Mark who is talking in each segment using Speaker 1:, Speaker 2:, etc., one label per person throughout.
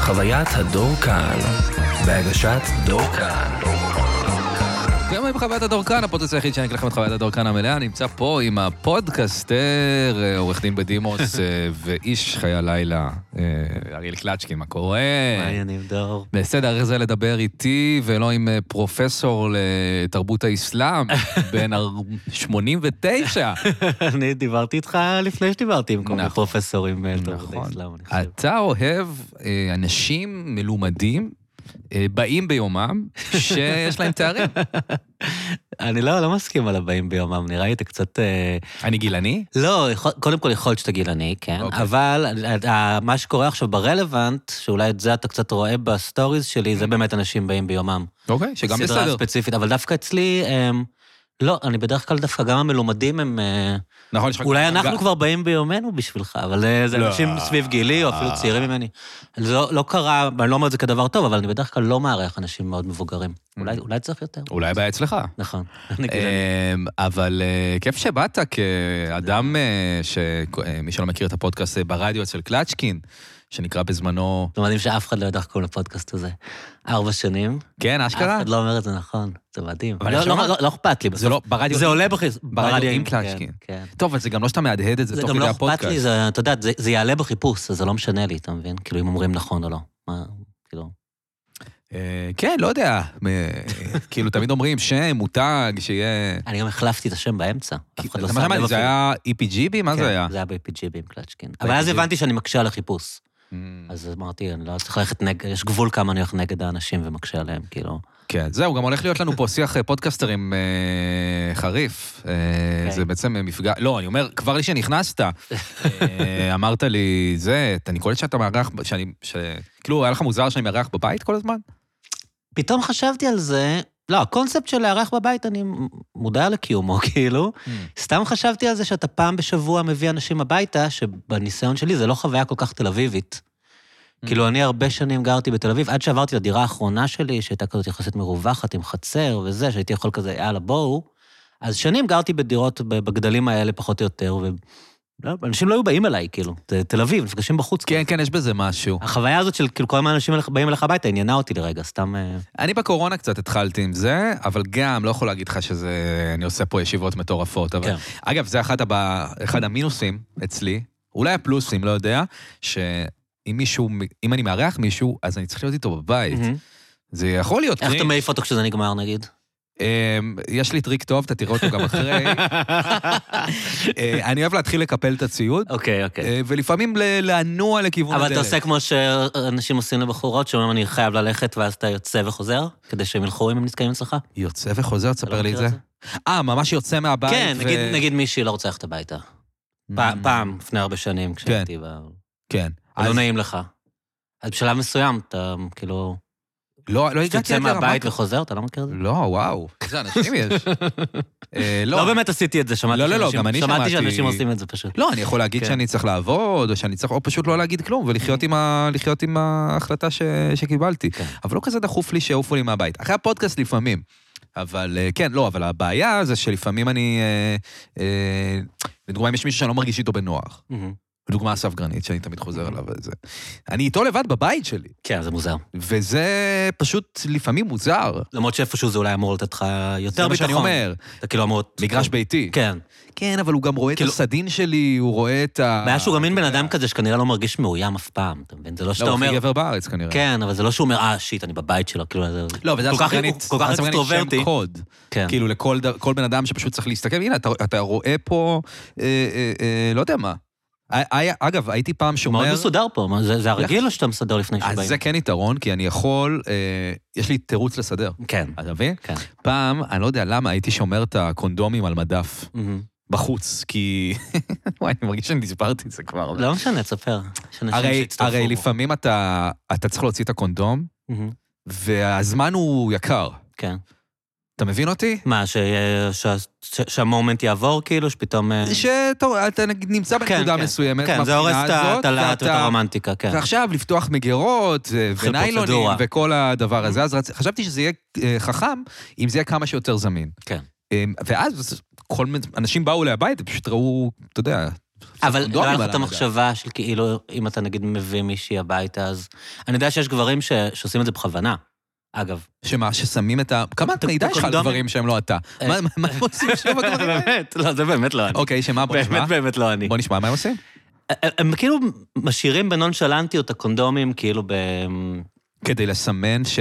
Speaker 1: חוויית הדור כאן, בהגשת דור כאן.
Speaker 2: גם היום בחוויית הדור כאן, הפודקאסט היחיד שיעניק לכם את חוויית הדור כאן המלאה, נמצא פה עם הפודקאסטר, אה, עורך דין בדימוס אה, ואיש חיי הלילה, אה, אריאל קלצ'קין, מה קורה?
Speaker 3: מה יניב דור?
Speaker 2: בסדר, זה לדבר איתי ולא עם אה, פרופסור לתרבות האסלאם, בן אר- 89.
Speaker 3: אני דיברתי איתך לפני שדיברתי עם כל מיני
Speaker 2: נכון.
Speaker 3: פרופסורים בתרבות
Speaker 2: נכון.
Speaker 3: האסלאם, אני חושב.
Speaker 2: אתה אוהב אה, אנשים מלומדים, אה, באים ביומם, שיש להם תארים.
Speaker 3: אני לא, לא מסכים על הבאים ביומם, נראה לי אתה קצת... אה,
Speaker 2: אני גילני?
Speaker 3: לא, יכול- קודם כל יכול להיות שאתה גילני, כן,
Speaker 2: אוקיי.
Speaker 3: אבל אה, אה, מה שקורה עכשיו ברלוונט, שאולי את זה אתה קצת רואה בסטוריז שלי, זה באמת אנשים באים ביומם.
Speaker 2: אוקיי, שגם
Speaker 3: סדרה
Speaker 2: בסדר.
Speaker 3: ספציפית, אבל דווקא אצלי, אה, לא, אני בדרך כלל דווקא גם המלומדים הם... אה,
Speaker 2: נכון, יש לך...
Speaker 3: אולי אנחנו
Speaker 2: גם-
Speaker 3: כבר באים ביומנו בשבילך, אבל אה, זה
Speaker 2: לא.
Speaker 3: אנשים סביב גילי, או אפילו צעירים ממני. זה לא לא קרה, ואני לא אומר את זה כדבר טוב, אבל אני בדרך כלל לא מארח אנשים מאוד מבוגרים.
Speaker 2: Mm.
Speaker 3: אולי אולי צריך יותר.
Speaker 2: אולי הבעיה אצלך.
Speaker 3: נכון. אני גילני.
Speaker 2: אמ, אבל אה, כיף שבאת כאדם אה, ש... אה, מי שלא מכיר את הפודקאסט אה, ברדיו אצל קלצ'קין, שנקרא בזמנו...
Speaker 3: זה מדהים שאף אחד לא יודע איך קוראים לפודקאסט הזה. ארבע שנים,
Speaker 2: כן,
Speaker 3: אף
Speaker 2: אשכרה?
Speaker 3: אחד לא אומר את זה נכון, זה מדהים.
Speaker 2: אבל
Speaker 3: לא-
Speaker 2: אני שומע-
Speaker 3: לא- לא אכפת לי,
Speaker 2: זה
Speaker 3: בסוף.
Speaker 2: לא, ברדיו...
Speaker 3: זה עולה בחיפוש.
Speaker 2: ברדיו עם
Speaker 3: כן,
Speaker 2: קלצ'קין.
Speaker 3: כן.
Speaker 2: טוב, אבל זה גם לא שאתה מהדהד את זה
Speaker 3: זה
Speaker 2: תוך
Speaker 3: גם
Speaker 2: כדי
Speaker 3: לא אכפת לי,
Speaker 2: הפודקאסט.
Speaker 3: זה- אתה יודע, זה- זה יעלה בחיפוש, אז זה לא משנה לי, אתה מבין? כאילו, אם אומרים נכון או לא. מה, כאילו...
Speaker 2: אה, כן, לא יודע. אה, כאילו, תמיד אומרים שם, מותג, שיהיה...
Speaker 3: אני גם החלפתי את השם באמצע. אף אחד לא
Speaker 2: זה
Speaker 3: שם
Speaker 2: מה
Speaker 3: לב
Speaker 2: שאמרתי, זה
Speaker 3: אפילו.
Speaker 2: היה E EPGB? מה
Speaker 3: כן,
Speaker 2: זה היה?
Speaker 3: זה היה ב-PGB עם קלצ'קין. אבל אז
Speaker 2: ב-PGB.
Speaker 3: הבנתי שאני מקשה על החיפוש.
Speaker 2: Mm,
Speaker 3: אז אמרתי, אני לא צריך ללכת נגד, יש גבול כמה אני הולך נגד האנשים ומקשה עליהם, כאילו.
Speaker 2: כן, זהו, גם הולך להיות לנו פה שיח אה, פודקאסטרים אה, חריף. אה,
Speaker 3: אוקיי.
Speaker 2: זה בעצם אה, מפגע... לא, אני אומר, כבר לי שנכנסת, אה, אמרת לי, זה, אני קולט שאתה מארח, ב- שאני... ש- כאילו, היה לך מוזר שאני מארח בבית כל הזמן?
Speaker 3: פתאום חשבתי על זה, לא, הקונספט של לארח בבית, אני מודע לקיומו, כאילו. סתם חשבתי על זה שאתה פעם בשבוע מביא אנשים הביתה, שבניסיון שלי זה לא חוויה כל כך תל אביבית. כאילו, אני הרבה שנים גרתי בתל אביב, עד שעברתי לדירה האחרונה שלי, שהייתה כזאת יחסית מרווחת עם חצר וזה, שהייתי יכול כזה, יאללה, בואו. אז שנים גרתי בדירות ב- בגדלים האלה, פחות או יותר, ואנשים לא היו באים אליי, כאילו. זה תל אביב, נפגשים בחוץ. כאילו.
Speaker 2: כן, כן, יש בזה משהו.
Speaker 3: החוויה הזאת של כאילו כל הזמן אנשים אליך- באים אליך הביתה, עניינה אותי לרגע, סתם... אה,
Speaker 2: אני בקורונה קצת התחלתי עם זה, אבל גם, לא יכול להגיד לך שזה... אני עושה פה ישיבות מטורפות, אבל...
Speaker 3: כן.
Speaker 2: אגב, זה אחד, הבא, אחד המינוסים אצלי, אולי הפלוסים, לא יודע, שאם מישהו, אם אני מארח מישהו, אז אני צריך להיות איתו בבית. זה יכול להיות
Speaker 3: איך
Speaker 2: טריק.
Speaker 3: אתה מעיף אותו כשזה נגמר, נגיד?
Speaker 2: אמ, יש לי טריק טוב, אתה תראה אותו גם אחרי. אה, אני אוהב להתחיל לקפל את הציוד,
Speaker 3: אוקיי, אוקיי.
Speaker 2: אה, ולפעמים ל- לנוע לכיוון הדלת.
Speaker 3: אבל אתה עושה כמו שאנשים עושים לבחורות, שאומרים, אני חייב ללכת, ואז אתה יוצא וחוזר, כדי שהם ילכו אם הם נתקעים אצלך?
Speaker 2: יוצא וחוזר,
Speaker 3: אתה לא
Speaker 2: תספר לי את
Speaker 3: מכיר
Speaker 2: זה.
Speaker 3: את
Speaker 2: אה, ממש יוצא מהבית.
Speaker 3: כן,
Speaker 2: ו- Mm.
Speaker 3: נגיד, נגיד מישהי לא רוצה ללכת הביתה. פ- פעם, לפני הרבה שנים, כשהייתי ב...
Speaker 2: כן.
Speaker 3: לא
Speaker 2: אז-
Speaker 3: נעים לך. אז בשלב מסוים אתה כאילו...
Speaker 2: לא, לא הגעתי
Speaker 3: תצא
Speaker 2: עד לרמה
Speaker 3: מהבית
Speaker 2: כזאת.
Speaker 3: וחוזר, אתה לא מכיר את זה?
Speaker 2: לא, וואו. איזה אנשים יש. אה,
Speaker 3: לא באמת עשיתי את זה, שמעתי
Speaker 2: לא, לא, לא,
Speaker 3: שאנשים-
Speaker 2: גם אני
Speaker 3: שמעתי
Speaker 2: שמעתי-
Speaker 3: שאנשים עושים את זה פשוט.
Speaker 2: לא, אני יכול להגיד
Speaker 3: כן.
Speaker 2: שאני צריך לעבוד, או שאני צריך, או פשוט לא להגיד כלום, ולחיות עם, ה, לחיות עם ההחלטה ש, שקיבלתי.
Speaker 3: כן.
Speaker 2: אבל לא כזה דחוף לי שיעופו לי מהבית. אחרי הפודקאסט לפעמים. אבל אה, כן, לא, אבל הבעיה זה שלפעמים אני... אה, אה, לדוגמה, אם יש מישהו שאני לא מרגיש איתו בנוח.
Speaker 3: מהמם.
Speaker 2: לדוגמה, אסף גרנית, שאני תמיד חוזר אליו וזה. אני איתו לבד בבית שלי,
Speaker 3: כן, זה מוזר.
Speaker 2: וזה פשוט לפעמים מוזר.
Speaker 3: למרות שאיפשהו זה אולי אמור לתת לך
Speaker 2: זה
Speaker 3: יותר ביטחון.
Speaker 2: מה שאני אומר,
Speaker 3: אתה כאילו אמור...
Speaker 2: מגרש ביתי.
Speaker 3: כן.
Speaker 2: כן, אבל הוא גם רואה את
Speaker 3: כאילו-
Speaker 2: הסדין שלי, הוא רואה את ה...
Speaker 3: הבעיה שהוא גם מין בן אדם כזה שכנראה לא מרגיש מאוים אף פעם, אתה מבין? זה לא שאתה
Speaker 2: לא, הוא
Speaker 3: אומר...
Speaker 2: הכי גבר בארץ כנראה.
Speaker 3: כן, אבל זה לא שהוא אומר, אה, שיט, אני בבית שלו, כאילו, זה...
Speaker 2: לא, וזה
Speaker 3: כל כך-
Speaker 2: הסגרנית,
Speaker 3: הוא כל כך
Speaker 2: הסגרנית
Speaker 3: אקסטרוברטי.
Speaker 2: שם קוד.
Speaker 3: כן.
Speaker 2: כאילו לכל ד- כל בן אדם שפשוט צריך להסתכל, הנה, אתה- אתה רואה פה, אה, אה, אה, לא יודע מה. אה, אה, אגב, הייתי פעם
Speaker 3: מאוד
Speaker 2: שומר,
Speaker 3: מסודר פה, מה, זה זה הרגיל או שאתה מסדר לפני
Speaker 2: אז
Speaker 3: שבאים?
Speaker 2: זה כן יתרון, כי אני יכול, אה, יש לי תירוץ לסדר.
Speaker 3: כן,
Speaker 2: אתה מבין?
Speaker 3: כן.
Speaker 2: פעם, אני לא יודע למה, הייתי שומר את הקונדומים על מדף
Speaker 3: מהמם.
Speaker 2: בחוץ, כי... וואי, אני מרגיש שאני הסברתי את זה כבר.
Speaker 3: לא משנה, תספר. יש אנשים
Speaker 2: הרי,
Speaker 3: שהצטרפו.
Speaker 2: הרי לפעמים אתה, אתה צריך להוציא את הקונדום,
Speaker 3: מהמם.
Speaker 2: והזמן הוא יקר.
Speaker 3: Mm-hmm. כן.
Speaker 2: אתה מבין אותי?
Speaker 3: מה, ש- ש- ש- שהמומנט יעבור, כאילו, שפתאום... אה,
Speaker 2: שאתה נגיד נמצא
Speaker 3: כן,
Speaker 2: בנקודה
Speaker 3: כן.
Speaker 2: מסוימת,
Speaker 3: כן, זה הורס
Speaker 2: מהבחינה
Speaker 3: את ה-
Speaker 2: הזאת,
Speaker 3: את הלהט ואת
Speaker 2: ואתה-
Speaker 3: הרומנטיקה, כן.
Speaker 2: ועכשיו לפתוח מגירות אה,
Speaker 3: מתחיל
Speaker 2: וניילונים
Speaker 3: פרוצדורה. Mm-hmm.
Speaker 2: וכל הדבר הזה, אז רצ- חשבתי שזה יהיה אה, חכם אם זה יהיה כמה שיותר זמין.
Speaker 3: כן.
Speaker 2: אה, ואז כל מיני אנשים באו אליי הביתה, פשוט ראו, אתה יודע,
Speaker 3: אבל לא
Speaker 2: דוארים
Speaker 3: היה לך
Speaker 2: על
Speaker 3: את
Speaker 2: המדף.
Speaker 3: המחשבה של כאילו, אם אתה נגיד מביא מישהי הביתה, אז... אני יודע שיש גברים ש... שעושים את זה בכוונה, אגב.
Speaker 2: שמה, ששמים את ה... כמה מידע יש לך על
Speaker 3: הקונדומים.
Speaker 2: גברים שהם לא אתה?
Speaker 3: אה.
Speaker 2: מה- מה- מה הם עושים שם הגברים האלה?
Speaker 3: באמת, לא, זה באמת לא אני.
Speaker 2: אוקיי, שמה, בוא נשמע.
Speaker 3: באמת באמת לא אני.
Speaker 2: בוא נשמע מה הם עושים.
Speaker 3: הם- הם כאילו משאירים בנונשלנטיות הקונדומים, כאילו ב...
Speaker 2: כדי לסמן ש...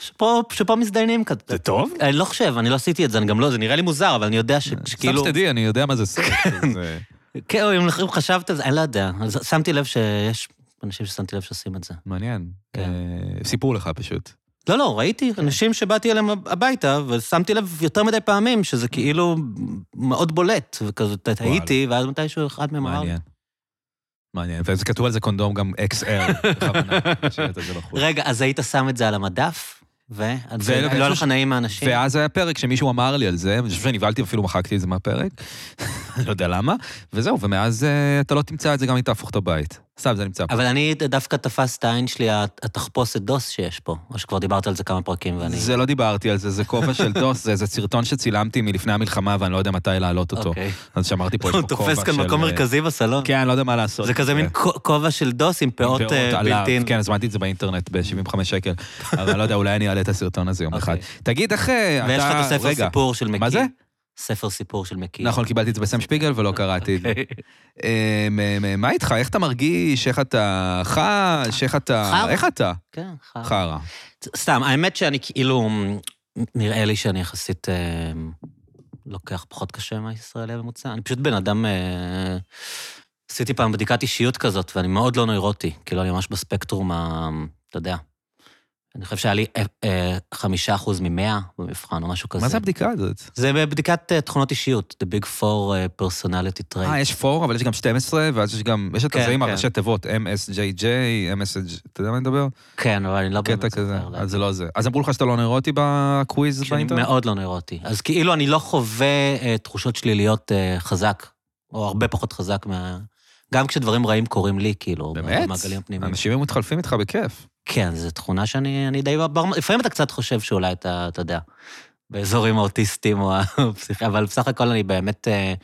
Speaker 3: שפה, שפה מזדיינים כזה. זה
Speaker 2: טוב?
Speaker 3: אני לא חושב, אני לא עשיתי את זה, אני גם לא, זה נראה לי מוזר, אבל אני יודע ש-
Speaker 2: אה, סתם
Speaker 3: שכאילו...
Speaker 2: שתדעי, אני יודע מה זה סרט. אז, אה,
Speaker 3: כאילו- כן, או אם אם חשבת על זה, אני לא יודע. אז שמתי לב שיש אנשים ששמתי לב שעושים את זה.
Speaker 2: מעניין.
Speaker 3: כן.
Speaker 2: אה, סיפור לך פשוט.
Speaker 3: לא, לא, ראיתי
Speaker 2: כן.
Speaker 3: אנשים שבאתי אליהם הביתה, ושמתי לב יותר מדי פעמים
Speaker 2: אה.
Speaker 3: שזה כאילו מאוד בולט, וכזה טעיתי, ואז מתישהו אחד מהם אמר... לי,
Speaker 2: מעניין. מעניין, וזה כתוב על זה קונדום גם XL, בכוונה, לא השארת את זה בחוץ.
Speaker 3: רגע, אז היית שם את זה על המדף? ו?
Speaker 2: זה-
Speaker 3: לא היה לך נעים מהאנשים?
Speaker 2: ואז היה פרק שמישהו אמר לי על זה, אני חושב שנבהלתי, אפילו מחקתי את זה מהפרק, לא יודע למה, וזהו, ומאז אה, אתה לא תמצא את זה גם אם תהפוך את הבית. סתם, זה נמצא פה.
Speaker 3: אבל אני דווקא תפס את העין שלי התחפושת דוס שיש פה, או שכבר דיברת על זה כמה פרקים ואני...
Speaker 2: זה לא דיברתי על זה, זה כובע של דוס, זה איזה סרטון שצילמתי מלפני המלחמה ואני לא יודע מתי להעלות אותו.
Speaker 3: אוקיי.
Speaker 2: אז שאמרתי פה, יש
Speaker 3: הוא
Speaker 2: פה כובע של...
Speaker 3: תופס כאן מקום
Speaker 2: אה,
Speaker 3: מרכזי בסלון.
Speaker 2: כן, אני לא יודע מה לעשות.
Speaker 3: זה כזה מין כו- כובע של דוס עם פאות
Speaker 2: פאות
Speaker 3: אה,
Speaker 2: עליו.
Speaker 3: בלתי...
Speaker 2: כן, הזמנתי את זה באינטרנט ב-75 שקל, אבל לא יודע, אולי אני אעלה את הסרטון הזה יום אחד.
Speaker 3: אוקיי.
Speaker 2: תגיד, איך אה, אתה...
Speaker 3: ויש לך את הספר
Speaker 2: רגע,
Speaker 3: סיפור של מקי.
Speaker 2: מה זה?
Speaker 3: ספר סיפור של מקי.
Speaker 2: נכון, קיבלתי את זה בסם שפיגל ולא קראתי את
Speaker 3: אוקיי.
Speaker 2: זה. אמ, אמ, אמ, מה איתך? איך אתה מרגיש? איך אתה חש? איך אתה...
Speaker 3: חרא.
Speaker 2: איך אתה?
Speaker 3: כן, חרא.
Speaker 2: חרא.
Speaker 3: סתם, האמת שאני כאילו, נראה לי שאני יחסית אה, לוקח פחות קשה מהישראלי הממוצע. אני פשוט בן אדם... אה, עשיתי פעם בדיקת אישיות כזאת, ואני מאוד לא נוירוטי. כאילו, אני ממש בספקטרום ה... אתה יודע. אני חושב שהיה לי אה, אה, חמישה אחוז ממאה במבחן או משהו כזה.
Speaker 2: מה זה הבדיקה הזאת?
Speaker 3: זה בדיקת אה, תכונות אישיות, The Big Four אה, Personality Trait.
Speaker 2: אה, יש 4, אבל יש גם 12, ואז יש גם... יש את
Speaker 3: כן,
Speaker 2: הזה עם
Speaker 3: כן.
Speaker 2: הראשי תיבות, MSJJ, MSJ... אתה יודע מה אני מדבר?
Speaker 3: כן, אבל אני לא באמת
Speaker 2: קטע כזה.
Speaker 3: זוכר, לא.
Speaker 2: אז זה לא זה. אז אמרו לך שאתה לא נוירוטי בקוויז
Speaker 3: שאני
Speaker 2: באינטרנט?
Speaker 3: מאוד לא נוירוטי. אז כאילו אני לא חווה אה, תחושות שליליות אה, חזק, או הרבה פחות חזק מה... גם כשדברים רעים קורים לי, כאילו,
Speaker 2: באמת?
Speaker 3: במעגלים הפנימיים.
Speaker 2: אנשים היו מתחלפים איתך בכיף.
Speaker 3: כן, זו תכונה שאני אני די... בר... לפעמים אתה קצת חושב שאולי אתה, אתה יודע, באזורים האוטיסטים או הפסיכ... אבל בסך הכל אני באמת... אה,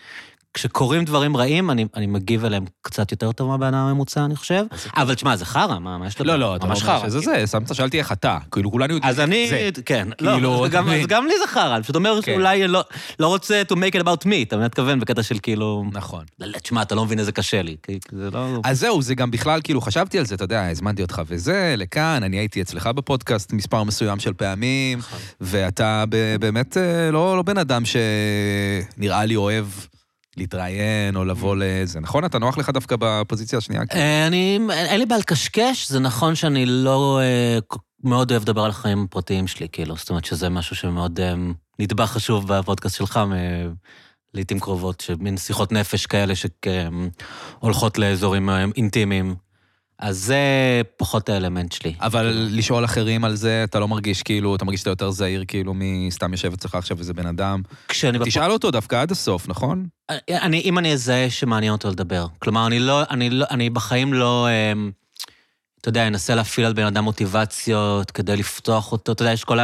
Speaker 3: כשקורים דברים רעים, אני, אני מגיב אליהם קצת יותר טוב מהבן אדם הממוצע, אני חושב. אבל תשמע, זה חרא, מה, מה יש לדבר?
Speaker 2: לא, לא, אתה
Speaker 3: ממש
Speaker 2: אומר
Speaker 3: חרא.
Speaker 2: שזה זה, סתם שאלתי איך אתה. כאילו, כולנו יודעים.
Speaker 3: אז אני,
Speaker 2: זה.
Speaker 3: כן,
Speaker 2: כאילו,
Speaker 3: לא, אז
Speaker 2: אתה
Speaker 3: גם-
Speaker 2: מבין.
Speaker 3: אז גם לי זה חרא, אני פשוט אומר
Speaker 2: כן.
Speaker 3: שאולי לא- לא רוצה to make it about me, אתה מתכוון בקטע של כאילו,
Speaker 2: נכון.
Speaker 3: "לא, תשמע, אתה לא מבין איזה קשה לי, כי זה לא...
Speaker 2: אז זהו, זה גם בכלל, כאילו, חשבתי על זה, אתה יודע, הזמנתי אותך וזה, לכאן, אני הייתי אצלך בפודקאסט מספר מסוים של פעמים,
Speaker 3: נכון.
Speaker 2: ואתה ב- באמת אה, לא, לא בן אדם שנראה לי אוהב להתראיין או לבוא לאיזה, נכון? אתה נוח לך דווקא בפוזיציה השנייה? כאילו?
Speaker 3: Mm. אה, אני, אין לי בעיה לקשקש, זה נכון שאני לא אה, ק- מאוד אוהב לדבר על החיים הפרטיים שלי, כאילו, זאת אומרת שזה משהו שמאוד אה, נדבך חשוב בפודקאסט שלך, אה, לעיתים קרובות, שמין שיחות נפש כאלה שהולכות לאזורים אה, אינטימיים. אז זה פחות האלמנט שלי.
Speaker 2: אבל
Speaker 3: כן.
Speaker 2: לשאול אחרים על זה, אתה לא מרגיש כאילו, אתה מרגיש שאתה יותר זהיר כאילו מסתם יושב אצלך עכשיו איזה בן אדם.
Speaker 3: כשאני בפ-
Speaker 2: תשאל אותו דווקא עד הסוף, נכון?
Speaker 3: אני, אם אני אזהה שמעניין אותו לדבר. כלומר, אני לא, אני לא, אני בחיים לא, אמ, אתה יודע, אנסה להפעיל על בן אדם מוטיבציות כדי לפתוח אותו, אתה יודע, יש כל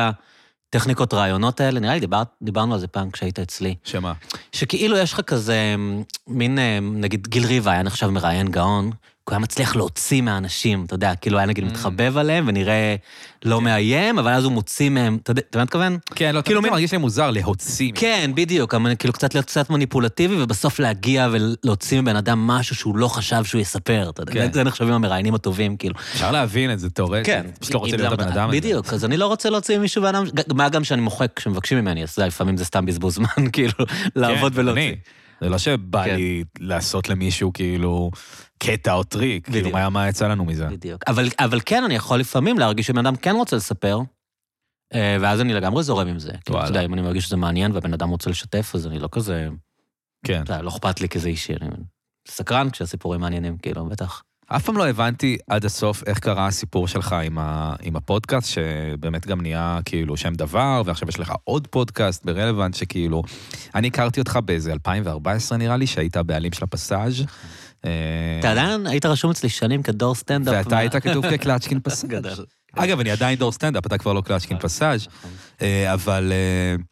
Speaker 3: הטכניקות רעיונות האלה, נראה לי דיבר, דיברנו על זה פעם כשהיית אצלי.
Speaker 2: שמה?
Speaker 3: שכאילו יש לך כזה אמ, מין, אמ, נגיד גיל ריבה היה נחשב מראיין גאון, כי הוא היה מצליח להוציא מהאנשים, אתה יודע, כאילו היה נגיד מתחבב עליהם ונראה לא מאיים, אבל אז הוא מוציא מהם, אתה יודע, אתה מבין מה אני מתכוון?
Speaker 2: כן, לא, כאילו, מרגיש לי מוזר להוציא.
Speaker 3: כן, בדיוק, אבל כאילו קצת להיות קצת מניפולטיבי, ובסוף להגיע ולהוציא מבן אדם משהו שהוא לא חשב שהוא יספר, אתה יודע,
Speaker 2: כן.
Speaker 3: זה נחשבים המראיינים הטובים, כאילו.
Speaker 2: אפשר להבין את זה, תאורטית. פשוט לא רוצה
Speaker 3: כן. אם
Speaker 2: להיות
Speaker 3: זה-
Speaker 2: הבן אדם הזה.
Speaker 3: בדיוק, אז אני לא רוצה להוציא ממישהו בן אדם, ג- מה גם שאני מוחק כשמבקשים ממני, אז זה לפעמים זה סתם בזבוז זמן, כאילו, לעבוד
Speaker 2: כן,
Speaker 3: ולהוציא.
Speaker 4: אני.
Speaker 2: זה לא שבא
Speaker 3: כן.
Speaker 2: לי לעשות למישהו כאילו קטע או טריק, כאילו
Speaker 3: בדיוק.
Speaker 2: מה, מה יצא לנו מזה?
Speaker 3: בדיוק. אבל, אבל כן, אני יכול לפעמים להרגיש שבן אדם כן רוצה לספר, אה, ואז אני לגמרי זורם עם זה. כאילו, אתה
Speaker 2: וואלה.
Speaker 3: יודע, אם אני מרגיש שזה מעניין והבן אדם רוצה לשתף, אז אני לא כזה,
Speaker 2: כן.
Speaker 3: אתה יודע, לא אכפת לי כזה אישי, אני סקרן כשהסיפורים מעניינים, כאילו, בטח.
Speaker 2: אף פעם לא הבנתי עד הסוף איך קרה הסיפור שלך עם, ה, עם הפודקאסט, שבאמת גם נהיה כאילו שם דבר, ועכשיו יש לך עוד פודקאסט ברלוונט שכאילו... אני הכרתי אותך באיזה 2014 נראה לי, שהיית הבעלים של הפסאז'. אה,
Speaker 3: אתה עדיין היית רשום אצלי שנים כדור סטנדאפ.
Speaker 2: ואתה היית כתוב כקלצ'קין פסאז'.
Speaker 3: גדל. נכון,
Speaker 2: אגב, אני עדיין דור סטנדאפ, אתה כבר לא קלצ'קין פסאז'. אה, אבל... אה,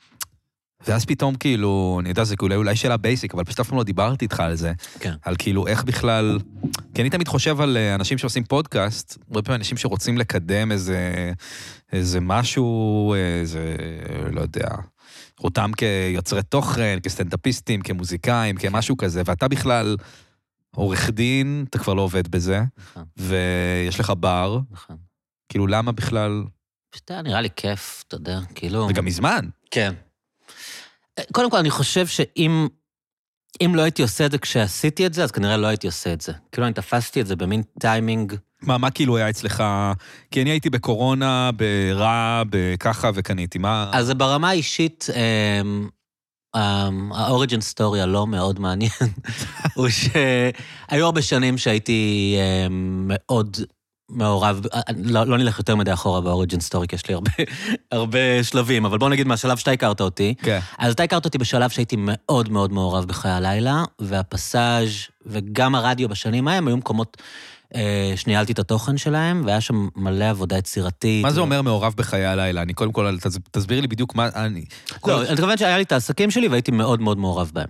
Speaker 2: ואז פתאום כאילו, אני יודע, זה כאילו אולי שאלה בייסיק, אבל פשוט אף פעם לא דיברתי איתך על זה.
Speaker 3: כן.
Speaker 2: על כאילו איך בכלל... כי אני תמיד חושב על אה, אנשים שעושים פודקאסט, הרבה פעמים אנשים שרוצים לקדם איזה, איזה משהו, איזה, לא יודע, אותם כיוצרי תוכן, כסטנדאפיסטים, כמוזיקאים, כמשהו כזה, ואתה בכלל עורך דין, אתה כבר לא עובד בזה,
Speaker 3: נכון,
Speaker 2: ויש לך בר,
Speaker 3: נכון.
Speaker 2: כאילו למה בכלל...
Speaker 3: פשוט היה נראה לי כיף, אתה יודע, כאילו...
Speaker 2: זה גם מזמן.
Speaker 3: כן. אה, קודם כל, אני חושב שאם אם לא הייתי עושה את זה כשעשיתי את זה, אז כנראה לא הייתי עושה את זה. כאילו, אני תפסתי את זה במין טיימינג.
Speaker 2: מה, מה כאילו היה אצלך? כי אני הייתי בקורונה, ברע, בככה, וקניתי. מה...
Speaker 3: אז זה ברמה האישית, אמ, אמ, האוריג'ן סטורי הלא מאוד מעניין, הוא שהיו הרבה שנים שהייתי אמ, מאוד מעורב, לא, לא נלך יותר מדי אחורה באוריג'ן סטורי, כי יש לי הרבה, הרבה שלבים, אבל בוא נגיד מהשלב שאתה הכרת אותי.
Speaker 2: כן.
Speaker 3: אז אתה הכרת אותי בשלב שהייתי מאוד מאוד מעורב בחיי הלילה, והפסאז' וגם הרדיו בשנים ההם היו מקומות אה, שניהלתי את התוכן שלהם, והיה שם מלא עבודה יצירתית.
Speaker 2: מה זה
Speaker 3: ו-
Speaker 2: אומר מעורב בחיי הלילה? אני קודם כל, תס- תסביר לי בדיוק מה אני... כל-
Speaker 3: לא, אני מתכוון שהיה לי את העסקים שלי והייתי מאוד מאוד מעורב בהם.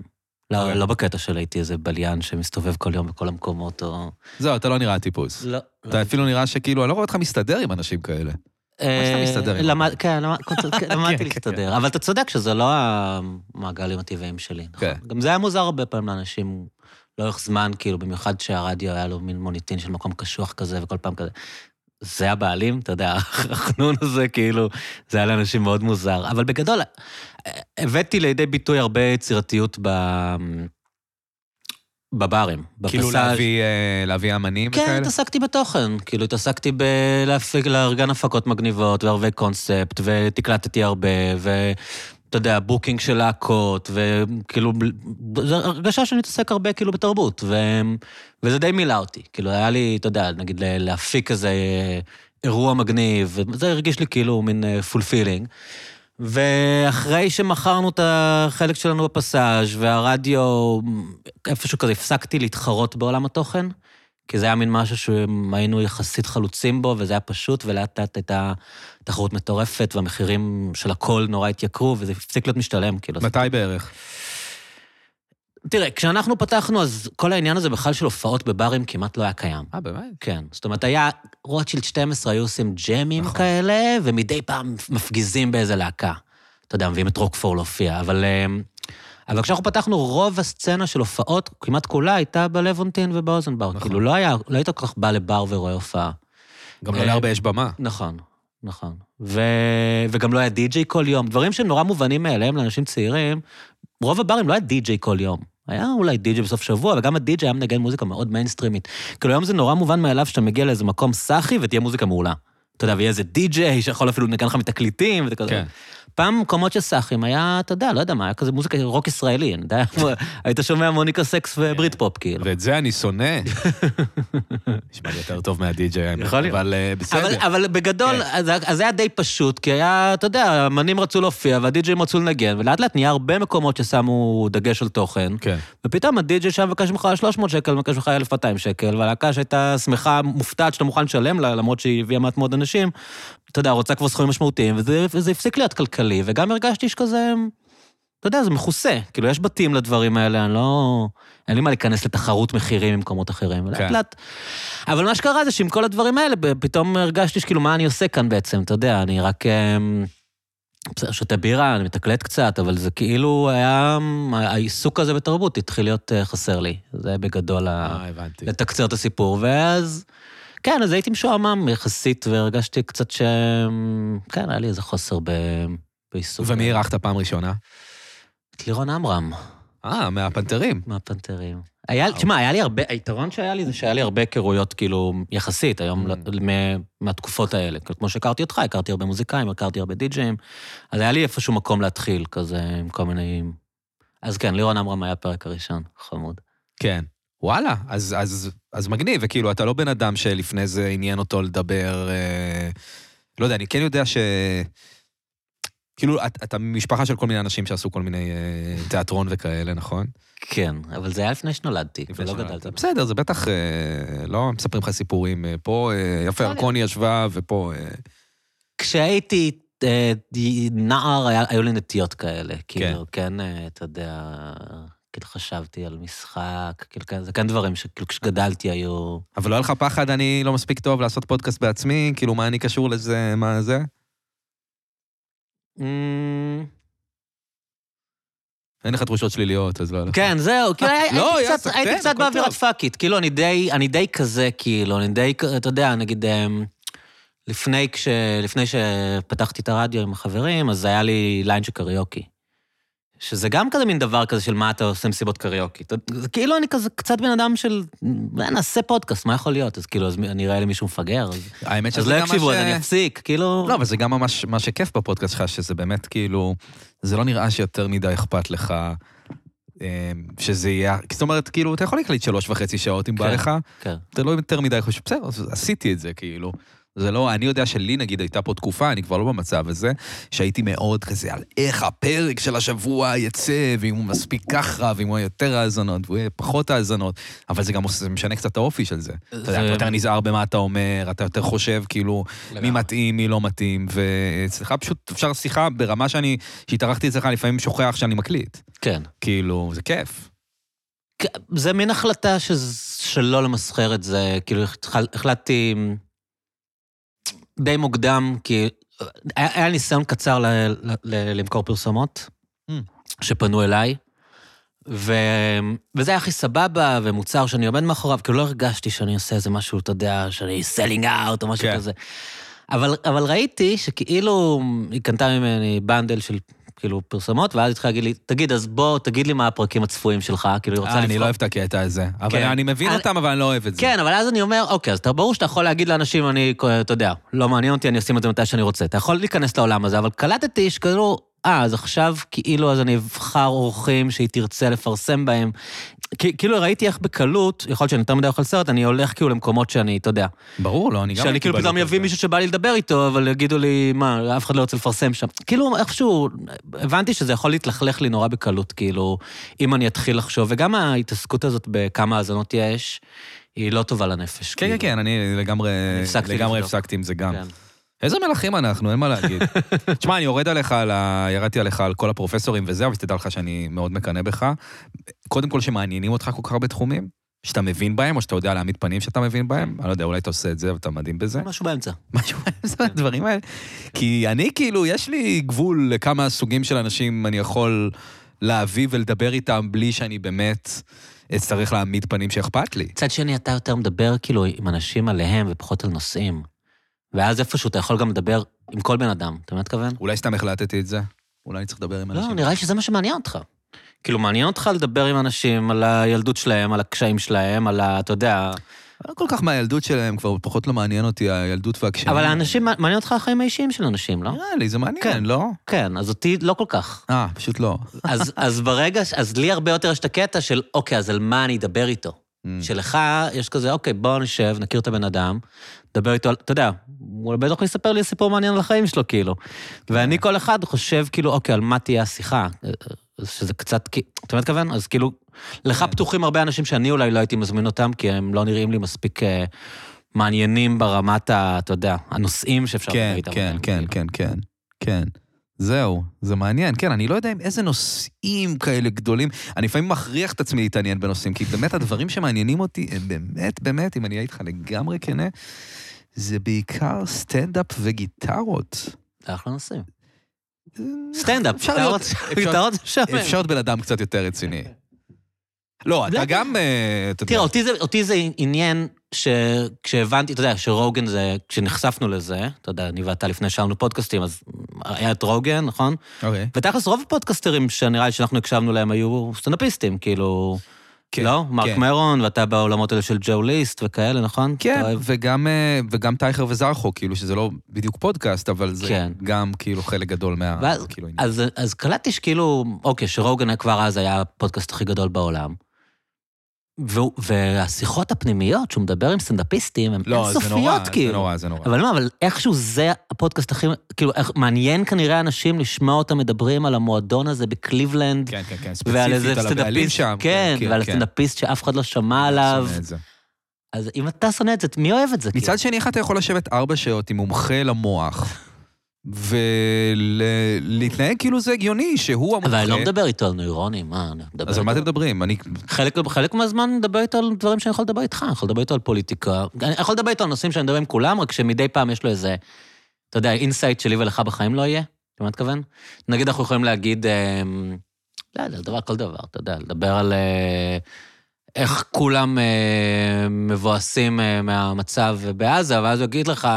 Speaker 3: לא,
Speaker 2: אוקיי.
Speaker 3: לא בקטע של הייתי איזה בליין שמסתובב כל יום בכל המקומות, או...
Speaker 2: זהו, אתה לא נראה טיפוס.
Speaker 3: לא.
Speaker 2: אתה אפילו נראה שכאילו, אני לא רואה אותך מסתדר עם אנשים כאלה. שאתה מסתדר עם
Speaker 3: כן, אה, למד- כן,
Speaker 2: כן,
Speaker 3: למדתי
Speaker 2: כן.
Speaker 3: להסתדר. אבל אתה צודק שזה לא המעגלים הטבעיים שלי, נכון?
Speaker 2: כן.
Speaker 3: גם זה היה מוזר הרבה פעמים לאנשים לאורך זמן, כאילו, במיוחד שהרדיו היה לו מין מוניטין של מקום קשוח כזה, וכל פעם כזה. זה הבעלים, אתה יודע, החנון הזה, כאילו, זה היה לאנשים מאוד מוזר. אבל בגדול, אה, הבאתי לידי ביטוי הרבה יצירתיות ב... בברים, בפסאז'.
Speaker 2: כאילו להביא, אה, להביא אמנים
Speaker 3: כן,
Speaker 2: וכאלה?
Speaker 3: התעסקתי בתוכן. כאילו, התעסקתי בלהפיק, לארגן הפקות מגניבות וערבי קונספט, ותקלטתי הרבה, ו... אתה יודע, בוקינג של להקות, וכאילו, ב- זו הרגשה שאני מתעסק הרבה כאילו בתרבות, ו... וזה די מילא אותי. כאילו, היה לי, אתה יודע, נגיד ל- להפיק איזה אה, אירוע מגניב, זה הרגיש לי כאילו מין פולפילינג. ואחרי שמכרנו את החלק שלנו בפסאז' והרדיו, איפשהו כזה הפסקתי להתחרות בעולם התוכן, כי זה היה מין משהו שהיינו יחסית חלוצים בו, וזה היה פשוט, ולאט לאט הייתה תחרות מטורפת, והמחירים של הכל נורא התייקרו, וזה הפסיק להיות משתלם, כאילו. אז-
Speaker 2: מתי בערך?
Speaker 3: תראה, כשאנחנו פתחנו, אז כל העניין הזה בכלל של הופעות בברים כמעט לא היה קיים.
Speaker 2: אה, באמת?
Speaker 3: כן, זאת אומרת, היה רוטשילד 12, היו עושים ג'מים
Speaker 2: נכון.
Speaker 3: נכון. כאלה, ומדי פעם מפגיזים באיזה להקה. אתה יודע, מביאים את רוקפור להופיע, אבל... אמ, אבל כשאנחנו פתחנו, רוב הסצנה של הופעות, כמעט כולה, הייתה בלוונטין ובאוזנבר.
Speaker 2: נכון.
Speaker 3: נכון. כאילו, לא, היה, לא היית כל כך בא לבר ורואה הופעה.
Speaker 2: גם לא
Speaker 3: אה,
Speaker 2: להרבה יש במה.
Speaker 3: נכון, נכון. ו... וגם לא היה די-ג'יי כל יום. דברים שנורא מובנים מאליהם לאנשים צעירים, רוב הברים לא היה די-ג'יי כל יום. היה אולי די-ג'יי בסוף שבוע, וגם הדי-ג'יי היה מנגן מוזיקה מאוד מיינסטרימית. כאילו, היום זה נורא מובן מאליו שאתה מגיע לאיזה מקום סאחי ותהיה מוזיקה מעולה. אתה יודע, ויהיה איזה די-ג'יי שיכול אפילו לנגן לך מתקליטים וכזה.
Speaker 2: כן.
Speaker 3: פעם מקומות של סאחים היה, אתה יודע, לא יודע מה, היה כזה מוזיקה רוק ישראלי, אני יודע, היית שומע מוניקה סקס וברית פופ, כאילו.
Speaker 2: ואת זה אני שונא. נשמע לי יותר טוב מהדי-ג'יי, האמת.
Speaker 3: יכול להיות.
Speaker 2: אבל אה,
Speaker 3: אבל,
Speaker 2: בסדר.
Speaker 3: אבל בגדול,
Speaker 2: כן.
Speaker 3: אז, אז זה היה די פשוט, כי היה, אתה יודע, האמנים רצו להופיע והדיג'ים רצו לנגן, ולאט לאט נהיה הרבה מקומות ששמו דגש על תוכן,
Speaker 2: כן.
Speaker 3: ופתאום הדיג'י שם מבקש ממך 300 שקל, מבקש ממך 1,200 שקל, והלהקה שהייתה שמחה, מופתעת שאתה מוכן לשלם לה, למרות שהיא הביאה מעט מאוד אנשים, אתה יודע, רוצה כבר סכומים משמעותיים, וזה, וזה הפסיק להיות כלכלי, וגם הרגשתי שכזה... אתה יודע, זה מכוסה. כאילו, יש בתים לדברים האלה, אני לא... אין לי מה להיכנס לתחרות מחירים ממקומות אחרים.
Speaker 2: כן.
Speaker 3: לאט לאט אבל מה שקרה זה שעם כל הדברים האלה, ב- פתאום הרגשתי שכאילו, מה אני עושה כאן בעצם, אתה יודע, אני רק אמ, בסדר, שותה בירה, אני מתקלט קצת, אבל זה כאילו היה... העיסוק הזה בתרבות התחיל להיות אה, חסר לי. זה בגדול ה...
Speaker 2: אה, הבנתי.
Speaker 3: לתקצר את הסיפור, ואז... כן, אז הייתי משועמם יחסית, והרגשתי קצת ש... כן, היה לי איזה חוסר ב... בעיסוק.
Speaker 2: ומי אירחת פעם ראשונה?
Speaker 3: את לירון עמרם.
Speaker 2: אה, מהפנתרים.
Speaker 3: מהפנתרים. היה, תשמע, היה לי הרבה, היתרון שהיה לי זה שהיה לי הרבה היכרויות, כאילו, יחסית, היום,
Speaker 2: Mm.
Speaker 3: לא- מ- מהתקופות האלה. כאילו, כמו שהכרתי אותך, הכרתי הרבה מוזיקאים, הכרתי הרבה די-ג'אים, אז היה לי איפשהו מקום להתחיל, כזה, עם כל מיני... אז כן, לירון עמרם היה הפרק הראשון, חמוד.
Speaker 2: כן. וואלה, אז, אז, אז מגניב, וכאילו, אתה לא בן אדם שלפני זה עניין אותו לדבר... אה, לא יודע, אני כן יודע ש... כאילו, את- אתה משפחה של כל מיני אנשים שעשו כל מיני אה, תיאטרון וכאלה, נכון?
Speaker 3: כן, אבל זה היה לפני שנולדתי,
Speaker 2: לפני
Speaker 3: ולא
Speaker 2: שנולדת.
Speaker 3: גדלתי.
Speaker 2: בסדר, זה בטח... אה, לא מספרים לך סיפורים. אה, פה אה, יפה
Speaker 3: יכול
Speaker 2: ירקוני ישבה, ופה... אה,
Speaker 3: כשהייתי אה, די- נער, היה- היו לי נטיות כאלה. כאילו, כן, אה, אתה יודע, כאילו חשבתי על משחק, כאילו, כן- זה כן דברים שכאילו כשגדלתי היו...
Speaker 2: אבל לא היה לך פחד, אני לא מספיק טוב לעשות פודקאסט בעצמי, כאילו, מה אני קשור לזה, מה זה? Mm.
Speaker 3: אמ,
Speaker 2: אין לך תחושות שליליות, אז לא היה לך.
Speaker 3: כן, זהו, כאילו,
Speaker 2: אה,
Speaker 3: הייתי
Speaker 2: לא,
Speaker 3: קצת-
Speaker 2: יאסר,
Speaker 3: הייתי
Speaker 2: כן,
Speaker 3: קצת
Speaker 2: הכל
Speaker 3: באווירת
Speaker 2: טוב.
Speaker 3: פאק איט, כאילו, אני די, אני די כזה, כאילו, אני די, כ- אתה יודע, נגיד, אמ, לפני, כש, לפני שפתחתי את הרדיו עם החברים, אז היה לי ליין של קריוקי. שזה גם כזה מין דבר כזה של מה אתה עושה מסיבות קריוקי. אתה- זה כאילו אני כזה קצת בן אדם של, "אה, נעשה פודקאסט, מה יכול להיות? אז כאילו, אז מי- אני אראה לי מישהו מפגר, אז-
Speaker 2: האמת
Speaker 3: אז
Speaker 2: שזה
Speaker 3: לא
Speaker 2: גם מה
Speaker 3: יקשיבו, אז
Speaker 2: ש-
Speaker 3: אני אפסיק, כאילו...
Speaker 2: לא, אבל זה גם ממש מה שכיף בפודקאסט שלך, שזה באמת כאילו, זה לא נראה שיותר מדי אכפת לך אה, שזה יהיה... זאת אומרת, כאילו, אתה יכול להקליט שלוש וחצי שעות אם בא
Speaker 3: כן.
Speaker 2: לך,
Speaker 3: כן.
Speaker 2: אתה לא יותר מדי חושב, בסדר, אז עשיתי את זה, כאילו. זה לא, אני יודע שלי נגיד הייתה פה תקופה, אני כבר לא במצב הזה, שהייתי מאוד כזה על איך הפרק של השבוע יצא, ואם הוא מספיק ככה, ואם הוא יהיה יותר האזנות, והוא יהיה פחות האזנות, אבל זה גם עושה- זה משנה קצת את האופי של זה. אתה יודע,
Speaker 3: זה-
Speaker 2: אתה יותר נזהר במה אתה אומר, אתה יותר חושב, כאילו, מי מתאים, מי לא מתאים, ואצלך פשוט אפשר שיחה ברמה שאני, שהתארחתי אצלך, לפעמים שוכח שאני מקליט.
Speaker 3: כן.
Speaker 2: כאילו, זה כיף.
Speaker 3: כ- זה מין החלטה ש... שלא למסחר את זה, כאילו התחל- החלטתי די מוקדם, כי אה, היה, היה ניסיון קצר ל, ל, ל, למכור פרסומות,
Speaker 2: Mm.
Speaker 3: שפנו אליי, ו, וזה היה הכי סבבה, ומוצר שאני עומד מאחוריו, כאילו לא הרגשתי שאני עושה איזה משהו, אתה יודע, שאני selling out או משהו
Speaker 2: כן.
Speaker 3: כזה. אבל, אבל ראיתי שכאילו היא קנתה ממני בנדל של כאילו פרסומות, ואז התחילה להגיד לי, תגיד, אז בוא, תגיד לי מה הפרקים הצפויים שלך, כאילו היא רוצה
Speaker 2: אה,
Speaker 3: לבחור.
Speaker 2: אני לא אוהב את הקטע הזה. אבל
Speaker 3: כן.
Speaker 2: אני מבין
Speaker 3: אני-
Speaker 2: אותם, אבל אני לא אוהב את זה.
Speaker 3: כן, אבל אז אני אומר, אוקיי, אז אתה ברור שאתה יכול להגיד לאנשים, אני, אתה יודע, לא מעניין אותי, אני עושים את זה מתי שאני רוצה. אתה יכול להיכנס לעולם הזה, אבל קלטתי שכאילו, אה, אז עכשיו כאילו, אז אני אבחר אורחים שהיא תרצה לפרסם בהם. כי- כאילו ראיתי איך בקלות, יכול להיות שאני יותר מדי אוכל סרט, אני הולך כאילו למקומות שאני, אתה יודע,
Speaker 2: ברור, לא, אני גם...
Speaker 3: שאני
Speaker 2: הייתי
Speaker 3: כאילו
Speaker 2: בלופ
Speaker 3: פתאום
Speaker 2: הזה.
Speaker 3: אביא מישהו שבא לי לדבר איתו, אבל יגידו לי, מה, אף אחד לא רוצה לפרסם שם. כאילו, איכשהו, הבנתי שזה יכול להתלכלך לי נורא בקלות, כאילו, אם אני אתחיל לחשוב, וגם ההתעסקות הזאת בכמה האזנות יש, היא לא טובה לנפש.
Speaker 2: כן, כן,
Speaker 3: כאילו.
Speaker 2: כן, אני לגמרי
Speaker 3: הפסקתי
Speaker 2: לגמרי
Speaker 3: לבדוק.
Speaker 2: הפסקתי עם זה גם.
Speaker 3: כן.
Speaker 2: איזה מלכים אנחנו, אין מה להגיד. תשמע, אני יורד עליך, על ה... ירדתי עליך על כל הפרופסורים וזה, אבל שתדע לך שאני מאוד מקנא בך. קודם כל שמעניינים אותך כל כך הרבה תחומים, שאתה מבין בהם, או שאתה יודע להעמיד פנים שאתה מבין בהם. אני לא יודע, אולי אתה עושה את זה ואתה מדהים בזה.
Speaker 3: משהו באמצע.
Speaker 2: משהו מהדברים הדברים האלה. כי אני כאילו, יש לי גבול לכמה סוגים של אנשים אני יכול להביא ולדבר איתם בלי שאני באמת אצטרך להעמיד פנים שאכפת לי.
Speaker 3: מצד שני, אתה יותר מדבר כאילו עם אנשים עליהם ופחות על נושאים. ואז איפשהו אתה יכול גם לדבר עם כל בן אדם, אתה מבין מה אתכוון?
Speaker 2: אולי סתם החלטתי את זה? אולי אני צריך לדבר עם
Speaker 3: לא,
Speaker 2: אנשים.
Speaker 3: נראה לי שזה מה שמעניין אותך. כאילו, מעניין אותך לדבר עם אנשים על הילדות שלהם, על הקשיים שלהם, על ה... אתה יודע...
Speaker 2: לא כל כך מהילדות שלהם, כבר פחות לא מעניין אותי הילדות והקשיים.
Speaker 3: אבל האנשים, מעניין אותך החיים האישיים של אנשים, לא?
Speaker 2: כן. נראה לי, זה
Speaker 3: כן.
Speaker 2: מעניין, לא?
Speaker 3: כן, אז אותי לא כל כך.
Speaker 2: אה, פשוט לא.
Speaker 3: אז, אז ברגע, ש- אז לי הרבה יותר יש את הקטע של, אוקיי, אז על מה אני אדבר איתו?
Speaker 2: Mm.
Speaker 3: שלך יש כזה, אוקיי, בוא נשב, נכיר את הבן אדם, נדבר איתו, על- אתה יודע, הוא בטח יספר לי סיפור מעניין על החיים שלו, כאילו.
Speaker 2: אה.
Speaker 3: ואני כל אחד חושב, כאילו, אוקיי, על מה תהיה השיחה? אה, שזה קצת, כי- אתה מבין מה אתכוון? אז כאילו, לך
Speaker 2: כן.
Speaker 3: פתוחים הרבה אנשים שאני אולי לא הייתי מזמין אותם, כי הם לא נראים לי מספיק אה, מעניינים ברמת ה... אתה יודע, הנושאים שאפשר לדבר
Speaker 2: כן,
Speaker 3: איתם
Speaker 2: כן,
Speaker 3: עליהם,
Speaker 2: כן,
Speaker 3: כאילו.
Speaker 2: כן, כן, כן. זהו, זה מעניין. כן, אני לא יודע עם איזה נושאים כאלה גדולים. אני לפעמים מכריח את עצמי להתעניין בנושאים, כי באמת הדברים שמעניינים אותי, הם באמת, באמת, אם אני אהיה איתך לגמרי כנה, זה בעיקר סטנדאפ וגיטרות.
Speaker 3: זה אחלה נושאים. סטנדאפ,
Speaker 2: אפשר
Speaker 3: גיטרות,
Speaker 2: להיות-
Speaker 3: גיטרות זה משעמם.
Speaker 2: אפשר להיות בן אדם קצת יותר רציני. לא,
Speaker 3: זה
Speaker 2: אתה גם, אה, אתה
Speaker 3: תראה,
Speaker 2: יודע,
Speaker 3: אותי זה, אותי זה עניין שכשהבנתי, אתה יודע, שרוגן זה, כשנחשפנו לזה, אתה יודע, אני ואתה לפני שהיו פודקאסטים, אז היה את רוגן, נכון?
Speaker 2: אוקיי.
Speaker 3: ותכלס, רוב הפודקאסטרים שנראה לי שאנחנו הקשבנו להם היו סטנדאפיסטים, כאילו...
Speaker 2: כן,
Speaker 3: לא? מרק
Speaker 2: כן.
Speaker 3: מרון, ואתה בעולמות האלה של ג'ו ליסט וכאלה, נכון?
Speaker 2: כן,
Speaker 3: אתה אוהב-
Speaker 2: וגם, אה, וגם טייכר וזרחו, כאילו שזה לא בדיוק פודקאסט, אבל זה
Speaker 3: כן.
Speaker 2: גם כאילו חלק גדול מה...
Speaker 3: ואז-
Speaker 2: כאילו, עניין.
Speaker 3: אז, אז קלטתי שכאילו, אוקיי, שרוגן כבר אז היה הפודקאסט הכי גדול בעולם. והוא- והשיחות הפנימיות שהוא מדבר עם סטנדאפיסטים הן
Speaker 2: לא, זה נורא,
Speaker 3: אינסופיות, כאילו.
Speaker 2: זה נורא, זה נורא.
Speaker 3: אבל לא, אבל איכשהו זה הפודקאסט הכי, כאילו, איך- מעניין כנראה אנשים לשמוע אותם מדברים על המועדון הזה בקליבלנד,
Speaker 2: כן, כן, כן,
Speaker 3: ועל איזה
Speaker 2: ספציפית, על הבעלים
Speaker 3: סטנדאפיסט,
Speaker 2: שם.
Speaker 3: כן, ועל הסטנדאפיסט שאף אחד לא שמע עליו.
Speaker 2: שונא את זה.
Speaker 3: אז אם אתה שונא את זה, כאילו? מי אוהב את זה?
Speaker 2: מצד שני, איך אתה יכול לשבת ארבע שעות עם מומחה למוח, ולהתנהג כאילו זה הגיוני, שהוא המומחה.
Speaker 3: אבל אני לא מדבר איתו על נוירונים, מה, אני מדבר
Speaker 2: אז על מה אתם
Speaker 3: איתו-
Speaker 2: מדברים? אני...
Speaker 3: חלק, חלק מהזמן אני מדבר איתו על דברים שאני יכול לדבר איתך, אני יכול לדבר איתו על פוליטיקה. אני יכול לדבר איתו על נושאים שאני מדבר עם כולם, רק שמדי פעם יש לו איזה, אתה יודע, אינסייט שלי ולך בחיים לא יהיה, אתה מה אתכוון? נגיד אנחנו יכולים להגיד, אה, לא יודע, לדבר על כל דבר, אתה יודע, לדבר על אה, איך כולם אה, מבואסים אה, מהמצב בעזה, ואז הוא יגיד לך,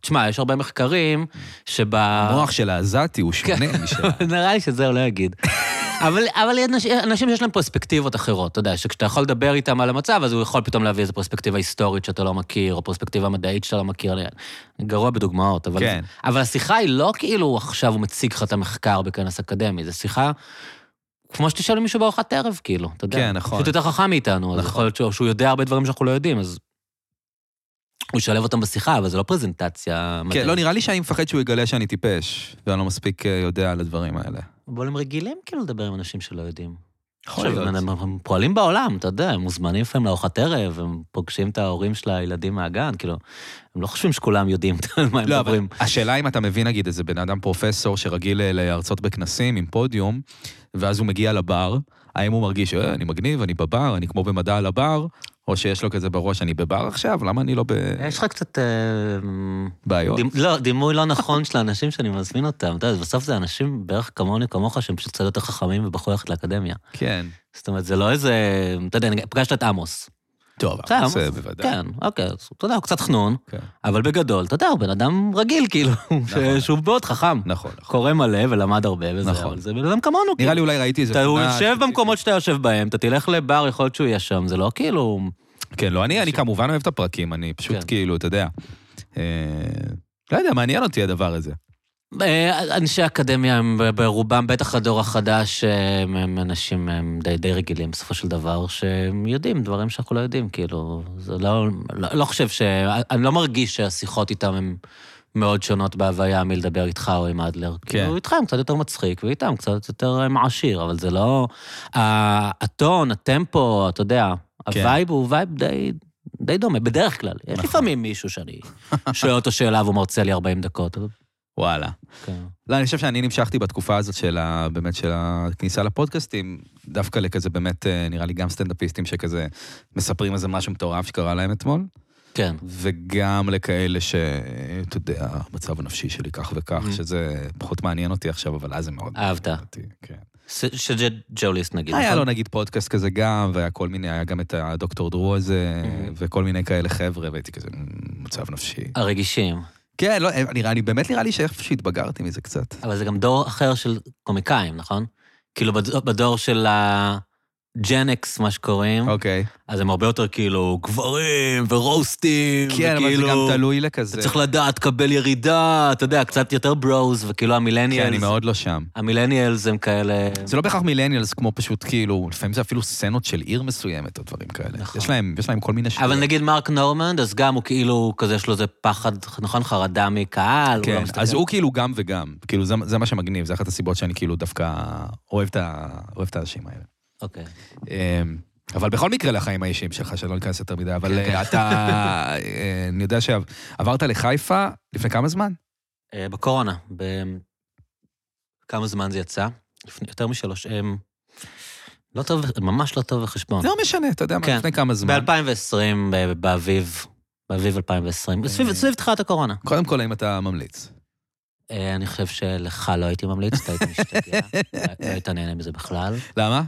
Speaker 3: תשמע, יש הרבה מחקרים שב...
Speaker 2: המוח של העזתי הוא
Speaker 3: כן.
Speaker 2: שונה משל...
Speaker 3: נראה לי שזה הוא לא יגיד. אבל, אבל יש אנשים- אנשים שיש להם פרספקטיבות אחרות, אתה יודע, שכשאתה יכול לדבר איתם על המצב, אז הוא יכול פתאום להביא איזו פרספקטיבה היסטורית שאתה לא מכיר, או פרספקטיבה מדעית שאתה לא מכיר. אני גרוע בדוגמאות, אבל...
Speaker 2: כן.
Speaker 3: אבל השיחה היא לא כאילו עכשיו הוא מציג לך את המחקר בכנס אקדמי, זו שיחה... כמו שתשאל מישהו בארוחת ערב, כאילו, אתה יודע.
Speaker 2: כן, נכון.
Speaker 3: פשוט יותר חכם מאיתנו, אז יכול להיות שהוא- שהוא יודע הרבה דברים שאנחנו לא יודעים, אז... הוא ישלב אותם בשיחה, אבל זה לא פרזנטציה מדעית.
Speaker 2: כן, לא, נראה לי שאני מפחד שהוא יגלה שאני טיפש, ואני לא מספיק אה, יודע על הדברים האלה.
Speaker 3: אבל הם רגילים כאילו לדבר עם אנשים שלא יודעים.
Speaker 2: יכול
Speaker 3: עכשיו,
Speaker 2: להיות.
Speaker 3: הם, הם פועלים בעולם, אתה יודע, הם מוזמנים לפעמים לארוחת ערב, הם פוגשים את ההורים של הילדים מהגן, כאילו, הם לא חושבים שכולם יודעים על מה הם
Speaker 2: לא, אבל
Speaker 3: מדברים.
Speaker 2: השאלה אם אתה מבין, נגיד, איזה בן אדם פרופסור שרגיל אה, להרצות בכנסים עם פודיום, ואז הוא מגיע לבר, האם הוא מרגיש, "אה, אני מגניב, אני בבר, אני כמו במדע על הבר, או שיש לו כזה בראש, אני בבר עכשיו, למה אני לא
Speaker 3: יש לך קצת... אה,
Speaker 2: בבעיות?
Speaker 3: דימ- לא, דימוי לא נכון של האנשים שאני מזמין אותם, אתה יודע, בסוף זה אנשים בערך כמוני, כמוך, שהם פשוט קצת יותר חכמים ובחרו ללכת לאקדמיה.
Speaker 2: כן.
Speaker 3: זאת אומרת, זה לא איזה... אתה יודע, אני פגשת את עמוס.
Speaker 2: טוב,
Speaker 3: אה, בסדר,
Speaker 2: אז, אה,
Speaker 3: עמוס,
Speaker 2: בוודאי.
Speaker 3: כן, אוקיי, אז אתה יודע, הוא קצת חנון,
Speaker 2: כן.
Speaker 3: אבל בגדול, אתה יודע, הוא בן אדם רגיל, כאילו, ש-
Speaker 2: נכון.
Speaker 3: שהוא מאוד חכם.
Speaker 2: נכון, נכון.
Speaker 3: קורא מלא ולמד הרבה וזה,
Speaker 2: נכון.
Speaker 3: אבל זה בן אדם כמונו.
Speaker 2: נראה
Speaker 3: כאילו.
Speaker 2: לי אולי ראיתי איזה...
Speaker 3: אתה, הוא
Speaker 2: תמונה
Speaker 3: יושב
Speaker 2: ספציפית.
Speaker 3: במקומות שאתה יושב בהם, אתה תלך לבר, יכול להיות שהוא יהיה שם, זה לא כאילו...
Speaker 2: כן, לא, אני אני כמובן אוהב את הפרקים, אני
Speaker 3: כן.
Speaker 2: פשוט כאילו, אתה יודע. אה, לא יודע, מעניין אותי הדבר הזה.
Speaker 3: אה, אנשי אקדמיה הם ברובם, בטח הדור החדש, אה, הם, הם אנשים הם די, די רגילים בסופו של דבר, שהם יודעים דברים שאנחנו לא יודעים, כאילו, זה לא, לא, לא חושב ש... אני לא מרגיש שהשיחות איתם הן מאוד שונות בהוויה מלדבר איתך או עם אדלר. כן. כאילו, איתך הם קצת יותר מצחיק, ואיתם קצת יותר אה, מעשיר, אבל זה לא... ה- הטון, הטמפו, אתה יודע,
Speaker 2: כן.
Speaker 3: הווייב הוא וייב די... די דומה, בדרך כלל. יש לפעמים מישהו שאני שואל אותו שאלה והוא מרצה לי 40 דקות. אבל-
Speaker 2: וואלה.
Speaker 3: כן.
Speaker 2: לא, אני חושב שאני נמשכתי בתקופה הזאת של ה... באמת של הכניסה לפודקאסטים, דווקא לכזה באמת, אה, נראה לי גם סטנדאפיסטים שכזה מספרים איזה משהו מטורף שקרה להם אתמול,
Speaker 3: כן.
Speaker 2: וגם לכאלה ש... אתה יודע, המצב הנפשי שלי כך וכך, שזה פחות מעניין אותי עכשיו, אבל אז זה מאוד...
Speaker 3: Mm-hmm. אהבת.
Speaker 2: מעניין אותי, כן.
Speaker 3: שג'וליסט נגיד.
Speaker 2: היה
Speaker 3: נכון?
Speaker 2: לו נגיד פודקאסט כזה גם, והיה כל מיני, היה גם את הדוקטור דרור הזה,
Speaker 3: Mhm.
Speaker 2: וכל מיני כאלה חבר'ה, והייתי כזה, "מ, מצב נפשי.
Speaker 3: הרגישים.
Speaker 2: כן, לא, נראה לי, באמת נראה לי שאיפשהו התבגרתי מזה קצת.
Speaker 3: אבל זה גם דור אחר של קומיקאים, נכון? כאילו בד- בדור של הג'נקס, מה שקוראים,
Speaker 2: אוקיי.
Speaker 3: אז הם הרבה יותר כאילו גברים ורוסטים,
Speaker 2: כן, אבל זה
Speaker 3: וכאילו,
Speaker 2: גם תלוי
Speaker 3: כאילו- אתה
Speaker 2: לכזה.
Speaker 3: צריך לדעת, קבל ירידה, אתה יודע, קצת יותר ברוז, וכאילו
Speaker 2: כן, אני
Speaker 3: המילניאלס,
Speaker 2: מאוד לא שם.
Speaker 3: המילניאלס הם כאלה...
Speaker 2: זה לא בהכרח מילניאלס כמו פשוט כאילו, לפעמים זה אפילו סצנות של עיר מסוימת או דברים כאלה.
Speaker 3: נכון.
Speaker 2: יש להם, יש להם כל מיני
Speaker 3: אבל נגיד מרק נורמנד, אז גם הוא כאילו, כזה יש לו איזה פחד, נכון? חרדה מקהל, הוא לא
Speaker 2: כן,
Speaker 3: מסתכל.
Speaker 2: אז הוא כאילו גם וגם. כאילו, זה- זה מה שמגניב, זה אחת הסיבות שאני כאילו דווקא אוהב את ה- אוהב את האנשים האלה.
Speaker 3: אוקיי.
Speaker 2: אמ, אבל בכל מקרה לחיים האישיים שלך, שלא ניכנס יותר מדי,
Speaker 3: כן,
Speaker 2: אבל אה, אתה, אה, אני יודע שעברת לחיפה לפני כמה זמן?
Speaker 3: אה, בקורונה, ב... כמה זמן זה יצא? לפני יותר משלוש... אמ, לא טוב, ממש לא טוב בחשבון.
Speaker 2: לא משנה, אתה יודע מה,
Speaker 3: כן.
Speaker 2: לפני כמה זמן.
Speaker 3: ב-2020, באביב, באביב 2020, סביב סביב תחילת הקורונה.
Speaker 2: קודם כל, האם אתה ממליץ?
Speaker 3: אה, אני חושב שלך לא הייתי ממליץ, אתה היית משתגע, לא לא היית נהנה מזה בכלל.
Speaker 2: למה?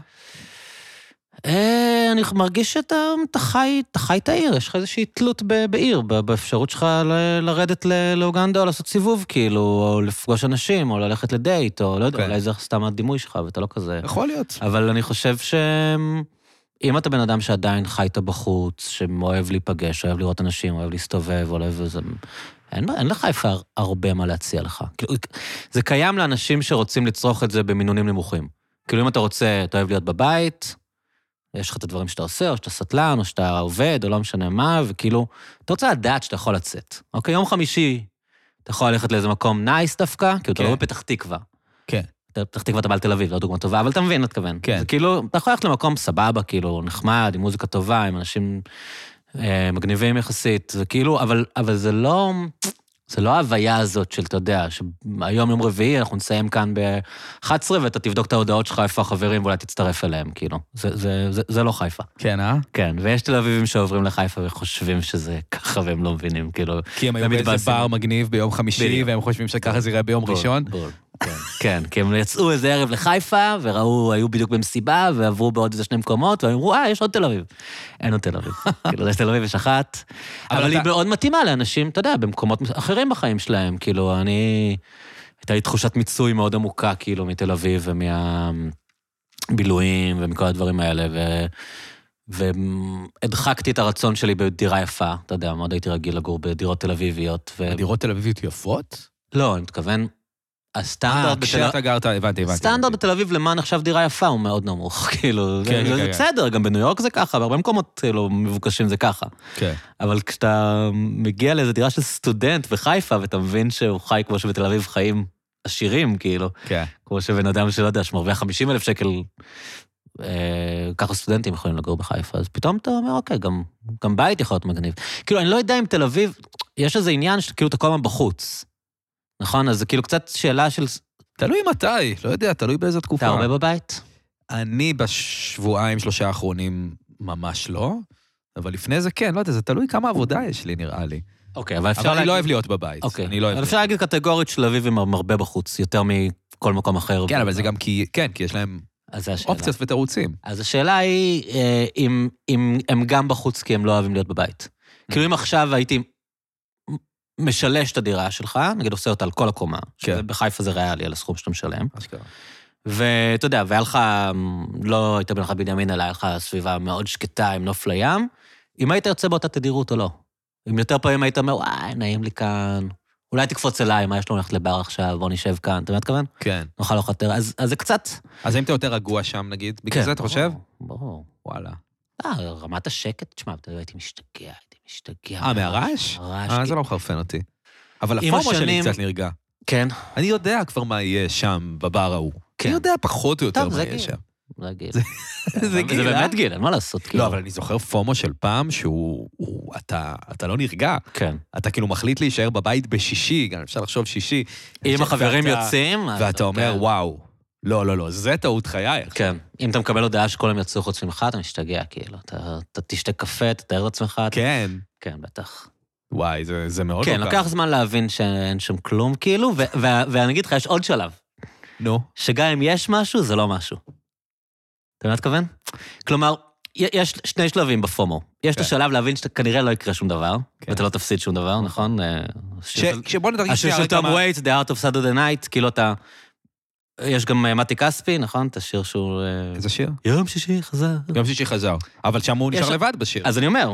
Speaker 3: אה, אני מרגיש שאתה אתה חי, אתה חי את העיר, יש לך איזושהי תלות ב- בעיר, ב- באפשרות שלך ל- לרדת ל- לאוגנדה או לעשות סיבוב, כאילו, או לפגוש אנשים, או ללכת לדייט, או לא יודע,
Speaker 2: כן.
Speaker 3: אולי זה סתם הדימוי שלך ואתה לא כזה.
Speaker 2: יכול להיות.
Speaker 3: אבל אני חושב ש... אם אתה בן אדם שעדיין חי איתו בחוץ, שאוהב להיפגש, אוהב לראות אנשים, אוהב להסתובב, אוהב איזה... אין, אין לחיפה הרבה מה להציע לך. כאילו, זה קיים לאנשים שרוצים לצרוך את זה במינונים נמוכים. כאילו, אם אתה רוצה, אתה אוהב להיות בבית, יש לך את הדברים שאתה עושה, או שאתה סטלן, או שאתה עובד, או לא משנה מה, וכאילו, אתה רוצה לדעת שאתה יכול לצאת. אוקיי, יום חמישי, אתה יכול ללכת לאיזה מקום נייס דווקא, כאילו, אתה
Speaker 2: כן.
Speaker 3: לא בפתח תקווה.
Speaker 2: כן.
Speaker 3: אתה- פתח תקווה אתה בא לתל אביב, לא דוגמה טובה, אבל אתה מבין, מה אתה מתכוון.
Speaker 2: כן.
Speaker 3: זה כאילו, אתה יכול ללכת למקום סבבה, כאילו, נחמד, עם מוזיקה טובה, עם אנשים אה, מגניבים יחסית, זה כאילו, אבל, אבל זה לא... זה לא ההוויה הזאת של, אתה יודע, שהיום יום רביעי, אנחנו נסיים כאן ב-11, ואתה תבדוק את ההודעות שלך, איפה החברים, ואולי תצטרף אליהם, כאילו. זה, זה, זה, זה לא חיפה.
Speaker 2: כן, אה?
Speaker 3: כן, ויש תל אביבים שעוברים לחיפה וחושבים שזה ככה, והם לא מבינים, כאילו...
Speaker 2: כי הם היו באיזה
Speaker 3: ומתבאסים.
Speaker 2: בר מגניב ביום חמישי,
Speaker 3: בדיוק.
Speaker 2: והם חושבים שככה זה ייראה ביום
Speaker 3: בול,
Speaker 2: ראשון.
Speaker 3: בול, כן. כן, כי הם יצאו איזה ערב לחיפה, וראו, היו בדיוק במסיבה, ועברו בעוד איזה שני מקומות, והם אמרו, אה, יש עוד תל אביב. אין עוד תל אביב. כאילו, יש תל אביב, יש אחת.
Speaker 2: אבל
Speaker 3: אבל היא
Speaker 2: אתה-
Speaker 3: מאוד מתאימה לאנשים, אתה יודע, במקומות מס- אחרים בחיים שלהם. כאילו, אני... הייתה לי תחושת מיצוי מאוד עמוקה, כאילו, מתל אביב ומהבילויים ומכל הדברים האלה, ו... והדחקתי את הרצון שלי בדירה יפה, אתה יודע, מאוד הייתי רגיל לגור בדירות תל אביביות. ו...
Speaker 2: הדירות תל אביביות יפות?
Speaker 3: לא, אני מתכוון,
Speaker 2: אה,
Speaker 3: הסטנדרט בתל
Speaker 2: כשאתה גרת, הבנתי, הבנתי. הבנתי.
Speaker 3: סטנדרט בתל אביב למה נחשב דירה יפה הוא מאוד נמוך, כאילו,
Speaker 2: כן,
Speaker 3: זה-
Speaker 2: כן,
Speaker 3: זה
Speaker 2: כן.
Speaker 3: בסדר, גם בניו יורק זה ככה, בהרבה מקומות כאילו מבוקשים זה ככה.
Speaker 2: כן.
Speaker 3: אבל כשאתה מגיע לאיזו דירה של סטודנט בחיפה, ואתה מבין שהוא חי כמו שבתל אביב חיים עשירים, כאילו,
Speaker 2: כן.
Speaker 3: כמו שבן אדם שלא יודע, שמרוויח 50 אלף שקל, אה, ככה סטודנטים יכולים לגור בחיפה, אז פתאום אתה אומר, אוקיי, גם, גם בית יכול להיות מגניב. כאילו, אני לא יודע אם תל אביב, יש איזה עניין שכאילו אתה כל הזמן בחוץ, נכון? אז זה כאילו קצת שאלה של,
Speaker 2: תלוי מתי, לא יודע, תלוי באיזו תקופה.
Speaker 3: אתה הרבה בבית?
Speaker 2: אני בשבועיים, שלושה האחרונים ממש לא, אבל לפני זה כן, לא יודע, זה תלוי כמה עבודה יש לי, נראה לי.
Speaker 3: אוקיי, אבל אפשר
Speaker 2: אבל אני
Speaker 3: להגיד...
Speaker 2: לא אוהב להיות בבית.
Speaker 3: אוקיי.
Speaker 2: אני לא אוהב
Speaker 3: אבל
Speaker 2: להיות
Speaker 3: אפשר להגיד קטגורית של אביבים הם הרבה בחוץ, יותר מכל מקום אחר.
Speaker 2: כן, אבל זה גם כי, כן, כי יש להם
Speaker 3: אז זה השאלה.
Speaker 2: אופציות ותירוצים.
Speaker 3: אז השאלה היא, אה, אם, אם הם גם בחוץ כי הם לא אוהבים להיות בבית. כאילו אם עכשיו הייתי משלש את הדירה שלך, נגיד עושה אותה על כל הקומה,
Speaker 2: כן.
Speaker 3: שבחיפה זה ריאלי על הסכום שאתה משלם,
Speaker 2: אשכרה.
Speaker 3: ואתה יודע, והיה לך, לא היית בן לך בנימין, אלא היה לך סביבה מאוד שקטה עם נוף לים, אם היית יוצא באותה תדירות או לא. אם יותר פעמים היית אומר, וואי, נעים לי כאן, אולי תקפוץ אליי, מה יש לנו ללכת לבר עכשיו, בוא נשב כאן, אתה מבין מה אתכוון?
Speaker 2: כן.
Speaker 3: נאכל לך יותר, אז אז זה קצת...
Speaker 2: אז האם אתה יותר רגוע שם, נגיד? בגלל
Speaker 3: כן,
Speaker 2: זה אתה חושב?
Speaker 3: ברור, ברור.
Speaker 2: וואלה.
Speaker 3: אה, רמת השקט, תשמע, אתה יודע, הייתי משתגע, הייתי משתגע.
Speaker 2: אה, מהרעש?
Speaker 3: הרעש,
Speaker 2: אה, זה
Speaker 3: כאילו.
Speaker 2: לא מחרפן אותי. אבל
Speaker 3: עם
Speaker 2: הפורמה שלי
Speaker 3: השנים-
Speaker 2: קצת נרגע.
Speaker 3: כן,
Speaker 2: אני יודע כבר מה יהיה שם, בבר ההוא.
Speaker 3: כן.
Speaker 2: אני יודע פחות או יותר
Speaker 3: טוב,
Speaker 2: מה
Speaker 3: זה כן,
Speaker 2: יהיה
Speaker 3: גיל.
Speaker 2: שם.
Speaker 3: זה גיל.
Speaker 2: זה גיל,
Speaker 3: כן, זה
Speaker 2: אה?
Speaker 3: באמת גיל, אין מה לעשות, כאילו.
Speaker 2: לא, אבל אני זוכר פומו של פעם שהוא... הוא- אתה אתה לא נרגע.
Speaker 3: כן.
Speaker 2: אתה כאילו מחליט להישאר בבית בשישי, גם אפשר לחשוב שישי.
Speaker 3: אם החברים
Speaker 2: ואתה-
Speaker 3: יוצאים... אז-
Speaker 2: ואתה אומר,
Speaker 3: כן.
Speaker 2: וואו, לא, לא, לא, זה טעות חייך.
Speaker 3: כן. אם אתה מקבל הודעה שכולם יצאו חוץ ממך, אתה משתגע, כאילו. אתה, אתה תשתה קפה, תתאר את עצמך. אתה-
Speaker 2: כן. לא
Speaker 3: כן, בטח.
Speaker 2: וואי, זה זה מאוד
Speaker 3: כן,
Speaker 2: מוכר.
Speaker 3: לוקח זמן להבין שאין שם כלום, כאילו, ו- ו- ואני אגיד לך, יש עוד שלב,
Speaker 2: נו.
Speaker 3: שגם אם יש משהו, זה לא משהו. אתה מבין מה אתכוון? כלומר, י- יש שני שלבים בפומו. יש את
Speaker 2: כן.
Speaker 3: השלב להבין שכנראה לא יקרה שום דבר,
Speaker 2: כן.
Speaker 3: ואתה לא תפסיד שום דבר, נכון? אה,
Speaker 2: ש-
Speaker 3: השיר של-
Speaker 2: שבוא נדרג
Speaker 3: השיר של תום וייטס, The Art of Saturday Night, כאילו אתה... יש גם אה, מתי כספי, נכון? את השיר שהוא... אה,
Speaker 2: איזה שיר?
Speaker 3: יום שישי חזר.
Speaker 2: יום שישי חזר. אבל שם הוא
Speaker 3: יש-
Speaker 2: נשאר לבד בשיר.
Speaker 3: אז אני אומר,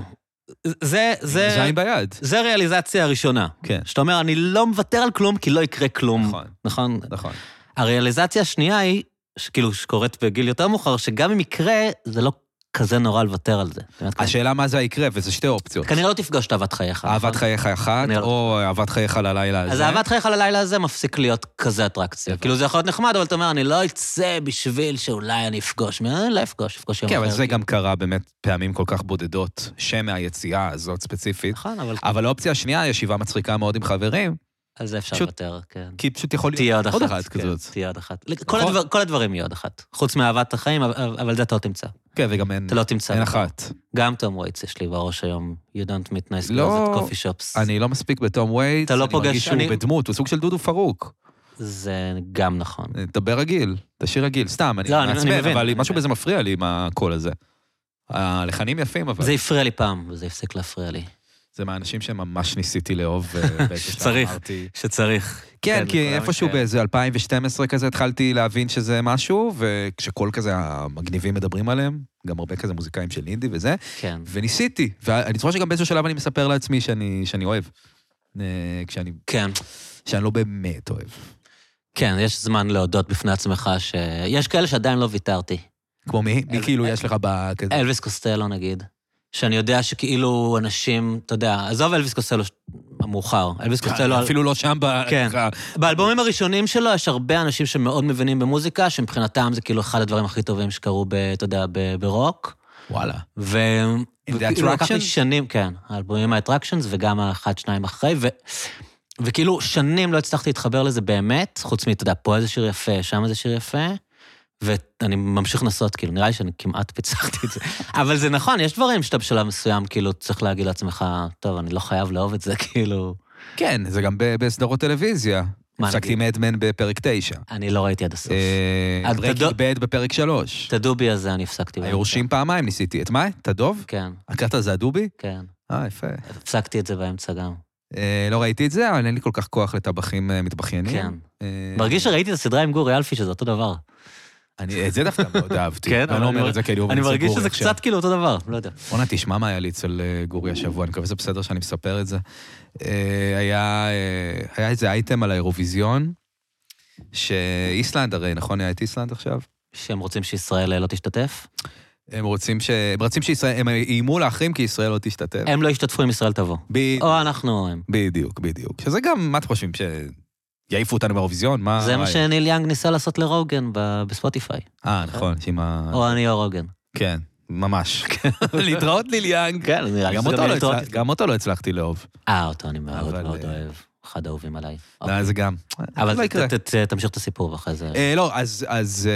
Speaker 3: זה,
Speaker 2: זה
Speaker 3: זה,
Speaker 2: עין ביד.
Speaker 3: זה הריאליזציה הראשונה.
Speaker 2: כן.
Speaker 3: שאתה אומר, אני לא מוותר על כלום כי לא יקרה כלום.
Speaker 2: נכון,
Speaker 3: נכון.
Speaker 2: נכון.
Speaker 3: הריאליזציה השנייה היא, שכאילו, שקורית בגיל יותר מאוחר, שגם אם יקרה, זה לא כזה נורא לוותר על זה. אתה יודע,
Speaker 2: השאלה מה זה יקרה, וזה שתי אופציות.
Speaker 3: כן. כנראה לא תפגוש את אהבת חייך. נכון?
Speaker 2: אהבת חייך אחת,
Speaker 3: אני-
Speaker 2: או אהבת חייך ללילה הזה.
Speaker 3: אז אהבת חייך ללילה הזה מפסיק להיות כזה אטרקציה. כאילו, זה יכול להיות נחמד, אבל אתה אומר, אני לא אצא בשביל שאולי אני אפגוש. אני לא אפגוש, אפגוש יום
Speaker 2: כן,
Speaker 3: אחר.
Speaker 2: אבל זה
Speaker 3: כאילו.
Speaker 2: גם קרה באמת פעמים כל כך בודדות, שמהיציאה הזאת ספציפית.
Speaker 3: נכון, אבל
Speaker 2: אבל האופציה השנייה, ישיבה מצחיקה מאוד עם חברים,
Speaker 3: על זה אפשר
Speaker 2: פשוט-
Speaker 3: לוותר, כן.
Speaker 2: כי פשוט יכול להיות...
Speaker 3: תהיה עוד אחת.
Speaker 2: עוד אחת
Speaker 3: כן,
Speaker 2: כזאת.
Speaker 3: תהיה עוד אחת. כל
Speaker 2: נכון?
Speaker 3: הדבר- כל הדברים יהיו עוד אחת. חוץ מאהבת החיים, אבל אבל זה אתה לא תמצא.
Speaker 2: כן, וגם אין...
Speaker 3: אתה לא תמצא.
Speaker 2: אין אחת.
Speaker 3: גם תום וייטס יש לי בראש היום. You don't meet nice
Speaker 2: לא,
Speaker 3: girls at coffee shops.
Speaker 2: אני לא מספיק בתום וייטס,
Speaker 3: אתה לא
Speaker 2: אני
Speaker 3: פוגש-
Speaker 2: מרגיש שהוא
Speaker 3: אני-
Speaker 2: בדמות, הוא סוג של דודו פרוק.
Speaker 3: זה גם נכון.
Speaker 2: דבר רגיל, תשאיר רגיל, סתם, אני
Speaker 3: לא, אני- אני
Speaker 2: מעצבן,
Speaker 3: מבין,
Speaker 2: אבל
Speaker 3: אני
Speaker 2: משהו
Speaker 3: מבין.
Speaker 2: בזה מפריע לי עם הקול הזה. הלחנים יפים, אבל
Speaker 3: זה הפריע לי פעם, וזה הפסיק להפריע לי.
Speaker 2: זה מהאנשים שממש ניסיתי לאהוב. אה, בעת
Speaker 3: שצריך.
Speaker 2: שאמרתי-
Speaker 3: שצריך.
Speaker 2: כן, כי
Speaker 3: לכולם,
Speaker 2: איפשהו
Speaker 3: כן.
Speaker 2: באיזה 2012 כזה התחלתי להבין שזה משהו, וכשכל כזה המגניבים מדברים עליהם, גם הרבה כזה מוזיקאים של אינדי וזה,
Speaker 3: כן.
Speaker 2: וניסיתי, ואני זוכר שגם באיזשהו שלב אני מספר לעצמי שאני שאני אוהב. אה, כשאני
Speaker 3: כן.
Speaker 2: שאני לא באמת אוהב.
Speaker 3: כן, יש זמן להודות בפני עצמך ש... יש כאלה שעדיין לא ויתרתי.
Speaker 2: כמו מי? מי
Speaker 3: אל-
Speaker 2: כאילו
Speaker 3: אל-
Speaker 2: יש לך ב... כזה-
Speaker 3: אלוויס קוסטלו נגיד. שאני יודע שכאילו אנשים, אתה יודע, עזוב אלוויס קוסטלו ש- המאוחר. אלוויס קוסטלו...
Speaker 2: אפילו לא שם ב...
Speaker 3: כן.
Speaker 2: ככה,
Speaker 3: באלבומים הראשונים שלו יש הרבה אנשים שמאוד מבינים במוזיקה, שמבחינתם זה כאילו אחד הדברים הכי טובים שקרו, ב- אתה יודע, ב- ברוק.
Speaker 2: וואלה.
Speaker 3: ו...
Speaker 2: The
Speaker 3: וכאילו לקח לי
Speaker 2: Attractions?
Speaker 3: שנים, כן, האלבומים האטרקשנס וגם האחת, שניים אחרי, ו... וכאילו, שנים לא הצלחתי להתחבר לזה באמת, חוץ מ, אתה יודע, פה איזה שיר יפה, שם איזה שיר יפה, ואני ממשיך לנסות, כאילו, נראה לי שאני כמעט פיצחתי את זה. אבל זה נכון, יש דברים שאתה בשלב מסוים, כאילו, צריך להגיד לעצמך, טוב, אני לא חייב לאהוב את זה, כאילו...
Speaker 2: כן, זה גם ב- בסדרות טלוויזיה.
Speaker 3: מה
Speaker 2: הפסקתי אה,
Speaker 3: נגיד? אה,
Speaker 2: מדמן בפרק 9.
Speaker 3: אני לא ראיתי עד הסוף. אז
Speaker 2: ברקינג
Speaker 3: תדו-
Speaker 2: בד בפרק 3.
Speaker 3: את הדובי הזה אני הפסקתי. באמצע.
Speaker 2: היורשים פעמיים ניסיתי. את מה? את הדוב?
Speaker 3: כן,
Speaker 2: הקראת על זה הדובי?
Speaker 3: כן.
Speaker 2: אה, יפה.
Speaker 3: הפסקתי את זה באמצע גם.
Speaker 2: אה, לא ראיתי את זה, אבל אין לי כל כך כוח לטבחים אה, מתבכיינים.
Speaker 3: כן.
Speaker 2: אה,
Speaker 3: מרגיש שראיתי את הסדרה עם גורי אלפי, שזה אותו דבר.
Speaker 2: אני- את זה דווקא מאוד אהבתי.
Speaker 3: כן,
Speaker 2: אני
Speaker 3: אבל
Speaker 2: לא
Speaker 3: אני מר-
Speaker 2: אומר את זה כי אני אומר
Speaker 3: אני
Speaker 2: את זה
Speaker 3: מרגיש
Speaker 2: גורי
Speaker 3: שזה
Speaker 2: עכשיו.
Speaker 3: קצת כאילו אותו דבר, לא יודע.
Speaker 2: בואנה, תשמע מה היה לי אצל אה, גורי השבוע, אני מקווה שזה בסדר שאני מספר את זה. אה, היה, אה, היה איזה אייטם על האירוויזיון, שאיסלנד הרי, נכון? היה את איסלנד עכשיו?
Speaker 3: שהם רוצים שישראל לא תשתתף?
Speaker 2: הם רוצים ש... הם רוצים שישראל... הם איימו להחרים כי ישראל לא תשתתף.
Speaker 3: הם לא ישתתפו אם ישראל תבוא.
Speaker 2: ב-
Speaker 3: או אנחנו או הם.
Speaker 2: בדיוק, בדיוק. שזה גם, מה אתם חושבים, שיעיפו אותנו מהאירוויזיון? מה...
Speaker 3: זה
Speaker 2: מה-
Speaker 3: מה שניל יאנג ניסה לעשות לרוגן ב- בספוטיפיי.
Speaker 2: אה, נכון, שעם ה...
Speaker 3: או אני או רוגן.
Speaker 2: כן, ממש. להתראות ליל יאנג.
Speaker 3: כן, נראה לי
Speaker 2: גם
Speaker 3: שזה
Speaker 2: אותו לא
Speaker 3: יהיה
Speaker 2: הצלח- גם אותו לא הצלחתי לאהוב.
Speaker 3: אה, אותו אני מאוד
Speaker 2: אבל,
Speaker 3: מאוד
Speaker 2: אה,
Speaker 3: אוהב. אחד האהובים עליי. אוקיי,
Speaker 2: לא, זה גם.
Speaker 3: אבל
Speaker 2: לא יקרה.
Speaker 3: ת- ת- ת- תמשיך את הסיפור ואחרי זה.
Speaker 2: אה, לא, אז, אז,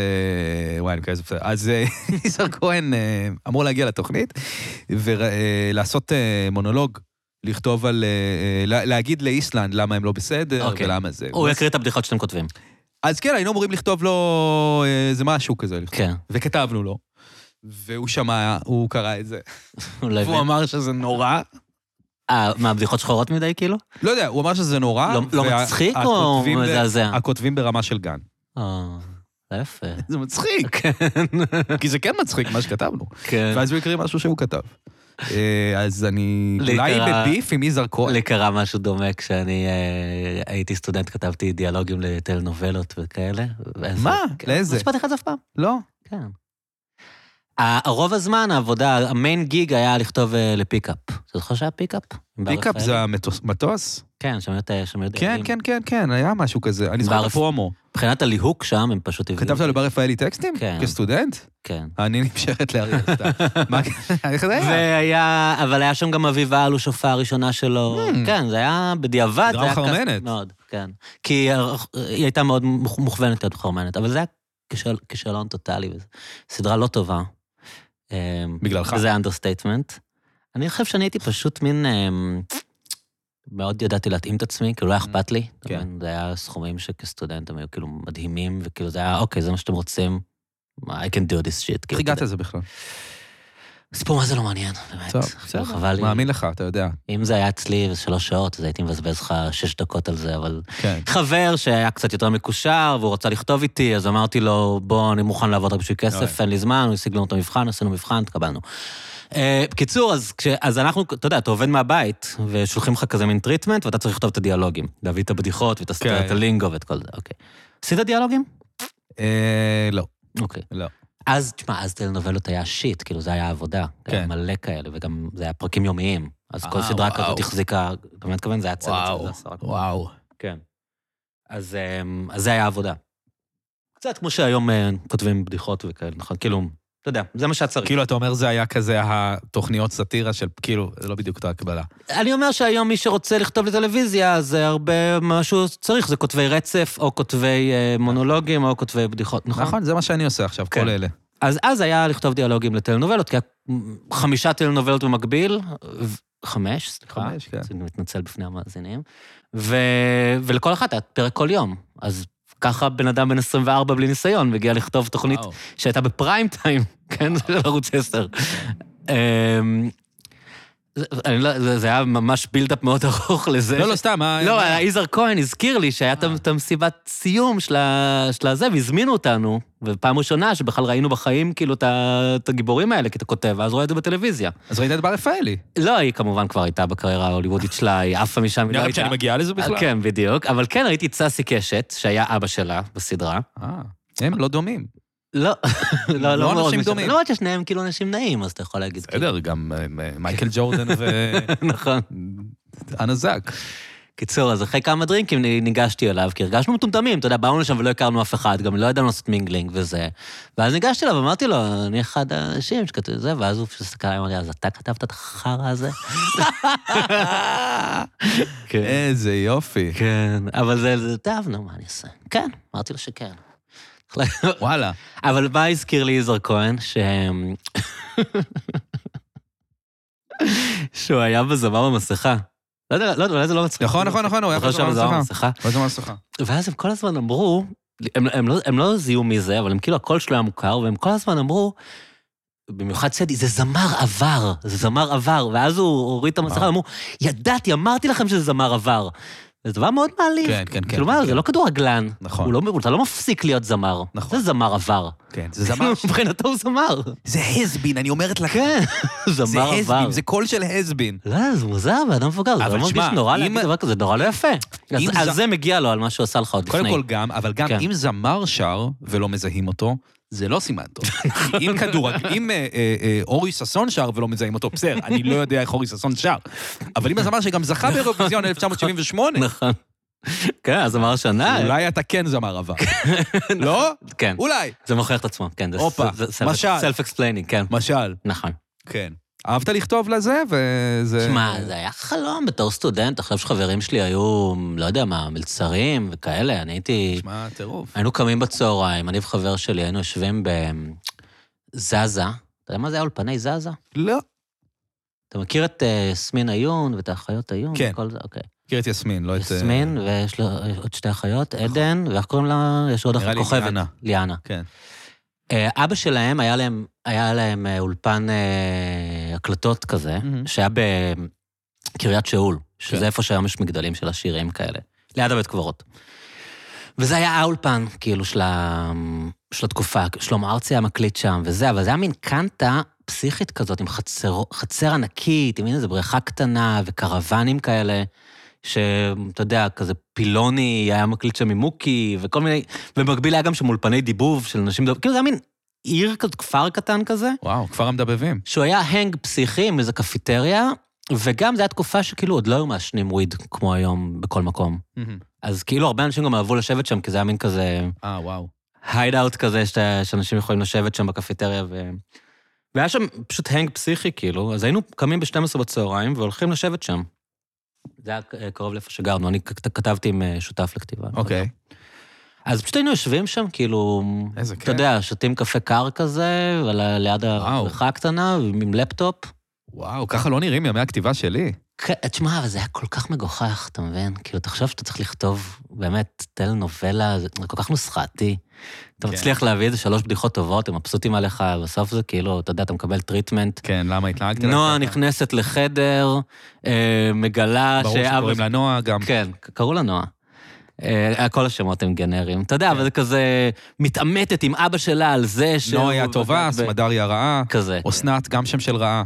Speaker 2: אה, וואי, אני מקווה שזה בסדר. אז אה, ניסר כהן אה, אמור להגיע לתוכנית ולעשות אה, מונולוג, לכתוב על, אה, אה, לה- להגיד לאיסלנד למה הם לא בסדר
Speaker 3: אוקיי.
Speaker 2: ולמה זה.
Speaker 3: הוא
Speaker 2: אז-
Speaker 3: יקריא את הבדיחות שאתם כותבים.
Speaker 2: אז כן, היינו אמורים לכתוב לו אה, איזה משהו כזה, לכתוב.
Speaker 3: כן.
Speaker 2: וכתבנו לו. והוא שמע, הוא קרא את זה,
Speaker 3: הוא לא
Speaker 2: והוא
Speaker 3: הבין.
Speaker 2: אמר שזה נורא.
Speaker 3: אה, מה, הבדיחות שחורות מדי כאילו?
Speaker 2: לא יודע, הוא אמר שזה נורא.
Speaker 3: לא- לא
Speaker 2: וה-
Speaker 3: מצחיק או
Speaker 2: הכותבים ב-
Speaker 3: מזעזע?
Speaker 2: הכותבים ברמה של גן.
Speaker 3: אה, זה יפה.
Speaker 2: זה מצחיק. כי זה כן מצחיק מה שכתבנו.
Speaker 3: כן.
Speaker 2: ואז הוא הקריא משהו שהוא כתב. אה, אז אני
Speaker 3: לי
Speaker 2: אולי
Speaker 3: קרה-
Speaker 2: בביף עם יזהר כהן.
Speaker 3: לי קרה משהו דומה כשאני אה, הייתי סטודנט, כתבתי דיאלוגים לטלנובלות וכאלה. ואז-
Speaker 2: מה?
Speaker 3: כן,
Speaker 2: לאיזה?
Speaker 3: משפט אחד אף פעם.
Speaker 2: לא.
Speaker 3: כן. ה- רוב הזמן העבודה, המין גיג היה לכתוב אה, לפיקאפ. אתה זוכר שהיה פיקאפ? עם בר
Speaker 2: פיקאפ
Speaker 3: רפאל?
Speaker 2: זה המטוס? מטוס?
Speaker 3: כן, שם היו- שם היו
Speaker 2: כן,
Speaker 3: דיילים.
Speaker 2: כן, כן, כן, היה משהו כזה. אני זוכר את
Speaker 3: בערב-
Speaker 2: הפרומו.
Speaker 3: מבחינת הליהוק שם, הם פשוט הביאו...
Speaker 2: כתבת לבר רפאלי טקסטים?
Speaker 3: כן.
Speaker 2: כסטודנט?
Speaker 3: כן.
Speaker 2: אני נמשכת לאריאל סתם. מה, איך זה היה?
Speaker 3: והיה, אבל היה שם גם אביבה על השופעה הראשונה שלו.
Speaker 2: Hmm.
Speaker 3: כן, זה היה בדיעבד.
Speaker 2: דרם
Speaker 3: זה היה קאסט
Speaker 2: חרמנת.
Speaker 3: מאוד, כן. כי הר- היא הייתה מאוד מוכ- מוכוונת להיות חרמנת, אבל זה היה כישל- כישלון טוטאלי. וזה- סדרה לא טובה. אמ,
Speaker 2: בגללך.
Speaker 3: זה אנדרסטייטמנט. אני חושב שאני הייתי פשוט מין... אמ, מאוד ידעתי להתאים את עצמי, כאילו לא היה אכפת לי.
Speaker 2: כן.
Speaker 3: כן. זה היה סכומים שכסטודנט הם היו כאילו מדהימים, וכאילו זה היה, אוקיי, זה מה שאתם רוצים. I can do this shit.
Speaker 2: איך
Speaker 3: כאילו,
Speaker 2: הגעת לזה בכלל?
Speaker 3: סיפור מה זה לא מעניין, באמת.
Speaker 2: טוב,
Speaker 3: כאילו, חבל לי.
Speaker 2: מאמין לך, אתה יודע.
Speaker 3: אם זה היה אצלי וזה שלוש שעות, אז הייתי מבזבז לך שש דקות על זה, אבל...
Speaker 2: כן.
Speaker 3: חבר שהיה קצת יותר מקושר, והוא רצה לכתוב איתי, אז אמרתי לו, בוא, אני מוכן לעבוד רק בשביל כסף, אין לי זמן, הוא השיג לנו את המבחן, עשינו מבחן, התקבלנו. אה, בקיצור, אז, כש, אז אנחנו, אתה יודע, אתה עובד מהבית, ושולחים לך כזה מין טריטמנט, ואתה צריך לכתוב את הדיאלוגים. להביא את הבדיחות ואת הסטרט,
Speaker 2: כן.
Speaker 3: את הלינגו ואת כל זה, אוקיי. עשית דיאלוגים?
Speaker 2: אה, לא.
Speaker 3: אוקיי.
Speaker 2: לא.
Speaker 3: אז, תשמע, אז טלנובלות היה שיט, כאילו, זה היה עבודה. כן. היה
Speaker 2: כן.
Speaker 3: מלא כאלה, וגם זה היה פרקים יומיים. אז כל
Speaker 2: אה,
Speaker 3: סדרה
Speaker 2: וואו.
Speaker 3: כזאת החזיקה, אתה מבין מתכוון? זה היה צוות של
Speaker 2: וואו,
Speaker 3: איזה עשרה.
Speaker 2: וואו.
Speaker 3: כן. אז, אמ, אז זה היה עבודה. קצת כמו שהיום אה, כותבים בדיחות וכאלה, נכון? כאילו, אתה יודע, זה מה שהיה צריך.
Speaker 2: כאילו, אתה אומר זה היה כזה התוכניות סאטירה של, כאילו, זה לא בדיוק אותה הקבלה.
Speaker 3: אני אומר שהיום מי שרוצה לכתוב לטלוויזיה, אז זה הרבה, מה שהוא צריך, זה כותבי רצף, או כותבי אה, מונולוגים, או כותבי בדיחות, נכון?
Speaker 2: נכון, זה מה שאני עושה עכשיו,
Speaker 3: כן.
Speaker 2: כל אלה.
Speaker 3: אז אז היה לכתוב דיאלוגים לטלנובלות, כי היה חמישה טלנובלות במקביל, ו- חמש, סליחה.
Speaker 2: חמש, כן.
Speaker 3: אני מתנצל בפני המאזינים. ו... ולכל אחת היה פרק כל יום. אז ככה בן אדם בן 24 בלי ניסיון מגיע לכתוב תוכנית
Speaker 2: וואו.
Speaker 3: שהייתה בפריים טיים, כן, של ערוץ 10. אמ, זה- אני לא- זה זה היה ממש בילדאפ מאוד ארוך לזה.
Speaker 2: לא, לא, סתם, מה...
Speaker 3: לא,
Speaker 2: מה- אה.
Speaker 3: יזהר כהן הזכיר לי שהיה את- את המסיבת סיום של ה- של הזה, והזמינו אותנו, ופעם ראשונה שבכלל ראינו בחיים כאילו את ה- את הגיבורים האלה, כי אתה כותב, ואז רואה את זה בטלוויזיה.
Speaker 2: אז ראית את בר רפאלי.
Speaker 3: לא, היא כמובן כבר הייתה בקריירה ההוליוודית שלה, היא עפה משם, היא לא
Speaker 2: נראה לי
Speaker 3: הייתה.
Speaker 2: שאני מגיעה לזה בכלל.
Speaker 3: כן, בדיוק. אבל כן ראיתי את ססי קשת, שהיה אבא שלה בסדרה.
Speaker 2: אה, הם לא דומים.
Speaker 3: לא, לא,
Speaker 2: לא
Speaker 3: לא מאוד
Speaker 2: אנשים
Speaker 3: משנה.
Speaker 2: דומים.
Speaker 3: למרות ששניהם כאילו אנשים נעים, אז אתה יכול להגיד.
Speaker 2: בסדר, גם אה, מייקל ג'ורדן
Speaker 3: כאילו. נכון.
Speaker 2: ואנה זאק.
Speaker 3: קיצור, אז אחרי כמה דרינקים נ- ניגשתי אליו, כי הרגשנו מטומטמים, אתה יודע, באנו לשם ולא הכרנו אף אחד, גם לא ידענו לעשות מינגלינג וזה. ואז ניגשתי אליו, אמרתי לו, אני אחד האנשים שכתוב זה, ואז הוא פשוט הסתכל עליי, אמר לי, אז אתה כתבת את החרא הזה? כן,
Speaker 2: איזה יופי.
Speaker 3: כן, אבל זה, זה, טוב, נו, מה אני אעשה? כן, אמרתי לו שכן.
Speaker 2: וואלה.
Speaker 3: אבל מה הזכיר לי יזהר כהן? ש... שהוא היה בזמר במסכה. לא יודע, לא יודע, אולי זה לא מצחיק.
Speaker 2: נכון, נכון, נכון, הוא היה
Speaker 3: זוכר
Speaker 2: בזמר
Speaker 3: שהיה בזמר
Speaker 2: במסכה.
Speaker 3: במסכה.
Speaker 2: מה זה מה שלך?
Speaker 3: ואז הם כל הזמן אמרו, הם, הם, לא, הם לא זיהו מי זה, אבל הם כאילו הקול שלו היה מוכר, והם כל הזמן אמרו, במיוחד צדי, זה זמר עבר, זה זמר עבר. ואז הוא הוריד את המסכה, ואמרו, ידעתי, אמרתי לכם שזה זמר עבר. זה דבר מאוד מעליב.
Speaker 2: כן, כן, כן.
Speaker 3: כאילו מה, זה לא כדורגלן.
Speaker 2: נכון.
Speaker 3: הוא לא, אתה לא מפסיק להיות זמר.
Speaker 2: נכון.
Speaker 3: זה זמר עבר.
Speaker 2: כן, זה זמר.
Speaker 3: מבחינתו הוא זמר.
Speaker 2: זה הסבין, אני אומרת לך.
Speaker 3: כן,
Speaker 2: זה
Speaker 3: זמר עבר.
Speaker 2: הסבין, זה קול של הסבין.
Speaker 3: לא, זה מוזר, בן אדם מבוגר, זה
Speaker 2: אבל
Speaker 3: לא מרגיש
Speaker 2: שמע,
Speaker 3: נורא
Speaker 2: אם-
Speaker 3: להגיד דבר כזה, זה נורא לא יפה. אז-
Speaker 2: אם
Speaker 3: אז
Speaker 2: ז-
Speaker 3: זה מגיע לו על מה שהוא עשה לך עוד לפני.
Speaker 2: קודם כל גם, אבל גם
Speaker 3: כן.
Speaker 2: אם זמר שר ולא מזהים אותו, זה לא סימן טוב. אם כדורג... אם אה, אה, אה, אורי ששון שר ולא מזהים אותו, בסדר, אני לא יודע איך אורי ששון שר. אבל אם הזמר שגם זכה באירוויזיון 1978,
Speaker 3: נכון. כן, אז אמר שנה.
Speaker 2: אולי אתה כן זמר עבר. לא?
Speaker 3: כן,
Speaker 2: אולי.
Speaker 3: זה מוכיח את עצמו, כן. זה-
Speaker 2: הופה,
Speaker 3: זה- זה-
Speaker 2: משל.
Speaker 3: סלף אקספליינינג, כן.
Speaker 2: משל,
Speaker 3: נכון.
Speaker 2: כן. אהבת לכתוב לזה, וזה...
Speaker 3: תשמע, זה היה חלום בתור סטודנט, עכשיו שחברים שלי היו, לא יודע מה, מלצרים וכאלה, אני הייתי...
Speaker 2: תשמע, טירוף.
Speaker 3: היינו קמים בצהריים, אני וחבר שלי היינו יושבים בזזה. אתה יודע מה זה היה אולפני זזה?
Speaker 2: לא.
Speaker 3: אתה מכיר את אה, יסמין עיון ואת האחיות עיון?
Speaker 2: כן.
Speaker 3: וכל זה, אוקיי.
Speaker 2: מכיר את יסמין, לא את... אה, נכון.
Speaker 3: יסמין, ויש לו אה, עוד שתי אחיות, עדן, ואיך קוראים לה? יש עוד
Speaker 2: נראה
Speaker 3: אחת
Speaker 2: לי
Speaker 3: כוכבת.
Speaker 2: ליאנה.
Speaker 3: ליאנה.
Speaker 2: כן.
Speaker 3: אה, אבא שלהם, היה להם, היה להם אה, אולפן אה, הקלטות כזה,
Speaker 2: מהמם.
Speaker 3: שהיה בקריית שאול, שזה
Speaker 2: כן.
Speaker 3: איפה שהיום יש מגדלים של השירים כאלה, ליד הבית קברות. וזה היה האולפן, כאילו, של, ה... של התקופה. שלמה ארצי היה מקליט שם וזה, אבל זה היה מין קנטה פסיכית כזאת, עם חצר, חצר ענקית, עם מין איזה בריכה קטנה וקרוונים כאלה. שאתה יודע, כזה פילוני, היה מקליט שם עם מוקי, וכל מיני, ובמקביל היה גם שם אולפני דיבוב של נשים, דוב- כאילו זה היה מין עיר, כזה, כפר קטן כזה,
Speaker 2: וואו, כפר המדבבים.
Speaker 3: שהוא היה הנג פסיכי עם איזה קפיטריה, וגם זו הייתה תקופה שכאילו עוד לא היו מעשנים וויד כמו היום בכל מקום. אז כאילו הרבה אנשים גם אהבו לשבת שם, כי זה היה מין כזה
Speaker 2: אה, וואו.
Speaker 3: הייד אאוט כזה, שאתה- שאנשים יכולים לשבת שם בקפיטריה ו... והיה שם פשוט הנג פסיכי, כאילו, אז היינו קמים ב-12 בצהריים והולכים לשבת שם. זה היה אה, קרוב לאיפה שגרנו, אני כ- כתבתי עם אה, שותף לכתיבה.
Speaker 2: אוקיי.
Speaker 3: אז פשוט היינו יושבים שם, כאילו,
Speaker 2: איזה
Speaker 3: אתה
Speaker 2: כיף.
Speaker 3: יודע, שותים קפה קר כזה, ול- ליד הבריכה הקטנה, עם לפטופ.
Speaker 2: וואו, ככה לא נראים ימי הכתיבה שלי.
Speaker 3: כן, תשמע, אבל זה היה כל כך מגוחך, אתה מבין? כאילו, תחשוב שאתה צריך לכתוב באמת טלנובלה, זה כל כך נוסחתי. אתה
Speaker 2: כן.
Speaker 3: מצליח להביא איזה שלוש בדיחות טובות, הם מבסוטים עליך, בסוף זה כאילו, אתה יודע, אתה מקבל טריטמנט.
Speaker 2: כן, למה התנהגת?
Speaker 3: נועה
Speaker 2: אליי ככה?
Speaker 3: נכנסת לחדר, אה, מגלה
Speaker 2: ברור שקוראים לה נועה גם.
Speaker 3: כן, ק- קראו לה נועה. אה, כל השמות הם גנריים. אתה יודע, אבל זה כזה מתעמתת עם אבא שלה על זה שהוא...
Speaker 2: נועה היא הטובה,
Speaker 3: ו-
Speaker 2: סמדריה רעה.
Speaker 3: כזה.
Speaker 2: אסנת, גם שם של רעה.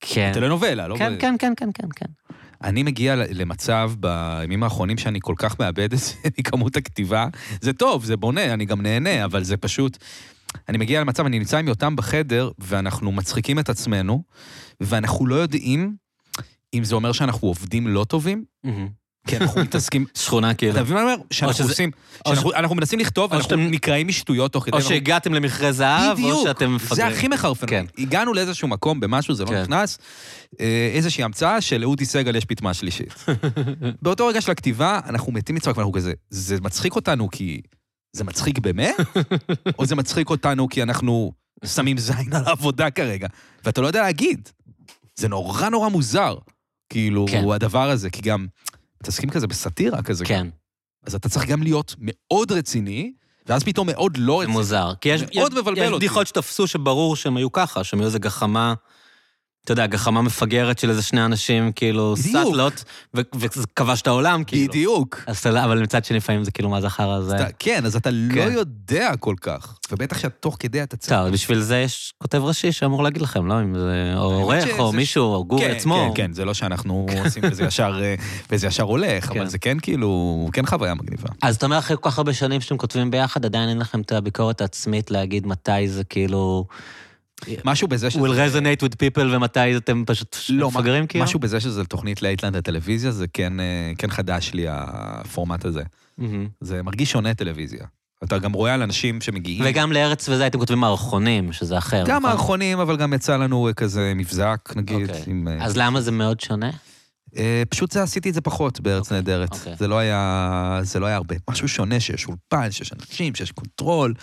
Speaker 3: כן.
Speaker 2: טלנובלה, לא...
Speaker 3: כן, כן, כן, כן, כן, כן.
Speaker 2: אני מגיע ל- למצב בימים האחרונים שאני כל כך מאבד את זה מכמות הכתיבה. זה טוב, זה בונה, אני גם נהנה, אבל זה פשוט... אני מגיע למצב, אני נמצא עם יותם בחדר, ואנחנו מצחיקים את עצמנו, ואנחנו לא יודעים אם זה אומר שאנחנו עובדים לא טובים,
Speaker 3: מהמם.
Speaker 2: כי אנחנו מתעסקים...
Speaker 3: שכונה כאילו.
Speaker 2: אתה מבין מה אני אומר? שאנחנו
Speaker 3: שזה-
Speaker 2: עושים...
Speaker 3: או
Speaker 2: שאנחנו אנחנו מנסים לכתוב,
Speaker 3: או
Speaker 2: אנחנו
Speaker 3: שאתם-
Speaker 2: נקרעים משטויות תוך כדי...
Speaker 3: או
Speaker 2: ואנחנו-
Speaker 3: שהגעתם למכרה זהב, או
Speaker 2: בדיוק,
Speaker 3: שאתם מפגרים.
Speaker 2: זה הכי מחרפן.
Speaker 3: כן.
Speaker 2: הגענו לאיזשהו מקום במשהו, זה
Speaker 3: כן.
Speaker 2: לא נכנס, אה, איזושהי המצאה שלאודי סגל יש פיטמה שלישית. באותו רגע של הכתיבה, אנחנו מתים מצחוק ואנחנו כזה, זה מצחיק אותנו כי זה מצחיק באמת? או זה מצחיק אותנו כי אנחנו שמים זין על העבודה כרגע? ואתה לא יודע להגיד. זה נורא נורא מוזר, כאילו,
Speaker 3: כן.
Speaker 2: הדבר הזה, כי גם מתעסקים כזה בסאטירה כזה.
Speaker 3: כן,
Speaker 2: אז אתה צריך גם להיות מאוד רציני, ואז פתאום מאוד לא
Speaker 3: זה
Speaker 2: רציני.
Speaker 3: מוזר. כי יש,
Speaker 2: מאוד
Speaker 3: יש-
Speaker 2: מבלבל
Speaker 3: יש
Speaker 2: אותי.
Speaker 3: בדיחות שתפסו שברור שהם היו ככה, שהם היו איזה גחמה, אתה יודע, גחמה מפגרת של איזה שני אנשים, כאילו,
Speaker 2: בדיוק.
Speaker 3: סאטלות, ו- וזה כבש את העולם, כאילו.
Speaker 2: בדיוק.
Speaker 3: אז אתה לא- אבל מצד שני לפעמים זה כאילו, מה זה החרא הזה?
Speaker 2: אתה, כן, אז אתה לא
Speaker 3: כן.
Speaker 2: יודע כל כך, ובטח שתוך כדי אתה צריך...
Speaker 3: טוב, בשביל זה יש כותב ראשי שאמור להגיד לכם, לא? אם זה או עורך,
Speaker 2: שזה-
Speaker 3: או מישהו, או גור
Speaker 2: כן,
Speaker 3: עצמו.
Speaker 2: כן, כן, זה לא שאנחנו עושים וזה ישר, אה, וזה ישר הולך,
Speaker 3: כן.
Speaker 2: אבל זה כן כאילו, כן חוויה מגניבה.
Speaker 3: אז אתה אומר, אחרי כל כך הרבה שנים שאתם כותבים ביחד, עדיין אין לכם את הביקורת העצמית להגיד מתי זה כאילו
Speaker 2: משהו בזה שזה...
Speaker 3: will resonate with people ומתי אתם פשוט
Speaker 2: לא,
Speaker 3: מפגרים כאילו?
Speaker 2: משהו בזה שזה תוכנית לאיטלנד הטלוויזיה, זה כן, אה, כן חדש לי הפורמט הזה.
Speaker 3: מהמם.
Speaker 2: זה מרגיש שונה טלוויזיה. אתה גם רואה על אנשים שמגיעים...
Speaker 3: וגם לארץ וזה הייתם כותבים מערכונים, שזה אחר.
Speaker 2: גם
Speaker 3: נכון?
Speaker 2: מערכונים, אבל גם יצא לנו אה, כזה מבזק, נגיד.
Speaker 3: אוקיי.
Speaker 2: עם, אה,
Speaker 3: אז למה זה מאוד שונה?
Speaker 2: אה, פשוט זה, עשיתי את זה פחות בארץ נהדרת.
Speaker 3: אוקיי.
Speaker 2: זה לא היה זה לא היה הרבה. משהו שונה, שיש אולפן, שיש אנשים, שיש קונטרול.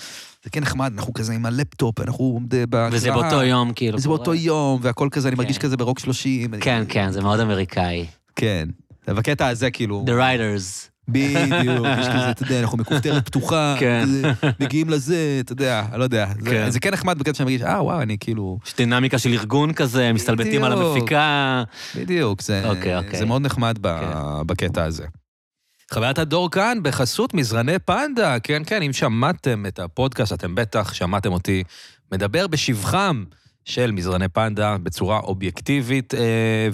Speaker 2: זה כן נחמד, אנחנו כזה עם הלפטופ, אנחנו... ב- בהקראה.
Speaker 3: וזה באותו יום כאילו.
Speaker 2: וזה
Speaker 3: קורה.
Speaker 2: באותו יום, והכל כזה, אני מרגיש
Speaker 3: כן.
Speaker 2: כזה ברוק 30. אני-
Speaker 3: כן, כן, זה מאוד אמריקאי.
Speaker 2: כן. בקטע הזה, כאילו...
Speaker 3: The Riders.
Speaker 2: בדיוק, יש כזה, אתה יודע, אנחנו מכופתרת פתוחה,
Speaker 3: כן.
Speaker 2: כזה, מגיעים לזה, אתה יודע, אני לא יודע. זה-
Speaker 3: כן.
Speaker 2: זה כן נחמד בקטע שאני מרגיש, אה, וואו, אני כאילו...
Speaker 3: יש דינמיקה של ארגון כזה, מסתלבטים על
Speaker 2: בדיוק.
Speaker 3: המפיקה.
Speaker 2: בדיוק, זה
Speaker 3: אוקיי, אוקיי.
Speaker 2: זה מאוד נחמד ב-
Speaker 3: כן.
Speaker 2: בקטע הזה.
Speaker 4: חוויית הדור כאן בחסות מזרני פנדה. כן, כן, אם שמעתם את הפודקאסט, אתם בטח שמעתם אותי מדבר בשבחם של מזרני פנדה בצורה אובייקטיבית, אה,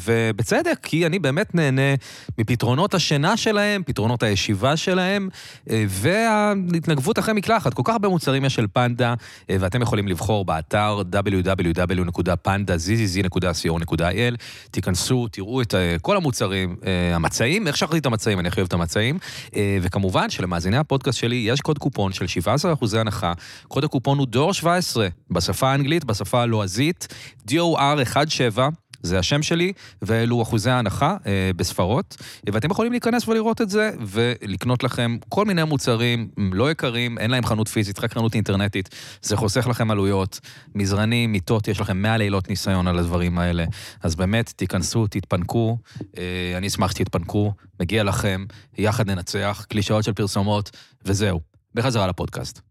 Speaker 4: ובצדק, כי אני באמת נהנה מפתרונות השינה שלהם, פתרונות הישיבה שלהם, אה, וההתנגבות אחרי מקלחת. כל כך הרבה מוצרים יש של פנדה, אה, ואתם יכולים לבחור באתר www.pandazzz.co.il. תיכנסו, תראו את אה, כל המוצרים, אה, המצעים, איך שכחתי את המצעים, אני הכי אוהב את המצעים. אה, וכמובן שלמאזיני הפודקאסט שלי יש קוד קופון של 17% הנחה. קוד הקופון הוא דור 17, בשפה האנגלית, בשפה הלועזית, DOR17. זה השם שלי, ואלו אחוזי ההנחה אה, בספרות. אה, ואתם יכולים להיכנס ולראות את זה, ולקנות לכם כל מיני מוצרים הם לא יקרים, אין להם חנות פיזית, רק חנות אינטרנטית. זה חוסך לכם עלויות, מזרנים, מיטות, יש לכם 100 לילות ניסיון על הדברים האלה. אז באמת, תיכנסו, תתפנקו, אה, אני אשמח שתתפנקו, מגיע לכם, יחד ננצח, קלישאות של פרסומות, וזהו. בחזרה לפודקאסט.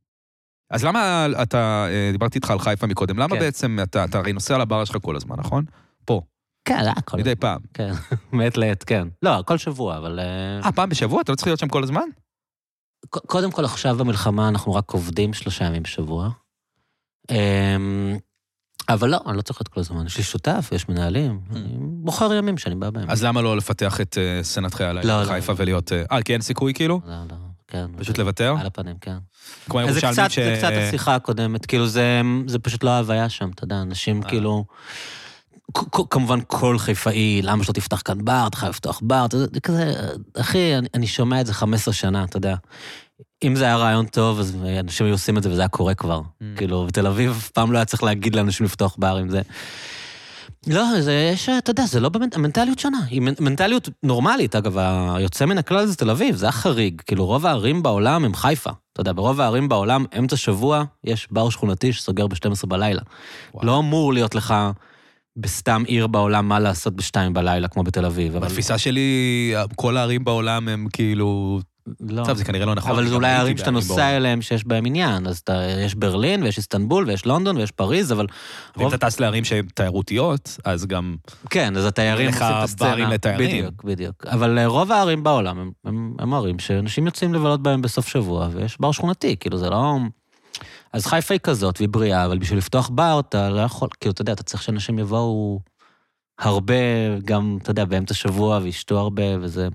Speaker 2: אז למה אתה, אה, דיברתי איתך על חיפה מקודם, למה
Speaker 3: כן.
Speaker 2: בעצם אתה, אתה הרי נוסע לבר שלך כל הזמן, נכון? פה,
Speaker 3: כן, אה, כל...
Speaker 2: מדי פעם.
Speaker 3: כן, מעת לעת, כן. לא, כל שבוע, אבל... אה,
Speaker 2: אה, פעם בשבוע? אתה לא צריך להיות שם כל הזמן?
Speaker 3: נכון. ק- קודם כל, עכשיו במלחמה אנחנו רק עובדים שלושה ימים בשבוע. אמ, אבל לא, אני לא צריך להיות כל הזמן. יש לי שותף, יש מנהלים, אני בוחר ימים שאני בא בהם.
Speaker 2: Hmm. אז למה לא לפתח את אה, סצנת
Speaker 3: לא,
Speaker 2: הלילה
Speaker 3: לא.
Speaker 2: בחיפה ולהיות... אה, אה, כי אין סיכוי כאילו?
Speaker 3: לא, לא, כן.
Speaker 2: פשוט
Speaker 3: זה-
Speaker 2: לוותר?
Speaker 3: על הפנים, כן.
Speaker 2: כמו
Speaker 3: זה
Speaker 2: הירושלמים
Speaker 3: קצת,
Speaker 2: ש...
Speaker 3: זה קצת השיחה הקודמת, כאילו זה, זה פשוט לא ההוויה שם, אתה יודע, אנשים
Speaker 2: אה.
Speaker 3: כאילו... כ- כ- כמובן כל חיפאי, למה שלא תפתח כאן בר, אתה חייב לפתוח בר, אתה יודע, זה כזה, אחי, אני, אני שומע את זה 15 שנה, אתה יודע. אם זה היה רעיון טוב, אז אנשים היו עושים את זה וזה היה קורה כבר.
Speaker 2: Mm.
Speaker 3: כאילו, בתל אביב אף פעם לא היה צריך להגיד לאנשים לפתוח בר עם זה. לא, זה יש, אתה יודע, זה לא באמת, המנטליות שונה. היא מנ- מנטליות נורמלית, אגב, היוצא מן הכלל זה תל אביב, זה היה חריג. כאילו, רוב הערים בעולם הם חיפה. אתה יודע, ברוב הערים בעולם, אמצע שבוע, יש בר שכונתי שסוגר ב-12 בלילה.
Speaker 2: וואו.
Speaker 3: לא אמור להיות לך בסתם עיר בעולם מה לעשות ב-2 בלילה, כמו בתל אביב. אבל...
Speaker 2: בתפיסה שלי, אה, כל הערים בעולם הם כאילו...
Speaker 3: לא.
Speaker 2: טוב, זה כנראה לא נכון.
Speaker 3: אבל
Speaker 2: אני
Speaker 3: זה
Speaker 2: גם
Speaker 3: אולי
Speaker 2: הייתי
Speaker 3: הערים שאתה
Speaker 2: בערים בעולם.
Speaker 3: נוסע אליהם שיש בהם עניין. אז אתה, יש ברלין, ויש איסטנבול, ויש לונדון, ויש פריז, אבל...
Speaker 2: ואם
Speaker 3: רוב-
Speaker 2: אתה טס לערים שהן תיירותיות, אז גם...
Speaker 3: כן, אז התיירים
Speaker 2: אין לך
Speaker 3: עושים את הסצנה.
Speaker 2: ברים לתיירים.
Speaker 3: בדיוק, בדיוק. אבל אה, רוב הערים בעולם הם, הם, הם ערים שאנשים יוצאים לבלות בהם בסוף שבוע, ויש בר שכונתי, כאילו זה לא... אז חיפה היא כזאת, והיא בריאה, אבל בשביל לפתוח בר אתה לא יכול, כאילו, אתה יודע, אתה צריך שאנשים יבואו הרבה, גם, אתה יודע, באמצע שבוע, וישתו הרבה, וזה...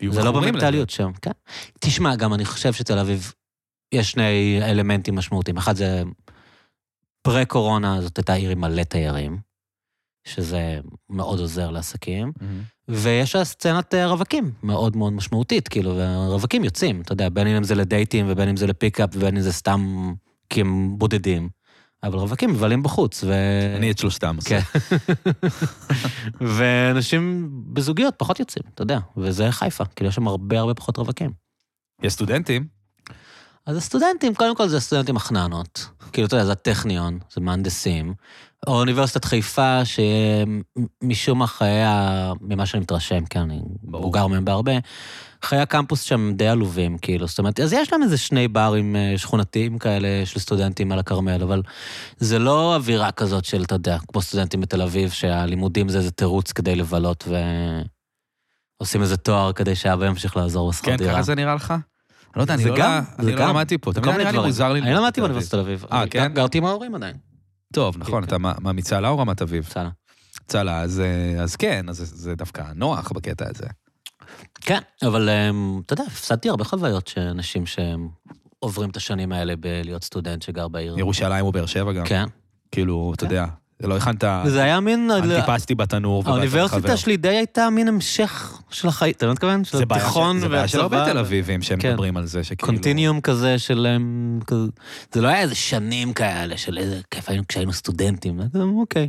Speaker 2: יהיו
Speaker 3: זה לא
Speaker 2: מכורים
Speaker 3: במנטליות שם, כן. תשמע, גם אני חושב שתל אביב, יש שני אלמנטים משמעותיים. אחד זה, פרה-קורונה זאת הייתה עיר עם מלא תיירים, שזה מאוד עוזר לעסקים,
Speaker 2: לזה. מהמם.
Speaker 3: ויש לה סצנת אה, רווקים מאוד מאוד משמעותית, כאילו, והרווקים יוצאים, אתה יודע, בין אם זה לדייטים ובין אם זה לפיקאפ ובין אם זה סתם כי הם בודדים. אבל רווקים מבלים בחוץ, ו...
Speaker 2: אני את שלושתם. עושה.
Speaker 3: כן. ואנשים בזוגיות פחות יוצאים, אתה יודע, וזה חיפה, כאילו יש שם הרבה הרבה פחות רווקים.
Speaker 2: יש סטודנטים,
Speaker 3: אז הסטודנטים, קודם כל זה הסטודנטים מחננות. כאילו, אתה יודע, זה הטכניון, זה מהנדסים. או אוניברסיטת חיפה, שמשום מה חייה, ממה שאני מתרשם, כי אני
Speaker 2: ברור.
Speaker 3: בוגר מהם בהרבה, חיי הקמפוס שם די עלובים, כאילו, זאת אומרת, אז יש להם איזה שני ברים אה, שכונתיים כאלה של סטודנטים על הכרמל, אבל זה לא אווירה כזאת של, אתה יודע, כמו סטודנטים בתל אביב, שהלימודים זה איזה תירוץ כדי לבלות ו... עושים איזה תואר כדי שאבא ימשיך לעזור בשכר
Speaker 2: כן,
Speaker 3: דירה.
Speaker 2: ככה זה נראה לך? אני לא יודע, אני
Speaker 3: זה
Speaker 2: לא-
Speaker 3: גם,
Speaker 2: אני
Speaker 3: זה
Speaker 2: לא
Speaker 3: גם.
Speaker 2: למדתי פה,
Speaker 3: זה
Speaker 2: תמיד
Speaker 3: כל
Speaker 2: היה נראה
Speaker 3: מיני
Speaker 2: לי
Speaker 3: דברים.
Speaker 2: מוזר לי.
Speaker 3: אני לא
Speaker 2: ללמוד
Speaker 3: למדתי
Speaker 2: בתל אביב.
Speaker 3: באוניברסיטת תל אביב.
Speaker 2: אה,
Speaker 3: אני
Speaker 2: כן?
Speaker 3: גרתי עם ההורים עדיין.
Speaker 2: טוב, נכון,
Speaker 3: כן.
Speaker 2: אתה מה- מה, מצהלה או רמת אביב?
Speaker 3: בסדר.
Speaker 2: צהלה, אז, אה, אז כן, אז זה- זה דווקא נוח בקטע הזה.
Speaker 3: כן, אבל אמ, אתה יודע, הפסדתי הרבה חוויות שאנשים שהם עוברים את השנים האלה בלהיות סטודנט שגר בעיר.
Speaker 2: ירושלים או באר שבע גם.
Speaker 3: כן.
Speaker 2: כאילו, אתה יודע, לא הכנת...
Speaker 3: וזה היה מין... אה,
Speaker 2: טיפסתי בתנור ובאת
Speaker 3: האוניברסיטה שלי די הייתה מין המשך של החיים, אתה לא מתכוון? של
Speaker 2: זה בעיה
Speaker 3: התיכון
Speaker 2: של- זה בעיה של הרבה
Speaker 3: והצבא
Speaker 2: תל
Speaker 3: ו-
Speaker 2: אביבים שהם
Speaker 3: כן.
Speaker 2: מדברים על זה, שכאילו...
Speaker 3: קונטיניום כזה של... אמ, כזה- זה לא היה איזה שנים כאלה של איזה כיף היינו כשהיינו סטודנטים, אז אמ, אוקיי.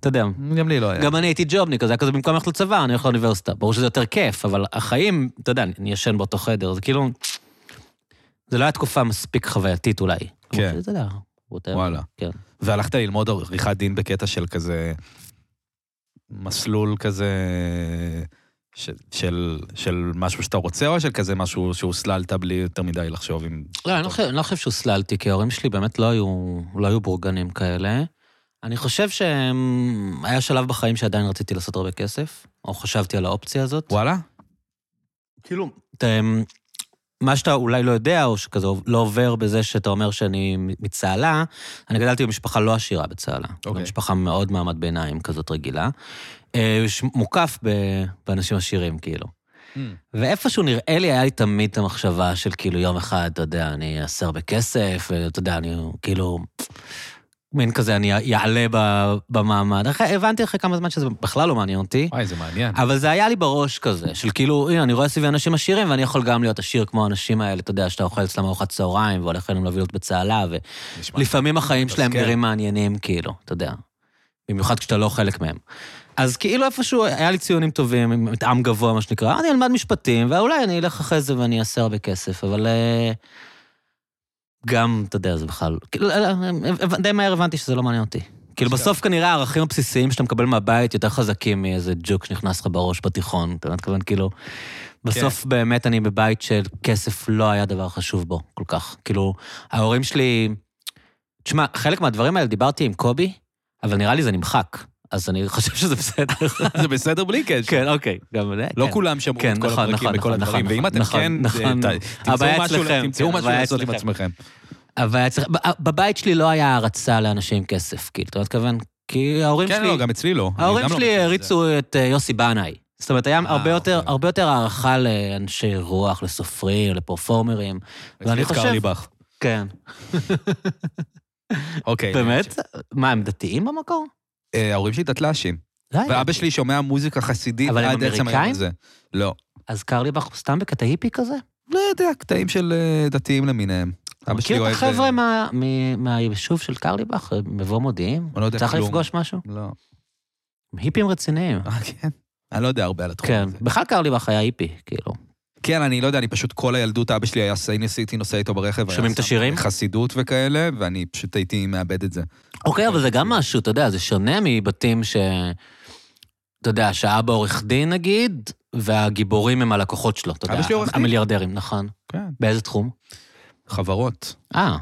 Speaker 3: אתה יודע,
Speaker 2: גם לי לא היה.
Speaker 3: גם אני הייתי ג'ובניק, אז זה היה כזה במקום ללכת לצבא, אני הולך לאוניברסיטה. ברור שזה יותר כיף, אבל החיים, אתה יודע, אני ישן באותו חדר, זה כאילו... זה לא היה תקופה מספיק חווייתית אולי.
Speaker 2: כן.
Speaker 3: אבל זה לא היה. whatever.
Speaker 2: וואלה.
Speaker 3: כן.
Speaker 2: והלכת ללמוד עריכת דין בקטע של כזה... מסלול כזה... של, של, של משהו שאתה רוצה, או של כזה משהו שהוסללת בלי יותר מדי לחשוב אם...
Speaker 3: לא, אני לא חושב- אני לא חושב שהוסללתי, כי ההורים שלי באמת לא היו, לא היו בורגנים כאלה. אני חושב שהיה שלב בחיים שעדיין רציתי לעשות הרבה כסף, או חשבתי על האופציה הזאת.
Speaker 2: וואלה?
Speaker 3: כאילו, אתה, מה שאתה אולי לא יודע, או שכזה לא עובר בזה שאתה אומר שאני מצהלה, אני גדלתי במשפחה לא עשירה בצהלה.
Speaker 2: אוקיי.
Speaker 3: משפחה מאוד מעמד ביניים כזאת רגילה. אה, ש- מוקף ב, באנשים עשירים, כאילו. ואיפשהו נראה לי, היה לי תמיד את המחשבה של כאילו יום אחד, אתה יודע, אני אעשה הרבה כסף, ואתה יודע, אני כאילו... מין כזה, אני אעלה ב- במעמד. אחרי, הבנתי אחרי כמה זמן שזה בכלל לא מעניין אותי.
Speaker 2: וואי, זה מעניין.
Speaker 3: אבל זה היה לי בראש כזה, של כאילו, הנה, אני רואה סביבי אנשים עשירים, ואני יכול גם להיות עשיר כמו האנשים האלה, אתה יודע, שאתה אוכל אצלם ארוחת צהריים, והולך אליהם לבלות בצהלה,
Speaker 2: נשמע.
Speaker 3: ולפעמים החיים שלהם
Speaker 2: כן.
Speaker 3: נראים מעניינים, כאילו, אתה יודע. במיוחד כשאתה לא חלק מהם. אז כאילו איפשהו, היה לי ציונים טובים, עם מטעם גבוה, מה שנקרא, אני אלמד משפטים, ואולי אני אלך אחרי זה ואני אעשה הרבה כסף, אבל... אה, גם, אתה יודע, זה בכלל... כאילו, לא, לא, די מהר הבנתי שזה לא מעניין אותי. כאילו, בסוף כנראה הערכים הבסיסיים שאתה מקבל מהבית יותר חזקים מאיזה ג'וק שנכנס לך בראש בתיכון, אתה מתכוון, כאילו... בסוף
Speaker 2: כן.
Speaker 3: באמת אני בבית של כסף לא היה דבר חשוב בו כל כך. כאילו, ההורים שלי... תשמע, חלק מהדברים האלה דיברתי עם קובי, אבל נראה לי זה נמחק, אז אני חושב שזה בסדר.
Speaker 2: זה בסדר בלי קשר.
Speaker 3: כן, אוקיי, גם זה.
Speaker 2: לא
Speaker 3: כן.
Speaker 2: כולם שמעו
Speaker 3: כן,
Speaker 2: את כל
Speaker 3: נכון,
Speaker 2: הפרקים
Speaker 3: נכון,
Speaker 2: וכל
Speaker 3: נכון,
Speaker 2: הדברים,
Speaker 3: נכון,
Speaker 2: ואם אתם
Speaker 3: נכון,
Speaker 2: כן,
Speaker 3: נכון.
Speaker 2: אה, ת-
Speaker 3: הבעיה
Speaker 2: תמצאו משהו-
Speaker 3: אצלכם, כן,
Speaker 2: תמצאו משהו
Speaker 3: הבעיה
Speaker 2: לעשות עם
Speaker 3: אצלכם.
Speaker 2: עצמכם.
Speaker 3: אבל היה צריך... ב- בבית שלי לא היה הערצה לאנשים כסף, כאילו, אתה מתכוון? כי ההורים
Speaker 2: כן,
Speaker 3: שלי...
Speaker 2: לא, גם אצלי לא. אני
Speaker 3: ההורים
Speaker 2: גם לא
Speaker 3: שלי
Speaker 2: מכיר את זה.
Speaker 3: העריצו את אה, יוסי בנאי. זאת אומרת, היה הרבה יותר-
Speaker 2: אוקיי.
Speaker 3: הרבה יותר הערכה לאנשי רוח, לסופרים, לפרפורמרים. ואני
Speaker 2: אצלי את
Speaker 3: חושב-
Speaker 2: קרליבך.
Speaker 3: כן.
Speaker 2: אוקיי.
Speaker 3: באמת? אה, מה, הם דתיים במקור?
Speaker 2: אה, ההורים שלי דתל"שים.
Speaker 3: לא היה.
Speaker 2: ואבא שלי שומע מוזיקה חסידית
Speaker 3: אבל הם
Speaker 2: עד עצם היום
Speaker 3: אמריקאים?
Speaker 2: הזה. לא.
Speaker 3: אז קרליבך סתם בקטע היפי כזה?
Speaker 2: לא יודע, קטעים של אה, דתיים למיניהם. אבא שלי
Speaker 3: מכיר
Speaker 2: אוהב...
Speaker 3: את החבר'ה
Speaker 2: אה,
Speaker 3: מה- מ- מהיישוב של קרליבך, מבוא מודיעין?
Speaker 2: אני לא יודע
Speaker 3: צריך
Speaker 2: כלום.
Speaker 3: לפגוש משהו?
Speaker 2: לא.
Speaker 3: הם היפים רציניים.
Speaker 2: אה, כן? אני לא יודע הרבה על התחום
Speaker 3: כן,
Speaker 2: הזה.
Speaker 3: בכלל קרליבך היה היפי, כאילו.
Speaker 2: כן, אני לא יודע, אני פשוט כל הילדות, אבא שלי היה סייניס, הייתי נוסע איתו ברכב. היה
Speaker 3: שומעים את
Speaker 2: שם
Speaker 3: השירים?
Speaker 2: חסידות וכאלה, ואני פשוט הייתי מאבד את זה.
Speaker 3: אוקיי, אבל זה גם משהו, אתה יודע, זה שונה מבתים ש... אתה יודע, שהאבא עורך דין נגיד, והגיבורים הם הלקוחות שלו, אתה יודע.
Speaker 2: אבא שלי עורך דין.
Speaker 3: המיליארדרים, נכון.
Speaker 2: כן.
Speaker 3: באיזה תחום?
Speaker 2: חברות.
Speaker 3: אה,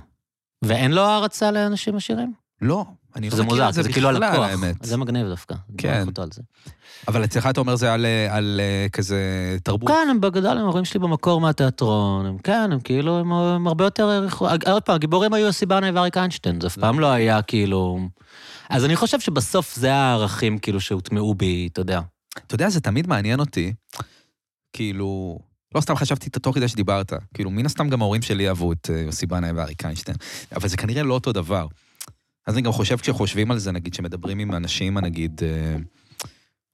Speaker 3: ואין לו הערצה לאנשים עשירים?
Speaker 2: לא, אני לא
Speaker 3: זה
Speaker 2: מכיר
Speaker 3: מוזר,
Speaker 2: את זה
Speaker 3: זה כאילו
Speaker 2: בכלל,
Speaker 3: הלקוח.
Speaker 2: האמת.
Speaker 3: זה מגניב דווקא. אני
Speaker 2: כן.
Speaker 3: מעריך אותו על זה.
Speaker 2: אבל אצלך אתה אומר זה על, אה, על אה, כזה תרבות.
Speaker 3: כן, הם בגדול, הם ההורים שלי במקור מהתיאטרון, הם כן, הם כאילו, הם, הם הרבה יותר... העריכו- אה, עוד פעם, הגיבורים היו יוסי ברנאי ואריק איינשטיין, זה אף פעם לא היה כאילו... אז אני חושב שבסוף זה הערכים כאילו שהוטמעו בי, אתה יודע.
Speaker 2: אתה יודע, זה תמיד מעניין אותי, כאילו, לא סתם חשבתי את התוך כדי שדיברת, כאילו, מן הסתם גם ההורים שלי אהבו את אה, יוסי בנאי ואריק איינשטיין, אבל זה כנראה לא אותו דבר. אז אני גם חושב, כשחושבים על זה, נגיד, שמדברים עם אנשים, נגיד, אה,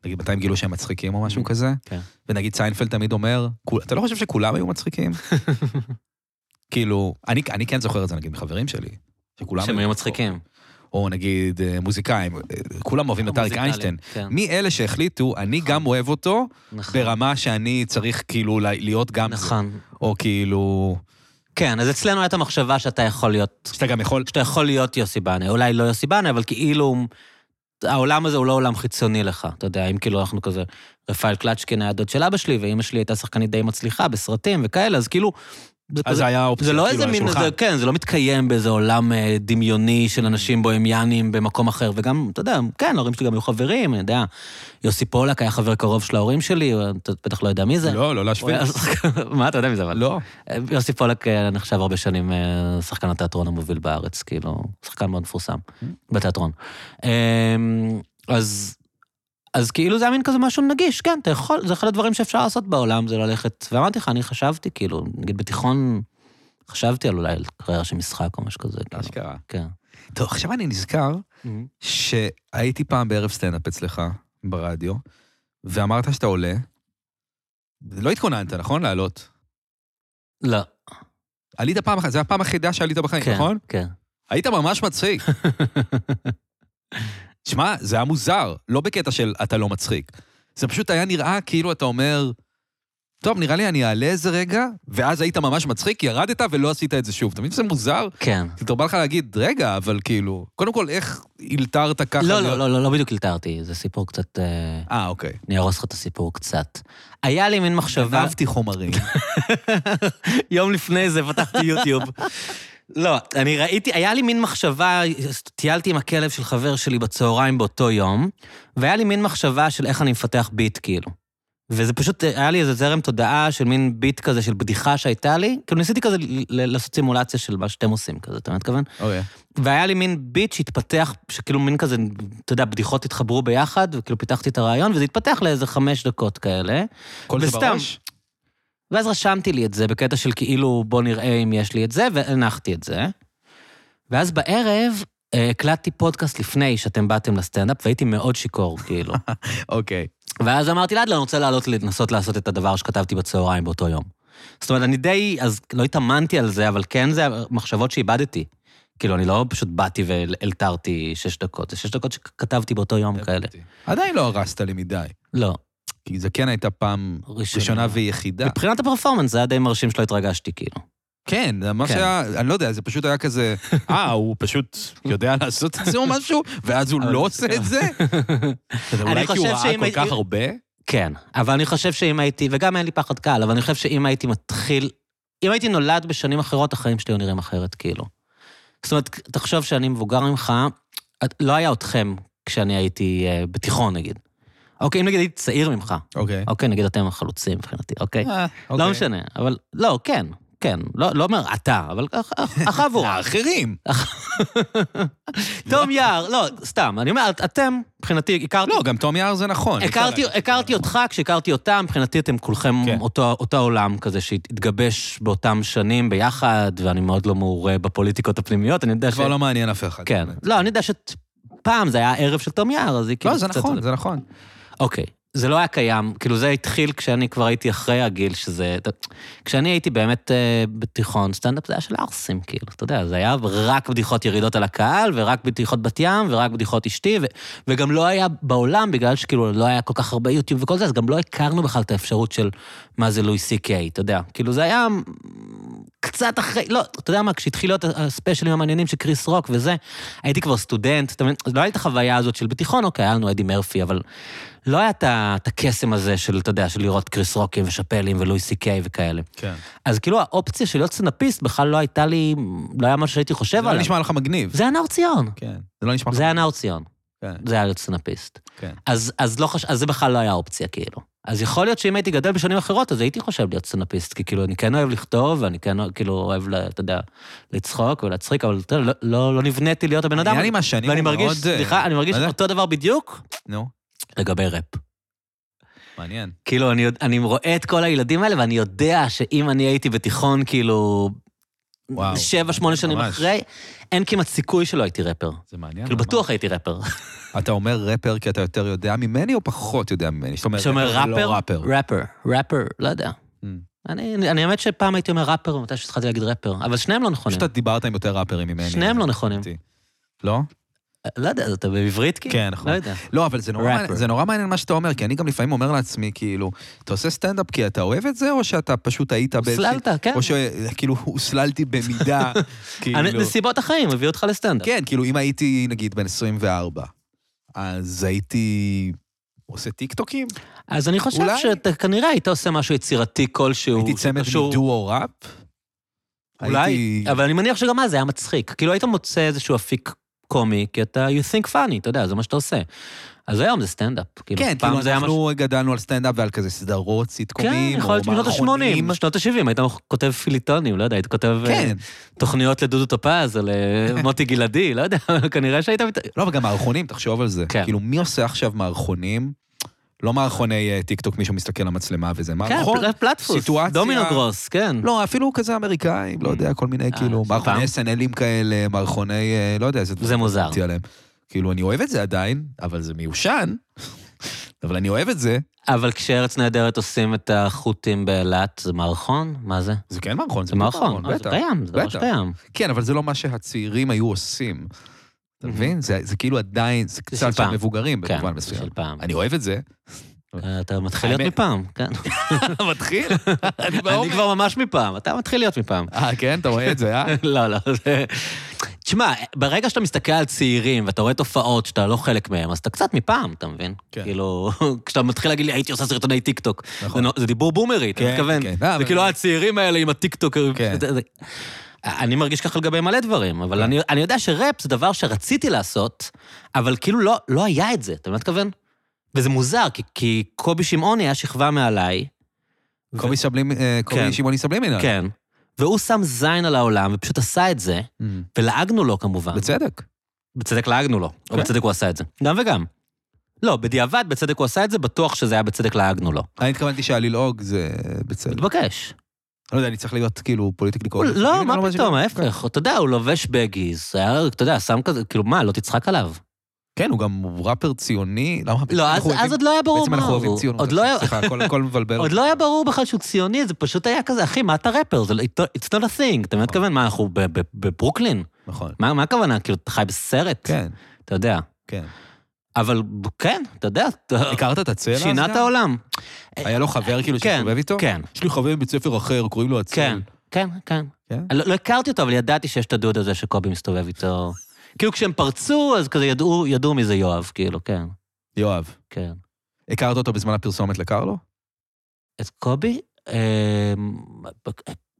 Speaker 2: נגיד, מתי הם גילו שהם מצחיקים או משהו
Speaker 3: Mhm,
Speaker 2: כזה,
Speaker 3: כן.
Speaker 2: ונגיד סיינפלד תמיד אומר, "כול- אתה לא חושב שכולם היו מצחיקים? כאילו, אני, אני כן זוכר את זה, נגיד, מחברים שלי, שכולם
Speaker 3: שהם היו מצחיקים.
Speaker 2: או נגיד אה, מוזיקאים, אה, כולם אוהבים את אריק
Speaker 3: המוזיקליים,
Speaker 2: איינשטיין.
Speaker 3: כן,
Speaker 2: מי אלה שהחליטו, אני גם אוהב אותו,
Speaker 3: נכון.
Speaker 2: ברמה שאני צריך כאילו ל- להיות גם זה.
Speaker 3: נכון.
Speaker 2: או כאילו,
Speaker 3: כן, אז אצלנו הייתה מחשבה שאתה יכול להיות...
Speaker 2: שאתה גם יכול...
Speaker 3: שאתה יכול להיות יוסי בנה, אולי לא יוסי בנה, אבל כאילו... העולם הזה הוא לא עולם חיצוני לך, אתה יודע, אם כאילו אנחנו כזה... רפאל קלצ'קין היה דוד של אבא שלי, ואימא שלי הייתה שחקנית די מצליחה בסרטים וכאלה, אז כאילו... זה
Speaker 2: אז
Speaker 3: כזה-
Speaker 2: זה היה
Speaker 3: זה
Speaker 2: אופציה,
Speaker 3: לא
Speaker 2: כאילו,
Speaker 3: איזה
Speaker 2: על
Speaker 3: מין,
Speaker 2: השולחן.
Speaker 3: זה, כן, זה לא מתקיים באיזה עולם אה, דמיוני של אנשים בוהמיאנים במקום אחר, וגם, אתה יודע, כן, ההורים שלי גם היו חברים, אני יודע, יוסי פולק היה חבר קרוב של ההורים שלי, הוא- אתה בטח לא יודע מי זה.
Speaker 2: לא, לא
Speaker 3: הוא
Speaker 2: להשוויץ.
Speaker 3: היה שחקן- מה, אתה יודע מי זה, אבל?
Speaker 2: לא.
Speaker 3: יוסי פולק אה, נחשב הרבה שנים אה, שחקן התיאטרון המוביל בארץ, כאילו, שחקן מאוד מפורסם בתיאטרון. אמ, אז... אז כאילו זה היה מין כזה משהו נגיש, כן, אתה יכול, זה אחד הדברים שאפשר לעשות בעולם, זה ללכת... ואמרתי לך, אני חשבתי, כאילו, נגיד בתיכון, חשבתי על אולי קריירה של משחק או משהו כזה. כאילו.
Speaker 2: אשכרה.
Speaker 3: כן.
Speaker 2: טוב, עכשיו אני נזכר שהייתי פעם בערב סטנדאפ אצלך ברדיו, ואמרת שאתה עולה. לא התכוננת, נכון? לעלות.
Speaker 3: לא.
Speaker 2: עלית פעם אחת, זו הפעם היחידה שעלית בחיים,
Speaker 3: כן,
Speaker 2: נכון?
Speaker 3: כן.
Speaker 2: היית ממש מצחיק. שמע, זה היה מוזר, לא בקטע של אתה לא מצחיק. זה פשוט היה נראה כאילו אתה אומר, טוב, נראה לי אני אעלה איזה רגע, ואז היית ממש מצחיק, ירדת ולא עשית את זה שוב. אתה מבין שזה מוזר?
Speaker 3: כן.
Speaker 2: כאילו, בא לך להגיד, רגע, אבל כאילו, קודם כל, איך הילתרת ככה?
Speaker 3: לא,
Speaker 2: להיות-"
Speaker 3: לא, לא, לא, לא בדיוק אלתרתי, זה סיפור קצת... אה,
Speaker 2: אה, אוקיי.
Speaker 3: אני ארוס לך את הסיפור קצת. היה לי מין מחשבה...
Speaker 2: אהבתי חומרים.
Speaker 3: יום לפני זה פתחתי יוטיוב. לא, אני ראיתי, היה לי מין מחשבה, טיילתי עם הכלב של חבר שלי בצהריים באותו יום, והיה לי מין מחשבה של איך אני מפתח ביט, כאילו. וזה פשוט, היה לי איזה זרם תודעה של מין ביט כזה, של בדיחה שהייתה לי. כאילו, ניסיתי כזה ל- ל- לעשות סימולציה של מה שאתם עושים כזה, אתה מתכוון?
Speaker 2: אוקיי.
Speaker 3: והיה לי מין ביט שהתפתח, שכאילו מין כזה, אתה יודע, בדיחות התחברו ביחד, וכאילו פיתחתי את הרעיון, וזה התפתח לאיזה חמש דקות כאלה.
Speaker 2: כל זה
Speaker 3: וסתם,
Speaker 2: בראש?
Speaker 3: ואז רשמתי לי את זה בקטע של כאילו, בוא נראה אם יש לי את זה, והנחתי את זה. ואז בערב אה, הקלטתי פודקאסט לפני שאתם באתם לסטנדאפ, והייתי מאוד שיכור, כאילו.
Speaker 2: אוקיי.
Speaker 3: ואז אמרתי לאדלר, אני רוצה לעלות לנסות לעשות את הדבר שכתבתי בצהריים באותו יום. זאת אומרת, אני די, אז לא התאמנתי על זה, אבל כן זה מחשבות שאיבדתי. כאילו, אני לא פשוט באתי והלתרתי שש דקות, זה שש דקות שכתבתי באותו יום כאלה.
Speaker 2: עדיין לא הרסת לי מדי,
Speaker 3: לא,
Speaker 2: כי זה כן הייתה פעם
Speaker 3: ראשונה.
Speaker 2: ראשונה ויחידה.
Speaker 3: מבחינת הפרפורמנס זה היה די מרשים שלא התרגשתי, כאילו.
Speaker 2: כן, זה מה
Speaker 3: כן.
Speaker 2: שהיה, אני לא יודע, זה פשוט היה כזה, אה, הוא פשוט יודע לעשות את זה או משהו, ואז הוא לא עושה
Speaker 3: כן.
Speaker 2: את זה? אתה יודע, אולי כי הוא
Speaker 3: חושב
Speaker 2: ראה
Speaker 3: שאם
Speaker 2: כל
Speaker 3: הייתי-
Speaker 2: כך הרבה?
Speaker 3: כן, אבל אני חושב שאם הייתי, וגם אין לי פחד קהל, אבל אני חושב שאם הייתי מתחיל, אם הייתי נולד בשנים אחרות, החיים שלי היו נראים אחרת, כאילו. זאת אומרת, תחשוב שאני מבוגר ממך, את- לא היה אתכם כשאני הייתי אה, בתיכון, נגיד. אוקיי, אם נגיד הייתי צעיר ממך,
Speaker 2: אוקיי.
Speaker 3: אוקיי, נגיד אתם החלוצים מבחינתי, אוקיי?
Speaker 2: אה, אוקיי.
Speaker 3: לא משנה, אבל לא, כן, כן, לא לא אומר אתה, אבל אח- אח-
Speaker 2: אה,
Speaker 3: החבורה.
Speaker 2: האחרים.
Speaker 3: תום יער, לא, סתם, אני אומר, את- אתם, מבחינתי, הכרתי
Speaker 2: לא, גם תום יער זה נכון.
Speaker 3: אוקיי. הכרתי, הכרתי אותך כשהכרתי אותם, מבחינתי אתם כולכם
Speaker 2: כן.
Speaker 3: כן. אותו, אותו עולם כזה שהתגבש באותם שנים ביחד, ואני מאוד לא מעורה בפוליטיקות הפנימיות, אני יודע ש...
Speaker 2: כבר לא מעניין אף אחד.
Speaker 3: כן.
Speaker 2: באמת.
Speaker 3: לא, אני יודע שפעם זה היה הערב של תום יער, אז היא כאילו
Speaker 2: לא, זה
Speaker 3: קצת-
Speaker 2: נכון, זה נכון.
Speaker 3: אוקיי. זה לא היה קיים, כאילו זה התחיל כשאני כבר הייתי אחרי הגיל שזה... אתה- כשאני הייתי באמת אה, בתיכון, סטנדאפ זה היה של ערסים, כאילו, אתה יודע, זה היה רק בדיחות ירידות על הקהל, ורק בדיחות בת ים, ורק בדיחות אשתי, ו... וגם לא היה בעולם, בגלל שכאילו לא היה כל כך הרבה יוטיוב וכל זה, אז גם לא הכרנו בכלל את האפשרות של מה זה לואי סי קיי, אתה יודע. כאילו זה היה קצת אחרי, לא, אתה יודע מה, כשהתחילו להיות הספיישלים המעניינים של קריס רוק וזה, הייתי כבר סטודנט, אתה מבין? אז לא הייתה את החוויה הזאת של בתיכון, אוקיי, היה לנו אדי מרפי, אבל לא היה את ה- את הקסם הזה של, אתה יודע, של לראות קריס רוקים ושאפלים ולואי סי קיי וכאלה.
Speaker 2: כן.
Speaker 3: אז כאילו האופציה של להיות סטנדאפיסט בכלל לא הייתה לי, לא היה משהו שהייתי
Speaker 2: זה
Speaker 3: חושב
Speaker 2: לא
Speaker 3: עליו.
Speaker 2: נשמע לך מגניב.
Speaker 3: זה היה נאור ציון.
Speaker 2: כן. זה לא נשמע לך...
Speaker 3: זה היה נאור ציון.
Speaker 2: כן,
Speaker 3: זה היה להיות סטנדאפיסט.
Speaker 2: כן.
Speaker 3: אז, אז, לא חש... אז זה בכלל לא היה אופציה, כאילו. אז יכול להיות שאם הייתי גדל בשנים אחרות, אז הייתי חושב להיות סטנדאפיסט, כי כאילו, אני כן אוהב לכתוב, ואני כן אוה- כאילו אוהב, ל- אתה יודע, לצחוק ולהצחיק, אבל אתה יודע, לא, לא, לא נבניתי להיות הבן אדם.
Speaker 2: נראה לי מהשנים
Speaker 3: ואני
Speaker 2: הוא
Speaker 3: מרגיש,
Speaker 2: מאוד, אה,
Speaker 3: סליחה, אני מרגיש
Speaker 2: מה זה?
Speaker 3: אותו דבר בדיוק
Speaker 2: נו,
Speaker 3: לגבי ראפ.
Speaker 2: מעניין.
Speaker 3: כאילו, אני, יודע- אני רואה את כל הילדים האלה, ואני יודע שאם אני הייתי בתיכון, כאילו,
Speaker 2: וואו.
Speaker 3: שבע, שמונה שנים
Speaker 2: ממש.
Speaker 3: אחרי, אין כמעט סיכוי שלא הייתי ראפר.
Speaker 2: זה מעניין.
Speaker 3: כאילו,
Speaker 2: ממש.
Speaker 3: בטוח הייתי ראפר.
Speaker 2: אתה אומר ראפר כי אתה יותר יודע ממני או פחות יודע ממני? שאתה אומר
Speaker 3: שאומר
Speaker 2: לא
Speaker 3: ראפר?
Speaker 2: ראפר.
Speaker 3: ראפר, ראפר, לא יודע.
Speaker 2: Mm.
Speaker 3: אני, אני- האמת שפעם הייתי אומר ראפר, ומתי שהתחלתי להגיד ראפר, אבל שניהם לא נכונים.
Speaker 2: פשוט אתה דיברת עם יותר ראפרים ממני.
Speaker 3: שניהם לא נכונים.
Speaker 2: לדעתי. לא?
Speaker 3: לא יודע, אתה בעברית כאילו?
Speaker 2: כן, נכון.
Speaker 3: לא יודע.
Speaker 2: לא, אבל זה נורא,
Speaker 3: ראפר.
Speaker 2: מעניין, זה נורא מעניין מה שאתה אומר, כי אני גם לפעמים אומר לעצמי, כאילו, אתה עושה סטנדאפ כי אתה אוהב את זה, או שאתה פשוט היית באיזושהי...
Speaker 3: הוסללת, כן.
Speaker 2: או שכאילו, הוסללתי במידה,
Speaker 3: אני-
Speaker 2: כאילו...
Speaker 3: נסיבות החיים הביאו אותך לסטנדאפ.
Speaker 2: כן, כאילו, אם הייתי, נגיד, בן 24, אז הייתי עושה טיקטוקים?
Speaker 3: אז אני חושב
Speaker 2: אולי-
Speaker 3: שאתה כנראה היית עושה משהו יצירתי כלשהו.
Speaker 2: הייתי צמד
Speaker 3: שקשור-
Speaker 2: מדואו ראפ?
Speaker 3: אולי,
Speaker 2: הייתי-
Speaker 3: אבל אני מניח שגם אז זה היה מצחיק. כאילו היית מוצא איזשהו אפיק קומי, כי אתה you think funny, אתה יודע, זה מה שאתה עושה. אז היום זה סטנדאפ. כאילו,
Speaker 2: כן,
Speaker 3: פעם
Speaker 2: כאילו,
Speaker 3: זה היה
Speaker 2: אנחנו גדלנו על סטנדאפ ועל כזה סדרות,
Speaker 3: כן,
Speaker 2: סיטקומים, או
Speaker 3: יכול להיות בשנות
Speaker 2: מערכונים.
Speaker 3: ה-80, בשנות ה-70, היית כותב פיליטונים, לא יודע, היית כותב אה,
Speaker 2: כן,
Speaker 3: תוכניות לדודו טופז או למוטי גלעדי, לא יודע, כנראה שהיית... מת-
Speaker 2: לא, אבל גם מערכונים, תחשוב על זה.
Speaker 3: כן.
Speaker 2: כאילו, מי עושה עכשיו מערכונים? לא מערכוני אה, טיקטוק, מישהו מסתכל למצלמה וזה,
Speaker 3: כן,
Speaker 2: מערכון,
Speaker 3: פל- פלטפוס,
Speaker 2: סיטואציה.
Speaker 3: דומינו גרוס, כן.
Speaker 2: לא, אפילו כזה אמריקאים, לא יודע, כל
Speaker 3: אה,
Speaker 2: מיני, כאילו,
Speaker 3: סבבה.
Speaker 2: מערכוני SNLים כאלה, מערכוני, אה, לא יודע, איזה דברים
Speaker 3: זה מוזר.
Speaker 2: שחשבתי עליהם. כאילו, אני אוהב את זה עדיין, אבל זה מיושן, אבל אני אוהב את זה.
Speaker 3: אבל כשארץ נהדרת עושים את החוטים באילת, זה מערכון? מה זה?
Speaker 2: זה כן מערכון,
Speaker 3: זה מערכון, אה, זה
Speaker 2: בטח.
Speaker 3: קיים, זה ממש
Speaker 2: בטח.
Speaker 3: קיים.
Speaker 2: כן, אבל זה לא מה שהצעירים היו עושים. אתה מבין? זה זה כאילו עדיין, זה
Speaker 3: של
Speaker 2: קצת של
Speaker 3: פעם.
Speaker 2: מבוגרים
Speaker 3: כן,
Speaker 2: במובן
Speaker 3: זה
Speaker 2: מסוים.
Speaker 3: של פעם.
Speaker 2: אני אוהב את זה.
Speaker 3: אה, אתה מתחיל להיות
Speaker 2: האמת-
Speaker 3: מפעם, כן.
Speaker 2: מתחיל. אני
Speaker 3: אני
Speaker 2: בעומק.
Speaker 3: כבר ממש מפעם, אתה מתחיל להיות מפעם.
Speaker 2: אה, כן? אתה רואה את זה, אה?
Speaker 3: לא, לא, זה... תשמע, ברגע שאתה מסתכל על צעירים ואתה רואה תופעות שאתה לא חלק מהם, אז אתה קצת מפעם, אתה מבין?
Speaker 2: כן.
Speaker 3: כאילו, כשאתה מתחיל להגיד לי, הייתי עושה סרטוני טיקטוק.
Speaker 2: נכון.
Speaker 3: זה נו- זה דיבור בומרי, אתה
Speaker 2: כן,
Speaker 3: מתכוון.
Speaker 2: כן. אה,
Speaker 3: זה
Speaker 2: אבל-
Speaker 3: כאילו הצעירים האלה עם הטיקטוק.
Speaker 2: כן.
Speaker 3: זה- זה- אני מרגיש ככה לגבי מלא דברים, אבל אני- אני יודע שראפ זה דבר שרציתי לעשות, אבל כאילו לא- לא היה את זה, אתה מבין מה אתכוון? וזה מוזר, כי- כי קובי שמעון היה שכבה מעליי,
Speaker 2: קובי סבלים, אה,
Speaker 3: כן.
Speaker 2: קובי שמעוני סבלימינל.
Speaker 3: כן, והוא שם זין על העולם ופשוט עשה את זה.
Speaker 2: Mm,
Speaker 3: ולעגנו לו כמובן.
Speaker 2: בצדק.
Speaker 3: אה, בצדק לעגנו לו,
Speaker 2: כן.
Speaker 3: או בצדק הוא עשה את זה. גם וגם. לא, בדיעבד בצדק הוא עשה את זה, בטוח שזה היה בצדק לעגנו לו.
Speaker 2: אני התכוונתי שהללעוג זה בצדק.
Speaker 3: מתבקש.
Speaker 2: לא יודע, אני צריך להיות כאילו פוליטיקלי
Speaker 3: הוא-
Speaker 2: קורקט.
Speaker 3: לא, מה פתאום,
Speaker 2: כאילו.
Speaker 3: ההפך. אתה יודע, הוא לובש בגיז, היה, אתה יודע, שם כזה, כאילו, מה, לא תצחק עליו.
Speaker 2: כן, הוא גם ראפר ציוני. למה?
Speaker 3: לא, אז-
Speaker 2: אנחנו אוהבים-
Speaker 3: אז עוד לא היה ברור
Speaker 2: בעצם
Speaker 3: מה
Speaker 2: אנחנו אוהבים
Speaker 3: הוא.
Speaker 2: ציונות.
Speaker 3: עוד לא היה-
Speaker 2: סליחה, הכל- הכל מבלבל.
Speaker 3: עוד לא היה ברור בכלל שהוא ציוני, זה פשוט היה כזה, אחי, מה אתה ראפר? זה לא- it's not a thing, אתה מתכוון, מה, אנחנו ב- ב- בברוקלין?
Speaker 2: נכון.
Speaker 3: מה מה הכוונה? כאילו, אתה חי בסרט?
Speaker 2: כן,
Speaker 3: אתה יודע.
Speaker 2: כן.
Speaker 3: אבל ב- כן, אתה יודע, אתה-
Speaker 2: הכרת את הצלע? אז
Speaker 3: שינה את
Speaker 2: גם?
Speaker 3: העולם.
Speaker 2: היה לו חבר כאילו
Speaker 3: כן,
Speaker 2: שהסתובב איתו?
Speaker 3: כן.
Speaker 2: יש לי חבר מבית ספר אחר, קוראים לו הצל.
Speaker 3: כן, כן, כן.
Speaker 2: כן?
Speaker 3: אני לא, לא הכרתי אותו, אבל ידעתי שיש את הדוד הזה שקובי מסתובב איתו. כאילו כשהם פרצו, אז כזה ידעו, ידעו מי זה יואב, כאילו, כן,
Speaker 2: יואב.
Speaker 3: כן.
Speaker 2: הכרת אותו בזמן הפרסומת לקרלו?
Speaker 3: את קובי, אמ,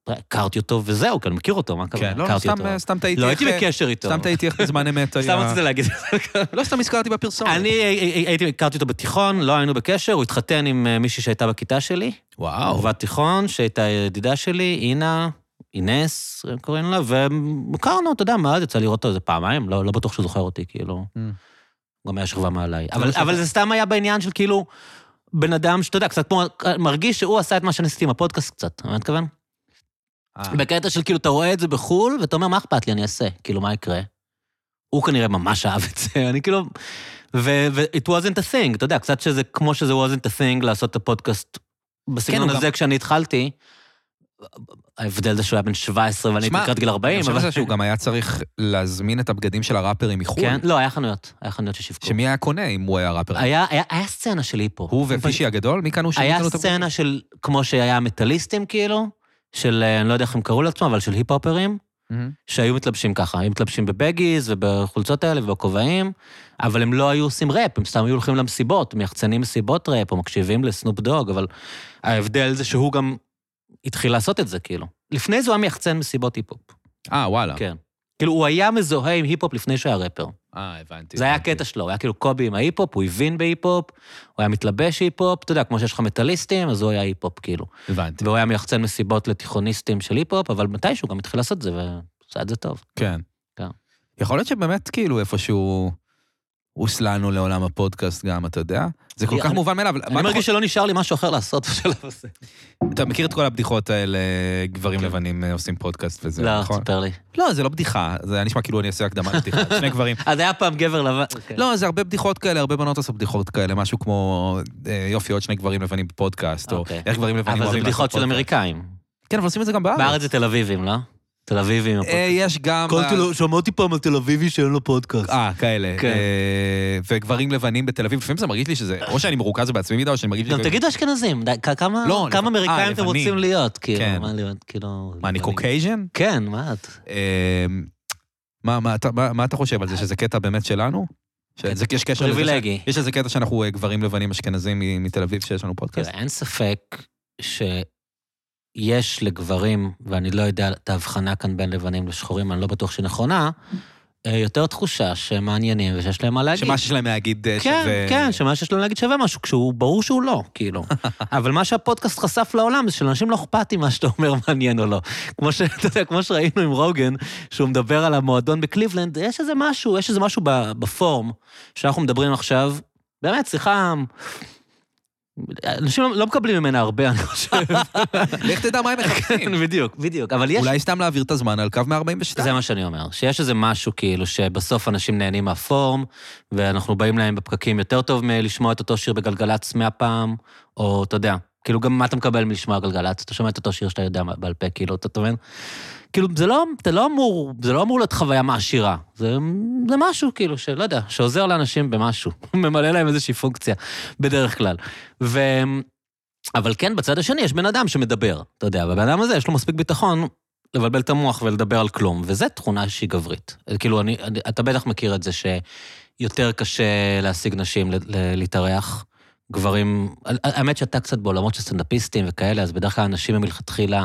Speaker 3: הכרתי אותו וזהו, כי אני מכיר אותו, מה הכוונה?
Speaker 2: לא,
Speaker 3: הכרתי
Speaker 2: סתם-
Speaker 3: אותו.
Speaker 2: סתם טעיתי.
Speaker 3: לא
Speaker 2: איך-
Speaker 3: הייתי בקשר איתו.
Speaker 2: סתם טעיתי איך בזמן אמת
Speaker 3: סתם
Speaker 2: היה...
Speaker 3: רציתי להגיד.
Speaker 2: לא סתם הזכרתי בפרסומת.
Speaker 3: אני הי- הייתי, הכרתי אותו בתיכון, לא היינו בקשר, הוא התחתן עם אה, מישהי שהייתה בכיתה שלי,
Speaker 2: וואו.
Speaker 3: אהובת תיכון, שהייתה ידידה שלי, אינה, אינס, קוראים לה, והכרנו, אתה יודע, מה, אז יצא לראות אותו איזה פעמיים, לא, לא בטוח שהוא זוכר אותי, כאילו.
Speaker 2: Mm.
Speaker 3: הוא גם היה שכבה מעליי. אבל,
Speaker 2: בסדר.
Speaker 3: אבל זה סתם היה בעניין של כאילו, בן אדם שאתה יודע, קצת כמו, מרגיש שהוא עשה את מה שאני עשיתי עם הפודקאסט קצת, אתה מבין מה אני מתכוון?
Speaker 2: אה,
Speaker 3: בקטע של כאילו, אתה רואה את זה בחו"ל, ואתה אומר, מה אכפת לי, אני אעשה, כאילו, מה יקרה? הוא כנראה ממש אהב את זה, אני כאילו... ו- ו- it wasn't a thing, אתה יודע, קצת שזה, כמו שזה wasn't a thing לעשות את הפודקאסט בסגנון
Speaker 2: כן, הוא גם-
Speaker 3: הזה כשאני התחלתי. ההבדל זה שהוא היה בן 17 ואני הייתי
Speaker 2: שמע,
Speaker 3: לקראת גיל 40,
Speaker 2: אני חושב
Speaker 3: אבל...
Speaker 2: על זה שהוא גם היה צריך להזמין את הבגדים של הראפרים מחו"ל.
Speaker 3: כן, לא, היה חנויות, היה חנויות ששיווקו.
Speaker 2: שמי היה קונה אם הוא היה ראפר?
Speaker 3: היה, היה, היה סצנה של היפו.
Speaker 2: הוא ופישי הגדול? מי כאן הוא
Speaker 3: היה
Speaker 2: לנו את הבגדים?
Speaker 3: סצנה של, כמו שהיה מטאליסטים כאילו, של, אה, אני לא יודע איך הם קראו לעצמם, אבל של היפ-הופרים,
Speaker 2: מהמם.
Speaker 3: שהיו מתלבשים ככה. היו מתלבשים בבגיז ובחולצות האלה ובכובעים, אבל הם לא היו עושים ראפ, הם סתם היו הולכים למסיבות, מייחצנים מסיבות ראפ או מקשיבים לסנופ דוג, אבל ההבדל זה שהוא גם התחיל לעשות את זה כאילו. לפני זה הוא היה מייחצן מסיבות היפ-הופ,
Speaker 2: אה, וואלה.
Speaker 3: כן. כאילו, הוא היה מזוהה עם היפ-הופ לפני שהיה ראפר.
Speaker 2: אה, הבנתי.
Speaker 3: זה היה
Speaker 2: הבנתי.
Speaker 3: הקטע שלו, הוא היה כאילו קובי עם ההיפ-הופ, הוא הבין בהיפ-הופ, הוא היה מתלבש היפ-הופ, אתה יודע, כמו שיש לך מטאליסטים, אז הוא היה היפ-הופ כאילו.
Speaker 2: הבנתי.
Speaker 3: והוא היה מייחצן מסיבות לתיכוניסטים של היפ-הופ, אבל מתישהו גם התחיל לעשות את זה, ועשה את זה טוב.
Speaker 2: כן.
Speaker 3: כן.
Speaker 2: יכול להיות שבאמת כאילו איפשהו הוסללנו לעולם הפודקאסט גם, אתה יודע? זה כל
Speaker 3: אני-
Speaker 2: כך
Speaker 3: אני-
Speaker 2: מובן מאליו.
Speaker 3: אני
Speaker 2: מה
Speaker 3: מרגיש שלא נשאר לי משהו אחר לעשות בשלב הזה.
Speaker 2: אתה מכיר את כל הבדיחות האלה, גברים לבנים אה, עושים פודקאסט וזה,
Speaker 3: כן. לא,
Speaker 2: נכון?
Speaker 3: תספר לי.
Speaker 2: לא, זה לא בדיחה, זה היה נשמע כאילו אני עושה הקדמה לבדיחה, שני גברים.
Speaker 3: אז היה פעם גבר לבן.
Speaker 2: לא, זה הרבה בדיחות כאלה, הרבה בנות עושות בדיחות כאלה, משהו כמו אה, יופי, עוד שני גברים לבנים בפודקאסט, או
Speaker 3: אוקיי.
Speaker 2: איך גברים לבנים
Speaker 3: אבל זה
Speaker 2: אוהבים לעשות
Speaker 3: בדיחות של
Speaker 2: פודקאסט.
Speaker 3: אמריקאים.
Speaker 2: כן, אבל עושים את זה גם בארץ.
Speaker 3: בארץ זה תל אביבים, לא? תל אביבים.
Speaker 2: אה, יש גם... אה,
Speaker 3: שמעתי פעם על תל אביבי שאין לו פודקאסט.
Speaker 2: אה, כאלה.
Speaker 3: כן.
Speaker 2: אה, וגברים לבנים בתל אביב, לפעמים זה מרגיש לי שזה, או שאני מרוכז בעצמי מדי, או שאני מרגיש...
Speaker 3: גם
Speaker 2: לי-
Speaker 3: תגידו אשכנזים, די, כ- כמה
Speaker 2: לא,
Speaker 3: כמה
Speaker 2: לבן- אה,
Speaker 3: אמריקאים אתם
Speaker 2: לבנים.
Speaker 3: רוצים להיות, כאילו,
Speaker 2: כן.
Speaker 3: מה להיות, כאילו...
Speaker 2: מה, אני
Speaker 3: לבנים.
Speaker 2: קוקייז'ן?
Speaker 3: כן, מה את?
Speaker 2: אה, מה- מה אתה- מה- מה אתה חושב על זה, שזה קטע באמת שלנו?
Speaker 3: כן.
Speaker 2: שזה- יש קשר לזה ש-
Speaker 3: פריבילגי.
Speaker 2: יש איזה קטע שאנחנו אה, גברים לבנים אשכנזים מ- מתל אביב שיש לנו פודקאסט?
Speaker 3: תראה, אין ספק שיש לגברים, ואני לא יודע את ההבחנה כאן בין לבנים לשחורים, אני לא בטוח שהיא נכונה, אה, יותר תחושה שהם מעניינים ושיש להם מה להגיד.
Speaker 2: שמה שיש להם להגיד אה,
Speaker 3: כן,
Speaker 2: שווה...
Speaker 3: כן, שמה שיש להם להגיד שווה משהו, כשהוא, ברור שהוא לא, כאילו. אבל מה שהפודקאסט חשף לעולם זה שלאנשים לא אכפת אם מה שאתה אומר מעניין או לא. כמו שאתה יודע, כמו שראינו עם רוגן, שהוא מדבר על המועדון בקליבלנד, יש איזה משהו, יש איזה משהו ב- בפורם, שאנחנו מדברים עכשיו, באמת, שיחה אנשים לא, לא מקבלים ממנה הרבה, אני חושב.
Speaker 2: לך תדע מה הם מחפשים.
Speaker 3: בדיוק, בדיוק. אבל יש...
Speaker 2: אולי סתם להעביר את הזמן על קו 142.
Speaker 3: זה מה שאני אומר, שיש איזה משהו כאילו שבסוף אנשים נהנים מהפורם, ואנחנו באים להם בפקקים יותר טוב מלשמוע את אותו שיר בגלגלצ 100 פעם, או אתה יודע, כאילו גם מה אתה מקבל מלשמוע גלגלצ? אתה שומע את אותו שיר שאתה יודע מה- בעל פה, כאילו, אתה אתה מבין? כאילו, זה לא, אתה לא אמור, זה לא אמור להיות חוויה מעשירה. זה, זה משהו, כאילו, שלא יודע, שעוזר לאנשים במשהו. ממלא להם איזושהי פונקציה, בדרך כלל. ו... אבל כן, בצד השני יש בן אדם שמדבר, אתה יודע, והבן אדם הזה יש לו מספיק ביטחון לבלבל את המוח ולדבר על כלום, וזו תכונה שהיא גברית. כאילו, אני, אני- אתה בטח מכיר את זה שיותר קשה להשיג נשים ל- ל- להתארח. גברים, האמת שאתה קצת בעולמות של סטנדאפיסטים וכאלה, אז בדרך כלל הנשים הן מלכתחילה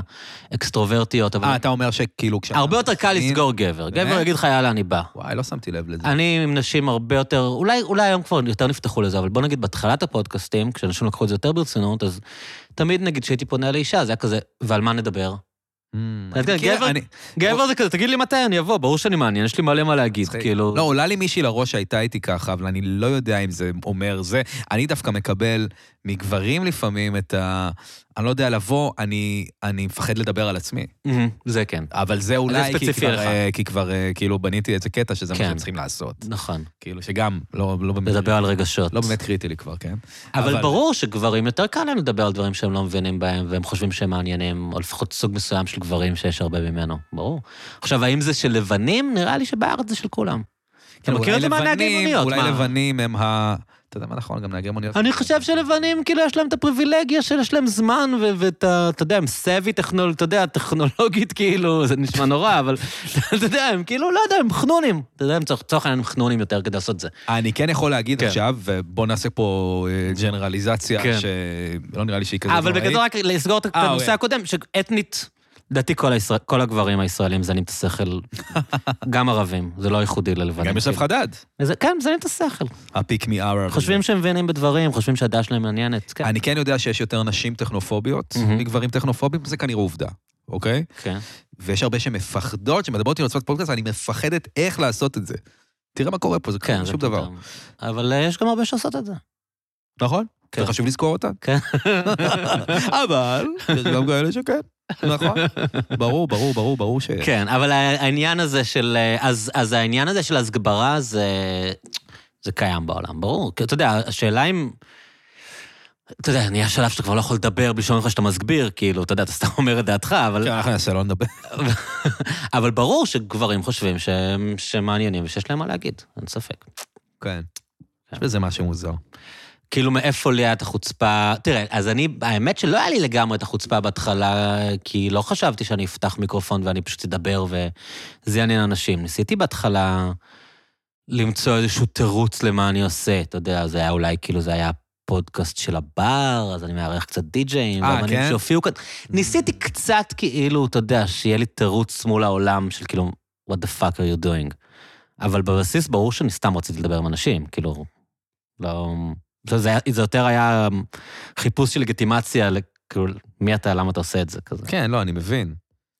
Speaker 3: אקסטרוברטיות, אבל...
Speaker 2: אה, אתה אומר שכאילו כשאתה...
Speaker 3: הרבה יותר קל
Speaker 2: מזמין-
Speaker 3: לסגור אה, גבר. גבר
Speaker 2: באמת?
Speaker 3: יגיד לך, יאללה, אני בא.
Speaker 2: וואי, לא שמתי לב לזה.
Speaker 3: אני עם נשים הרבה יותר, אולי, אולי היום כבר יותר נפתחו לזה, אבל בוא נגיד בהתחלת הפודקאסטים, כשאנשים לקחו את זה יותר ברצינות, אז תמיד נגיד שהייתי פונה לאישה, זה היה כזה, ועל מה נדבר?
Speaker 2: אמ,
Speaker 3: אתה יודע,
Speaker 2: אני מכיר,
Speaker 3: כן, גבר-
Speaker 2: אני-
Speaker 3: גבר זה כזה, תגיד לי מתי אני אבוא, ברור שאני מעניין, יש לי מלא מה להגיד,
Speaker 2: מצחיק.
Speaker 3: כאילו...
Speaker 2: לא, עולה לי מישהי לראש שהייתה איתי ככה, אבל אני לא יודע אם זה אומר זה. אני דווקא מקבל מגברים לפעמים את ה... אני לא יודע לבוא, אני, אני מפחד לדבר על עצמי.
Speaker 3: מהמם, זה כן.
Speaker 2: אבל זה אולי כי
Speaker 3: ספציפי
Speaker 2: כבר,
Speaker 3: לך.
Speaker 2: אה, כי כבר אה, כאילו בניתי איזה קטע שזה
Speaker 3: כן.
Speaker 2: מה שהם צריכים לעשות.
Speaker 3: נכון,
Speaker 2: כאילו שגם, לא, לא, באמת,
Speaker 3: לדבר על רגשות.
Speaker 2: לא באמת קריטי לי כבר, כן?
Speaker 3: אבל
Speaker 2: אבל-
Speaker 3: ברור שגברים יותר קל להם לדבר על דברים שהם לא מבינים בהם, והם חושבים שהם מעניינים, או לפחות סוג מסוים של גברים שיש הרבה ממנו, ברור. עכשיו, האם זה של לבנים? נראה לי שבארץ זה של כולם. אתה מכיר את זה
Speaker 2: כן, כאילו, אולי
Speaker 3: מהנהגי
Speaker 2: לבנים-
Speaker 3: מוניות,
Speaker 2: אולי
Speaker 3: מה?
Speaker 2: לבנים הם ה... אתה יודע מה נכון, גם נהגי מוניות.
Speaker 3: אני חושב שלבנים, כאילו, יש להם את הפריבילגיה שיש להם זמן, ו- ואת ה... אתה יודע, הם סאבי טכנול... אתה יודע, טכנולוגית, כאילו, זה נשמע נורא, אבל אתה יודע, הם כאילו, לא יודע, הם חנונים. אתה יודע, הם צריך- לצורך העניין הם חנונים יותר כדי לעשות את זה.
Speaker 2: אני כן יכול להגיד
Speaker 3: כן.
Speaker 2: עכשיו, ובוא נעשה פה אה, ג'נרליזציה,
Speaker 3: כן.
Speaker 2: שלא נראה לי שהיא כזאת
Speaker 3: אבל בגדול, רק לסגור את
Speaker 2: אה,
Speaker 3: הנושא
Speaker 2: אוקיי.
Speaker 3: הקודם, שאתנית, לדעתי כל הישראל- כל הגברים הישראלים זנים את השכל, גם ערבים, זה לא ייחודי ללבנים.
Speaker 2: גם יוסף
Speaker 3: כאילו.
Speaker 2: חדד,
Speaker 3: זה- כן, זנים את השכל.
Speaker 2: הפיק מי ארר.
Speaker 3: חושבים שהם מבינים בדברים, חושבים שהדעה שלהם מעניינת. כן.
Speaker 2: אני כן יודע שיש יותר נשים טכנופוביות
Speaker 3: מהמם.
Speaker 2: מגברים טכנופובים, זה כנראה עובדה, אוקיי?
Speaker 3: כן.
Speaker 2: ויש הרבה שמפחדות, שמדברות איתי לעשות פודקאסט, אני מפחדת איך לעשות את זה. תראה מה קורה פה, זה
Speaker 3: כן,
Speaker 2: כלום,
Speaker 3: זה
Speaker 2: שום דבר. כן,
Speaker 3: פתאום. אבל אה, יש גם הרבה שעושות את זה.
Speaker 2: נכון?
Speaker 3: כן.
Speaker 2: זה חשוב לזכור אותן.
Speaker 3: כן.
Speaker 2: אבל, יש גם כאלה שכן, נכון? ברור, ברור, ברור, ברור ש...
Speaker 3: כן, אבל העניין הזה של... אה, אז, אז העניין הזה של הסגברה זה, זה קיים בעולם, ברור. כי אתה יודע, השאלה אם... אתה יודע, נהיה שלב שאתה כבר לא יכול לדבר בלי שאומרים לך שאתה מסגביר, כאילו, אתה יודע, אתה סתם אומר את דעתך, אבל,
Speaker 2: כן, אנחנו ננסה לא לדבר.
Speaker 3: אבל ברור שגברים חושבים שהם, שהם מעניינים ושיש להם מה להגיד, אין ספק.
Speaker 2: כן. יש בזה משהו מוזר.
Speaker 3: כאילו, מאיפה לי היה את החוצפה? תראה, אז אני, האמת שלא היה לי לגמרי את החוצפה בהתחלה, כי לא חשבתי שאני אפתח מיקרופון ואני פשוט אדבר וזה יעניין אנשים. ניסיתי בהתחלה למצוא איזשהו תירוץ למה אני עושה, אתה יודע, זה היה אולי, כאילו, זה היה פודקאסט של הבר, אז אני מארח קצת די-ג'אים,
Speaker 2: אה,
Speaker 3: ואמנים
Speaker 2: כן?
Speaker 3: שהופיעו כאן. ניסיתי קצת, כאילו, אתה יודע, שיהיה לי תירוץ מול העולם של כאילו, what the fuck are you doing? אבל בבסיס ברור שאני סתם רציתי לדבר עם אנשים, כאילו, לא... זה, זה, היה- זה יותר היה אמ, חיפוש של לגיטימציה, ל- כאילו, מי אתה, למה אתה עושה את זה, כזה.
Speaker 2: כן, לא, אני מבין.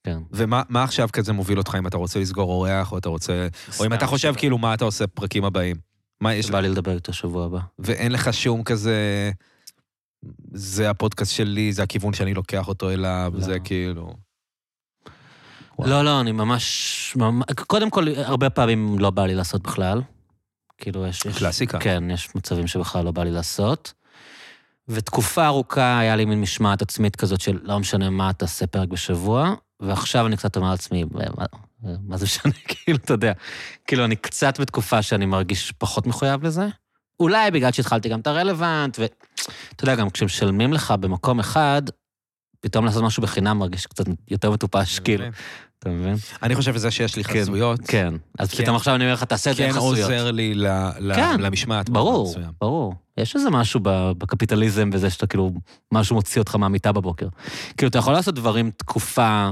Speaker 3: כן.
Speaker 2: ומה מה עכשיו כזה מוביל אותך אם אתה רוצה לסגור אורח, או אתה רוצה... או אם
Speaker 3: סתם,
Speaker 2: אתה חושב
Speaker 3: שבא-
Speaker 2: כאילו מה אתה עושה פרקים הבאים. מה יש לך?
Speaker 3: שבא לי לדבר איתו שבוע הבא.
Speaker 2: ואין לך שום כזה... זה הפודקאסט שלי, זה הכיוון שאני לוקח אותו אליו,
Speaker 3: לא.
Speaker 2: זה כאילו... וואו.
Speaker 3: לא, לא, אני ממש... ממש- קודם כל, הרבה פעמים לא בא לי לעשות בכלל. כאילו, יש... יש-
Speaker 2: קלאסיקה.
Speaker 3: כן, יש מצבים שבכלל לא בא לי לעשות. ותקופה ארוכה היה לי מין משמעת עצמית כזאת של לא משנה מה, תעשה פרק בשבוע, ועכשיו אני קצת אומר לעצמי, "אה, מה, מה זה משנה, כאילו, אתה יודע. כאילו, אני קצת בתקופה שאני מרגיש פחות מחויב לזה. אולי בגלל שהתחלתי גם את הרלוונט, ואתה יודע, גם כשמשלמים לך במקום אחד, פתאום לעשות משהו בחינם מרגיש קצת יותר מטופש, כאילו. אתה מבין?
Speaker 2: אני חושב שזה שיש לי חסויות,
Speaker 3: כן. אז
Speaker 2: כן.
Speaker 3: פתאום עכשיו אני אומר לך, תעשה את זה
Speaker 2: כן
Speaker 3: עם חסויות.
Speaker 2: עוזר לי ל- ל-
Speaker 3: כן.
Speaker 2: למשמעת.
Speaker 3: ברור,
Speaker 2: מסוים.
Speaker 3: ברור. יש איזה משהו ב- בקפיטליזם בזה שאתה כאילו, משהו מוציא אותך מהמיטה בבוקר. כאילו, אתה יכול לעשות דברים תקופה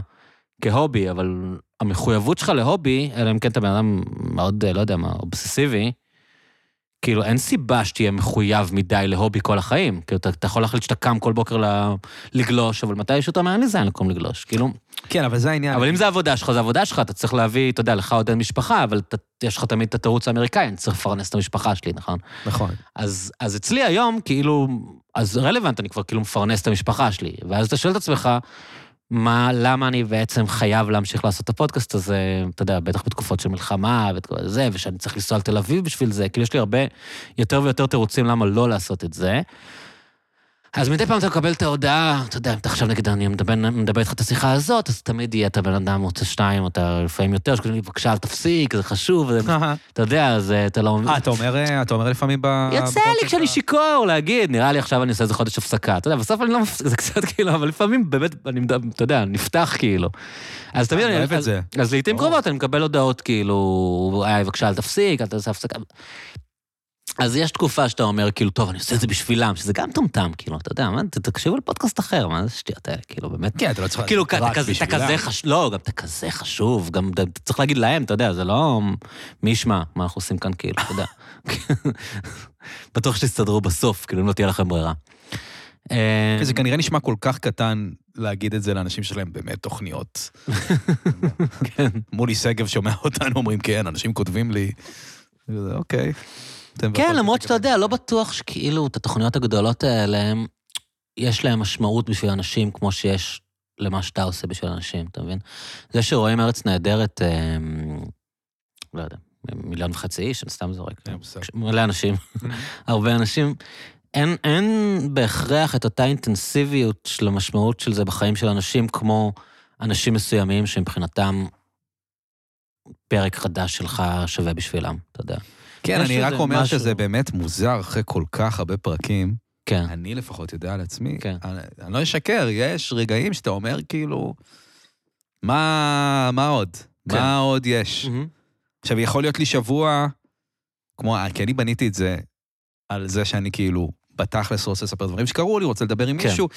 Speaker 3: כהובי, אבל המחויבות שלך להובי, אלא אם כן אתה בן אדם מאוד, אה, לא יודע מה, אובססיבי, כאילו, אין סיבה שתהיה מחויב מדי להובי כל החיים. כאילו, אתה, אתה יכול להחליט שאתה קם כל בוקר ל- לגלוש, אבל מתישהו אתה אומר, אין לי זין לקום לגלוש. כאילו,
Speaker 2: כן, אבל זה העניין.
Speaker 3: אבל אם זה עבודה שלך, זה עבודה שלך, אתה צריך להביא, אתה יודע, לך עוד אין משפחה, אבל אתה, יש לך תמיד את התירוץ האמריקאי, אני צריך לפרנס את המשפחה שלי, נכון?
Speaker 2: נכון.
Speaker 3: אז, אז אצלי היום, כאילו, אז רלוונט, אני כבר כאילו מפרנס את המשפחה שלי. ואז אתה שואל את עצמך, מה, למה אני בעצם חייב להמשיך לעשות את הפודקאסט הזה, אתה יודע, בטח בתקופות של מלחמה ואת כל זה, ושאני צריך לנסוע לתל אביב בשביל זה, כאילו יש לי הרבה, יותר ויותר תירוצים למה לא לעשות את זה. אז מדי פעם אתה מקבל את ההודעה, אתה יודע, אם אתה עכשיו נגיד, אני מדבר, מדבר איתך את השיחה הזאת, אז תמיד יהיה אתה בן אדם רוצה שניים, או אתה לפעמים יותר, שכותבים לי, בבקשה, אל תפסיק, זה חשוב, זה, אתה יודע, זה, אתה לא...
Speaker 2: אה, אתה אומר, אה, אתה אומר לפעמים ב...
Speaker 3: יוצא
Speaker 2: בפודקאסט
Speaker 3: לי כשאני
Speaker 2: ה-
Speaker 3: שיכור להגיד, נראה לי עכשיו אני עושה איזה חודש הפסקה. אתה יודע, בסוף אני לא מפסיק, זה קצת כאילו, אבל לפעמים באמת, אני, מד- אתה יודע, נפתח כאילו. אז תמיד
Speaker 2: אני
Speaker 3: אני...
Speaker 2: אוהב את
Speaker 3: אז-
Speaker 2: זה.
Speaker 3: אז לעיתים
Speaker 2: ברור.
Speaker 3: קרובות אני מקבל הודעות כאילו, היי, בבקשה, אל תפסיק, אל תעשה הפסקה. אז יש תקופה שאתה אומר, כאילו, טוב, אני עושה את זה בשבילם, שזה גם טומטם, כאילו, אתה יודע, מה, ת- תקשיבו לפודקאסט אחר, מה זה שטויות האלה, כאילו, באמת.
Speaker 2: כן, אתה לא צריך...
Speaker 3: כאילו,
Speaker 2: רק
Speaker 3: אתה כזה- אתה
Speaker 2: בשבילם.
Speaker 3: כזה חשוב, לא, גם אתה כזה חשוב, גם אתה אתה צריך להגיד להם, אתה יודע, זה לא מי ישמע מה אנחנו עושים כאן, כאילו, אתה יודע. בטוח שתסתדרו בסוף, כאילו, אם לא תהיה לכם ברירה. אה,
Speaker 2: זה כנראה נשמע כל כך קטן להגיד את זה לאנשים שיש להם באמת תוכניות.
Speaker 3: כן.
Speaker 2: מולי שגב שומע אותנו, אומרים, כן, אנשים כותבים לי. וזה, אוקיי. אתם
Speaker 3: כן,
Speaker 2: בפודקאסט
Speaker 3: למרות שאתה יודע, לא בטוח שכאילו, את התוכניות הגדולות האלה, יש להן משמעות בשביל אנשים כמו שיש למה שאתה עושה בשביל אנשים, אתה מבין? זה שרואים ארץ נהדרת, אה, לא יודע, מיליון וחצי איש, אני סתם זורק.
Speaker 2: אין מושג.
Speaker 3: מלא אנשים, הרבה אנשים. אין, אין בהכרח את אותה אינטנסיביות של המשמעות של זה בחיים של אנשים, כמו אנשים מסוימים שמבחינתם פרק חדש שלך שווה בשבילם, אתה יודע.
Speaker 2: כן,
Speaker 3: יש
Speaker 2: אני רק
Speaker 3: איזה
Speaker 2: אומר
Speaker 3: משהו.
Speaker 2: שזה באמת מוזר אחרי כל כך הרבה פרקים.
Speaker 3: כן.
Speaker 2: אני לפחות יודע על עצמי.
Speaker 3: כן.
Speaker 2: אני, אני לא אשקר, יש רגעים שאתה אומר כאילו, מה, מה עוד?
Speaker 3: כן.
Speaker 2: מה עוד יש? עכשיו, יכול להיות לי שבוע, כמו, אה, כי אני בניתי את זה על זה שאני כאילו בתכלס רוצה לספר דברים שקרו לי, רוצה לדבר עם
Speaker 3: כן.
Speaker 2: מישהו.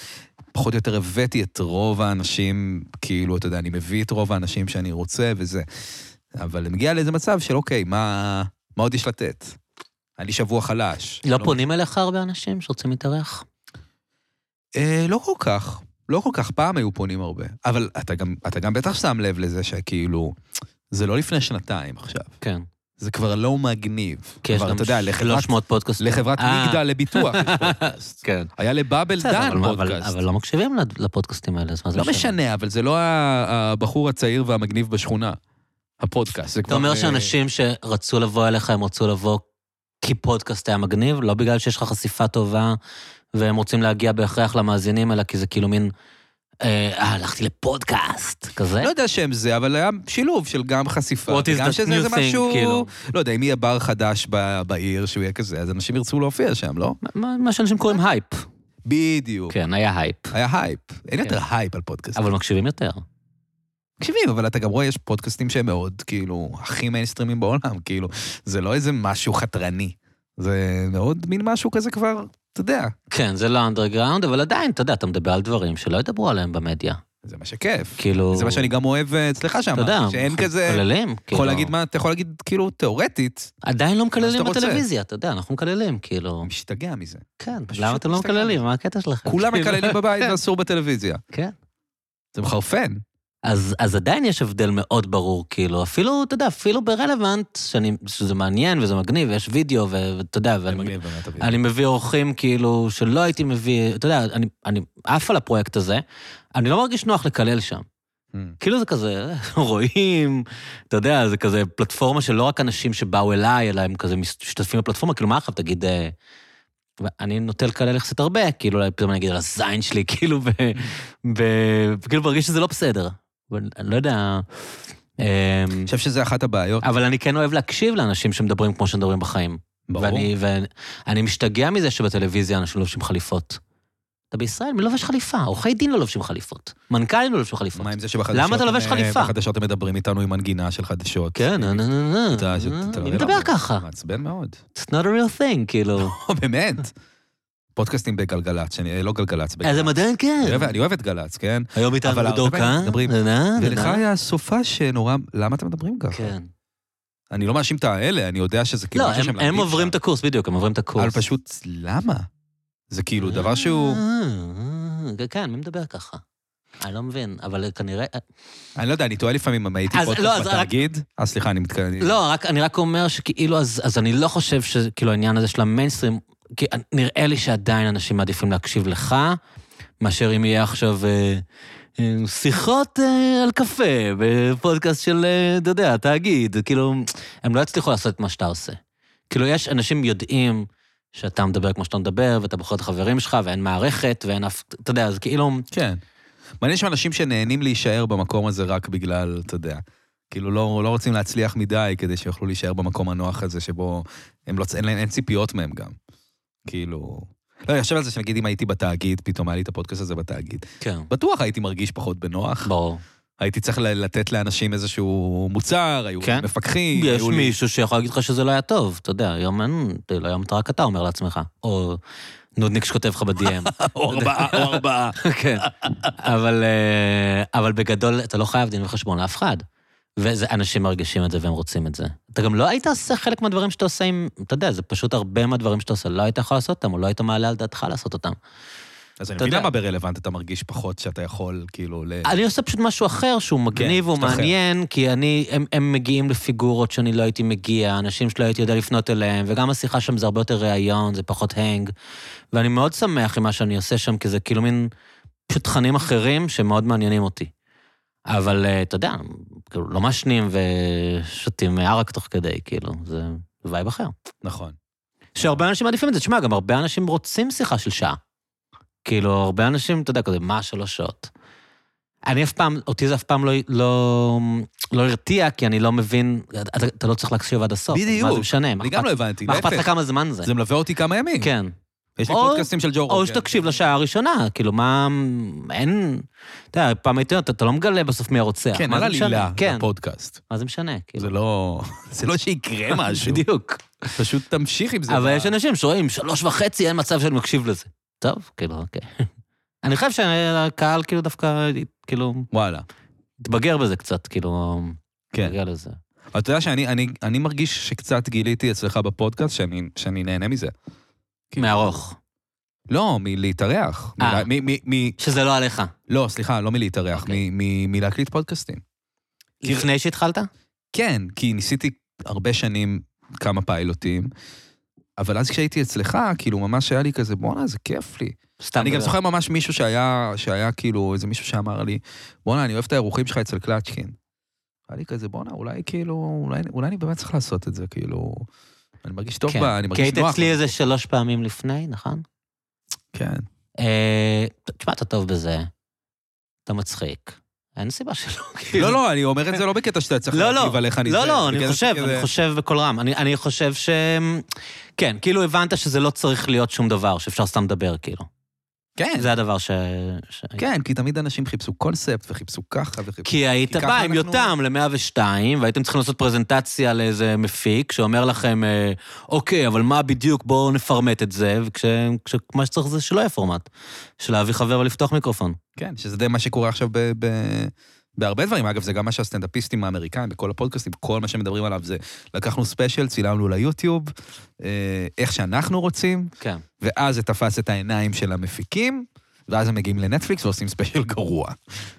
Speaker 2: פחות או יותר הבאתי את רוב האנשים, כאילו, אתה יודע, אני מביא את רוב האנשים שאני רוצה וזה. אבל מגיע לאיזה מצב של, אוקיי, מה, מה עוד יש לתת? היה לי שבוע חלש.
Speaker 3: לא פונים אליך הרבה אנשים שרוצים להתארח?
Speaker 2: אה, לא כל כך. לא כל כך, פעם היו פונים הרבה. אבל אתה גם, אתה גם בטח שם לב לזה שכאילו, זה לא לפני שנתיים עכשיו.
Speaker 3: כן.
Speaker 2: זה כבר לא מגניב.
Speaker 3: כי יש
Speaker 2: כבר,
Speaker 3: כן, גם
Speaker 2: אתה יודע, לחברת,
Speaker 3: 300 פודקאסטים.
Speaker 2: לחברת
Speaker 3: אה,
Speaker 2: מגדל לביטוח יש פודקאסט.
Speaker 3: כן.
Speaker 2: היה לבאבל
Speaker 3: בסדר,
Speaker 2: דן
Speaker 3: אבל מה- אבל-
Speaker 2: פודקאסט.
Speaker 3: אבל לא מקשיבים לפודקאסטים האלה, אז מה זה
Speaker 2: לא משנה, אבל זה לא ה- הבחור הצעיר והמגניב בשכונה. הפודקאסט. זה
Speaker 3: אתה
Speaker 2: כבר,
Speaker 3: אומר
Speaker 2: אה,
Speaker 3: שאנשים שרצו לבוא אליך, הם רצו לבוא כי פודקאסט היה מגניב, לא בגלל שיש לך חשיפה טובה והם רוצים להגיע בהכרח למאזינים, אלא כי זה כאילו מין, אה, אה, הלכתי לפודקאסט, כזה?
Speaker 2: לא יודע שהם זה, אבל היה שילוב של גם חשיפה.
Speaker 3: What is
Speaker 2: וגם
Speaker 3: that
Speaker 2: שזה
Speaker 3: new
Speaker 2: איזה
Speaker 3: thing,
Speaker 2: משהו...
Speaker 3: כאילו?
Speaker 2: לא יודע, אם יהיה בר חדש ב- בעיר שהוא יהיה כזה, אז אנשים ירצו להופיע שם, לא?
Speaker 3: מה- מה שאנשים קוראים הייפ.
Speaker 2: בדיוק.
Speaker 3: כן, היה הייפ.
Speaker 2: היה הייפ. אין יותר הייפ על פודקאסטים.
Speaker 3: אבל מקשיבים יותר.
Speaker 2: מקשיבים, אבל אתה גם רואה, יש פודקאסטים שהם מאוד, כאילו, הכי מיינסטרימים בעולם, כאילו, זה לא איזה משהו חתרני. זה מאוד מין משהו כזה כבר, אתה יודע,
Speaker 3: כן, זה לא אנדרגראונד, אבל עדיין, אתה יודע, אתה מדבר על דברים שלא ידברו עליהם במדיה.
Speaker 2: זה מה שכיף.
Speaker 3: כאילו...
Speaker 2: זה מה שאני גם אוהב אה, אצלך שם,
Speaker 3: אתה יודע, כאילו-
Speaker 2: שאין כזה...
Speaker 3: מקללים.
Speaker 2: אתה יכול להגיד מה, אתה יכול להגיד, כאילו, תיאורטית,
Speaker 3: עדיין לא מקללים
Speaker 2: שאתה רוצה.
Speaker 3: בטלוויזיה, אתה יודע, אנחנו מקללים, כאילו...
Speaker 2: משתגע מזה.
Speaker 3: כן,
Speaker 2: פשוט
Speaker 3: למה אתם לא
Speaker 2: מסתכל.
Speaker 3: מקללים? מה הקטע שלכם?
Speaker 2: כולם
Speaker 3: כאילו,
Speaker 2: מקללים בבית ואסור בטלוויזיה.
Speaker 3: כן.
Speaker 2: זה מחרפן.
Speaker 3: אז, אז עדיין יש הבדל מאוד ברור, כאילו, אפילו, אתה יודע, אפילו ברלוונט, שאני, שזה מעניין וזה מגניב, ויש וידאו, ו- ואתה יודע,
Speaker 2: זה
Speaker 3: ואני
Speaker 2: מגניב באמת, אביב.
Speaker 3: אני מביא אורחים כאילו שלא הייתי מביא, אתה יודע, אני, אני עף על הפרויקט הזה, אני לא מרגיש נוח לקלל שם.
Speaker 2: Mm.
Speaker 3: כאילו זה כזה, רואים, אתה יודע, זה כזה פלטפורמה של לא רק אנשים שבאו אליי, אלא הם כזה משתתפים בפלטפורמה, כאילו מה עכשיו תגיד... אה, אני נוטה לקלל יחסית הרבה, כאילו אולי פתאום אני אגיד על הזין שלי, כאילו, ב, ב, כאילו מרגיש שזה לא בסדר. אבל אני לא יודע... אה,
Speaker 2: אני חושב שזה אחת הבעיות.
Speaker 3: אבל אני כן אוהב להקשיב לאנשים שמדברים כמו שמדברים בחיים.
Speaker 2: ברור.
Speaker 3: ואני, ואני משתגע מזה שבטלוויזיה אנשים לובשים חליפות. אתה בישראל, מי לובש חליפה? עורכי דין לא לובשים חליפות. מנכ"לים לא לובשים חליפות.
Speaker 2: מה עם זה שבחדשות...
Speaker 3: למה אתה לובש
Speaker 2: אה,
Speaker 3: חליפה?
Speaker 2: בחדשות הם מדברים איתנו עם מנגינה של חדשות.
Speaker 3: כן, נה נה נה נה.
Speaker 2: אתה- שאתה-
Speaker 3: אני מדבר ככה.
Speaker 2: מעצבן מאוד.
Speaker 3: It's not a real thing, כאילו.
Speaker 2: לא, באמת. פודקאסטים בגלגלצ, שאני- אה, לא גלגלצ,
Speaker 3: אז
Speaker 2: בגלגלצ.
Speaker 3: הם עדיין
Speaker 2: אני
Speaker 3: כן.
Speaker 2: אוהב- אני אוהב את גל"צ, כן?
Speaker 3: היום איתנו
Speaker 2: אבל הרבה
Speaker 3: בדור
Speaker 2: פעמים
Speaker 3: כאן.
Speaker 2: מדברים.
Speaker 3: נה נה נה.
Speaker 2: ולך היה סופה שנורא... למה אתם מדברים ככה?
Speaker 3: אה, כן.
Speaker 2: אני לא מאשים את האלה, אני יודע שזה כאילו
Speaker 3: לא,
Speaker 2: משהו
Speaker 3: הם-
Speaker 2: שהם
Speaker 3: הם
Speaker 2: למדו
Speaker 3: עוברים
Speaker 2: שם.
Speaker 3: את הקורס, בדיוק, הם עוברים את הקורס.
Speaker 2: אבל פשוט, למה? זה כאילו דבר שהוא...
Speaker 3: אה, כן, מי מדבר ככה? אני לא מבין, אבל כנראה...
Speaker 2: אני לא יודע, אני תוהה לפעמים אם הייתי
Speaker 3: אז- לא,
Speaker 2: פודקאסט
Speaker 3: אז רק-
Speaker 2: בתאגיד. אה, סליחה, אני מתקן... אני-
Speaker 3: לא, רק, אני רק אומר שכאילו, אז, אז אני לא חושב שכאילו העניין הזה של המיינסטרים, כי נראה לי שעדיין אנשים מעדיפים להקשיב לך, מאשר אם יהיה עכשיו אה, אה, שיחות אה, על קפה בפודקאסט של, אה, אתה יודע, תאגיד, כאילו, הם לא יצליחו לעשות את מה שאתה עושה. כאילו, יש, אנשים יודעים שאתה מדבר כמו שאתה מדבר, ואתה בוחר את החברים שלך, ואין מערכת, ואין אף, אתה יודע, אז כאילו,
Speaker 2: כן. מעניין שם אנשים שנהנים להישאר במקום הזה רק בגלל, אתה יודע, כאילו לא, לא רוצים להצליח מדי כדי שיוכלו להישאר במקום הנוח הזה שבו הם לא, צ- אין, להם- אין ציפיות מהם גם. כאילו... לא, אני חושב על זה שנגיד אם הייתי בתאגיד, פתאום היה לי את הפודקאסט הזה בתאגיד.
Speaker 3: כן,
Speaker 2: בטוח הייתי מרגיש פחות בנוח.
Speaker 3: ברור.
Speaker 2: הייתי צריך ל- לתת לאנשים איזשהו מוצר, היו
Speaker 3: כן.
Speaker 2: מפקחים,
Speaker 3: יש
Speaker 2: היו לי-
Speaker 3: מישהו שיכול להגיד לך שזה לא היה טוב, אתה יודע, היום אין, כאילו, היום אתה רק אתה אומר לעצמך, או נודניק שכותב לך ב-DM.
Speaker 2: או ארבעה, או ארבעה.
Speaker 3: כן. אבל, אה, אבל בגדול, אתה לא חייב דין וחשבון לאף אחד. ואנשים מרגישים את זה והם רוצים את זה. אתה גם לא היית עושה חלק מהדברים שאתה עושה עם, אתה יודע, זה פשוט הרבה מהדברים שאתה עושה, לא היית יכול לעשות אותם, או לא היית מעלה על דעתך לעשות אותם.
Speaker 2: אז אני
Speaker 3: אתה
Speaker 2: מבין
Speaker 3: יודע.
Speaker 2: למה ברלוונט אתה מרגיש פחות שאתה יכול, כאילו, ל...
Speaker 3: אני עושה פשוט משהו אחר שהוא מגניב
Speaker 2: כן, פשוט אחר.
Speaker 3: ומעניין, כי אני, הם, הם מגיעים לפיגורות שאני לא הייתי מגיע, אנשים שלא הייתי יודע לפנות אליהם, וגם השיחה שם זה הרבה יותר ראיון, זה פחות הנג. ואני מאוד שמח עם מה שאני עושה שם, כי זה כאילו מין פשוט תכנים אחרים שמאוד מעניינים אותי. אבל אה, אתה יודע, כאילו לא מעשנים ושותים ערק תוך כדי, כאילו, זה וייב אחר.
Speaker 2: נכון.
Speaker 3: שהרבה אנשים מעדיפים את זה. תשמע, גם הרבה אנשים רוצים שיחה של שעה. כאילו, הרבה אנשים, אתה יודע, כזה, מה שלוש שעות? אני אף פעם, אותי זה אף פעם לא, לא, לא הרתיע, כי אני לא מבין, אתה, אתה לא צריך להקשיב עד הסוף. אז מה
Speaker 2: בדיוק.
Speaker 3: זה משנה? מה
Speaker 2: אני גם
Speaker 3: אכפת-
Speaker 2: לא הבנתי,
Speaker 3: מה אכפת
Speaker 2: להפך.
Speaker 3: לך כמה זמן זה?
Speaker 2: זה מלווה אותי כמה ימים.
Speaker 3: כן.
Speaker 2: יש לי כן.
Speaker 3: או-
Speaker 2: פודקאסטים של ג'ו רוגן.
Speaker 3: או שתקשיב לשעה הראשונה, כאילו, מה... אין... אתה יודע, פעם הייתי אתה, אתה לא מגלה בסוף מי הרוצח.
Speaker 2: כן,
Speaker 3: מה
Speaker 2: על
Speaker 3: זה משנה?
Speaker 2: עלילה
Speaker 3: כן,
Speaker 2: לפודקאסט.
Speaker 3: מה זה משנה? כאילו,
Speaker 2: זה לא... זה לא שיקרה משהו.
Speaker 3: בדיוק.
Speaker 2: פשוט תמשיך עם זה.
Speaker 3: אבל יש אנשים שרואים, שלוש וחצי, אין מצב שאני מקשיב לזה. טוב, כאילו, אוקיי. אני חושב שהקהל כאילו דווקא, כאילו,
Speaker 2: וואלה.
Speaker 3: התבגר בזה קצת, כאילו,
Speaker 2: כן.
Speaker 3: התבגר לזה.
Speaker 2: אבל אתה יודע שאני אני- אני מרגיש שקצת גיליתי אצלך בפודקאסט שאני- שאני נהנה מזה. כן.
Speaker 3: מארוך.
Speaker 2: לא, מלהתארח.
Speaker 3: אה.
Speaker 2: מ- מ- מ-
Speaker 3: שזה לא עליך.
Speaker 2: לא, סליחה, לא מלהתארח,
Speaker 3: אוקיי.
Speaker 2: מ- מ- מלהקליט פודקאסטים. כי-
Speaker 3: לפני שהתחלת?
Speaker 2: כן, כי ניסיתי הרבה שנים כמה פיילוטים, אבל אז כשהייתי אצלך, כאילו, ממש היה לי כזה, בואנה, זה כיף לי.
Speaker 3: סתם. לא.
Speaker 2: אני גם
Speaker 3: מדבר.
Speaker 2: זוכר ממש מישהו שהיה, שהיה כאילו, איזה מישהו שאמר לי, בואנה, אני אוהב את האירוחים שלך אצל קלצ'קין. היה לי כזה, בואנה, אולי כאילו, אולי, אולי אני באמת צריך לעשות את זה, כאילו... אני מרגיש טוב
Speaker 3: כן.
Speaker 2: בה, אני
Speaker 3: כי
Speaker 2: מרגיש
Speaker 3: היית
Speaker 2: נוח.
Speaker 3: אצלי איזה שלוש פעמים לפני, נכון?
Speaker 2: כן.
Speaker 3: אה, תשמע, אתה טוב בזה. אתה מצחיק. אין סיבה שלא, כאילו.
Speaker 2: לא, לא, אני אומר את זה לא בקטע שאתה צריך
Speaker 3: לא, לא.
Speaker 2: להגיב עליך.
Speaker 3: לא,
Speaker 2: זה-
Speaker 3: לא, אני
Speaker 2: בקטע
Speaker 3: חושב,
Speaker 2: שכזה-
Speaker 3: אני חושב בקול רם. אני- אני חושב ש... כן, כאילו הבנת שזה לא צריך להיות שום דבר, שאפשר סתם לדבר, כאילו.
Speaker 2: כן,
Speaker 3: זה הדבר ש... ש...
Speaker 2: כן, כי תמיד אנשים חיפשו קונספט וחיפשו ככה וחיפשו...
Speaker 3: כי היית
Speaker 2: כי ככה
Speaker 3: בא עם
Speaker 2: אנחנו-
Speaker 3: יותם ל-102, והייתם צריכים לעשות פרזנטציה לאיזה מפיק, שאומר לכם, אה, אוקיי, אבל מה בדיוק, בואו נפרמט את זה, וכשמה שצריך זה שלא יהיה פורמט. של להביא חבר ולפתוח מיקרופון.
Speaker 2: כן, שזה די מה שקורה עכשיו ב... ב- בהרבה דברים, אגב, זה גם מה שהסטנדאפיסטים האמריקאים בכל הפודקאסטים, כל מה שמדברים עליו זה לקחנו ספיישל, צילמנו ליוטיוב, אה, איך שאנחנו רוצים,
Speaker 3: כן.
Speaker 2: ואז זה תפס את העיניים של המפיקים, ואז הם מגיעים לנטפליקס ועושים ספיישל גרוע.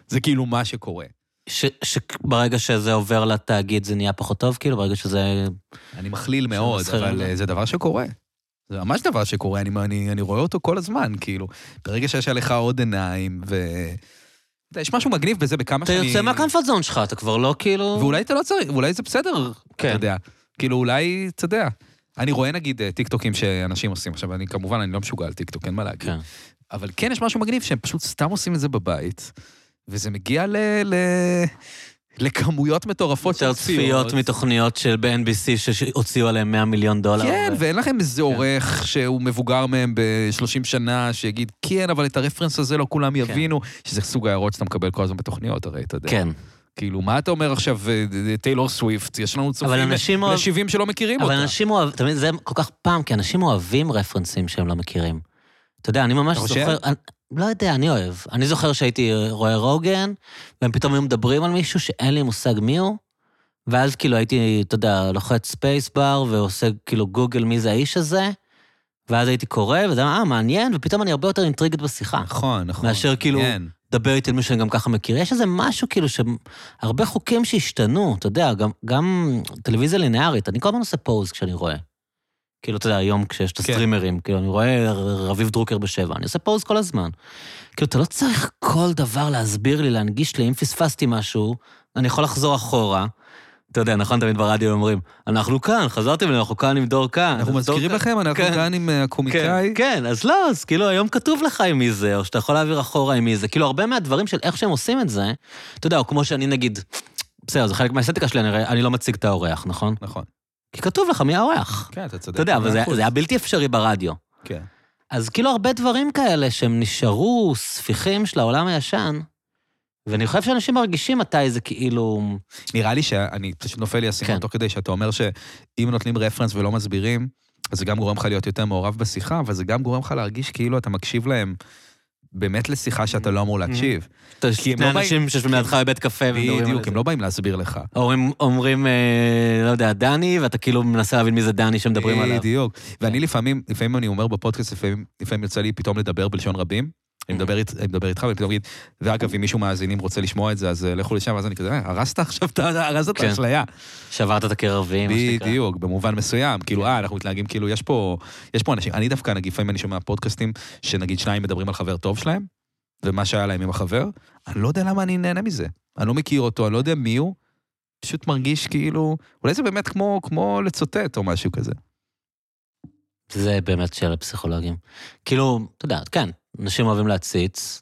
Speaker 2: זה כאילו מה שקורה.
Speaker 3: שברגע שזה עובר לתאגיד זה נהיה פחות טוב, כאילו, ברגע שזה...
Speaker 2: אני מכליל מאוד,
Speaker 3: מסחרים
Speaker 2: אבל
Speaker 3: את זה.
Speaker 2: אה, זה דבר שקורה. זה ממש דבר שקורה, אני, אני, אני רואה אותו כל הזמן, כאילו. ברגע שיש עליך עוד עיניים, ו... אתה יודע, יש משהו מגניב בזה בכמה
Speaker 3: אתה
Speaker 2: שאני...
Speaker 3: יוצא מהקמפרט זון שלך, אתה כבר לא כאילו...
Speaker 2: ואולי אתה לא צריך, אולי זה בסדר,
Speaker 3: כן.
Speaker 2: אתה יודע. כאילו, אולי, אתה יודע. אני רואה נגיד אה, טיקטוקים שאנשים עושים עכשיו, אני כמובן, אני לא משוגע על טיקטוק, אין מה להגיד.
Speaker 3: כן.
Speaker 2: אבל כן יש משהו מגניב שהם פשוט סתם עושים את זה בבית, וזה מגיע ל... ל... לכמויות מטורפות
Speaker 3: יותר צפיות מתוכניות של ב-NBC שהוציאו עליהם 100 מיליון דולר.
Speaker 2: כן,
Speaker 3: ו-
Speaker 2: ואין לכם איזה עורך שהוא מבוגר מהם ב-30 שנה, שיגיד, כן, אבל את הרפרנס הזה לא כולם יבינו, שזה סוג ההערות שאתה מקבל כל הזמן בתוכניות, הרי אתה יודע.
Speaker 3: כן.
Speaker 2: כאילו, מה אתה אומר עכשיו, אה, אה, טיילור סוויפט, יש לנו צופים
Speaker 3: אנשים אוהב-
Speaker 2: ל-70 שלא מכירים
Speaker 3: אבל
Speaker 2: אותה.
Speaker 3: אנשים אוהבים, אתה מבין, זה כל כך פעם, כי אנשים אוהבים רפרנסים שהם לא מכירים. אתה יודע, אני ממש
Speaker 2: אתה חושב?
Speaker 3: זוכר... אני, לא יודע, אני אוהב. אני זוכר שהייתי רואה רוגן, והם פתאום היו מדברים על מישהו שאין לי מושג מי הוא, ואז כאילו הייתי, אתה יודע, לוחץ ספייסבר ועושה כאילו גוגל מי זה האיש הזה, ואז הייתי קורא, וזה היה, אה, מעניין, ופתאום אני הרבה יותר אינטריגד בשיחה.
Speaker 2: נכון, נכון.
Speaker 3: אה. מאשר כאילו,
Speaker 2: מעניין.
Speaker 3: דבר איתי על מישהו שאני גם ככה מכיר. יש איזה משהו כאילו שהרבה חוקים שהשתנו, אתה יודע, גם, גם טלוויזיה לינארית, אני כל הזמן עושה פוז כשאני רואה. כאילו, אתה יודע, היום כשיש את
Speaker 2: כן.
Speaker 3: הסטרימרים, כאילו, אני רואה ר- רביב דרוקר בשבע, אני עושה פוז כל הזמן. כאילו, אתה לא צריך כל דבר להסביר לי, להנגיש לי, אם פספסתי משהו, אני יכול לחזור אחורה. אתה יודע, נכון, תמיד ברדיו אומרים, אנחנו כאן, חזרתם אלינו, אנחנו כאן עם דור כאן.
Speaker 2: אנחנו
Speaker 3: אז דור
Speaker 2: מזכירים
Speaker 3: כאן-
Speaker 2: לכם, אנחנו
Speaker 3: כן.
Speaker 2: כאן עם אה, הקומיקאי.
Speaker 3: כן, כן, אז לא, אז כאילו היום כתוב לך עם מי זה, או שאתה יכול להעביר אחורה עם מי זה. כאילו, הרבה מהדברים של איך שהם עושים את זה, אתה יודע, או כמו שאני נגיד, בסדר, זה חלק מהאסתטיקה שלי, אני, הרי- אני לא מציג את האורח, נכון?
Speaker 2: נכון.
Speaker 3: כי כתוב לך מי האורח.
Speaker 2: כן, אתה צודק.
Speaker 3: אתה יודע, אבל זה,
Speaker 2: מאה אחוז.
Speaker 3: זה היה בלתי אפשרי ברדיו.
Speaker 2: כן.
Speaker 3: אז כאילו הרבה דברים כאלה שהם נשארו ספיחים של העולם הישן, ואני חושב שאנשים מרגישים מתי זה כאילו...
Speaker 2: נראה לי שאני, פשוט נופל לי
Speaker 3: כן.
Speaker 2: הסימן תוך כדי שאתה אומר שאם נותנים רפרנס ולא מסבירים, אז זה גם גורם לך להיות יותר מעורב בשיחה, אבל זה גם גורם לך להרגיש כאילו אתה מקשיב להם באמת לשיחה שאתה לא אמור להקשיב. כי הם
Speaker 3: שני
Speaker 2: לא באים-
Speaker 3: אנשים שיושבים לידך בבית קפה ומדברים Mm-hmm. על זה.
Speaker 2: בדיוק, הם לא באים להסביר לך.
Speaker 3: אומרים, אומרים, אה, לא יודע, דני, ואתה כאילו מנסה להבין מי זה דני שמדברים עליו. כן.
Speaker 2: בדיוק. ואני לפעמים, לפעמים אני אומר בפודקאסט, לפעמים, לפעמים יוצא לי פתאום לדבר בלשון רבים. אני מדבר, אית- אני מדבר איתך, ואני פתאום אגיד, ואגב, אם מישהו מהאזינים רוצה לשמוע את זה, אז אה, לכו לשם, ואז אני כזה, "אה, הרסת עכשיו, את ה- הרסת את
Speaker 3: כן.
Speaker 2: האשליה.
Speaker 3: שברת את הקרבים, מה שנקרא.
Speaker 2: בדיוק, במובן מסוים.
Speaker 3: כן.
Speaker 2: כאילו, אה, אנחנו מתנהגים, כאילו, יש פה, יש פה אנשים, אני דווקא, נגיד, לפעמים אני שומע פודקאסטים, שנגיד שניים מדברים על חבר טוב שלהם, ומה שהיה להם עם החבר, אני לא יודע למה אני נהנה מזה. אני לא מכיר אותו, אני לא יודע מי הוא, פשוט מרגיש כאילו, אולי זה באמת כמו, כמו לצוטט או משהו כזה.
Speaker 3: זה באמת שאלה פסיכולוגים. כאילו, אתה יודע, כן, אנשים אוהבים להציץ.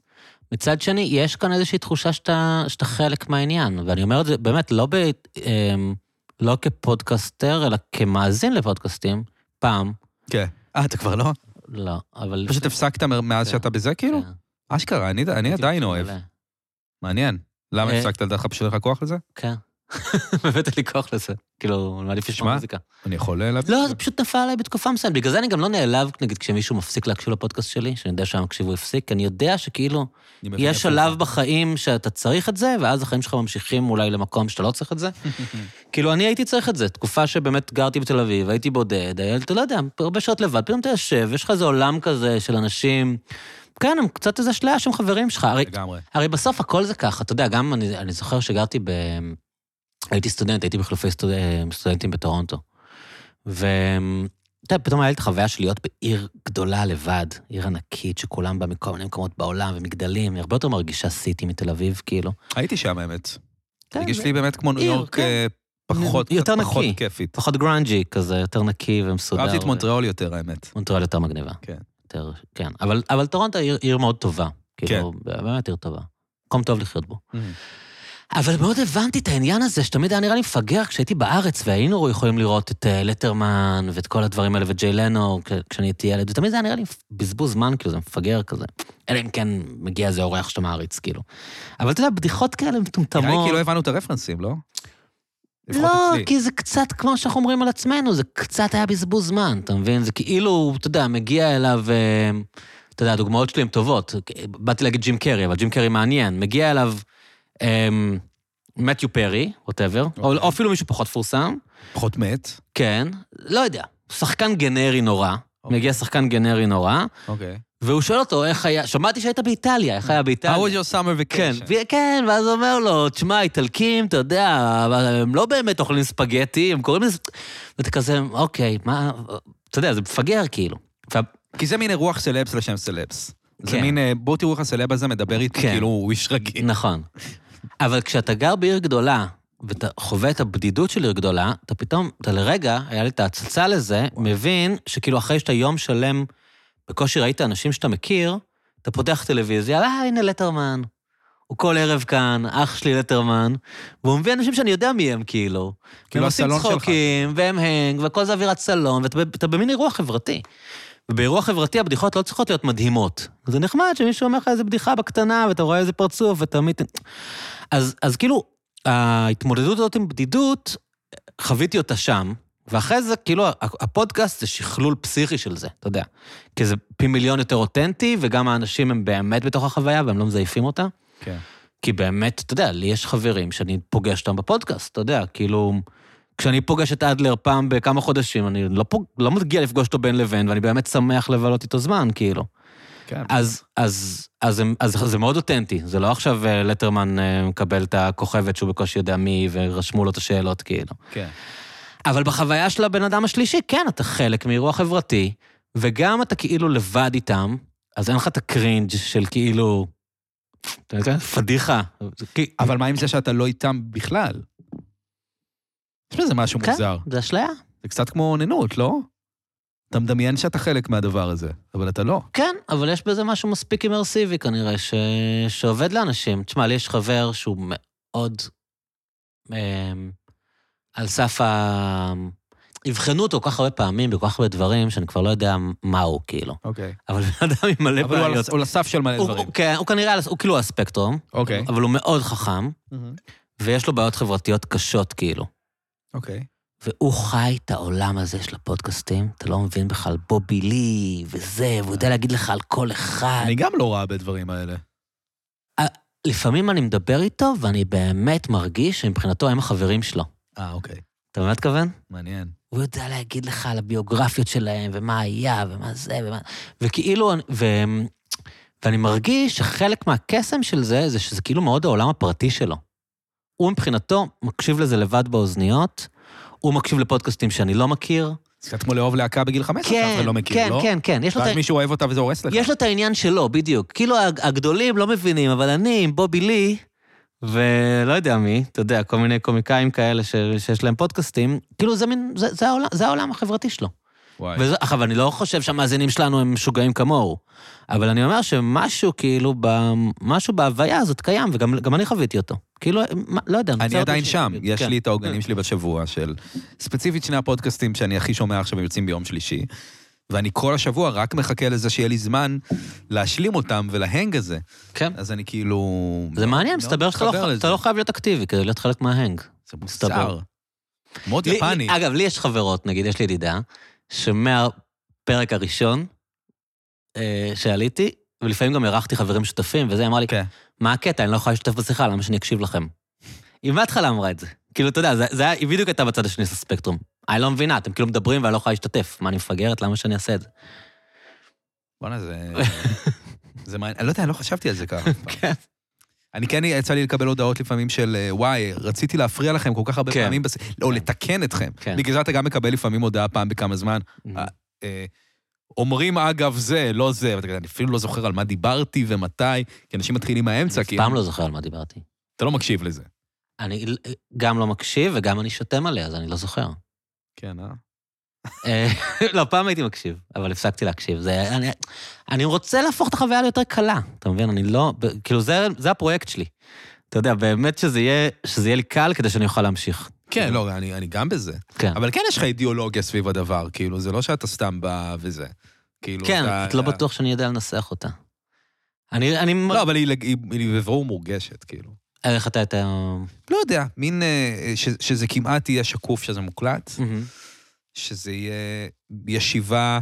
Speaker 3: מצד שני, יש כאן איזושהי תחושה שאתה, שאתה חלק מהעניין, ואני אומר את זה באמת לא, ב, אמ, לא כפודקסטר, אלא כמאזין לפודקסטים, פעם,
Speaker 2: כן. אה, אתה כבר לא?
Speaker 3: לא, אבל...
Speaker 2: פשוט הפסקת מ- מאז
Speaker 3: כן.
Speaker 2: שאתה בזה, כאילו?
Speaker 3: כן,
Speaker 2: אשכרה, אני אני עדיין אוהב.
Speaker 3: מעולה.
Speaker 2: מעניין. למה
Speaker 3: אה.
Speaker 2: הפסקת לדעתך פשוט אין לך כוח לזה?
Speaker 3: כן. הבאת לי כוח לזה, כאילו, מעדיף לשמוע
Speaker 2: שמע,
Speaker 3: מוזיקה.
Speaker 2: אני יכול אה, להבין.
Speaker 3: לא,
Speaker 2: את
Speaker 3: זה
Speaker 2: זה.
Speaker 3: פשוט נפל עליי בתקופה מסוימת. בגלל זה אני גם לא נעלב, נגיד, כשמישהו מפסיק להקשיב לפודקאסט שלי, שאני יודע שהמקשיב הוא הפסיק, כי אני יודע שכאילו,
Speaker 2: אני מבין
Speaker 3: יש
Speaker 2: איפה
Speaker 3: שלב
Speaker 2: זה.
Speaker 3: בחיים שאתה צריך את זה, ואז החיים שלך ממשיכים אולי למקום שאתה לא צריך את זה. כאילו, אני הייתי צריך את זה. תקופה שבאמת גרתי בתל אביב, הייתי בודד, היה- אתה לא יודע, הרבה שעות לבד, פתאום אתה יושב, יש לך איזה עולם כזה של אנשים... כן, הם קצת איזה אשליה שהם חברים שלך. הרי
Speaker 2: לגמרי.
Speaker 3: הרי בסוף הכל זה ככה, אתה יודע, גם אני, אני זוכר שגרתי ב... הייתי סטודנט, הייתי בחילופי סטוד... אה, סטודנטים בטורונטו. ואתה יודע, פתאום היה לי את החוויה של להיות בעיר גדולה לבד, עיר ענקית שכולם בה מכל מיני מקומות בעולם ומגדלים, היא הרבה יותר מרגישה סיטי מתל אביב, כאילו.
Speaker 2: הייתי שם, האמת.
Speaker 3: כן,
Speaker 2: הרגיש
Speaker 3: זה-
Speaker 2: לי באמת כמו ניו
Speaker 3: עיר,
Speaker 2: יורק
Speaker 3: כן.
Speaker 2: אה, פחות
Speaker 3: יותר
Speaker 2: פחות
Speaker 3: נקי.
Speaker 2: כיפית.
Speaker 3: פחות גרנג'י כזה, יותר נקי ומסודר.
Speaker 2: אהבתי את
Speaker 3: ו-
Speaker 2: מונטריאול יותר, האמת.
Speaker 3: מונטריאול יותר מגניבה.
Speaker 2: כן.
Speaker 3: יותר, כן. אבל, אבל טורונטו היא עיר, עיר מאוד טובה.
Speaker 2: כן.
Speaker 3: כאילו, באמת עיר טובה. מקום טוב לחיות בו. אבל מאוד הבנתי את העניין הזה, שתמיד היה נראה לי מפגר כשהייתי בארץ, והיינו יכולים לראות את אה, לטרמן ואת כל הדברים האלה, ואת ג'יי לנו כ- כשאני הייתי ילד, ותמיד זה היה נראה לי בזבוז זמן, כאילו, זה מפגר כזה. אלא אם כן מגיע איזה אורח שאתה מעריץ, כאילו. אבל אתה יודע, בדיחות כאלה
Speaker 2: נראה לי
Speaker 3: מטומטמות.
Speaker 2: כי לא הבנו את הרפרנסים, לא? לפחות
Speaker 3: לא,
Speaker 2: אצלי.
Speaker 3: כי זה קצת כמו שאנחנו אומרים על עצמנו, זה קצת היה בזבוז זמן, אתה מבין? זה כאילו, אתה יודע, מגיע אליו, אה, אתה יודע, הדוגמאות שלי הן טובות. באתי להגיד ג'ים קרי, אבל ג'ים קרי מעניין. מגיע אליו אה, מתיו פרי, ווטאבר,
Speaker 2: אוקיי.
Speaker 3: או, או אפילו מישהו פחות מפורסם,
Speaker 2: פחות מת.
Speaker 3: כן, לא יודע, שחקן גנרי נורא,
Speaker 2: אוקיי.
Speaker 3: מגיע שחקן גנרי נורא,
Speaker 2: אוקיי.
Speaker 3: והוא שואל אותו איך היה, שמעתי שהיית באיטליה, איך היה
Speaker 2: How
Speaker 3: באיטליה?
Speaker 2: was your summer
Speaker 3: כן,
Speaker 2: vacation?
Speaker 3: ו- כן, ואז הוא אומר לו, תשמע, איטלקים, אתה יודע, אבל הם לא באמת אוכלים ספגטי, הם קוראים לזה... ואתה כזה, אוקיי, מה... אתה יודע, זה מפגר כאילו. וה-
Speaker 2: כי זה מין אירוח סלבס לשם סלבס. זה
Speaker 3: כן.
Speaker 2: מין, אה, בואו תראו איך הסלב הזה מדבר איתי,
Speaker 3: כן.
Speaker 2: כאילו הוא איש רגיל.
Speaker 3: נכון. אבל כשאתה גר בעיר גדולה, ואתה חווה את הבדידות של עיר גדולה, אתה פתאום, אתה לרגע, היה לי את ההצצה לזה, מבין שכאילו אחרי שאתה יום שלם בקושי ראית אנשים שאתה מכיר, אתה פותח טלוויזיה, אה, הנה לטרמן. הוא כל ערב כאן, אח שלי לטרמן, והוא מביא אנשים שאני יודע מי הם, כאילו.
Speaker 2: כאילו
Speaker 3: והם עושים
Speaker 2: הסלון שלך.
Speaker 3: צחוקים, והם הנג, והכל זה אווירת סלון, ואתה ב- אתה במין אירוע חברתי. ובאירוע חברתי הבדיחות לא צריכות להיות מדהימות. זה נחמד שמישהו אומר לך איזה בדיחה בקטנה, ואתה רואה איזה פרצוף, ואתה מית... אז, אז כאילו, ההתמודדות הזאת עם בדידות, חוויתי אותה שם, ואחרי זה, כאילו, ה- הפודקאסט זה שכלול פסיכי של זה, אתה יודע. כי זה פי מיליון יותר אותנטי, וגם האנשים הם באמת בתוך החוויה, והם לא מזייפים אותה.
Speaker 2: כן.
Speaker 3: כי באמת, אתה יודע, לי יש חברים שאני פוגש אותם בפודקאסט, אתה יודע, כאילו... כשאני פוגש את אדלר פעם בכמה חודשים, אני לא, פוג... לא מגיע לפגוש אותו בין לבין, ואני באמת שמח לבלות איתו זמן, כאילו.
Speaker 4: כן.
Speaker 3: אז, אז, אז, הם- אז, אז זה מאוד אותנטי, זה לא עכשיו אה, לטרמן אה, מקבל את הכוכבת שהוא בקושי יודע מי, ורשמו לו את השאלות, כאילו.
Speaker 4: כן.
Speaker 3: אבל בחוויה של הבן אדם השלישי, כן, אתה חלק מאירוע חברתי, וגם אתה כאילו לבד איתם, אז אין לך את הקרינג' של כאילו... אתה יודע, פדיחה. זה כי-
Speaker 2: אבל מה עם זה שאתה לא איתם בכלל? יש בזה משהו
Speaker 3: כן,
Speaker 2: מוזר.
Speaker 3: זה אשליה.
Speaker 2: זה קצת כמו אוננות, לא? אתה מדמיין שאתה חלק מהדבר הזה, אבל אתה לא.
Speaker 3: כן, אבל יש בזה משהו מספיק אימרסיבי כנראה, ש... שעובד לאנשים. תשמע, לי יש חבר שהוא מאוד אמ, על סף ה... אבחנו אותו כל כך הרבה פעמים בכל כך הרבה דברים, שאני כבר לא יודע מה הוא, כאילו.
Speaker 2: אוקיי.
Speaker 3: אבל בן אדם עם
Speaker 2: אבל
Speaker 3: מלא
Speaker 2: הוא כאילו על-
Speaker 3: בעיות.
Speaker 2: הוא על הסף של מלא
Speaker 3: הוא,
Speaker 2: דברים.
Speaker 3: הוא, כן, הוא כנראה, על- הוא כאילו על הספקטרום,
Speaker 2: אוקיי.
Speaker 3: אבל הוא מאוד חכם, ויש לו בעיות חברתיות קשות, כאילו.
Speaker 2: אוקיי.
Speaker 3: והוא חי את העולם הזה של הפודקאסטים, אתה לא מבין בכלל, בובי לי, וזה, והוא יודע להגיד לך על כל אחד.
Speaker 2: אני גם לא רע בדברים האלה.
Speaker 3: לפעמים אני מדבר איתו, ואני באמת מרגיש שמבחינתו הם החברים שלו.
Speaker 2: אה, אוקיי.
Speaker 3: אתה מבין מה אתכוון?
Speaker 2: מעניין.
Speaker 3: הוא יודע להגיד לך על הביוגרפיות שלהם, ומה היה, ומה זה, ומה... וכאילו, אני- ו... ואני מרגיש שחלק מהקסם של זה, זה שזה כאילו מאוד העולם הפרטי שלו. הוא מבחינתו מקשיב לזה לבד באוזניות, הוא מקשיב לפודקאסטים שאני לא מכיר.
Speaker 2: זה קצת כמו לאהוב להקה בגיל 15, שאף אחד לא מכיר,
Speaker 3: כן,
Speaker 2: לא?
Speaker 3: כן, כן, יש לו את ה...
Speaker 2: ואז מישהו אוהב אותה וזה הורס לך.
Speaker 3: יש לו את העניין שלו, בדיוק. כאילו הג- הגדולים לא מבינים, אבל אני עם בובי לי, ולא יודע מי, אתה יודע, כל מיני קומיקאים כאלה ש, שיש להם פודקאסטים, כאילו זה מין, זה, זה, העולם, זה העולם החברתי שלו.
Speaker 2: וואי.
Speaker 3: וזה- עכשיו, אני לא חושב שהמאזינים שלנו הם משוגעים כמוהו, אבל אני אומר שמשהו כאילו, ב, משהו בהוויה הזאת קיים, וגם גם אני חוויתי אותו. כאילו, מה, לא יודע,
Speaker 2: אני
Speaker 3: נוצר
Speaker 2: עדיין
Speaker 3: איזשהו-
Speaker 2: שם, יש
Speaker 3: כן.
Speaker 2: לי את העוגנים שלי בשבוע של... ספציפית שני הפודקאסטים שאני הכי שומע עכשיו הם יוצאים ביום שלישי, ואני כל השבוע רק מחכה לזה שיהיה לי זמן להשלים אותם ולהנג הזה.
Speaker 3: כן.
Speaker 2: אז אני כאילו...
Speaker 3: זה מעניין,
Speaker 2: מאוד
Speaker 3: מסתבר שאתה לא,
Speaker 2: מתחבר
Speaker 3: ח-
Speaker 2: לזה.
Speaker 3: אתה לא חייב להיות אקטיבי כדי להיות חלק מההנג.
Speaker 2: זה
Speaker 3: מסתבר.
Speaker 2: מוסר. מאוד
Speaker 3: לי-
Speaker 2: יפני.
Speaker 3: לי- אגב, לי יש חברות, נגיד, יש לי ידידה, שמהפרק הראשון אה, שעליתי, ולפעמים גם אירחתי חברים שותפים, וזה, היא אמרה לי,
Speaker 2: כן.
Speaker 3: מה הקטע, אני לא יכולה להשתתף בשיחה, למה שאני אקשיב לכם? היא מההתחלה אמרה את זה. כאילו, אתה יודע, זה, זה היה, היא בדיוק הייתה בצד השני של הספקטרום. אני לא מבינה, אתם כאילו מדברים ואני לא יכולה להשתתף. מה, אני מפגרת? למה שאני אעשה את זה?
Speaker 2: בואנה, זה... זה מעניין. אני לא יודע, אני לא חשבתי על זה ככה.
Speaker 3: כן.
Speaker 2: אני כן, יצא לי לקבל הודעות לפעמים של, אה, וואי, רציתי להפריע לכם כל כך הרבה
Speaker 3: כן.
Speaker 2: פעמים, בס- או לתקן אתכם.
Speaker 3: כן.
Speaker 2: בגלל זה אתה גם מקבל לפעמים הודעה פעם בכמה זמן. אה, אה, אומרים אגב זה, לא זה, ואתה כזה, אני אפילו לא זוכר על מה דיברתי ומתי, כי אנשים מתחילים מהאמצע, כי
Speaker 3: פעם לא זוכר על מה דיברתי.
Speaker 2: אתה לא מקשיב לזה.
Speaker 3: אני גם לא מקשיב וגם אני שותם עליה, אז אני לא זוכר.
Speaker 2: כן, אה?
Speaker 3: אה, לא, פעם הייתי מקשיב, אבל הפסקתי להקשיב. זה, אני, אני רוצה להפוך את החוויה ליותר קלה, אתה מבין? אני לא... ב- כאילו, זה, זה הפרויקט שלי. אתה יודע, באמת שזה יהיה, שזה יהיה לי קל כדי שאני אוכל להמשיך.
Speaker 2: כן, לא, אני אני גם בזה.
Speaker 3: כן.
Speaker 2: אבל כן יש לך אידיאולוגיה סביב הדבר, כאילו, זה לא שאתה סתם בא וזה. כאילו,
Speaker 3: כן,
Speaker 2: אתה-
Speaker 3: את לא בטוח שאני יודע לנסח אותה. אני... אני אה,
Speaker 2: לא, אבל היא- היא היא בבירור מורגשת, כאילו.
Speaker 3: איך אתה את ה...
Speaker 2: לא יודע, מין, אה, ש- שזה כמעט יהיה שקוף שזה מוקלט,
Speaker 3: מהמם.
Speaker 2: שזה יהיה ישיבה,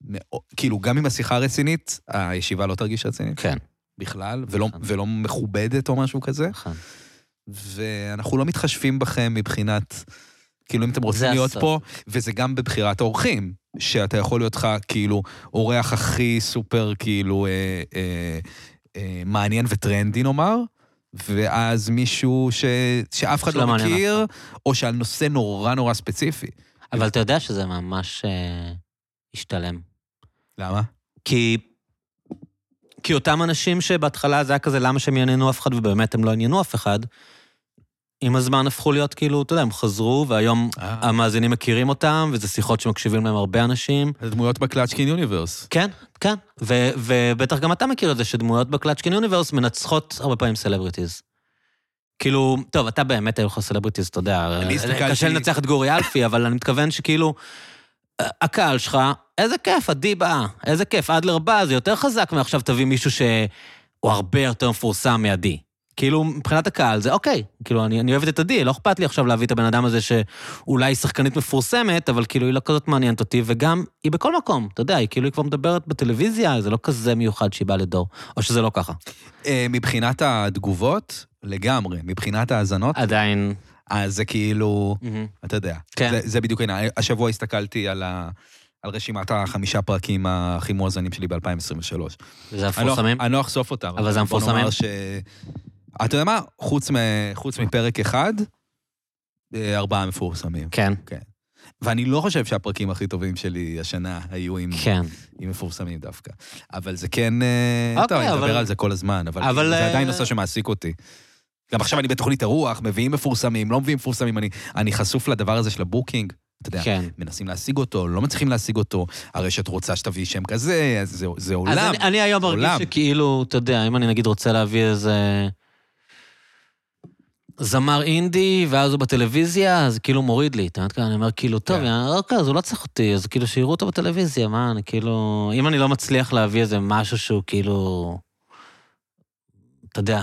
Speaker 2: מאו- כאילו, גם אם השיחה רצינית, הישיבה לא תרגיש רצינית
Speaker 3: כן,
Speaker 2: בכלל, ולא- ולא מכובדת או משהו כזה,
Speaker 3: נכון.
Speaker 2: ואנחנו לא מתחשבים בכם מבחינת, כאילו, אם אתם רוצים
Speaker 3: זה
Speaker 2: להיות
Speaker 3: הסוד.
Speaker 2: פה, וזה גם בבחירת האורחים, שאתה יכול להיות לך, כאילו, אורח הכי סופר, כאילו, אה, אה, אה, מעניין וטרנדי, נאמר, ואז מישהו ש... שאף אחד
Speaker 3: שלא
Speaker 2: לא
Speaker 3: מעניין
Speaker 2: מכיר, או שעל נושא נורא נורא ספציפי.
Speaker 3: אבל אתה יודע שזה ממש אה, השתלם.
Speaker 2: למה?
Speaker 3: כי... כי אותם אנשים שבהתחלה זה היה כזה, למה שהם יעניינו אף אחד, ובאמת הם לא עניינו אף אחד, עם הזמן הפכו להיות כאילו, אתה יודע, הם חזרו, והיום
Speaker 2: אה,
Speaker 3: המאזינים מכירים אותם, וזה שיחות שמקשיבים להם הרבה אנשים.
Speaker 2: זה דמויות בקלאצ'קין יוניברס.
Speaker 3: כן, כן. ו- ובטח גם אתה מכיר את זה שדמויות בקלאצ'קין יוניברס מנצחות הרבה פעמים סלבריטיז. כאילו, טוב, אתה באמת היו לך סלבריטיז, אתה יודע, אה,
Speaker 2: אני הסתכלתי-
Speaker 3: קשה לנצח את גורי אלפי, אבל אני מתכוון שכאילו, אה, הקהל שלך, איזה כיף, עדי באה, איזה כיף, אדלר בא, זה יותר חזק מעכשיו תביא מישהו שהוא הרבה יותר מפורסם מעדי. כאילו, מבחינת הקהל זה אוקיי. כאילו, אני, אני אוהבת את עדי, לא אכפת לי עכשיו להביא את הבן אדם הזה שאולי היא שחקנית מפורסמת, אבל כאילו, היא לא כזאת מעניינת אותי, וגם, היא בכל מקום, אתה יודע, היא כאילו, היא כבר מדברת בטלוויזיה, זה לא כזה מיוחד שהיא באה לדור, או שזה לא ככה.
Speaker 2: אה, מבחינת התגובות, לגמרי. מבחינת ההאזנות,
Speaker 3: אה. עדיין...
Speaker 2: אז זה כאילו,
Speaker 3: מהמם.
Speaker 2: אתה יודע.
Speaker 3: כן.
Speaker 2: זה, זה בדיוק העניין. השבוע הסתכלתי על, ה, על רשימת החמישה פרקים הכי מואזנים שלי ב-2023.
Speaker 3: וזה
Speaker 2: אני לא-
Speaker 3: המפורסמים?
Speaker 2: אני לא אחשוף אותם.
Speaker 3: אבל זה
Speaker 2: בוא נאמר
Speaker 3: המפורסמים?
Speaker 2: ש... אתה יודע מה? חוץ, מ... חוץ מפרק אחד, אה, ארבעה מפורסמים.
Speaker 3: כן,
Speaker 2: ואני לא חושב שהפרקים הכי טובים שלי השנה היו עם,
Speaker 3: כן.
Speaker 2: עם מפורסמים דווקא. אבל זה כן... אה,
Speaker 3: אוקיי,
Speaker 2: טוב, אני
Speaker 3: אבל-
Speaker 2: מדבר על זה כל הזמן, אבל,
Speaker 3: אבל,
Speaker 2: זה
Speaker 3: אה,
Speaker 2: עדיין נושא שמעסיק אותי. גם עכשיו אני בתוכנית הרוח, מביאים מפורסמים, לא מביאים מפורסמים, אני, אני חשוף לדבר הזה של הבוקינג. אתה יודע,
Speaker 3: כן.
Speaker 2: מנסים להשיג אותו, לא מצליחים להשיג אותו, הרשת רוצה שתביא שם כזה, אז זה, זה עולם.
Speaker 3: אז אני, אני היום מרגיש
Speaker 2: עולם.
Speaker 3: שכאילו, אתה יודע, אם אני נגיד רוצה להביא איזה זמר אינדי, ואז הוא בטלוויזיה, אז כאילו מוריד לי, אתה יודע, אני אומר כאילו, טוב,
Speaker 2: כן.
Speaker 3: yeah. אוקיי, אז הוא לא צריך אותי, אז כאילו שיראו אותו בטלוויזיה, מה, אני כאילו... אם אני לא מצליח להביא איזה משהו שהוא כאילו... אתה יודע,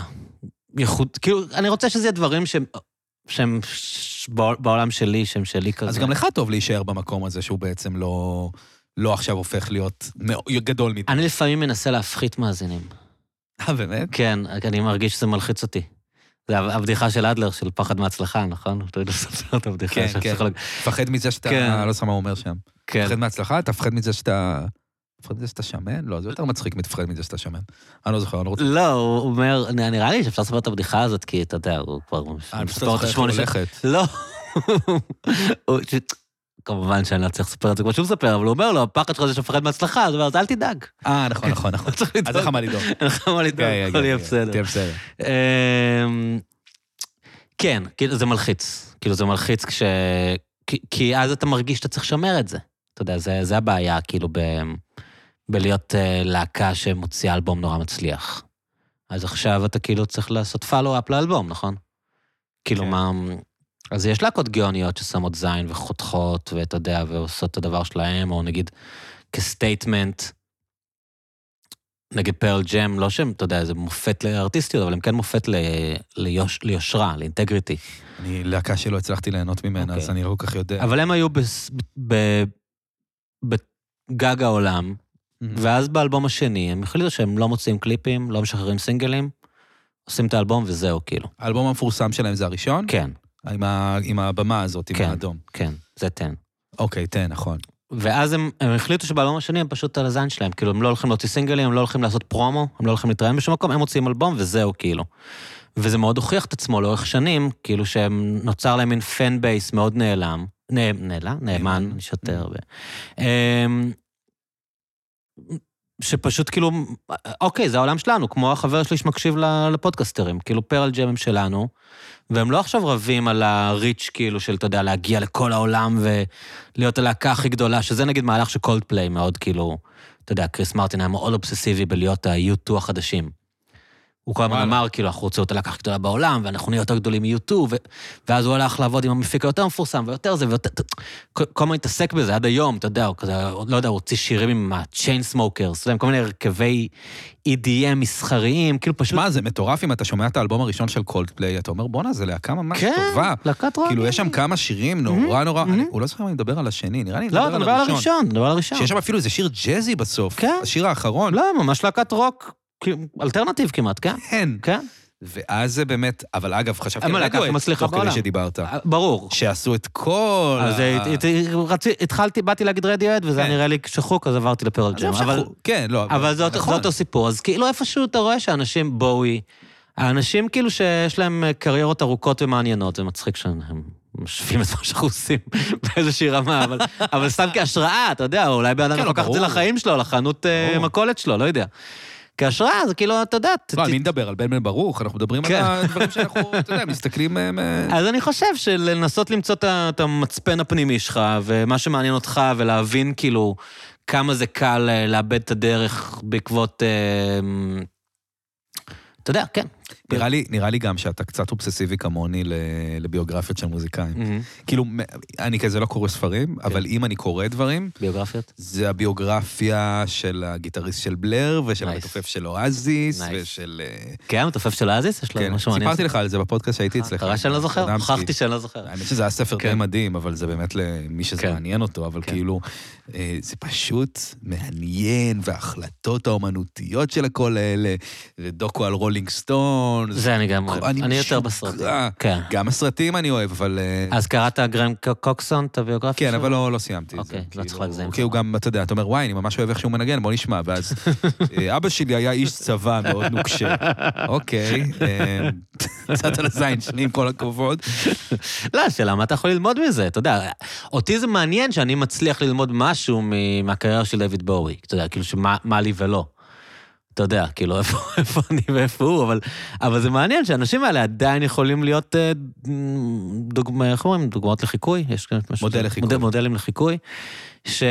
Speaker 3: ייחוד... כאילו, אני רוצה שזה יהיה דברים שהם... שהם ש- בעול- בעולם שלי, שהם שלי כזה.
Speaker 2: אז גם לך טוב להישאר במקום הזה שהוא בעצם לא, לא עכשיו הופך להיות מאו- גדול מדי.
Speaker 3: אני לפעמים מנסה להפחית מאזינים.
Speaker 2: אה, באמת?
Speaker 3: כן, רק אני מרגיש שזה מלחיץ אותי. זה הבדיחה של אדלר, של פחד מהצלחה, נכון? אתה יודע לספר את הבדיחה
Speaker 2: כן,
Speaker 3: של
Speaker 2: כן.
Speaker 3: הפסיכולוג.
Speaker 2: תפחד מזה שאתה,
Speaker 3: כן.
Speaker 2: לא זוכר מה הוא אומר שם.
Speaker 3: כן.
Speaker 2: תפחד מהצלחה, תפחד מזה שאתה... תפחד מזה שאתה שמן? לא, זה יותר מצחיק מתפחד מזה שאתה שמן. אני לא זוכר, אני לא רוצה...
Speaker 3: לא, הוא אומר, נ- נראה לי שאפשר לספר את הבדיחה הזאת, כי אתה יודע, הוא כבר
Speaker 2: אני פשוט
Speaker 3: מספר
Speaker 2: לא זוכר איך
Speaker 3: אותה אה, שמונה
Speaker 2: היא
Speaker 3: שנים.
Speaker 2: הולכת.
Speaker 3: לא. הוא- ש- כמובן שאני לא צריך לספר את זה כמו שהוא מספר, אבל הוא אומר לו, הפחד שלך זה שפחד מהצלחה, אז הוא אומר, אז אל תדאג.
Speaker 2: אה, נכון, נכון, נכון.
Speaker 3: לא צריך
Speaker 2: אז אין לך
Speaker 3: לדאוג.
Speaker 2: מה לדאוג.
Speaker 3: אין לך מה לדאוג,
Speaker 2: כן,
Speaker 3: הכל
Speaker 2: כן,
Speaker 3: יהיה
Speaker 2: כן,
Speaker 3: בסדר.
Speaker 2: תהיה בסדר.
Speaker 3: אמ, כן, כאילו זה מלחיץ. כאילו זה מלחיץ כש... כי, כי אז אתה מרגיש שאתה צריך לשמר את זה. אתה יודע, זה, זה הבעיה, כאילו, ב, בלהיות אה, להקה שמוציאה אלבום נורא מצליח. אז עכשיו אתה כאילו צריך לעשות follow-up לאלבום, נכון? כאילו,
Speaker 2: כן.
Speaker 3: מה... אז יש להקות גאוניות ששמות זין וחותכות, ואתה יודע, ועושות את הדבר שלהם, או נגיד כסטייטמנט, נגיד פרל ג'ם, לא שהם, אתה יודע, זה מופת לארטיסטיות, אבל הם כן מופת ל... ליוש... ליושרה, לאינטגריטי.
Speaker 2: אני להקה שלא הצלחתי ליהנות ממנה, אז
Speaker 3: אוקיי.
Speaker 2: אני לא כל כך יודע.
Speaker 3: אבל הם היו בס... ב... בגג העולם, ואז באלבום השני הם החליטו שהם לא מוציאים קליפים, לא משחררים סינגלים, עושים את האלבום וזהו, כאילו.
Speaker 2: האלבום המפורסם שלהם זה הראשון?
Speaker 3: כן,
Speaker 2: עם ה- עם הבמה הזאת, עם
Speaker 3: כן.
Speaker 2: האדום.
Speaker 3: כן, זה תן.
Speaker 2: אוקיי, תן, נכון.
Speaker 3: ואז הם, הם החליטו שבאלבום השני הם פשוט על הזין שלהם, כאילו הם לא הולכים להוציא סינגלים, הם לא הולכים לעשות פרומו, הם לא הולכים להתראיין בשום מקום, הם מוציאים אלבום וזהו כאילו. וזה מאוד הוכיח את עצמו לאורך שנים, כאילו שהם, נוצר להם מין פן בייס מאוד נעלם, נ, נעלם? נאמן,
Speaker 2: נאמן.
Speaker 3: אני שותה הרבה. אמ, שפשוט כאילו, אוקיי, זה העולם שלנו, כמו החבר שלי שמקשיב ל- לפודקסטרים, כאילו פרל ג'ם שלנו, והם לא עכשיו רבים על הריץ' כאילו של, אתה יודע, להגיע לכל העולם ולהיות הלהקה הכי גדולה, שזה נגיד מהלך שקולד פליי מאוד כאילו, אתה יודע, קריס מרטין היה מאוד אובססיבי בלהיות ה-U2 החדשים. הוא כל הזמן
Speaker 2: וואלה.
Speaker 3: אמר, כאילו, אנחנו רוצים להיות הלהקה הכי גדולה בעולם, ואנחנו נהיה יותר גדולים מ-U2, ו- ואז הוא הלך לעבוד עם המפיק היותר מפורסם, ויותר זה, ויותר... כל- כל הזמן התעסק בזה עד היום, אתה יודע, הוא כזה, עוד לא יודע, הוא הוציא שירים עם ה-Chain Smokers, אתה יודע, עם כל מיני הרכבי EDM מסחריים, כאילו פשוט...
Speaker 2: שמע, זה מטורף אם אתה שומע את האלבום הראשון של קולדפליי, אתה אומר, בואנה, זה להקה ממש
Speaker 3: כן,
Speaker 2: טובה.
Speaker 3: להקת רוק.
Speaker 2: כאילו, יש שם כמה שירים נורא נורא, אני- הוא לא זוכר אם אני מדבר על השני, נראה לי אני
Speaker 3: לא, אתה מדבר
Speaker 2: מדבר
Speaker 3: על הראשון, אתה מדבר על הראשון.
Speaker 2: שיש שם אפילו איזה שיר ג'אזי בסוף,
Speaker 3: כן.
Speaker 2: השיר האחרון,
Speaker 3: לא, ממש להקת רוק, כאילו, אלטרנטיב כמעט, כן?
Speaker 2: אין.
Speaker 3: כן.
Speaker 2: ואז זה באמת, אבל אגב, חשבתי
Speaker 3: הם
Speaker 2: על
Speaker 3: הלהקה הכי
Speaker 2: רדווד,
Speaker 3: מצליחה
Speaker 2: תוך כדי
Speaker 3: בעולם.
Speaker 2: שדיברת,
Speaker 3: ברור.
Speaker 2: שעשו את כל
Speaker 3: אז
Speaker 2: ה-
Speaker 3: הת- הת- רצי- התחלתי, באתי להגיד רדיואד, וזה
Speaker 2: אה, כן.
Speaker 3: היה נראה לי שחוק, אז עברתי לפרל
Speaker 2: אז הם
Speaker 3: ג'ם. אבל-
Speaker 2: שכחו. כן, לא,
Speaker 3: אבל זה אותו- זה
Speaker 2: נכון.
Speaker 3: אותו סיפור. אז כאילו איפשהו אתה רואה שאנשים, בואי, האנשים כאילו שיש להם קריירות ארוכות ומעניינות, זה מצחיק שהם משווים את מה שאנחנו עושים באיזושהי רמה, אבל- אבל סתם כהשראה, אתה יודע, אולי בן
Speaker 2: כן,
Speaker 3: אדם
Speaker 2: לא,
Speaker 3: לקח את זה
Speaker 2: ברור.
Speaker 3: לחיים שלו, לחנות אה,
Speaker 2: ברור.
Speaker 3: מכולת שלו, לא יודע. כהשראה, זה כאילו, אתה יודע, ת-
Speaker 2: לא,
Speaker 3: ת-
Speaker 2: על מי נדבר? על בן בן ברוך? אנחנו מדברים על
Speaker 3: כן.
Speaker 2: הדברים שאנחנו, אתה יודע, מסתכלים... אה, אה,
Speaker 3: אז אני חושב שלנסות למצוא את ה- את המצפן הפנימי שלך, ומה שמעניין אותך, ולהבין כאילו כמה זה קל אה, לאבד את הדרך בעקבות... אה, אמ, אתה יודע, כן,
Speaker 2: נראה לי, נראה לי גם שאתה קצת אובססיבי כמוני ל- לביוגרפיות של מוזיקאים.
Speaker 3: מהמם. כן.
Speaker 2: כאילו, מ- אני כזה לא קורא ספרים, אבל אם אני קורא דברים,
Speaker 3: ביוגרפיות?
Speaker 2: זה הביוגרפיה של הגיטריסט של בלר, ושל
Speaker 3: Nice.
Speaker 2: המתופף של אואזיס,
Speaker 3: Nice.
Speaker 2: ושל... אה,
Speaker 3: כן, מתופף של אזיס? יש לו
Speaker 2: כן,
Speaker 3: משהו מעניין.
Speaker 2: סיפרתי לך על זה בפודקאסט שהייתי אצלך.
Speaker 3: קרה שאני לא זוכר?
Speaker 2: אדמסקי.
Speaker 3: הוכחתי שאני לא זוכר.
Speaker 2: האמת שזה היה ספר די
Speaker 3: כן.
Speaker 2: מדהים, אבל זה באמת למי שזה
Speaker 3: כן.
Speaker 2: מעניין אותו, אבל
Speaker 3: כן.
Speaker 2: כאילו, אה, זה פשוט מעניין, וההחלטות האומנותיות של הכל האלה, ודוקו על רולינג סטון.
Speaker 3: זה אני גם אוהב. אני יותר בסרטים. כן.
Speaker 2: גם הסרטים אני אוהב, אבל... אה,
Speaker 3: אז קראת גרם ק- קוקסון, את הביוגרפיה
Speaker 2: כן,
Speaker 3: שלו?
Speaker 2: אבל לא, לא סיימתי את זה.
Speaker 3: אוקיי, לא
Speaker 2: כאילו,
Speaker 3: צריך להגזים.
Speaker 2: כי הוא גם, אתה יודע, אתה אומר, וואי, אני ממש אוהב איך שהוא מנגן, בוא נשמע. ואז אה, אבא שלי היה איש צבא מאוד נוקשה. אוקיי, אה, קצת על הזין שלי, עם כל הכבוד.
Speaker 3: לא, השאלה, מה אתה יכול ללמוד מזה? אתה יודע, אותי זה מעניין שאני מצליח ללמוד משהו מ- מהקריירה של דיוויד בואי. אתה יודע, כאילו, שמה מה לי ולא. אתה יודע, כאילו, איפה, איפה אני ואיפה הוא, אבל, אבל זה מעניין שהאנשים האלה עדיין יכולים להיות, אה, דוגמא, איך אומרים, דוגמאות לחיקוי? יש כאן משהו-
Speaker 2: מודל לחיקוי.
Speaker 3: מודל, מודלים לחיקוי, שאתה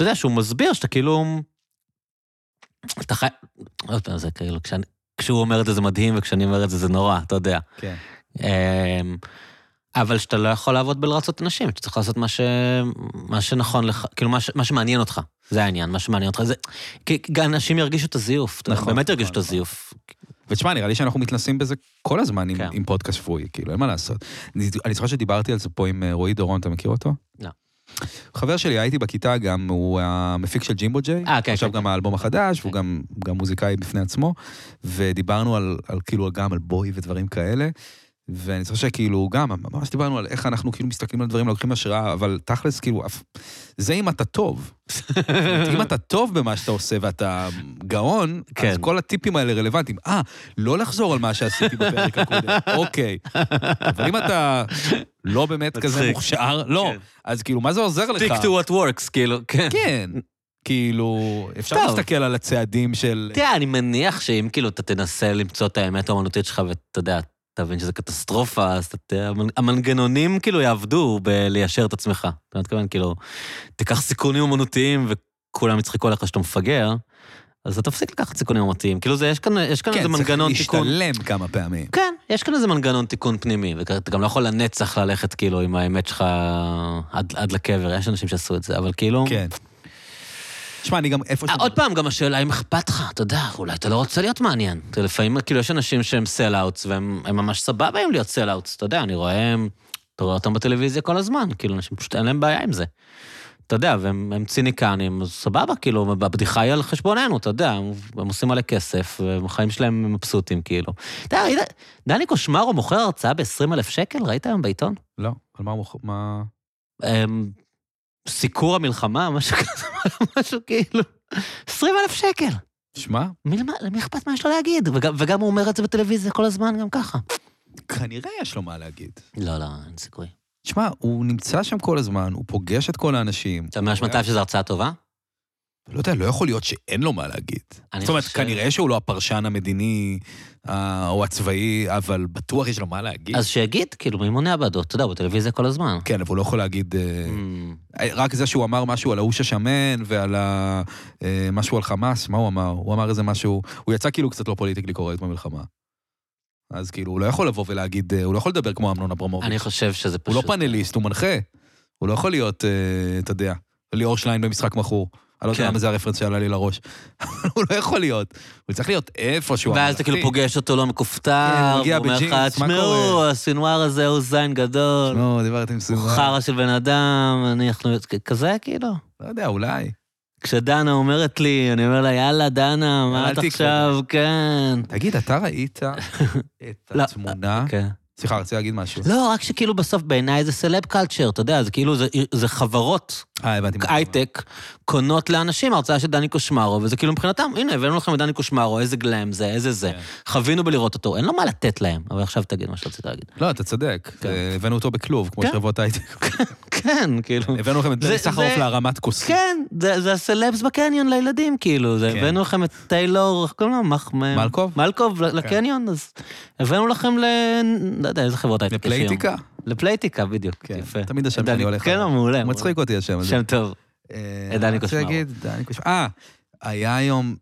Speaker 3: יודע, שהוא מסביר שאתה כאילו... אתה חי... עוד פעם, זה כאילו, כשאני, כשהוא אומר את זה זה מדהים, וכשאני אומר את זה זה נורא, אתה יודע.
Speaker 2: כן.
Speaker 3: אמ, אבל שאתה לא יכול לעבוד בלרצות אנשים, אתה צריך לעשות מה, ש... מה שנכון לך, כאילו מה, ש... מה שמעניין אותך, זה העניין, מה שמעניין אותך. זה... כי כי אנשים ירגישו את הזיוף, נכון,
Speaker 2: נכון,
Speaker 3: באמת ירגישו את
Speaker 2: נכון,
Speaker 3: הזיוף.
Speaker 2: ותשמע, נראה לי שאנחנו מתנסים בזה כל הזמן עם,
Speaker 3: כן.
Speaker 2: עם פודקאסט שבועי, כאילו, אין מה לעשות. אני, אני זוכר שדיברתי על זה פה עם אה, רועי דורון, אתה מכיר אותו?
Speaker 3: לא.
Speaker 2: חבר שלי, הייתי בכיתה גם, הוא המפיק של ג'ימבו ג'יי.
Speaker 3: אה, כן,
Speaker 2: עכשיו
Speaker 3: כן,
Speaker 2: גם האלבום החדש, והוא גם, גם מוזיקאי בפני עצמו, ודיברנו על, על כאילו גם על בוי ודברים כאלה. ואני זוכר שכאילו, גם ממש דיברנו על איך אנחנו כאילו מסתכלים על דברים, לוקחים השראה, אבל תכלס, כאילו, אף... זה אם אתה טוב. זאת אומרת, אם אתה טוב במה שאתה עושה ואתה גאון, אז
Speaker 3: כן.
Speaker 2: כל הטיפים האלה רלוונטיים. אה, לא לחזור על מה שעשיתי בפרק הקודם, אוקיי. אבל אם אתה לא באמת כזה
Speaker 3: מצחיק.
Speaker 2: מוכשר, לא.
Speaker 3: כן.
Speaker 2: אז כאילו, מה זה עוזר לך?
Speaker 3: Stick to what works, כאילו, כן.
Speaker 2: כן. כאילו, אפשר
Speaker 3: טוב.
Speaker 2: להסתכל על הצעדים של...
Speaker 3: אתה יודע, אני מניח שאם כאילו אתה תנסה למצוא את האמת האומנותית שלך ואתה יודע, תבין שזה קטסטרופה, אז אתה תראה, המנ- המנגנונים כאילו יעבדו בליישר את עצמך. אתה מתכוון, כאילו, תיקח סיכונים אומנותיים וכולם יצחקו עליך שאתה מפגר, אז אתה תפסיק לקחת סיכונים אומנותיים. כאילו, זה, יש כאן, יש כאן איזה
Speaker 2: כן, צריך
Speaker 3: מנגנון תיקון.
Speaker 2: להשתלם כמה פעמים.
Speaker 3: כן, יש כאן איזה מנגנון תיקון פנימי, ואתה גם לא יכול לנצח ללכת כאילו עם האמת שלך עד, עד לקבר, יש אנשים שעשו את זה, אבל כאילו...
Speaker 2: כן. תשמע, אני גם איפה...
Speaker 3: אה, עוד פעם, גם השאלה אם אכפת לך, אתה יודע, אולי אתה לא רוצה להיות מעניין. אתה לפעמים, כאילו, יש אנשים שהם סל-אאוטס, והם הם ממש סבבה עם להיות סל-אאוטס, אתה יודע, אני רואה, אתה רואה אותם בטלוויזיה כל הזמן, כאילו, אנשים פשוט אין להם בעיה עם זה. אתה יודע, והם הם ציניקנים, אז סבבה, כאילו, הבדיחה היא על חשבוננו, אתה יודע, הם, הם עושים מלא כסף, והחיים שלהם הם מבסוטים, כאילו. אתה יודע, ראית- דני קושמרו מוכר הרצאה ב-20 אלף שקל, ראית היום בעיתון?
Speaker 2: לא, על מה הוא... מוכ- מה...
Speaker 3: אמ, סיקור המלחמה, משהו כזה, משהו כאילו, 20 אלף שקל.
Speaker 2: שמע,
Speaker 3: מי, למ- למי אכפת מה יש לו להגיד? וגם, וגם הוא אומר את זה בטלוויזיה כל הזמן, גם ככה.
Speaker 2: כנראה יש לו מה להגיד.
Speaker 3: לא, לא, אין סיכוי.
Speaker 2: תשמע, הוא נמצא שם כל הזמן, הוא פוגש את כל האנשים.
Speaker 3: אתה ממש מצב שזו הרצאה טובה?
Speaker 2: לא יודע, לא יכול להיות שאין לו מה להגיד.
Speaker 3: אני
Speaker 2: זאת אומרת,
Speaker 3: חושב-
Speaker 2: כנראה שהוא לא הפרשן המדיני אה, או הצבאי, אבל בטוח יש לו מה להגיד.
Speaker 3: אז שיגיד, כאילו, מי מונע בעדו? אתה יודע, הוא בטלוויזיה כל הזמן.
Speaker 2: כן, אבל הוא לא יכול להגיד... אה,
Speaker 3: אמ,
Speaker 2: רק זה שהוא אמר משהו על האוש השמן ועל ה... אה, משהו על חמאס, מה הוא אמר? הוא אמר איזה משהו... הוא יצא כאילו קצת לא פוליטיקלי קורקט במלחמה. אז כאילו, הוא לא יכול לבוא ולהגיד... אה, הוא לא יכול לדבר כמו אמנון אברמוביץ'.
Speaker 3: אני חושב שזה
Speaker 2: הוא
Speaker 3: פשוט...
Speaker 2: לא פאנליסט, הוא מנחה. הוא לא יכול להיות, אה, אתה יודע, ליאור שליין במשחק מכור. אני לא יודע
Speaker 3: כן.
Speaker 2: למה זה הרפרנס שעלה לי לראש. הוא לא יכול להיות. הוא צריך להיות איפשהו.
Speaker 3: ואז אתה כאילו
Speaker 2: המלאכי.
Speaker 3: פוגש אותו לא
Speaker 2: כן, הוא
Speaker 3: מכופתר,
Speaker 2: מגיע
Speaker 3: והוא אומר לך,
Speaker 2: בג'ינס, מה
Speaker 3: תשמעו,
Speaker 2: קורה?"
Speaker 3: הסנוואר הזה הוא זין גדול,
Speaker 2: לא, דיברתי עם סובה.
Speaker 3: הוא חרא של בן אדם, אנחנו... כזה, כאילו.
Speaker 2: לא יודע, אולי.
Speaker 3: כשדנה אומרת לי, אני אומר לה, יאללה, דנה,
Speaker 2: אל
Speaker 3: מה את
Speaker 2: תקרא.
Speaker 3: עכשיו? כן.
Speaker 2: תגיד, אתה ראית את
Speaker 3: לא,
Speaker 2: התמונה?
Speaker 3: כן.
Speaker 2: סליחה, רציתי להגיד משהו.
Speaker 3: לא, רק שכאילו בסוף בעיניי זה סלב קלצ'ר, אתה יודע, זה כאילו, זה, זה חברות
Speaker 2: אה, הבנתי. מה אתה אומר.
Speaker 3: הייטק קונות לאנשים הרצאה של דני קושמרו, וזה כאילו מבחינתם, הנה, הבאנו לכם את דני קושמרו, איזה גלם זה, איזה זה.
Speaker 2: כן.
Speaker 3: חווינו בלראות אותו, אין לו מה לתת להם, אבל עכשיו תגיד מה שרצית להגיד.
Speaker 2: לא, אתה צודק.
Speaker 3: כן.
Speaker 2: אה, הבאנו אותו בכלוב, כמו
Speaker 3: כן.
Speaker 2: שרבות הייטק.
Speaker 3: כן, כאילו.
Speaker 2: הבאנו לכם את
Speaker 3: זה-
Speaker 2: בני סחרוף
Speaker 3: זה-
Speaker 2: להרמת כוסים.
Speaker 3: כן, זה, זה הסלבס בקניון לילדים, כאילו, זה
Speaker 2: כן.
Speaker 3: הבאנו לכם את טיילור, איך קוראים לו? מח- מ-
Speaker 2: מלקוב? כן.
Speaker 3: מלקוב ל- לקניון, אז הבאנו לכם ל... לא יודע, איזה חברות הייטק יש היום.
Speaker 2: לפלייטיקה?
Speaker 3: לפלייטיקה, בדיוק,
Speaker 2: כן.
Speaker 3: יפה.
Speaker 2: תמיד השם
Speaker 3: דני-
Speaker 2: שלי הולך
Speaker 3: כן,
Speaker 2: עליו.
Speaker 3: הוא מעולה. הוא
Speaker 2: מצחיק אותי השם הזה.
Speaker 3: שם טוב.
Speaker 2: אה,
Speaker 3: דני
Speaker 2: רציתי
Speaker 3: קושמרו.
Speaker 2: להגיד, דני קושמרו. אה, היה היום,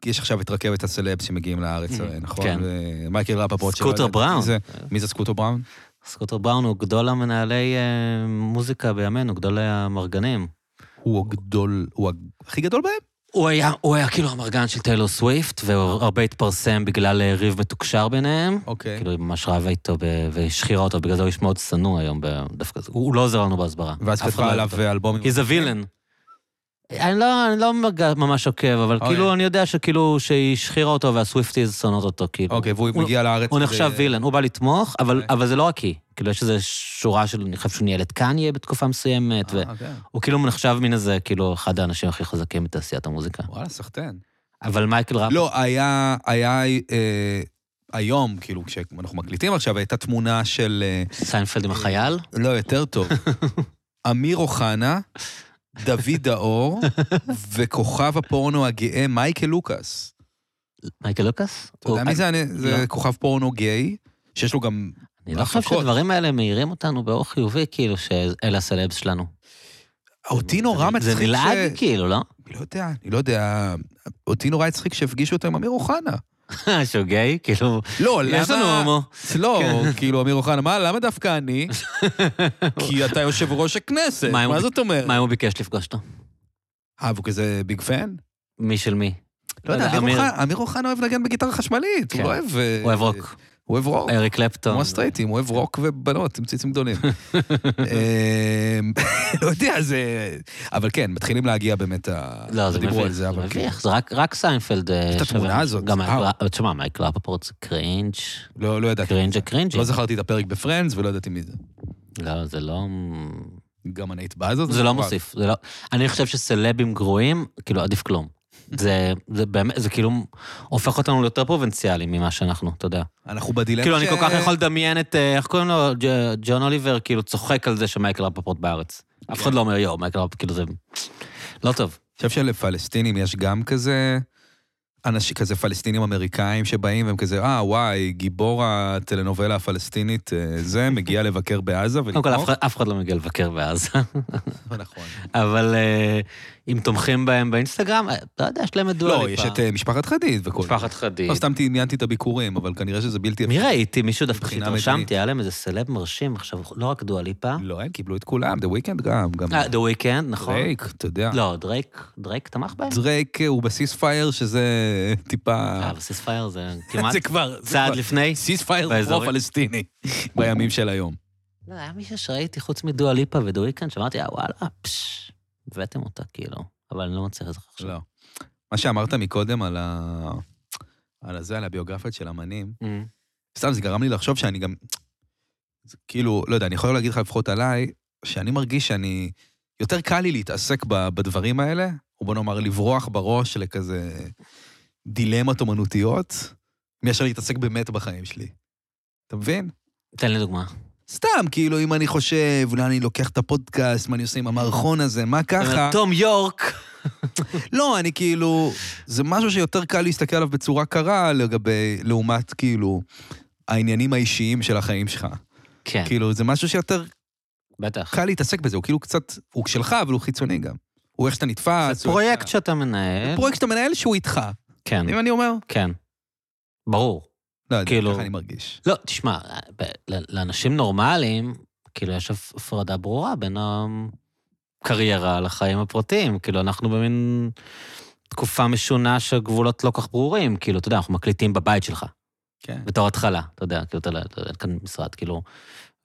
Speaker 2: כי יש עכשיו את רכבת הסלבס שמגיעים לארץ, הרי, נכון?
Speaker 3: כן.
Speaker 2: ו- מייקל רפפורט.
Speaker 3: סקוטר
Speaker 2: שלא ידעתי
Speaker 3: בראון.
Speaker 2: מי זה. מי זה סקוטר בראון?
Speaker 3: סקוטר בראון הוא גדול המנהלי אה, מוזיקה בימינו, גדולי המרגנים.
Speaker 2: הוא הגדול, הוא ה- הכי גדול בהם?
Speaker 3: הוא היה, הוא היה כאילו המרגן של טיילור סוויפט, והרבה התפרסם בגלל אה, ריב מתוקשר ביניהם.
Speaker 2: אוקיי.
Speaker 3: כאילו, היא ממש רבה איתו ב- והשחירה אותו, בגלל זה הוא איש מאוד שנוא היום ב- דווקא. הוא הוא לא עוזר לנו בהסברה.
Speaker 2: ואז
Speaker 3: אף אחד
Speaker 2: כתבה
Speaker 3: לא
Speaker 2: עליו
Speaker 3: אוהב אותו.
Speaker 2: אלבומים.
Speaker 3: He's a villain. אני לא, אני לא מג- ממש עוקב, אבל
Speaker 2: אוקיי.
Speaker 3: כאילו, אני יודע שכאילו, שהיא השחירה אותו והסוויפטיז שונאות אותו, כאילו.
Speaker 2: אוקיי, והוא
Speaker 3: הוא-
Speaker 2: מגיע לארץ.
Speaker 3: הוא
Speaker 2: ו-
Speaker 3: נחשב וילן, הוא בא לתמוך, אבל,
Speaker 2: אוקיי.
Speaker 3: אבל זה לא רק היא. כאילו, יש איזו שורה של, אני חושב שהוא ניהל את קניה בתקופה מסוימת,
Speaker 2: אה, אוקיי.
Speaker 3: והוא כאילו נחשב מן איזה, כאילו, אחד האנשים הכי חזקים בתעשיית המוזיקה.
Speaker 2: וואלה, סחטיין.
Speaker 3: אבל מייקל ראפ...
Speaker 2: לא, היה, היה אה, היום, כאילו, כשאנחנו מקליטים עכשיו, הייתה תמונה של, אה,
Speaker 3: סיינפלד עם החייל?
Speaker 2: לא, יותר טוב, אמיר אוחנה, דוד דאור, וכוכב הפורנו הגאה מייקל לוקאס.
Speaker 3: מייקל לוקאס?
Speaker 2: אתה יודע
Speaker 3: הוא-
Speaker 2: מי זה? אני- זה
Speaker 3: לא.
Speaker 2: כוכב פורנו גיי, שיש לו גם...
Speaker 3: אני לא חושב
Speaker 2: הפקות.
Speaker 3: שהדברים האלה מאירים אותנו באור חיובי, כאילו, שאלה הסלבס שלנו.
Speaker 2: אותי נורא מצחיק
Speaker 3: זה נלעג,
Speaker 2: ש...
Speaker 3: כאילו, לא?
Speaker 2: אני לא יודע, אני לא יודע. אותי נורא הצחיק שהפגישו אותו עם אמיר אוחנה.
Speaker 3: שהוא גיי, כאילו...
Speaker 2: לא, למה...
Speaker 3: יש לנו הומו.
Speaker 2: לא,
Speaker 3: כן.
Speaker 2: כאילו, אמיר אוחנה, מה, למה דווקא אני? כי אתה יושב ראש הכנסת,
Speaker 3: מה, אם
Speaker 2: מה
Speaker 3: הוא-
Speaker 2: זאת אומרת?
Speaker 3: מה אם הוא ביקש לפגוש אותו?
Speaker 2: אה, והוא כזה ביג פן?
Speaker 3: מי של מי?
Speaker 2: לא יודע, אמיר
Speaker 3: אמיר.
Speaker 2: אוחנה- אמיר אוחנה אוהב לנגן בגיטרה חשמלית, הוא
Speaker 3: כן.
Speaker 2: לא אוהב... אה,
Speaker 3: הוא אוהב רוק. אה, כן.
Speaker 2: הוא אוהב רוק,
Speaker 3: אריק קלפטון.
Speaker 2: אה, כמו הסטרייטים, הוא אוהב רוק ובנות עם ציצים גדולים. אה, לא יודע, זה... אבל כן, מתחילים להגיע באמת ה...
Speaker 3: לא, זה
Speaker 2: דיברו
Speaker 3: מביך,
Speaker 2: על זה,
Speaker 3: זה
Speaker 2: אבל כן.
Speaker 3: מביך, זה רק- רק סיינפלד. יש
Speaker 2: את התמונה הזאת, אה.
Speaker 3: גם
Speaker 2: וואו.
Speaker 3: מייקל- תשמע, מייקל רפפורט זה קרינג',
Speaker 2: לא לא ידעתי.
Speaker 3: קרינג' הקרינג'.
Speaker 2: לא זכרתי את הפרק בפרנדס ולא ידעתי מי זה.
Speaker 3: לא, זה לא...
Speaker 2: גם הנהיט באז
Speaker 3: זה לא מוסיף, זה לא... אני חושב שסלבים גרועים, כאילו, עדיף כלום. זה, זה באמת, זה כאילו הופך אותנו ליותר פרובינציאליים ממה שאנחנו, אתה יודע.
Speaker 2: אנחנו בדילמה
Speaker 3: כאילו, אני
Speaker 2: ש-
Speaker 3: כל כך יכול לדמיין את, אה, איך קוראים לו, ג'- ג'ון אוליבר, כאילו, צוחק על זה שמייקל רפפורט בארץ. אף
Speaker 2: כן.
Speaker 3: אחד לא אומר, יואו, מייקל רפפורט, כאילו, זה... לא טוב.
Speaker 2: אני חושב שלפלסטינים יש גם כזה, אנשים כזה פלסטינים אמריקאים שבאים והם כזה, אה, וואי, גיבור הטלנובלה הפלסטינית אה, זה, מגיע לבקר בעזה
Speaker 3: קודם
Speaker 2: ולתמוך.
Speaker 3: כל, אף אחד- אף אחד לא מגיע לבקר בעזה.
Speaker 2: נכון.
Speaker 3: אבל אה, אם תומכים בהם באינסטגרם, אה, לא יודע, יש להם את דואליפה.
Speaker 2: לא, יש את אה, משפחת חדיד וכל.
Speaker 3: משפחת חדיד.
Speaker 2: לא סתם דמיינתי את הביקורים, אבל כנראה שזה בלתי
Speaker 3: מי ראיתי? מישהו דווקא
Speaker 2: מבחינה מדינית.
Speaker 3: שהתרשמתי, היה להם איזה סלב מרשים עכשיו, לא רק דואליפה.
Speaker 2: לא, הם קיבלו את כולם, The Weeknd גם, גם
Speaker 3: אה, The Weeknd, נכון?
Speaker 2: לא. דרייק, אתה יודע.
Speaker 3: לא, דרייק, דרייק תמך בהם?
Speaker 2: דרייק אה, הוא בסיס פייר, שזה טיפה...
Speaker 3: אה, אבל סיספייר זה כמעט
Speaker 2: זה כבר... זה
Speaker 3: צעד
Speaker 2: כבר-
Speaker 3: לפני.
Speaker 2: סיס פייר הוא
Speaker 3: באזורים.
Speaker 2: פרו-פלסטיני בימים של היום.
Speaker 3: לא, היה מישהו שראיתי חוץ מדואליפה ודואיקן, שאמרתי, אה, וואלה, פשש, הבאתם אותה, כאילו. אבל אני לא מצליח לזכור עכשיו.
Speaker 2: לא. מה שאמרת מקודם על ה... על הזה, על הביוגרפיות של אמנים,
Speaker 3: אמ,
Speaker 2: סתם זה גרם לי לחשוב שאני גם... זה כאילו, לא יודע, אני יכול להגיד לך לפחות עליי, שאני מרגיש שאני... יותר קל לי להתעסק ב- בדברים האלה, או בוא נאמר לברוח בראש לכזה דילמות אומנותיות, מאשר להתעסק באמת בחיים שלי. אתה מבין?
Speaker 3: תן לי דוגמה.
Speaker 2: סתם, כאילו, אם אני חושב, אולי אני לוקח את הפודקאסט, מה אני עושה עם המערכון הזה, מה ככה...
Speaker 3: תום יורק.
Speaker 2: לא, אני כאילו... זה משהו שיותר קל להסתכל עליו בצורה קרה לגבי... לעומת, כאילו, העניינים האישיים של החיים שלך.
Speaker 3: כן,
Speaker 2: כאילו, זה משהו שיותר
Speaker 3: בטח.
Speaker 2: קל להתעסק בזה. הוא כאילו קצת... הוא שלך, אבל הוא חיצוני גם. הוא איך שאתה נתפס.
Speaker 3: זה
Speaker 2: הוא
Speaker 3: פרויקט
Speaker 2: איך
Speaker 3: שאתה
Speaker 2: שאתה-
Speaker 3: מנהל.
Speaker 2: פרויקט שאתה מנהל שהוא איתך.
Speaker 3: כן,
Speaker 2: אם אני אומר...
Speaker 3: כן. ברור.
Speaker 2: לא יודע,
Speaker 3: כאילו-
Speaker 2: ככה אני מרגיש.
Speaker 3: לא, תשמע, ב- ל- לאנשים נורמליים, כאילו, יש הפ- הפרדה ברורה בין הקריירה לחיים הפרטיים. כאילו, אנחנו במין תקופה משונה שהגבולות לא כך ברורים. כאילו, אתה יודע, אנחנו מקליטים בבית שלך,
Speaker 2: כן.
Speaker 3: בתור התחלה, אתה יודע, כאילו, אתה לא, אתה יודע, אין כאן משרד, כאילו...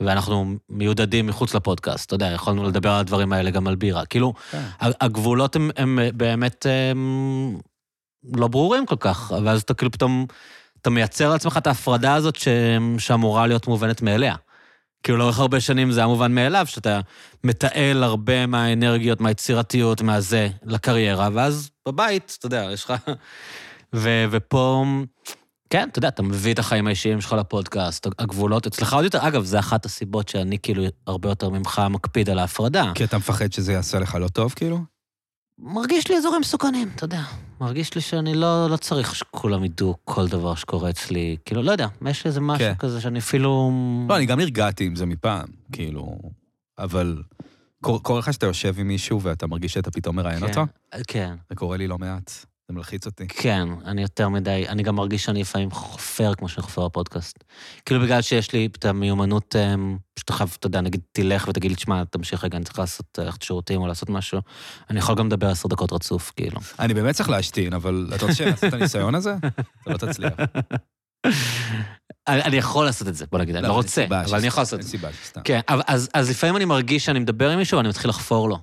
Speaker 3: ואנחנו מיודדים מחוץ לפודקאסט, אתה יודע, יכולנו לדבר על הדברים האלה גם על בירה. כאילו,
Speaker 2: כן.
Speaker 3: ה- הגבולות הם, הם אה, באמת הם לא ברורים כל כך, ואז אתה כאילו פתאום, אתה מייצר לעצמך את ההפרדה הזאת ש, שאמורה להיות מובנת מאליה. כאילו, לאורך הרבה שנים זה היה מובן מאליו, שאתה מתעל הרבה מהאנרגיות, מהיצירתיות, מהזה, לקריירה, ואז בבית, אתה יודע, יש לך... ו, ופה, כן, אתה יודע, אתה מביא את החיים האישיים שלך לפודקאסט, הגבולות אצלך עוד יותר. אגב, זו אחת הסיבות שאני כאילו הרבה יותר ממך מקפיד על ההפרדה.
Speaker 2: כי אתה מפחד שזה יעשה לך לא טוב, כאילו?
Speaker 3: מרגיש לי אזורים מסוכנים, אתה יודע. מרגיש לי שאני לא, לא צריך שכולם ידעו כל דבר שקורה אצלי. כאילו, לא יודע, יש איזה משהו
Speaker 2: כן.
Speaker 3: כן. כזה שאני אפילו...
Speaker 2: לא, אני גם נרגעתי עם זה מפעם, כאילו... אבל... קור- קורה לך שאתה יושב עם מישהו ואתה מרגיש שאתה פתאום מראיין
Speaker 3: כן,
Speaker 2: אותו?
Speaker 3: כן.
Speaker 2: זה קורה לי לא מעט. זה מלחיץ אותי.
Speaker 3: כן, אני יותר מדי, אני גם מרגיש שאני לפעמים חופר כמו שחופר הפודקאסט. כאילו בגלל שיש לי את המיומנות, אמ, פשוט חייב, אתה יודע, נגיד תלך ותגיד לי, תשמע, תמשיך רגע, אני צריך לעשות, ללכת שירותים או לעשות משהו. אני יכול גם לדבר עשר דקות רצוף, כאילו.
Speaker 2: אני באמת צריך להשתין, אבל אתה רוצה שנעשה את הניסיון הזה? אתה לא תצליח.
Speaker 3: אני אני יכול לעשות את זה, בוא נגיד, אני לא
Speaker 2: אין
Speaker 3: רוצה,
Speaker 2: סיבה
Speaker 3: אבל אני
Speaker 2: שסתם,
Speaker 3: יכול לעשות את
Speaker 2: אין
Speaker 3: זה.
Speaker 2: סיבה שסתם.
Speaker 3: כן, אבל- אז, אז לפעמים אני מרגיש שאני מדבר עם מישהו ואני מתחיל לחפור לו.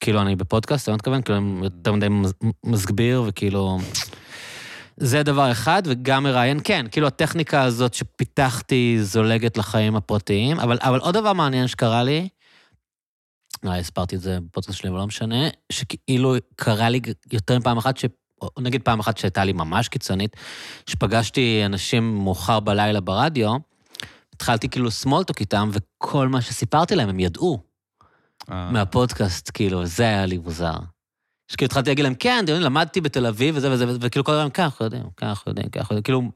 Speaker 3: כאילו, אני בפודקאסט, אתה לא מתכוון? כאילו, אני יותר מדי מז- מסביר, וכאילו... זה דבר אחד, וגם מראיין, כן, כאילו הטכניקה הזאת שפיתחתי זולגת לחיים הפרטיים, אבל, אבל עוד דבר מעניין שקרה לי, נראה לי הסברתי את זה בפודקאסט שלי, אבל לא משנה, שכאילו קרה לי יותר מפעם אחת, ש... או נגיד פעם אחת שהייתה לי ממש קיצונית, שפגשתי אנשים מאוחר בלילה ברדיו, התחלתי כאילו סמולטוק איתם, וכל מה שסיפרתי להם הם ידעו
Speaker 2: אה,
Speaker 3: מהפודקאסט, כאילו, זה היה לי מוזר. שכאילו התחלתי להגיד להם, כן, אתם יודעים, למדתי בתל אביב וזה וזה, וזה", וכאילו כל הזמן, כן, אנחנו יודעים, כן, אנחנו יודעים, כן, אנחנו יודעים, כאילו,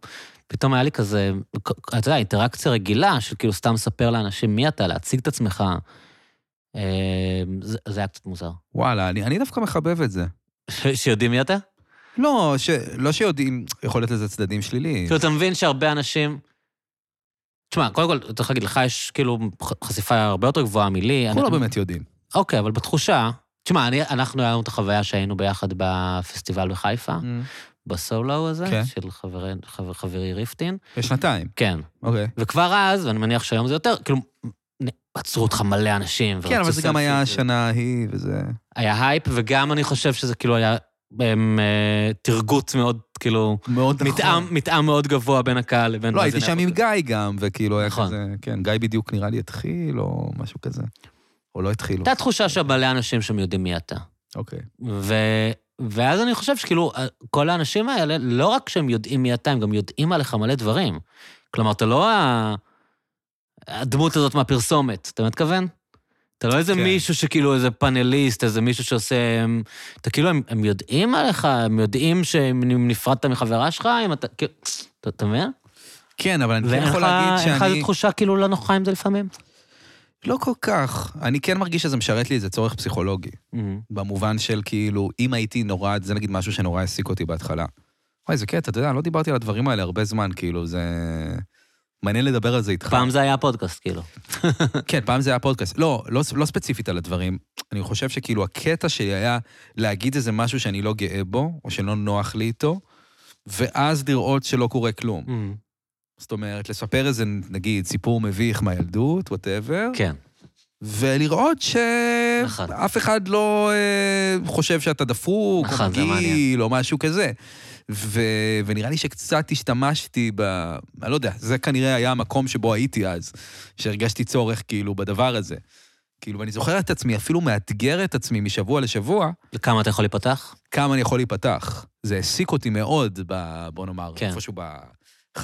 Speaker 3: פתאום היה לי כזה, אתה יודע, אינטראקציה רגילה, של כאילו סתם לספר לאנשים מי אתה, להציג את עצמך. אה, זה זה היה קצת מוזר.
Speaker 2: וואלה, אני אני דווקא מחבב את זה.
Speaker 3: ש- שיודעים מי אתה?
Speaker 2: לא, ש- לא שיודעים, יכול להיות לזה צדדים שליליים.
Speaker 3: כאילו, אתה מבין שהרבה אנשים... תשמע, קודם כל, צריך להגיד, לך יש כאילו ח- חשיפה הרבה יותר גבוהה מלי.
Speaker 2: אנחנו
Speaker 3: אני-
Speaker 2: לא באמת יודעים.
Speaker 3: אוקיי, אבל בתחושה... תשמע, אני, אנחנו, היה לנו את החוויה שהיינו ביחד בפסטיבל בחיפה, בסולו הזה,
Speaker 2: כן.
Speaker 3: של חברי, חבר, חברי ריפטין.
Speaker 2: בשנתיים,
Speaker 3: כן.
Speaker 2: אוקיי.
Speaker 3: וכבר אז, ואני מניח שהיום זה יותר, כאילו, נ- עצרו אותך מלא אנשים.
Speaker 2: כן, אבל
Speaker 3: ורצו
Speaker 2: זה גם היה
Speaker 3: סלפי, ו-
Speaker 2: השנה ההיא, וזה...
Speaker 3: היה הייפ, וגם אני חושב שזה כאילו היה הם, אה, תרגות מאוד, כאילו,
Speaker 2: מאוד
Speaker 3: מתאם, מתאם מאוד גבוה בין הקהל לבין...
Speaker 2: נכון. לא,
Speaker 3: מה זה
Speaker 2: הייתי שם עם
Speaker 3: נעבוד.
Speaker 2: גיא גם, וכאילו היה
Speaker 3: נכון.
Speaker 2: כזה... כן, גיא בדיוק נראה לי התחיל, או משהו כזה. או לא התחיל.
Speaker 3: הייתה תחושה שמלא אנשים שם יודעים מי אתה.
Speaker 2: אוקיי.
Speaker 3: ו... ואז אני חושב שכאילו, אה, כל האנשים האלה, לא רק שהם יודעים מי אתה, הם גם יודעים עליך מלא דברים. כלומר, אתה לא ה... הדמות הזאת מהפרסומת, אתה מתכוון? אתה לא איזה
Speaker 2: כן.
Speaker 3: כן. מישהו שכאילו, איזה פאנליסט, איזה מישהו שעושה... הם- אתה כאילו, הם, הם יודעים עליך, הם יודעים שאם נפרדת מחברה שלך, אם אתה... כאילו, אתה אתה מבין?
Speaker 2: כן, אבל אני כן
Speaker 3: ואין לך
Speaker 2: יכול להגיד
Speaker 3: אין לך איזו
Speaker 2: שאני...
Speaker 3: תחושה כאילו לא נוחה עם זה לפעמים?
Speaker 2: לא כל כך. אני כן מרגיש שזה משרת לי איזה צורך פסיכולוגי. במובן של כאילו, אם הייתי נורא, זה נגיד משהו שנורא העסיק אותי בהתחלה. וואי, זה קטע, אתה יודע, לא דיברתי על הדברים האלה הרבה זמן, כאילו, זה... מעניין לדבר על זה איתך.
Speaker 3: פעם זה היה הפודקאסט, כאילו.
Speaker 2: כן, פעם זה היה פודקאסט. לא, לא, לא ספציפית על הדברים. אני חושב שכאילו הקטע שלי היה להגיד איזה משהו שאני לא גאה בו, או שלא נוח לי איתו, ואז לראות שלא קורה כלום. זאת אומרת, לספר איזה, נגיד, סיפור מביך מהילדות, וואטאבר,
Speaker 3: כן.
Speaker 2: ולראות
Speaker 3: נכון.
Speaker 2: שאף אחד לא אה, חושב שאתה דפוק, או
Speaker 3: נכון, זה
Speaker 2: מגעיל,
Speaker 3: מעניין.
Speaker 2: או משהו כזה. ו... ונראה לי שקצת השתמשתי ב... אני לא יודע, זה כנראה היה המקום שבו הייתי אז, שהרגשתי צורך כאילו בדבר הזה. כאילו, ואני זוכר את עצמי, אפילו מאתגר את עצמי משבוע לשבוע,
Speaker 3: לכמה אתה יכול להיפתח?
Speaker 2: כמה אני יכול להיפתח. זה העסיק אותי מאוד, ב... בוא נאמר,
Speaker 3: כן.
Speaker 2: איפשהו ב... 50-60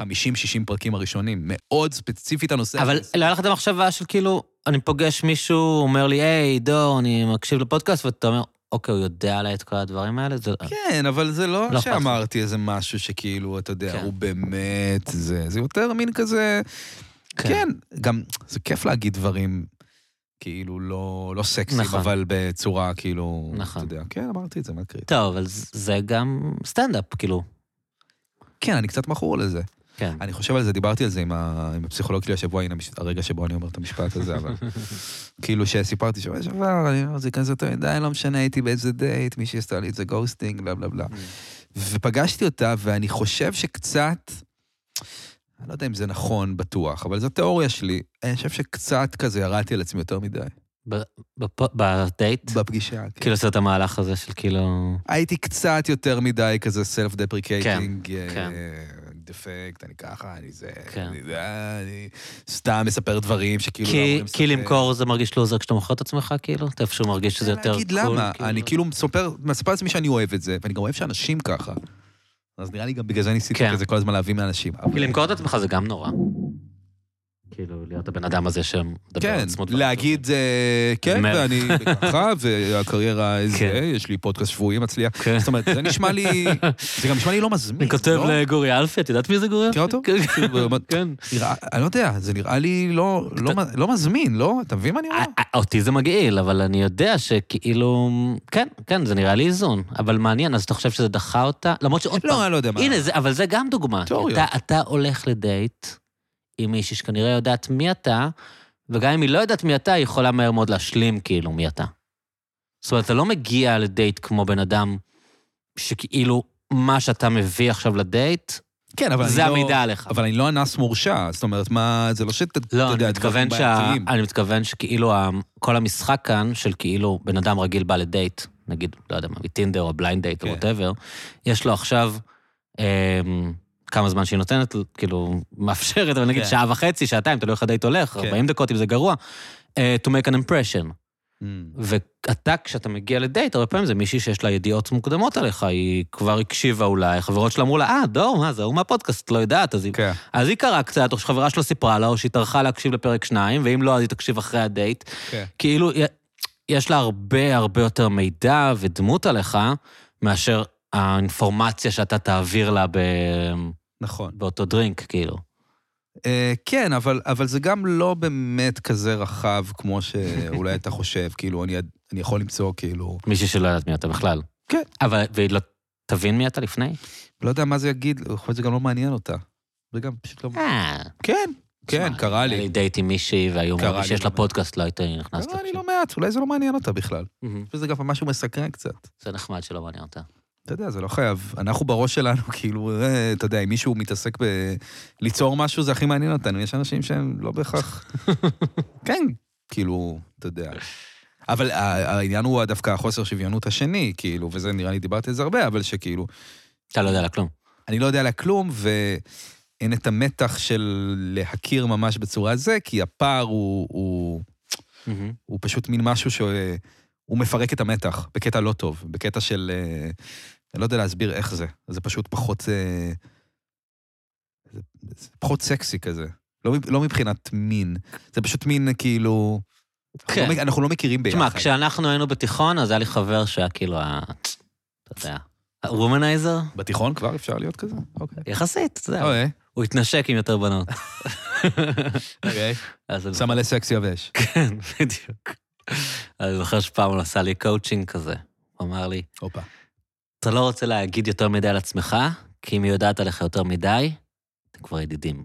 Speaker 2: פרקים הראשונים, מאוד ספציפית הנושא.
Speaker 3: אבל
Speaker 2: הזה.
Speaker 3: לא היה לך את המחשבה של כאילו, אני פוגש מישהו, הוא אומר לי, היי, עידו, אני מקשיב לפודקאסט, ואתה אומר, אוקיי, הוא יודע עליי את כל הדברים האלה? זה...
Speaker 2: כן, אבל זה לא,
Speaker 3: נכון. לא
Speaker 2: שאמרתי איזה משהו שכאילו, אתה יודע,
Speaker 3: כן.
Speaker 2: הוא באמת זה. זה יותר מין כזה... כן. גם זה כיף להגיד דברים כאילו לא, לא סקסיים,
Speaker 3: נכון.
Speaker 2: אבל בצורה כאילו...
Speaker 3: נכון.
Speaker 2: אתה יודע, כן, אמרתי את זה, מה קריטי.
Speaker 3: טוב, אבל זה- זה גם סטנדאפ, כאילו.
Speaker 2: כן, אני קצת מכור לזה.
Speaker 3: כן.
Speaker 2: אני חושב על זה, דיברתי על זה עם, ה... עם הפסיכולוג שלי השבוע, הנה המש- הרגע שבו אני אומר את המשפט הזה, אבל... כאילו שסיפרתי שבוע שעבר, אני אומר, זה כזה יותר מדי, לא משנה, הייתי באיזה דייט, מישהי עשתה לי את זה גוסטינג, בלה בלה בלה. ופגשתי אותה, ואני חושב שקצת, אני לא יודע אם זה נכון בטוח, אבל זו תיאוריה שלי, אני חושב שקצת כזה ירדתי על עצמי יותר מדי.
Speaker 3: בפ- בדייט?
Speaker 2: בפגישה, כן.
Speaker 3: כאילו, עושה את המהלך הזה של כאילו...
Speaker 2: הייתי קצת יותר מדי כזה סלף דפריקייטינג,
Speaker 3: כן.
Speaker 2: דפקט, אני ככה, אני זה,
Speaker 3: כן.
Speaker 2: אני זה, אני סתם מספר דברים שכאילו... לא
Speaker 3: כי-
Speaker 2: אמורים
Speaker 3: כי
Speaker 2: לספר.
Speaker 3: למכור זה מרגיש לוזר כשאתה מוכר את עצמך, כאילו? אתה איפשהו מרגיש שזה יותר
Speaker 2: להגיד
Speaker 3: קול,
Speaker 2: למה, אני כאילו מספר, מספר לעצמי שאני אוהב את זה, ואני גם אוהב שאנשים ככה. אז נראה לי גם בגלל זה ניסיתי
Speaker 3: כן.
Speaker 2: כזה כל הזמן להביא מאנשים. אבל-
Speaker 3: כי למכור את עצמך זה גם נורא. כאילו, להיות הבן אדם הזה שמדבר על
Speaker 2: כן,
Speaker 3: עצמו. דברים
Speaker 2: להגיד, אה, כן,
Speaker 3: מלך.
Speaker 2: ואני ככה, והקריירה זה,
Speaker 3: כן.
Speaker 2: יש לי פודקאסט שבועי מצליח.
Speaker 3: כן.
Speaker 2: זאת אומרת, זה נשמע לי, זה גם נשמע לי לא מזמין.
Speaker 3: אני כותב
Speaker 2: לא?
Speaker 3: לגורי אלפי, את יודעת מי זה גורי אלפי?
Speaker 2: מכיר אותו?
Speaker 3: כן, כן.
Speaker 2: נראה- אני לא יודע, זה נראה לי לא- לא מ- לא מזמין, לא? אתה מבין מה אני אומר?
Speaker 3: א- א- אה, אותי זה מגעיל, אבל אני יודע שכאילו... כן, כן, זה נראה לי איזון. אבל מעניין, אז אתה חושב שזה דחה אותה? למרות שעוד
Speaker 2: לא,
Speaker 3: פעם...
Speaker 2: אני לא יודע מה.
Speaker 3: הנה, זה- אבל זה גם דוגמה. כי
Speaker 2: תיאוריות.
Speaker 3: אתה- אתה הולך לדייט עם מישהי שכנראה יודעת מי אתה, וגם אם היא לא יודעת מי אתה, היא יכולה מהר מאוד להשלים כאילו מי אתה. זאת אומרת, אתה לא מגיע לדייט כמו בן אדם שכאילו מה שאתה מביא עכשיו לדייט,
Speaker 2: כן, אבל אני
Speaker 3: זה
Speaker 2: לא-
Speaker 3: המידע עליך.
Speaker 2: אבל אני לא אנס מורשע, זאת אומרת, מה, זה לא שאתה, אתה
Speaker 3: לא,
Speaker 2: יודע,
Speaker 3: אני
Speaker 2: דברים
Speaker 3: מתכוון, שה... אה,
Speaker 2: בעייתיים.
Speaker 3: אני מתכוון שכאילו ה- כל המשחק כאן, של כאילו בן אדם רגיל בא לדייט, נגיד, לא יודע מה, מטינדר או בליינד דייט או
Speaker 2: כן.
Speaker 3: ווטאבר, יש לו עכשיו אמ, כמה זמן שהיא נותנת, כאילו, מאפשרת, אבל נגיד
Speaker 2: כן.
Speaker 3: שעה וחצי, שעתיים, תלוי איך הדייט הולך,
Speaker 2: כן.
Speaker 3: 40 דקות אם זה גרוע, אה, to make an impression.
Speaker 2: אמ,
Speaker 3: ואתה, כשאתה מגיע לדייט, הרבה פעמים זה מישהי שיש לה ידיעות מוקדמות עליך, היא כבר הקשיבה אולי, חברות שלה אמרו לה, אה, דור, מה, זה ההוא מהפודקאסט, לא יודעת, אז היא
Speaker 2: כן.
Speaker 3: אז היא קראה קצת, או שחברה שלו סיפרה לה, או שהיא טרחה להקשיב לפרק שניים, ואם לא, אז היא תקשיב אחרי הדייט.
Speaker 2: כן.
Speaker 3: כאילו, יש לה הרבה הרבה יותר מידע ודמות עליך, מאשר האינפורמציה שאתה תעביר לה ב...
Speaker 2: נכון.
Speaker 3: באותו דרינק, כאילו.
Speaker 2: אה, כן, אבל, אבל זה גם לא באמת כזה רחב כמו שאולי אתה חושב, כאילו, אני, אני יכול למצוא, כאילו,
Speaker 3: מישהי שלא יודעת מי אתה בכלל.
Speaker 2: כן.
Speaker 3: אבל, והיא לא תבין מי אתה לפני?
Speaker 2: לא יודע מה זה יגיד, יכול להיות שזה גם לא מעניין אותה. זה גם פשוט לא...
Speaker 3: אה.
Speaker 2: כן, כן,
Speaker 3: שמע,
Speaker 2: קרה
Speaker 3: היה לי
Speaker 2: לי.
Speaker 3: דייט עם מישהי, והיו
Speaker 2: קרה
Speaker 3: אומרים
Speaker 2: לי
Speaker 3: שיש
Speaker 2: לא
Speaker 3: לה
Speaker 2: מעט.
Speaker 3: פודקאסט, לא הייתי נכנס
Speaker 2: קרה לי
Speaker 3: לפשוט.
Speaker 2: לא מעט, אולי זה לא מעניין אותה בכלל. וזה גם משהו מסקרן קצת.
Speaker 3: זה נחמד שלא מעניין אותה.
Speaker 2: אתה יודע, זה לא חייב. אנחנו בראש שלנו, כאילו, אה, אתה יודע, אם מישהו מתעסק בליצור משהו, זה הכי מעניין אותנו. יש אנשים שהם לא בהכרח... כן, כאילו, אתה יודע. אבל ה- העניין הוא דווקא החוסר שוויונות השני, כאילו, וזה נראה לי, דיברתי על זה הרבה, אבל שכאילו,
Speaker 3: אתה לא יודע לה כלום.
Speaker 2: אני לא יודע עליה כלום, ואין את המתח של להכיר ממש בצורה זה, כי הפער הוא, הוא,
Speaker 3: מהמם.
Speaker 2: הוא פשוט מין משהו שהוא אה, מפרק את המתח, בקטע לא טוב, בקטע של... אה, אני לא יודע להסביר איך זה, זה פשוט פחות... אה, זה, זה פחות סקסי כזה. לא, מב- לא מבחינת מין, זה פשוט מין כאילו... אנחנו
Speaker 3: כן.
Speaker 2: לא מ- אנחנו לא מכירים ביחד.
Speaker 3: תשמע, כשאנחנו היינו בתיכון, אז היה לי חבר שהיה כאילו ה... אתה יודע, הוומנייזר?
Speaker 2: בתיכון כבר אפשר להיות כזה? אוקיי.
Speaker 3: יחסית, אתה יודע.
Speaker 2: אוקיי.
Speaker 3: הוא התנשק עם יותר בנות.
Speaker 2: אוקיי.
Speaker 3: אז אני-
Speaker 2: שם מלא סקס יבש.
Speaker 3: כן, בדיוק. אני זוכר שפעם הוא עשה לי קואוצ'ינג כזה. הוא אמר לי,
Speaker 2: הופה.
Speaker 3: אתה לא רוצה להגיד יותר מדי על עצמך, כי אם היא יודעת עליך יותר מדי, אתם כבר ידידים.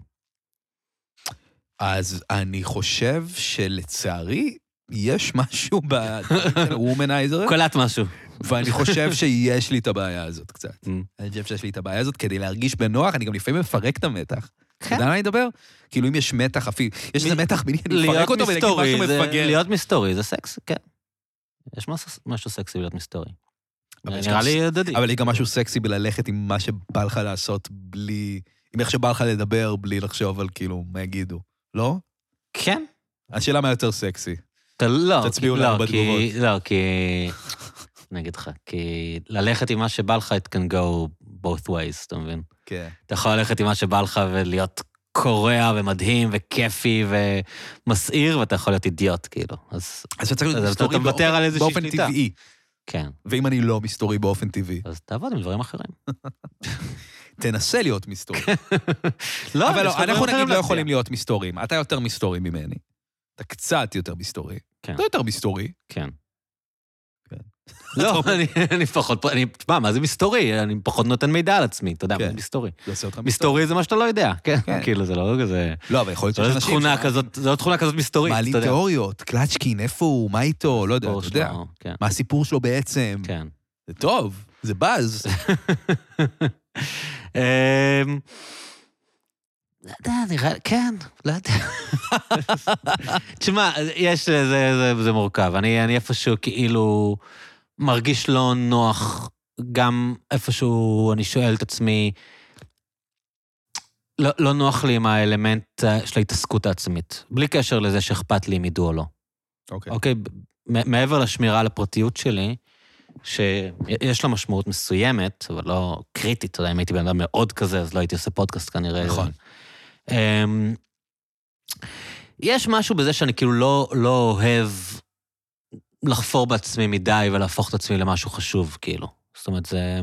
Speaker 2: אז אני חושב שלצערי, יש משהו בדברים של וומנייזר,
Speaker 3: קולט משהו.
Speaker 2: ואני חושב שיש לי את הבעיה הזאת קצת.
Speaker 3: Mm.
Speaker 2: אני חושב שיש לי את הבעיה הזאת כדי להרגיש בנוח, אני גם לפעמים מפרק את המתח. אתה
Speaker 3: כן.
Speaker 2: יודע על מה אני מדבר? כאילו אם יש מתח אפילו, יש איזה מתח ביני, אני מפרק
Speaker 3: להיות
Speaker 2: אותו ולהגיד
Speaker 3: מסתורי,
Speaker 2: משהו
Speaker 3: זה-
Speaker 2: מפגר.
Speaker 3: להיות מסתורי זה סקס, כן. יש משהו- משהו סקסי בלהיות מסתורי.
Speaker 2: אבל יש
Speaker 3: נראה
Speaker 2: גם-
Speaker 3: לי הדדי.
Speaker 2: אבל יש גם משהו סקסי בללכת עם מה שבא לך לעשות בלי, עם איך שבא לך לדבר בלי לחשוב על כאילו מה יגידו, לא?
Speaker 3: כן.
Speaker 2: השאלה מה יותר סקסי.
Speaker 3: אתה לא,
Speaker 2: תצביעו
Speaker 3: כי-
Speaker 2: לנו
Speaker 3: לא, כי-
Speaker 2: בתגובות.
Speaker 3: לא, כי... אני אגיד לך, כי ללכת עם מה שבא לך, it can go both ways, אתה מבין?
Speaker 2: כן.
Speaker 3: אתה יכול ללכת עם מה שבא לך ולהיות קורע ומדהים וכיפי ומסעיר, ואתה יכול להיות אידיוט, כאילו. אז
Speaker 2: אז אתה צריך
Speaker 3: אז
Speaker 2: להיות
Speaker 3: אתה-
Speaker 2: מסתורי
Speaker 3: אתה מוותר
Speaker 2: באופן-
Speaker 3: על איזושהי
Speaker 2: באופן
Speaker 3: שליטה.
Speaker 2: טבעי.
Speaker 3: כן,
Speaker 2: ואם אני לא מסתורי באופן טבעי,
Speaker 3: אז תעבוד עם דברים אחרים.
Speaker 2: תנסה להיות מסתורי.
Speaker 3: לא,
Speaker 2: אבל לא, אנחנו נגיד לא יכולים להיות מסתורים. אתה יותר מסתורי ממני. אתה קצת יותר מסתורי.
Speaker 3: כן.
Speaker 2: אתה יותר מסתורי.
Speaker 3: כן.
Speaker 2: כן.
Speaker 3: לא, אני- אני פחות, אני, מה, מה זה מסתורי? אני פחות נותן מידע על עצמי, אתה יודע, מה
Speaker 2: כן.
Speaker 3: זה מסתורי.
Speaker 2: זה עושה אותך מסתורי.
Speaker 3: מסתורי זה מה שאתה לא יודע, כן,
Speaker 2: כן.
Speaker 3: כאילו, זה לא כזה...
Speaker 2: לא, אבל יכול להיות
Speaker 3: זה לא
Speaker 2: שיש
Speaker 3: איזה
Speaker 2: אנשים
Speaker 3: תכונה
Speaker 2: שמעלים-
Speaker 3: כזאת, זה לא תכונה כזאת מסתורית,
Speaker 2: מעלים
Speaker 3: אתה יודע.
Speaker 2: תיאוריות, קלצ'קין, איפה הוא, מה איתו, לא יודע,
Speaker 3: הסיפור
Speaker 2: אתה יודע.
Speaker 3: שלו, כן,
Speaker 2: מה הסיפור שלו בעצם.
Speaker 3: כן.
Speaker 2: זה טוב, זה באז.
Speaker 3: אמ, לא יודע, נראה, כן, לא יודע. תשמע, יש, זה- זה- זה מורכב. אני אני איפשהו כאילו מרגיש לא נוח, גם איפשהו אני שואל את עצמי, לא לא נוח לי עם האלמנט אה, של ההתעסקות העצמית, בלי קשר לזה שאכפת לי אם ידעו או לא.
Speaker 2: אוקיי.
Speaker 3: אוקיי, ב- מ- מעבר לשמירה על הפרטיות שלי, שיש לה משמעות מסוימת, אבל לא קריטית, אתה יודע, אם הייתי בן אדם מאוד כזה, אז לא הייתי עושה פודקאסט כנראה.
Speaker 2: נכון.
Speaker 3: אמ, יש משהו בזה שאני כאילו לא, לא אוהב לחפור בעצמי מדי ולהפוך את עצמי למשהו חשוב, כאילו. זאת אומרת, זה...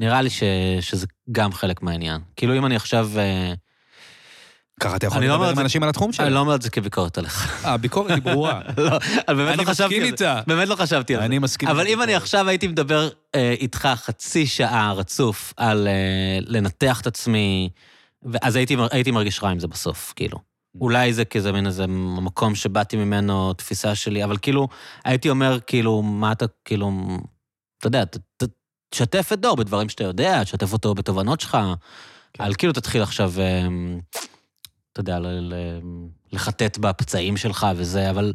Speaker 3: נראה לי ש, שזה גם חלק מהעניין. כאילו, אם אני עכשיו...
Speaker 2: לא
Speaker 3: אה,
Speaker 2: ככה אתה יכול
Speaker 3: אני לא
Speaker 2: לדבר
Speaker 3: אומר את
Speaker 2: עם
Speaker 3: זה-
Speaker 2: אנשים על התחום
Speaker 3: אני
Speaker 2: שלהם.
Speaker 3: לא אומר את זה כביקורת עליך.
Speaker 2: הביקורת היא ברורה.
Speaker 3: לא, אני באמת
Speaker 2: אני
Speaker 3: לא
Speaker 2: מסכים
Speaker 3: חשבתי על זה.
Speaker 2: איתה.
Speaker 3: באמת לא חשבתי על זה.
Speaker 2: אני מסכים.
Speaker 3: אבל
Speaker 2: עם
Speaker 3: אם אני
Speaker 2: הביקורת.
Speaker 3: עכשיו הייתי מדבר אה, איתך חצי שעה רצוף על אה, לנתח את עצמי, אז הייתי, מר- הייתי מרגיש רע עם זה בסוף, כאילו. אולי זה כזה מין איזה מקום שבאתי ממנו, תפיסה שלי, אבל כאילו, הייתי אומר, כאילו, מה אתה, כאילו, אתה יודע, ת, ת, תשתף את דור בדברים שאתה יודע, תשתף אותו בתובנות שלך, כן. על כאילו תתחיל עכשיו, אה, אתה יודע, ל, ל, לחטט בפצעים שלך וזה, אבל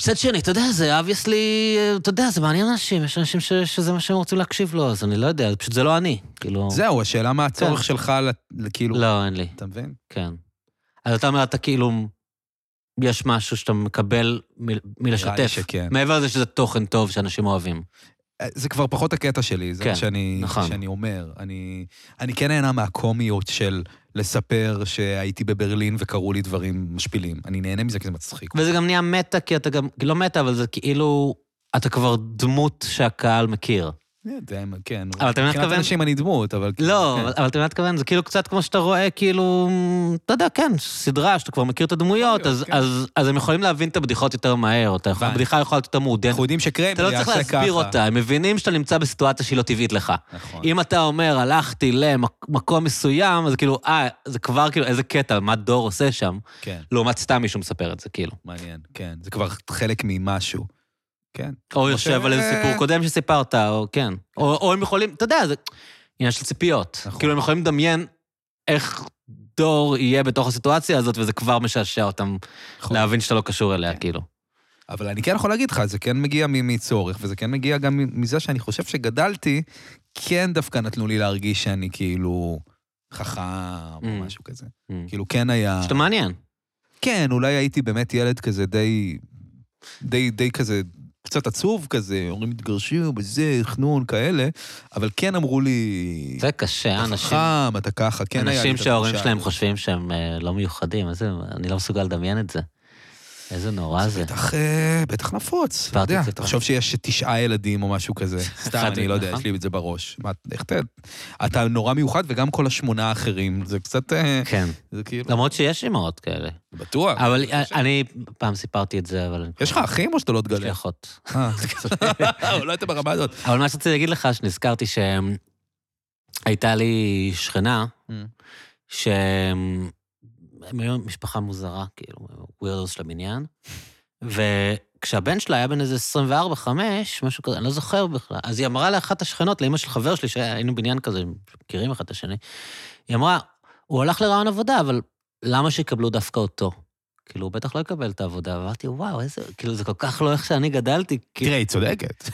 Speaker 3: מצד שני, אתה יודע, זה אובייסלי, אתה יודע, זה מעניין אנשים, יש אנשים ש, שזה מה שהם רוצים להקשיב לו, אז אני לא יודע, פשוט זה לא אני, כאילו...
Speaker 2: זהו, השאלה מה הצורך שלך, ל- ל- כאילו,
Speaker 3: כן. לא, אין לי.
Speaker 2: אתה מבין?
Speaker 3: כן. אז אתה אומר, אתה כאילו, יש משהו שאתה מקבל מ-
Speaker 2: נראה לי
Speaker 3: מלשתף.
Speaker 2: שכן.
Speaker 3: מעבר לזה שזה תוכן טוב שאנשים אוהבים.
Speaker 2: אה, זה כבר פחות הקטע שלי, זה
Speaker 3: כן,
Speaker 2: מה שאני,
Speaker 3: נכון.
Speaker 2: שאני אומר. אני, אני כן נהנה מהקומיות של לספר שהייתי בברלין וקרו לי דברים משפילים. אני נהנה מזה כי זה מצחיק.
Speaker 3: וזה גם נהיה מטה, כי אתה גם, לא מטה, אבל זה כאילו, אתה כבר דמות שהקהל מכיר.
Speaker 2: זה, כן,
Speaker 3: אבל אתה מבין מה
Speaker 2: מבחינת
Speaker 3: אתכוון?
Speaker 2: אנשים אני דמות, אבל...
Speaker 3: לא,
Speaker 2: כן.
Speaker 3: אבל- אבל אתה מבין מה אתכוון? זה כאילו קצת כמו שאתה רואה, כאילו, אתה יודע, כן, סדרה שאתה כבר מכיר את הדמויות, אז-
Speaker 2: כן.
Speaker 3: אז אז הם יכולים להבין את הבדיחות יותר מהר, אתה יכול-
Speaker 2: הבנתי.
Speaker 3: הבדיחה יכולה להיות יותר מעודנת.
Speaker 2: אנחנו יודעים
Speaker 3: אתה
Speaker 2: שקרמר
Speaker 3: לא
Speaker 2: יעשה ככה.
Speaker 3: צריך להסביר אותה, הם מבינים שאתה נמצא בסיטואציה שהיא לא טבעית לך.
Speaker 2: נכון.
Speaker 3: אם אתה אומר, הלכתי למקום מסוים, אז כאילו, אה, זה כבר כאילו, איזה קטע, מה דור עושה שם,
Speaker 2: כן,
Speaker 3: לעומת סתם מישהו מספר את זה, כאילו.
Speaker 2: מעניין, כן. זה כבר חלק ממשהו. כן.
Speaker 3: או יושב על איזה
Speaker 2: אה,
Speaker 3: סיפור קודם שסיפרת, או כן. או או הם יכולים, אתה יודע, זה עניין של ציפיות.
Speaker 2: נכון.
Speaker 3: כאילו, הם יכולים לדמיין איך דור יהיה בתוך הסיטואציה הזאת, וזה כבר משעשע אותם
Speaker 2: נכון. כן.
Speaker 3: להבין שאתה לא קשור אליה, כאילו.
Speaker 2: אבל אני כן יכול להגיד לך, זה כן מגיע מ- מצורך, וזה כן מגיע גם מ- מזה שאני חושב שגדלתי, כן דווקא נתנו לי להרגיש שאני כאילו חכם או
Speaker 3: Mm.
Speaker 2: משהו כזה.
Speaker 3: Mm.
Speaker 2: כאילו כן היה...
Speaker 3: שאתה מעניין.
Speaker 2: כן, אולי הייתי באמת ילד כזה די... די, די כזה, קצת עצוב כזה, אומרים תתגרשו, בזה, חנון, כאלה, אבל כן אמרו לי...
Speaker 3: זה קשה,
Speaker 2: אתה
Speaker 3: אנשים...
Speaker 2: חכם, אתה ככה, כן היה לי את
Speaker 3: אנשים שההורים
Speaker 2: התחושה
Speaker 3: שלהם
Speaker 2: הזאת.
Speaker 3: חושבים שהם אה, לא מיוחדים, איזה, אני לא מסוגל לדמיין את זה. איזה נורא זה.
Speaker 2: בטח, אה, בטח נפוץ. אתה
Speaker 3: סיפרתי
Speaker 2: יודע,
Speaker 3: את זה פעם.
Speaker 2: תחשוב שיש תשעה ילדים או משהו כזה. סתם,
Speaker 3: אחד,
Speaker 2: אני לא יודע,
Speaker 3: נכון.
Speaker 2: יש לי את זה בראש. מה, איך אתה... אתה נורא מיוחד, וגם כל השמונה האחרים. זה קצת... אה,
Speaker 3: כן.
Speaker 2: זה כאילו...
Speaker 3: למרות שיש אימהות כאלה.
Speaker 2: בטוח.
Speaker 3: אבל אה, אני פעם סיפרתי את זה, אבל...
Speaker 2: יש לך אחים או שאתה לא
Speaker 3: יש לי
Speaker 2: תגלה?
Speaker 3: אחות.
Speaker 2: אה, לא היית ברמה הזאת.
Speaker 3: אבל מה שרציתי להגיד לך, שנזכרתי שהייתה לי שכנה,
Speaker 2: Mm.
Speaker 3: שהם הם היו משפחה מוזרה, כאילו, ווירדוס של הבניין. וכשהבן שלה היה בן איזה 24-5, משהו כזה, אני לא זוכר בכלל, אז היא אמרה לאחת השכנות, לאמא של חבר שלי, שהיינו בניין כזה, מכירים אחד את השני, היא אמרה, הוא הלך לרעיון עבודה, אבל למה שיקבלו דווקא אותו? כאילו, הוא בטח לא יקבל את העבודה. ואמרתי, וואו, איזה, כאילו, זה כל כך לא איך שאני גדלתי. כאילו,
Speaker 2: תראה, היא צודקת.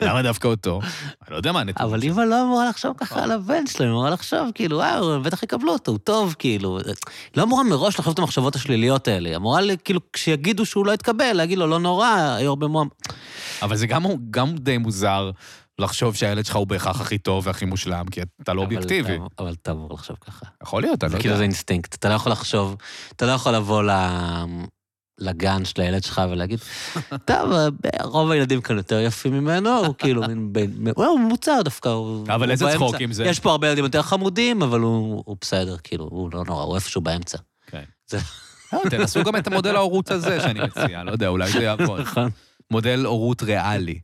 Speaker 2: למה דווקא אותו? אני לא יודע מה הנתון.
Speaker 3: אבל אימא לא אמורה לחשוב
Speaker 2: אה.
Speaker 3: ככה על הבן שלו, היא אמורה לחשוב, כאילו, וואו, הם בטח יקבלו אותו, הוא טוב, כאילו. לא אמורה מראש לחשוב את המחשבות השליליות האלה. היא אמורה, לי, כאילו, כשיגידו שהוא לא יתקבל, להגיד לו, לא נורא, היו הרבה מועמד.
Speaker 2: אבל זה גם- גם די מוזר לחשוב שהילד שלך הוא בהכרח הכי טוב והכי מושלם, כי אתה לא אובייקטיבי.
Speaker 3: אבל, אבל אתה אמור לחשוב ככה.
Speaker 2: יכול להיות, אני
Speaker 3: זה
Speaker 2: לא
Speaker 3: כאילו זה
Speaker 2: יודע.
Speaker 3: אינסטינקט, אתה לא יכול לחשוב, אתה לא יכול לבוא ל... לגן של הילד שלך ולהגיד, טוב, רוב הילדים כאן יותר יפים ממנו, הוא כאילו מין בין... הוא הוא ממוצע דווקא, הוא...
Speaker 2: אבל
Speaker 3: הוא
Speaker 2: איזה
Speaker 3: באמצע.
Speaker 2: צחוק עם זה.
Speaker 3: יש פה הרבה ילדים יותר חמודים, אבל הוא הוא בסדר, כאילו, הוא לא נורא, הוא איפשהו באמצע.
Speaker 2: כן.
Speaker 3: זה-
Speaker 2: אה, תנסו גם את המודל ההורות הזה שאני מציע, לא יודע, אולי זה יעבוד.
Speaker 3: נכון.
Speaker 2: מודל הורות ריאלי.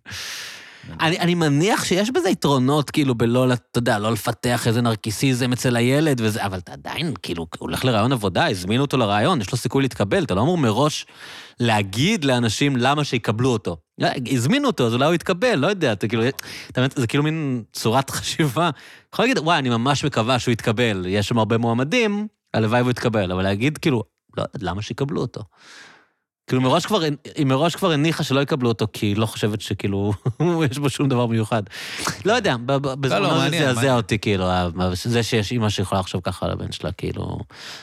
Speaker 3: אני, אני מניח שיש בזה יתרונות, כאילו, בלא, לת- אתה יודע, לא לפתח איזה נרקיסיזם אצל הילד וזה, אבל אתה עדיין, כאילו, הוא הולך לרעיון עבודה, הזמינו אותו לרעיון, יש לו סיכוי להתקבל, אתה לא אמור מראש להגיד לאנשים למה שיקבלו אותו. לא, הזמינו אותו, אז אולי הוא יתקבל, לא יודע, אתה כאילו, אתה מבין, זה כאילו מין צורת חשיבה. אתה יכול להגיד, וואי, אני ממש מקווה שהוא יתקבל, יש שם הרבה מועמדים, הלוואי והוא יתקבל, אבל להגיד, כאילו, לא, למה שיקבלו אותו? כאילו מראש כבר, היא מראש כבר הניחה שלא יקבלו אותו, כי היא לא חושבת שכאילו, יש בו שום דבר מיוחד. לא יודע, ב- ב-
Speaker 2: לא,
Speaker 3: בזמנו זה
Speaker 2: מעניין,
Speaker 3: זעזע
Speaker 2: מעניין.
Speaker 3: אותי, כאילו, ה- זה שיש אימא שיכולה לחשוב ככה על הבן שלה, כאילו...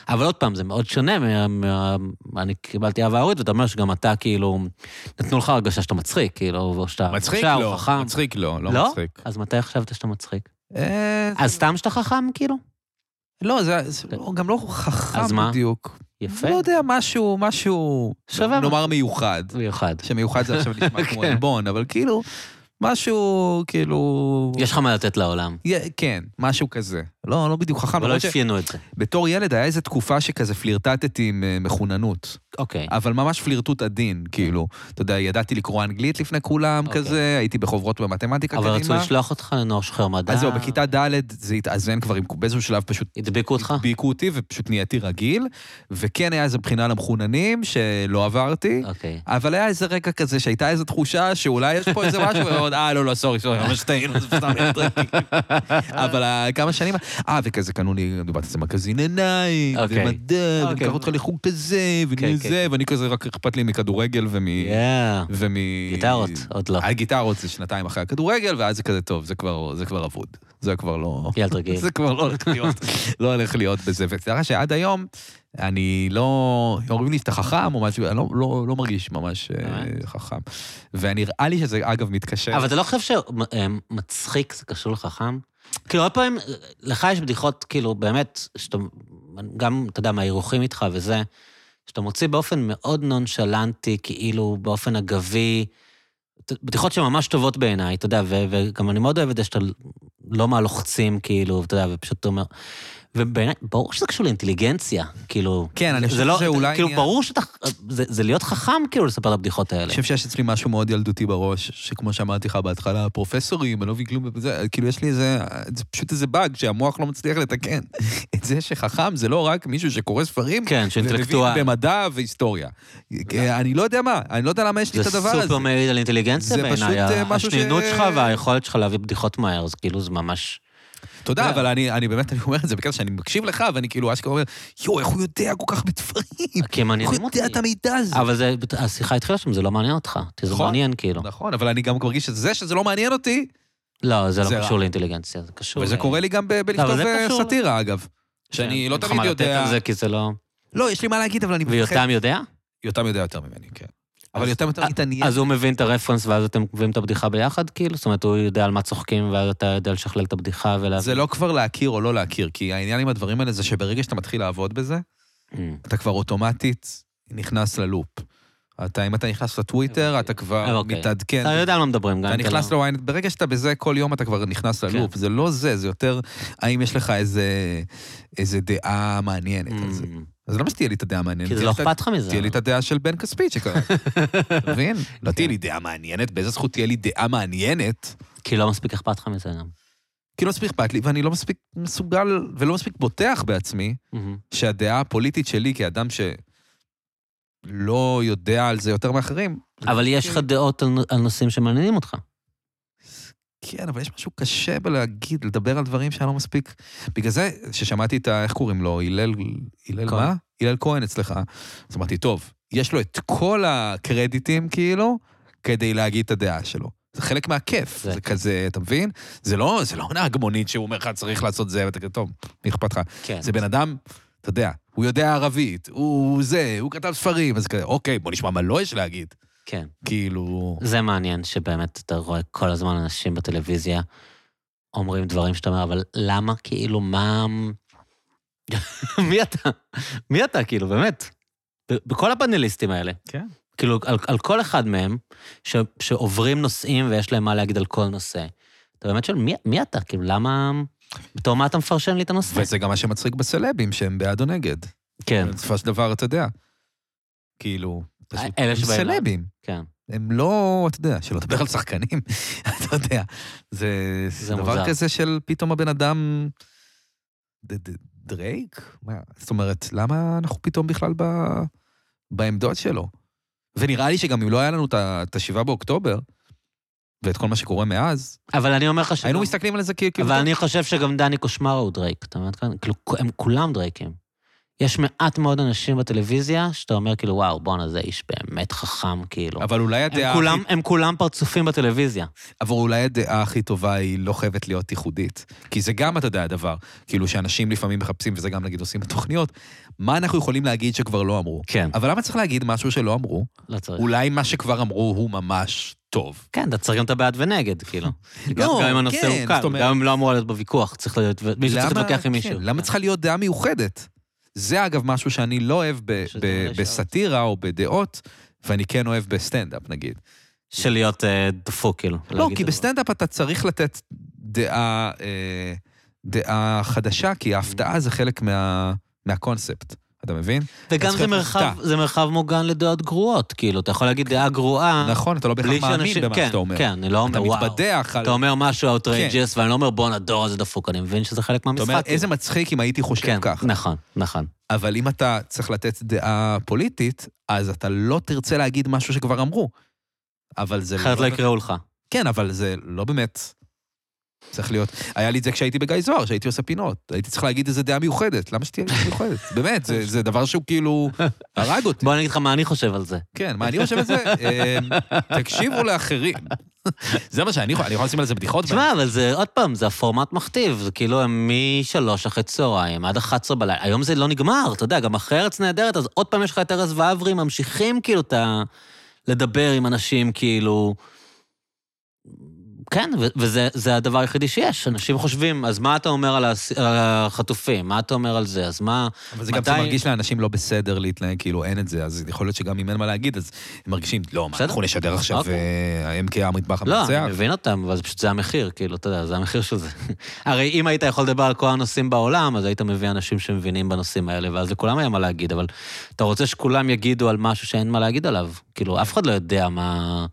Speaker 3: אבל עוד פעם, זה מאוד שונה, מה- מה- אמ, אני קיבלתי אהבה הורית, ואתה אומר שגם אתה, כאילו, נתנו לך הרגשה שאתה מצחיק, כאילו, או שאתה
Speaker 2: מצחיק
Speaker 3: מוכשר,
Speaker 2: לא,
Speaker 3: חכם.
Speaker 2: מצחיק לא, לא מצחיק.
Speaker 3: אז מתי חשבת שאתה מצחיק?
Speaker 2: אה,
Speaker 3: אז סתם שאתה חכם, כאילו?
Speaker 2: לא, זה זה לא- גם לא חכם
Speaker 3: אז מה?
Speaker 2: בדיוק.
Speaker 3: יפה.
Speaker 2: לא יודע, משהו, משהו,
Speaker 3: סבבה.
Speaker 2: נאמר מיוחד.
Speaker 3: מיוחד.
Speaker 2: שמיוחד זה עכשיו נשמע
Speaker 3: כן.
Speaker 2: כמו עלבון, אבל כאילו, משהו, כאילו...
Speaker 3: יש לך מה לתת לעולם.
Speaker 2: יה- כן, משהו כזה. לא, לא בדיוק חכם.
Speaker 3: אבל לא
Speaker 2: למרות ש-
Speaker 3: אפיינו את זה.
Speaker 2: בתור ילד היה איזו תקופה שכזה פלירטטתי עם אה, מחוננות.
Speaker 3: אוקיי.
Speaker 2: אבל ממש פלירטוט עדין, כאילו. אתה יודע, ידעתי לקרוא אנגלית לפני כולם
Speaker 3: אוקיי.
Speaker 2: כזה, הייתי בחוברות במתמטיקה
Speaker 3: אבל רצו
Speaker 2: קדימה.
Speaker 3: לשלוח אה. אותך לנוער שוחר מדע.
Speaker 2: אז זהו, בכיתה ד' זה התאזן כבר, עם- באיזשהו שלב פשוט
Speaker 3: הדביקו אותך?
Speaker 2: הדביקו אותי ופשוט נהייתי רגיל, וכן היה איזו בחינה למחוננים שלא עברתי.
Speaker 3: אוקיי.
Speaker 2: אבל היה איזה רגע כזה שהייתה איזו תחושה שאולי יש פה איזה משהו, ועוד, אה, לא, לא, סורי, סורי, ממש טעינו, זה סתם נטרקים. אבל אה, כמה שנים, אה, וכזה קנו לי, דיברתי על זה מגזין עיניים,
Speaker 3: אוקיי.
Speaker 2: ומדע,
Speaker 3: אוקיי.
Speaker 2: וניקח אותך לחוג כזה,
Speaker 3: כן,
Speaker 2: ומזה, ואני כזה, רק אכפת לי מכדורגל ומ...
Speaker 3: יאה.
Speaker 2: ומ...
Speaker 3: גיטרות, עוד לא.
Speaker 2: הגיטרות זה שנתיים אחרי הכדורגל, ואז זה כזה טוב, זה כבר, זה כבר אבוד. זה כבר לא...
Speaker 3: ילד רגיל.
Speaker 2: זה כבר לא הולך להיות, לא הולך להיות בזה. וסליחה שעד היום, אני לא... אומרים לי שאתה חכם או משהו, אני לא, לא, לא מרגיש ממש אה,
Speaker 3: באמת?
Speaker 2: חכם. ונראה לי שזה, אגב, מתקשר.
Speaker 3: אבל אתה לא חושב שמצחיק זה קשור לחכם? כאילו, הרבה פעמים, לך יש בדיחות, כאילו, באמת, שאתה, גם, אתה יודע, מהאירוחים איתך וזה, שאתה מוציא באופן מאוד נונשלנטי, כאילו, באופן אגבי, ת- בדיחות שממש טובות בעיניי, אתה יודע, ו- וגם אני מאוד אוהב את זה שאתה לא מהלוחצים, כאילו, אתה יודע, ופשוט אומר... ובעיניי, ברור שזה קשור לאינטליגנציה, כאילו...
Speaker 2: כן, אני
Speaker 3: זה
Speaker 2: חושב
Speaker 3: לא-
Speaker 2: שזה אולי
Speaker 3: כאילו,
Speaker 2: עניין-
Speaker 3: ברור שאתה... זה, זה להיות חכם, כאילו, לספר את הבדיחות האלה.
Speaker 2: אני חושב שיש אצלי משהו מאוד ילדותי בראש, שכמו שאמרתי לך בהתחלה, פרופסורים, אני לא מבין כלום, זה, כאילו יש לי איזה, זה פשוט איזה באג שהמוח לא מצליח לתקן. את זה שחכם זה לא רק מישהו שקורא ספרים,
Speaker 3: כן, שאינטלקטואל.
Speaker 2: ומבין במדע והיסטוריה. אני לא יודע מה, אני לא יודע למה יש לי את הדבר
Speaker 3: זה
Speaker 2: הזה.
Speaker 3: סופר מעיד על אינטליגנציה
Speaker 2: זה פשוט,
Speaker 3: בעיניי.
Speaker 2: אה, משהו ש-
Speaker 3: השנינות שלך והיכולת שלך להביא בדיחות מהר, זה כאילו, זה ממש... לא.
Speaker 2: תודה, אבל אני, אני באמת, אני אומר את זה בקטע שאני מקשיב לך, ואני כאילו אשכרה אומר, יואו, איך הוא יודע כל כך בדברים?
Speaker 3: כי הם
Speaker 2: איך הוא
Speaker 3: מעניינים אותי.
Speaker 2: יודע את המידע הזה?
Speaker 3: אבל זה, השיחה התחילה שם, זה לא מעניין אותך. תראה, זה
Speaker 2: נכון.
Speaker 3: מעניין, כאילו.
Speaker 2: נכון, אבל אני גם מרגיש שזה שזה לא מעניין אותי,
Speaker 3: לא, זה
Speaker 2: זה
Speaker 3: לא קשור
Speaker 2: רע.
Speaker 3: לאינטליגנציה, זה קשור...
Speaker 2: וזה
Speaker 3: ל-
Speaker 2: קורה לי גם ב-
Speaker 3: אה, לא,
Speaker 2: בלכתוב
Speaker 3: אבל זה
Speaker 2: אה,
Speaker 3: קשור ל-
Speaker 2: סאטירה, אגב. שאני
Speaker 3: כן,
Speaker 2: לא
Speaker 3: אין לך
Speaker 2: תמיד
Speaker 3: מה לתת
Speaker 2: יודע...
Speaker 3: על זה, כי זה לא...
Speaker 2: לא, יש לי מה להגיד, אבל אני
Speaker 3: ויותם יודע?
Speaker 2: יותם יודע יותר ממני, כן. אבל
Speaker 3: אז-
Speaker 2: יותם יותר
Speaker 3: אה,
Speaker 2: מתעניין.
Speaker 3: אז הוא מבין את הרפרנס, ואז אתם מביאים את הבדיחה ביחד, כאילו? זאת אומרת, הוא יודע על מה צוחקים, ואז אתה יודע לשכלל את הבדיחה ולהבין.
Speaker 2: זה לא כבר להכיר או לא להכיר, כי העניין עם הדברים האלה זה שברגע שאתה מתחיל לעבוד בזה,
Speaker 3: אמ.
Speaker 2: אתה כבר אוטומטית נכנס ללופ. אתה, אם אתה נכנס לטוויטר, אתה כבר
Speaker 3: אוקיי.
Speaker 2: מתעדכן.
Speaker 3: אתה יודע על מה מדברים, גם
Speaker 2: אתה
Speaker 3: אם אתה
Speaker 2: כן.
Speaker 3: כן.
Speaker 2: נכנס
Speaker 3: לא...
Speaker 2: לוויינט, ברגע שאתה בזה, כל יום אתה כבר נכנס ללופ. זה לא זה, זה יותר האם יש לך איזה, איזה דעה מעניינת על זה.
Speaker 3: אמ.
Speaker 2: לא- אז למה שתהיה לי את הדעה המעניינת?
Speaker 3: כי זה
Speaker 2: תהיה
Speaker 3: לא
Speaker 2: לי את ה-
Speaker 3: אכפת לך מזה.
Speaker 2: תהיה לי את הדעה של בן כספית שקרה. אתה מבין? לא תהיה
Speaker 3: כן.
Speaker 2: לי דעה מעניינת, באיזה זכות תהיה לי דעה מעניינת?
Speaker 3: כי לא מספיק אכפת לך מזה גם.
Speaker 2: כי לא מספיק אכפת לי, ואני לא מספיק מסוגל ולא מספיק בוטח בעצמי,
Speaker 3: אמ.
Speaker 2: שהדעה הפוליטית שלי כאדם שלא יודע על זה לא יותר מאחרים,
Speaker 3: אבל יש לך דעות על נו- על נושאים שמעניינים אותך.
Speaker 2: כן, אבל יש משהו קשה בלהגיד, לדבר על דברים שאני לא מספיק... בגלל זה, ששמעתי את ה... איך קוראים לו? הלל... הלל
Speaker 3: כהן.
Speaker 2: מה? הלל כהן אצלך. אז אמרתי, טוב, יש לו את כל הקרדיטים, כאילו, כדי להגיד את הדעה שלו. זה חלק מהכיף,
Speaker 3: זה
Speaker 2: זה, כזה, אתה מבין? זה לא, זה לא עונה הגמונית שהוא אומר לך, צריך לעשות זה, ואתה כזה, טוב, מי אכפת לך?
Speaker 3: כן.
Speaker 2: זה בן אדם, אתה יודע, הוא יודע ערבית, הוא זה, הוא כתב ספרים, אז כזה, אוקיי, בוא נשמע מה לא יש להגיד.
Speaker 3: כן.
Speaker 2: כאילו...
Speaker 3: זה מעניין שבאמת אתה רואה כל הזמן אנשים בטלוויזיה אומרים דברים שאתה אומר, אבל למה, כאילו, מה... מי אתה? מי אתה, כאילו, באמת? ב- בכל הפאנליסטים האלה.
Speaker 2: כן.
Speaker 3: כאילו, על, על כל אחד מהם, ש, שעוברים נושאים ויש להם מה להגיד על כל נושא. אתה באמת שואל, מי, מי אתה? כאילו, למה... בתור מה אתה מפרשן לי את הנושא?
Speaker 2: וזה גם מה שמצחיק בסלבים, שהם בעד או נגד.
Speaker 3: כן, אה,
Speaker 2: בסופו של דבר, אתה יודע, כאילו, פשוט
Speaker 3: אלה
Speaker 2: הם
Speaker 3: שבאים-
Speaker 2: סלבים.
Speaker 3: כן.
Speaker 2: הם לא, אתה יודע, שלא לדבר על שחקנים, אתה יודע. זה, זה
Speaker 3: זה מוזר.
Speaker 2: דבר כזה של פתאום הבן אדם... ד- ד- דרייק? מה? זאת אומרת, למה אנחנו פתאום בכלל ב... בעמדות שלו? ונראה לי שגם אם לא היה לנו את ה- את השבעה באוקטובר, ואת כל מה שקורה מאז,
Speaker 3: אבל אני אומר לך ש...
Speaker 2: היינו מסתכלים על זה כאילו...
Speaker 3: אבל אני חושב שגם דני קושמרו הוא דרייק, אתה מבין? כאילו, הם כולם דרייקים. יש מעט מאוד אנשים בטלוויזיה שאתה אומר כאילו, וואו, בואנה, זה איש באמת חכם, כאילו.
Speaker 2: אבל אולי הדעה...
Speaker 3: הם
Speaker 2: הכי-
Speaker 3: כולם, הם כולם פרצופים בטלוויזיה.
Speaker 2: אבל אולי הדעה הכי טובה היא לא חייבת להיות ייחודית. כי זה גם, אתה יודע, הדבר. כאילו שאנשים לפעמים מחפשים, וזה גם נגיד עושים בתוכניות, מה אנחנו יכולים להגיד שכבר לא אמרו.
Speaker 3: כן.
Speaker 2: אבל למה צריך להגיד משהו שלא אמרו?
Speaker 3: לא צריך.
Speaker 2: אולי מה שכבר אמרו הוא ממש טוב.
Speaker 3: כן, אתה צריך גם את הבעד ונגד, כאילו. גם
Speaker 2: לא,
Speaker 3: גם אם הנושא
Speaker 2: כן,
Speaker 3: הוא קל,
Speaker 2: זאת אומרת-
Speaker 3: גם אם לא אמור להיות בוויכוח, צריך להיות, מישהו צריך
Speaker 2: למה-
Speaker 3: להתווכח עם מישהו.
Speaker 2: כן, למה צריכה להיות דעה מיוחדת? זה אגב משהו שאני לא אוהב ב-
Speaker 3: שזה
Speaker 2: ב-
Speaker 3: מלא
Speaker 2: בסאטירה או בדעות, ואני כן אוהב בסטנדאפ נגיד.
Speaker 3: של להיות אה, דפוק, כאילו.
Speaker 2: לא,
Speaker 3: להגיד
Speaker 2: כי
Speaker 3: את זה.
Speaker 2: בסטנדאפ אתה צריך לתת דעה, אה, דעה חדשה, כי ההפתעה זה חלק מה, מהקונספט, אתה מבין?
Speaker 3: וגם
Speaker 2: צריך
Speaker 3: זה
Speaker 2: להיות
Speaker 3: מרחב,
Speaker 2: מופתע.
Speaker 3: זה מרחב מוגן לדעות גרועות, כאילו, אתה יכול להגיד דעה גרועה,
Speaker 2: נכון, אתה לא בהכרח
Speaker 3: אה, בלי
Speaker 2: מאמין
Speaker 3: שאנשים...
Speaker 2: במה
Speaker 3: כן,
Speaker 2: שאתה אומר.
Speaker 3: כן, אני לא
Speaker 2: אתה
Speaker 3: אומר, וואו.
Speaker 2: מתבדח על... כן.
Speaker 3: אתה אומר משהו outrageous, ואני לא אומר, בואנה, הדור הזה דפוק, אני מבין שזה חלק
Speaker 2: אתה
Speaker 3: מהמשחק.
Speaker 2: אומר,
Speaker 3: כאילו.
Speaker 2: איזה מצחיק אם הייתי חושב
Speaker 3: כן,
Speaker 2: ככה.
Speaker 3: נכון, נכון.
Speaker 2: אבל אם אתה צריך לתת דעה פוליטית, אז אתה לא תרצה להגיד משהו שכבר אמרו. אבל זה
Speaker 3: אחרת לא יקראו לך.
Speaker 2: כן, אבל זה לא באמת צריך להיות. היה לי את זה כשהייתי בגיא זוהר, שהייתי עושה פינות. הייתי צריך להגיד איזה דעה מיוחדת. למה שתהיה לי דעה מיוחדת? באמת, זה, זה דבר שהוא כאילו הרג אותי.
Speaker 3: בוא אני אגיד לך מה אני חושב על זה.
Speaker 2: כן, מה אני חושב על זה? אמ, תקשיבו לאחרים. זה מה שאני יכול, אני יכול לשים על זה בדיחות.
Speaker 3: תשמע, אבל זה, עוד פעם, זה הפורמט מכתיב, זה כאילו הם משלוש אחרי צהריים עד 11 בלילה. היום זה לא נגמר, אתה יודע, גם אחרי ארץ נהדרת, אז עוד פעם יש לך את ארז ואברי, ממשיכים כאילו את ה... לדבר עם אנשים, כאילו... כן, ו- וזה זה הדבר היחידי שיש. אנשים חושבים, אז מה אתה אומר על, הס... על החטופים? מה אתה אומר על זה? אז מה...
Speaker 2: אבל זה גם
Speaker 3: מתי-
Speaker 2: שמרגיש לאנשים לא בסדר להתנהג, כאילו אין את זה, אז יכול להיות שגם אם אין מה להגיד, אז הם מרגישים, לא, מה,
Speaker 3: בסדר.
Speaker 2: אנחנו נשדר עכשיו
Speaker 3: אוקיי.
Speaker 2: אה, ה-MK המטבח
Speaker 3: לא,
Speaker 2: המנצח?
Speaker 3: אני מבין אותם, אבל זה פשוט זה המחיר, כאילו, אתה יודע, זה המחיר של זה. הרי אם היית יכול לדבר על כל הנושאים בעולם, אז היית מביא אנשים שמבינים בנושאים האלה, ואז לכולם היה מה להגיד, אבל אתה רוצה שכולם יגידו על משהו שאין מה להגיד עליו. כאילו, אף אחד לא יודע מה...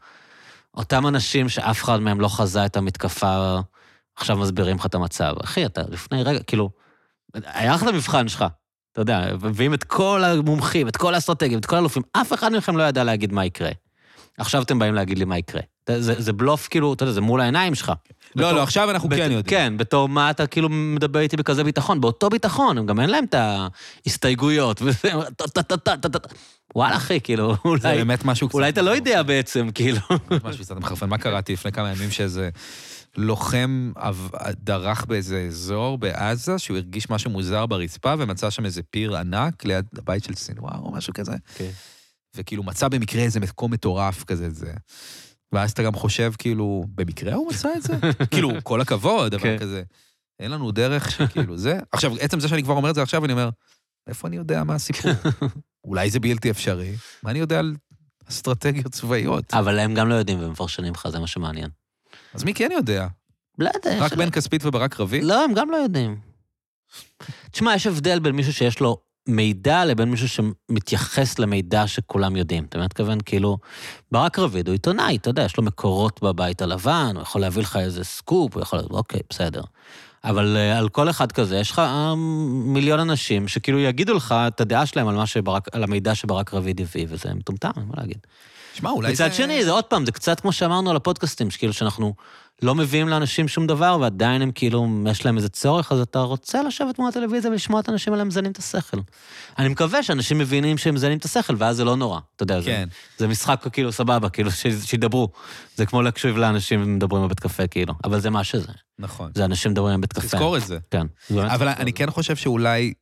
Speaker 3: אותם אנשים שאף אחד מהם לא חזה את המתקפה, עכשיו מסבירים לך את המצב. אחי, אתה לפני רגע, כאילו, היה לך את המבחן שלך. אתה יודע, מביאים את כל המומחים, את כל האסטרטגים, את כל האלופים, אף אחד מכם לא ידע להגיד מה יקרה. עכשיו אתם באים להגיד לי מה יקרה. זה, זה, זה בלוף, כאילו, אתה יודע, זה מול העיניים שלך.
Speaker 2: לא,
Speaker 3: בתור-
Speaker 2: לא, עכשיו אנחנו כן יודעים.
Speaker 3: כן, בתור מה אתה כאילו מדבר איתי בכזה ביטחון? באותו ביטחון, הם גם אין להם את ההסתייגויות, וזה... טה-טה-טה-טה-טה. וואלה, אחי, כאילו,
Speaker 2: זה
Speaker 3: אולי...
Speaker 2: באמת משהו קצת...
Speaker 3: אולי אתה לא יודע בעצם, כאילו.
Speaker 2: משהו קצת מחרפן. מה קראתי לפני כמה ימים שאיזה לוחם עב- דרך באיזה אזור בעזה, שהוא הרגיש משהו מוזר ברצפה ומצא שם איזה פיר ענק ליד הבית של סנוואר או משהו כזה, וכאילו מצא במקרה איזה מקום מטורף כזה, זה. ואז אתה גם חושב, כאילו, במקרה הוא מצא את זה? כאילו, כל הכבוד, אבל
Speaker 3: כן.
Speaker 2: כזה. אין לנו דרך שכאילו זה. עכשיו, עצם זה שאני כבר אומר את זה עכשיו, אני אומר, איפה אני יודע מה הסיפור? אולי זה בלתי אפשרי, מה אני יודע על אסטרטגיות צבאיות?
Speaker 3: אבל הם גם לא יודעים והם מפרשנים לך, זה מה שמעניין.
Speaker 2: אז מי כן יודע?
Speaker 3: לא יודע, יש
Speaker 2: רק
Speaker 3: להם-
Speaker 2: בן כספית וברק רביד?
Speaker 3: לא, הם גם לא יודעים. תשמע, יש הבדל בין מישהו שיש לו מידע לבין מישהו שמתייחס למידע שכולם יודעים. אתה מבין מה אתכוון? כאילו, ברק רביד הוא עיתונאי, אתה יודע, יש לו מקורות בבית הלבן, הוא יכול להביא לך איזה סקופ, הוא יכול... אוקיי, בסדר. אבל אה, על כל אחד כזה, יש לך אה, מיליון אנשים שכאילו יגידו לך את הדעה שלהם על, מה שברק, על המידע שברק רביד הביא, וזה מטומטם, אין מה להגיד.
Speaker 2: שמע, אולי זה...
Speaker 3: מצד שני, זה עוד פעם, זה קצת כמו שאמרנו על הפודקאסטים, שכאילו שאנחנו לא מביאים לאנשים שום דבר, ועדיין הם כאילו, יש להם איזה צורך, אז אתה רוצה לשבת מול הטלוויזיה ולשמוע את האנשים האלה מזיינים את השכל. אני מקווה שאנשים מבינים שהם מזיינים את השכל, ואז זה לא נורא, אתה יודע, זה,
Speaker 2: כן.
Speaker 3: זה משחק כאילו סבבה, כאילו ש- שידברו. זה כמו להקשיב לאנשים מדברים בבית קפה, כאילו, אבל זה מה שזה,
Speaker 2: נכון.
Speaker 3: זה אנשים מדברים בבית קפה.
Speaker 2: תזכור את זה.
Speaker 3: כן. זה באמת-
Speaker 2: אבל אני כן חושב שאולי,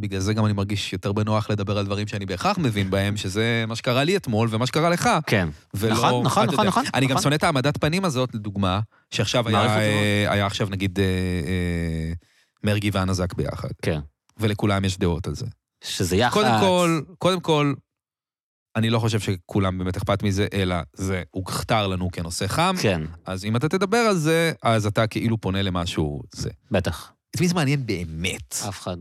Speaker 2: בגלל זה גם אני מרגיש יותר בנוח לדבר על דברים שאני בהכרח מבין בהם, שזה מה שקרה לי אתמול ומה שקרה לך.
Speaker 3: כן.
Speaker 2: ולא...
Speaker 3: נכון, נכון,
Speaker 2: אתה
Speaker 3: נכון,
Speaker 2: יודע.
Speaker 3: נכון,
Speaker 2: אני גם
Speaker 3: נכון.
Speaker 2: שונא את העמדת פנים הזאת, לדוגמה, שעכשיו היה,
Speaker 3: מערכת מאוד.
Speaker 2: אה, היה עכשיו נגיד אה, אה, מרגי והנזק ביחד.
Speaker 3: כן.
Speaker 2: ולכולם יש דעות על זה.
Speaker 3: שזה יח"צ.
Speaker 2: קודם כל, קודם כל, אני לא חושב שכולם באמת אכפת מזה, אלא זה הוכתר לנו כנושא חם.
Speaker 3: כן,
Speaker 2: אז אם אתה תדבר על זה, אז אתה כאילו פונה למשהו זה.
Speaker 3: בטח.
Speaker 2: את מי זה מעניין באמת?
Speaker 3: אף אחד.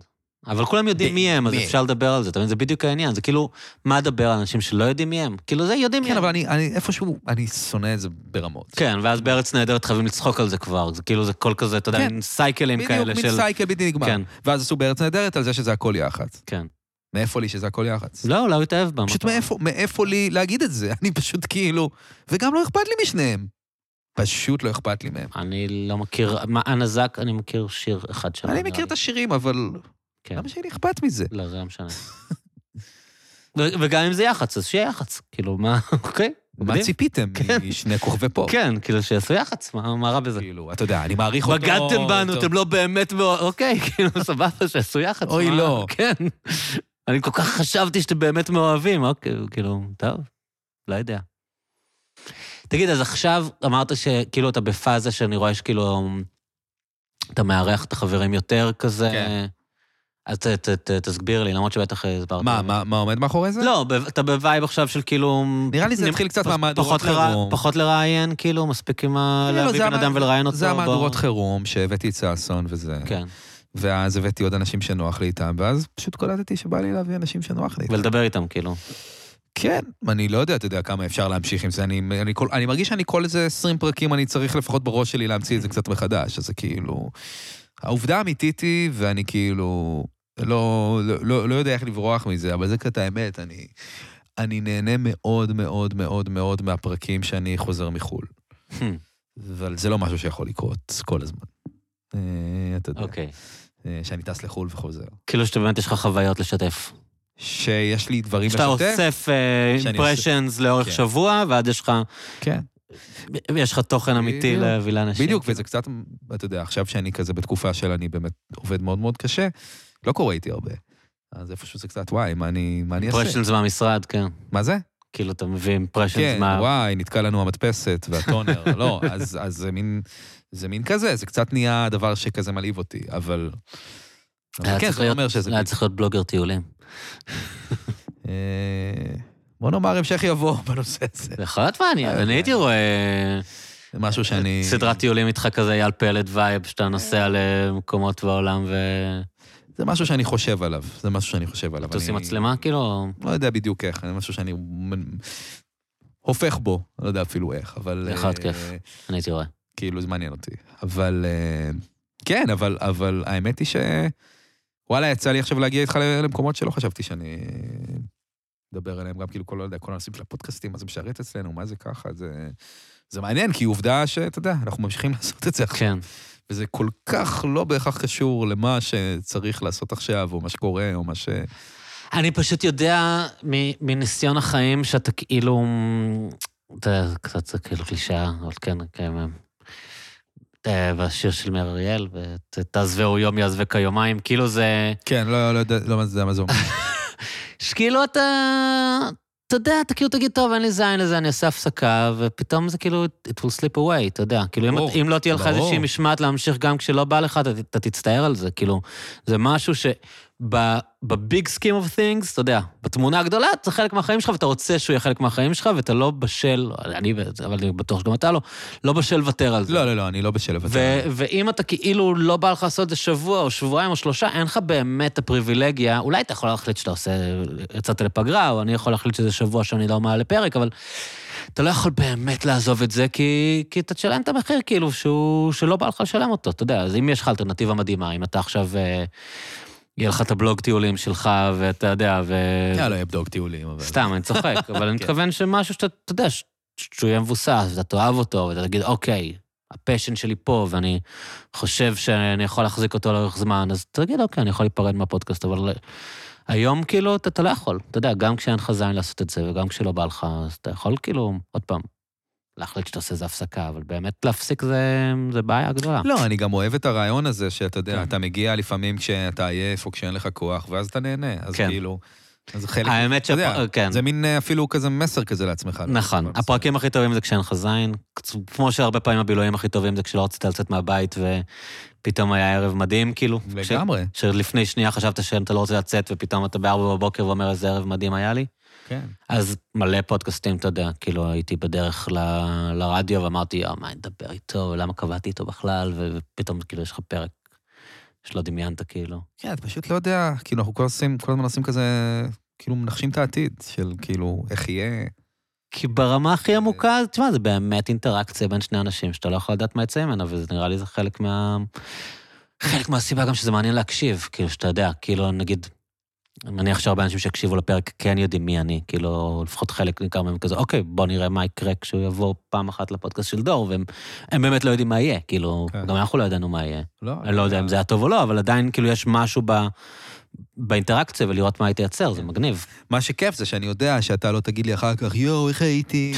Speaker 3: אבל כולם יודעים מי הם, אז
Speaker 2: באמת.
Speaker 3: אפשר לדבר על זה, אתה מבין? זה בדיוק העניין. זה כאילו, מה לדבר על אנשים שלא יודעים מי הם? כאילו, זה יודעים מי
Speaker 2: כן,
Speaker 3: הם.
Speaker 2: אבל אני, אני איפשהו, אני שונא את זה ברמות.
Speaker 3: כן, ואז בארץ נהדרת חייבים לצחוק על זה כבר. זה כאילו, זה כל כזה, אתה יודע,
Speaker 2: כן.
Speaker 3: מין סייקלים
Speaker 2: בדיוק,
Speaker 3: כאלה
Speaker 2: מין
Speaker 3: של...
Speaker 2: סייקל בלתי נגמר.
Speaker 3: כן,
Speaker 2: ואז עשו בארץ נהדרת על זה שזה הכל יח"צ.
Speaker 3: כן.
Speaker 2: מאיפה לי שזה הכל יח"צ?
Speaker 3: לא, אולי הוא התאהב בה.
Speaker 2: פשוט
Speaker 3: מה אתה-
Speaker 2: מאיפה, מאיפה לי להגיד את זה? אני פשוט כאילו... וגם לא אכפת לי משניהם. פשוט לא אכפת לי מהם.
Speaker 3: אני לא מכיר... מה, אנה זק, אני מכיר שיר אחד שם.
Speaker 2: אני
Speaker 3: נראה
Speaker 2: מכיר
Speaker 3: לי.
Speaker 2: את השירים, אבל
Speaker 3: כן.
Speaker 2: למה שיהיה לי אכפת מזה?
Speaker 3: לא, זה לא משנה. ו- וגם אם זה יח"צ, אז שיהיה יח"צ. כאילו, מה, אוקיי?
Speaker 2: מה
Speaker 3: מדהים.
Speaker 2: ציפיתם
Speaker 3: כן.
Speaker 2: משני כוכבי פופ?
Speaker 3: כן, כאילו, שיעשו יח"צ, מה מה רע בזה?
Speaker 2: כאילו, אתה יודע, אני מעריך אותו.
Speaker 3: בגדתם בנו,
Speaker 2: אותו-
Speaker 3: אתם לא באמת... מאוה- אוקיי, כאילו, סבבה, שיעשו יח"צ.
Speaker 2: אוי,
Speaker 3: מה?
Speaker 2: לא.
Speaker 3: כן. אני כל כך חשבתי שאתם באמת מאוהבים, אוקיי, כאילו, טוב, לא יודע. תגיד, אז עכשיו אמרת שכאילו אתה בפאזה שאני רואה שכאילו... אתה מארח את החברים יותר כזה.
Speaker 2: כן.
Speaker 3: אז ת- ת- ת- תסביר לי, למרות שבטח הסברת.
Speaker 2: מה, מה מה עומד מאחורי זה?
Speaker 3: לא, ב- אתה בווייב עכשיו של כאילו...
Speaker 2: נראה לי זה
Speaker 3: נ-
Speaker 2: התחיל קצת
Speaker 3: פח-
Speaker 2: מהמהדורות
Speaker 3: פחות לרא-
Speaker 2: חירום.
Speaker 3: פחות לראיין, כאילו, מספיק עם ה...
Speaker 2: לא,
Speaker 3: להביא
Speaker 2: זה
Speaker 3: בן
Speaker 2: המ-
Speaker 3: אדם ולראיין אותו.
Speaker 2: זה
Speaker 3: בוא-
Speaker 2: המהדורות חירום שהבאתי את ששון וזה.
Speaker 3: כן,
Speaker 2: ואז הבאתי עוד אנשים שנוח לי איתם, ואז פשוט קלטתי שבא לי להביא אנשים שנוח לי איתם.
Speaker 3: ולדבר איתם, כאילו.
Speaker 2: כן, אני לא יודע, אתה יודע כמה אפשר להמשיך עם זה. אני, אני, כל, אני מרגיש שאני כל איזה 20 פרקים, אני צריך לפחות בראש שלי להמציא את זה קצת מחדש. אז זה כאילו... העובדה האמיתית היא, ואני כאילו... לא, לא, לא, לא יודע איך לברוח מזה, אבל זה קצת האמת. אני, אני נהנה מאוד מאוד מאוד מאוד מהפרקים שאני חוזר מחו"ל. Hmm, אבל זה לא משהו שיכול לקרות כל הזמן. אה, אתה יודע,
Speaker 3: אוקיי.
Speaker 2: אה, שאני טס לחו"ל וחוזר.
Speaker 3: כאילו שאתה באמת יש לך חוויות לשתף.
Speaker 2: שיש לי דברים
Speaker 3: שאתה אוסף אה,
Speaker 2: שאני
Speaker 3: impressions לאורך
Speaker 2: כן.
Speaker 3: שבוע, ועד יש לך...
Speaker 2: כן.
Speaker 3: יש לך תוכן אמיתי
Speaker 2: בדיוק.
Speaker 3: להביא לאנשים. כאילו.
Speaker 2: בדיוק, וזה קצת, אתה יודע, עכשיו שאני כזה בתקופה של אני באמת עובד מאוד מאוד קשה, לא קורה איתי הרבה. אז איפשהו זה קצת, וואי, מה אני, מה אני אעשה?
Speaker 3: impressions מהמשרד, כן.
Speaker 2: מה זה?
Speaker 3: כאילו, אתה מביא impressions
Speaker 2: כן,
Speaker 3: מה...
Speaker 2: וואי, נתקע לנו המדפסת והטונר, לא, אז, אז זה מין, זה מין כזה, זה קצת נהיה דבר שכזה מלהיב אותי, אבל... אבל
Speaker 3: היה
Speaker 2: כן,
Speaker 3: צריך
Speaker 2: זה לא
Speaker 3: להיות-
Speaker 2: אומר שזה...
Speaker 3: היה צריך להיות בלוגר טיולים.
Speaker 2: אה, בוא נאמר המשך יבוא בנושא הזה.
Speaker 3: זה יכול להיות
Speaker 2: אה,
Speaker 3: מעניין, אני
Speaker 2: אוקיי.
Speaker 3: הייתי רואה...
Speaker 2: זה משהו שאני...
Speaker 3: סדרת טיולים איתך כזה אייל פלד וייב, שאתה
Speaker 2: אה.
Speaker 3: נוסע למקומות בעולם ו-
Speaker 2: זה משהו שאני חושב עליו, זה משהו שאני חושב עליו.
Speaker 3: אתה עושה
Speaker 2: אני-
Speaker 3: מצלמה, כאילו,
Speaker 2: לא יודע בדיוק איך, זה משהו שאני מ- הופך בו, לא יודע אפילו איך, אבל...
Speaker 3: יכול להיות
Speaker 2: אה,
Speaker 3: כיף. אני הייתי רואה.
Speaker 2: כאילו, זה מעניין אותי. אבל... אה, כן, אבל, אבל האמת היא ש... וואלה, יצא לי עכשיו להגיע איתך ל- למקומות שלא חשבתי שאני אדבר עליהם, גם כאילו כל, לא יודע, כל הנושאים של הפודקאסטים, מה זה משרת אצלנו, מה זה ככה, זה... זה מעניין, כי עובדה שאתה יודע, אנחנו ממשיכים לעשות את זה עכשיו,
Speaker 3: כן,
Speaker 2: וזה כל כך לא בהכרח קשור למה שצריך לעשות עכשיו, או מה שקורה, או מה ש...
Speaker 3: אני פשוט יודע מ- מניסיון החיים שאתה כאילו, אתה יודע, זה קצת זה כאילו קלישאה, אבל כן, כן. אה, והשיר של מאיר אריאל, ו- "תעזבהו יום יעזבק היומיים", כאילו זה...
Speaker 2: כן, לא, לא יודע, לא יודע מה זה אומר.
Speaker 3: שכאילו אתה, כאילו, אתה יודע, אתה כאילו תגיד, טוב, אין לי זין לזה, אני אעשה הפסקה, ופתאום זה כאילו, it will slip away, אתה יודע. כאילו, אם,
Speaker 2: ברור,
Speaker 3: אם לא תהיה לך
Speaker 2: ברור.
Speaker 3: איזושהי משמעת להמשיך גם כשלא בא לך, אתה, אתה תצטער על זה. כאילו, זה משהו שבביג scheme of things, אתה יודע, בתמונה הגדולה, זה חלק מהחיים שלך, ואתה רוצה שהוא יהיה חלק מהחיים שלך, ואתה לא בשל, אני, אבל אני בטוח שגם אתה לא, לא בשל לוותר על זה.
Speaker 2: לא, לא, לא, אני לא בשל לבטל.
Speaker 3: ו- ואם אתה כאילו לא בא לך לעשות את זה שבוע או שבועיים או שלושה, אין לך באמת את הפריבילגיה, אולי אתה יכול להחליט שאתה עושה, יצאת לפגרה, או אני יכול להחליט שזה שבוע שאני לא מעלה פרק, אבל אתה לא יכול באמת לעזוב את זה, כי, כי אתה תשלם את המחיר כאילו שהוא, שלא בא לך לשלם אותו, אתה יודע, אז אם יש לך אלטרנטיבה מדהימה, אם אתה עכשיו, אה, יהיה לך את הבלוג טיולים שלך, ואתה יודע, ו...
Speaker 2: יאללה, יהיה בדוק אה, לא, טיולים, אבל...
Speaker 3: סתם, אני צוחק, אבל אני
Speaker 2: כן.
Speaker 3: מתכוון שמשהו שאתה, אתה יודע, ש- שהוא יהיה מבוסס, ואתה תאהב אותו, ואתה תגיד, אוקיי, הפשן שלי פה, ואני חושב שאני יכול להחזיק אותו לאורך זמן, אז תגיד, אוקיי, אני יכול להיפרד מהפודקאסט, אבל אה, היום כאילו אתה, אתה לא יכול. אתה יודע, גם כשאין לך זין לעשות את זה, וגם כשלא בא לך, אז אתה יכול כאילו, עוד פעם, להחליט שאתה עושה איזה הפסקה, אבל באמת להפסיק זה, זה בעיה גדולה.
Speaker 2: לא, אני גם אוהב את הרעיון הזה שאתה יודע,
Speaker 3: כן.
Speaker 2: אתה מגיע לפעמים כשאתה עייף או כשאין לך כוח, ואז אתה נהנה. אז
Speaker 3: כן.
Speaker 2: כאילו... אז זה חלק...
Speaker 3: האמת
Speaker 2: אתה יודע,
Speaker 3: שפה, כן.
Speaker 2: זה מין אה, אפילו כזה מסר כזה לעצמך.
Speaker 3: נכון,
Speaker 2: בסדר.
Speaker 3: הפרקים הכי טובים זה כשאין לך זין, כצ- כמו שהרבה פעמים הבילויים הכי טובים זה כשלא רצית לצאת מהבית ופתאום היה ערב מדהים, כאילו. כש-
Speaker 2: לגמרי,
Speaker 3: שלפני שנייה חשבת שאתה לא רוצה לצאת ופתאום אתה בארבע בבוקר ואומר איזה ערב מדהים היה לי.
Speaker 2: כן.
Speaker 3: אז מלא פודקאסטים, אתה יודע, כאילו הייתי בדרך ל- לרדיו ואמרתי, אה, מה אני אדבר איתו, למה קבעתי איתו בכלל, ו- ופתאום כאילו יש לך פרק שלא דמיינת, כאילו.
Speaker 2: כן, אתה פשוט לא יודע, כאילו, אנחנו כל עושים- כל הזמן עושים כזה, כאילו, מנחשים את העתיד של כאילו, איך יהיה.
Speaker 3: כי ברמה הכי עמוקה, תשמע, זה באמת אינטראקציה בין שני אנשים, שאתה לא יכול לדעת מה יצא ממנה, וזה נראה לי זה חלק מה... חלק מהסיבה גם שזה מעניין להקשיב, כאילו, שאתה יודע, כאילו, נגיד, אני מניח שהרבה אנשים שהקשיבו לפרק כן יודעים מי אני, כאילו, לפחות חלק ניכר מהם כזה, אוקיי, בוא נראה מה יקרה כשהוא יבוא פעם אחת לפודקאסט של דור, והם הם באמת לא יודעים מה יהיה, כאילו,
Speaker 2: כן.
Speaker 3: גם אנחנו לא ידענו מה יהיה.
Speaker 2: לא,
Speaker 3: אני לא יודע אם זה היה טוב או לא, אבל עדיין כאילו יש משהו ב... באינטראקציה ולראות מה היא תייצר, זה מגניב.
Speaker 2: מה שכיף זה שאני יודע שאתה לא תגיד לי אחר כך, יואו, איך הייתי?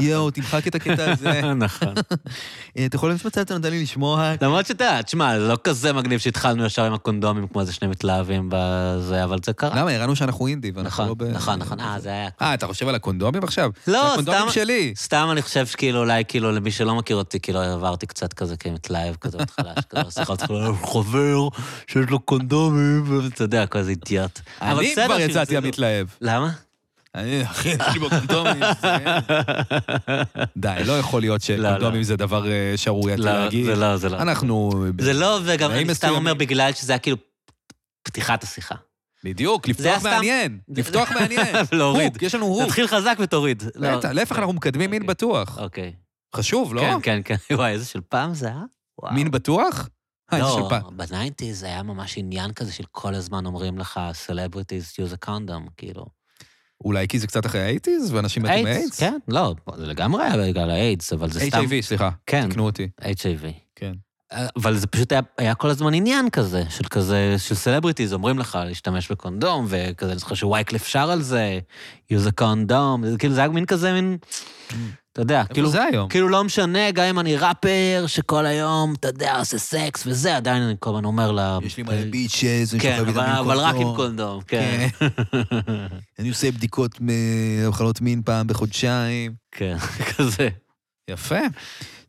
Speaker 2: יואו, תמחק את הקטע הזה.
Speaker 3: נכון.
Speaker 2: אה, אתה יכול למצוא אתה נותן לי לשמוע?
Speaker 3: למרות שאתה יודע, תשמע, זה לא כזה מגניב שהתחלנו ישר עם הקונדומים כמו איזה שני מתלהבים בזה, אבל זה קרה.
Speaker 2: למה? הראינו שאנחנו אינדי, ואנחנו לא
Speaker 3: נכון,
Speaker 2: ב...
Speaker 3: נכון, נכון, אה, זה היה...
Speaker 2: אה, אתה חושב על הקונדומים עכשיו?
Speaker 3: לא,
Speaker 2: זה הקונדומים
Speaker 3: סתם-
Speaker 2: שלי.
Speaker 3: סתם אני חושב שכאילו, אולי כאילו, למי שלא מכיר אותי, כאילו, עברתי קצת כזה כמתלהב כזה בהתחלה, שכזה שיחות כאילו, חבר שיש לו קונדומים, ואתה יודע, כזה אידיוט. אבל
Speaker 2: אני
Speaker 3: בסדר לא-
Speaker 2: כבר
Speaker 3: שניסינו.
Speaker 2: יצאתי המתלהב.
Speaker 3: למה?
Speaker 2: אני, אחי, יש לי בקונדומים. זה- די, לא יכול להיות
Speaker 3: לא, לא.
Speaker 2: שקונדומים זה דבר אה, שערורייתי
Speaker 3: לא,
Speaker 2: להגיד.
Speaker 3: זה לא, זה לא.
Speaker 2: אנחנו...
Speaker 3: זה לא, וגם
Speaker 2: תנאים
Speaker 3: אני סתם
Speaker 2: מסוימים.
Speaker 3: אומר בגלל שזה היה כאילו פתיחת השיחה.
Speaker 2: בדיוק,
Speaker 3: היה
Speaker 2: לפתוח
Speaker 3: סתם-
Speaker 2: מעניין.
Speaker 3: זה-
Speaker 2: לפתוח מעניין.
Speaker 3: להוריד.
Speaker 2: הוק, יש לנו הוק.
Speaker 3: תתחיל חזק ותוריד. לא.
Speaker 2: בטח, להפך, אנחנו מקדמים מין
Speaker 3: אוקיי.
Speaker 2: בטוח.
Speaker 3: אוקיי.
Speaker 2: חשוב, לא?
Speaker 3: כן, כן, כן. וואי, איזה של פעם זה היה? וואו.
Speaker 2: מין בטוח? אה, זה של
Speaker 3: לא,
Speaker 2: פעם.
Speaker 3: בניינטיז זה היה ממש עניין כזה של כל הזמן אומרים לך, celebrities use a condom, כאילו.
Speaker 2: אולי כי זה קצת אחרי האייטיז, ואנשים מתים מאיידס?
Speaker 3: כן, לא, זה לגמרי היה בגלל האיידס, אבל זה סתם...
Speaker 2: HIV, סליחה.
Speaker 3: כן,
Speaker 2: תקנו אותי.
Speaker 3: HIV.
Speaker 2: כן.
Speaker 3: אה, אבל זה פשוט היה, היה כל הזמן עניין כזה, של כזה, של סלבריטיז, אומרים לך להשתמש בקונדום, וכזה, אני זוכר שווייקליף שר על זה, use a condom, זה כאילו, זה היה מין כזה, מין, אתה יודע,
Speaker 2: כאילו
Speaker 3: כאילו,
Speaker 2: זה היום.
Speaker 3: כאילו לא משנה, גם אם אני ראפר, שכל היום, אתה יודע, עושה סקס וזה, עדיין אני כל הזמן אומר לה...
Speaker 2: יש לי מלא ביצ'ז, אני
Speaker 3: כן,
Speaker 2: שוכב איתם
Speaker 3: אבל,
Speaker 2: עם
Speaker 3: אבל רק עם
Speaker 2: קונדום.
Speaker 3: קונדום, כן.
Speaker 2: אני עושה בדיקות אה, מחלות מין פעם בחודשיים.
Speaker 3: כן, כזה.
Speaker 2: יפה.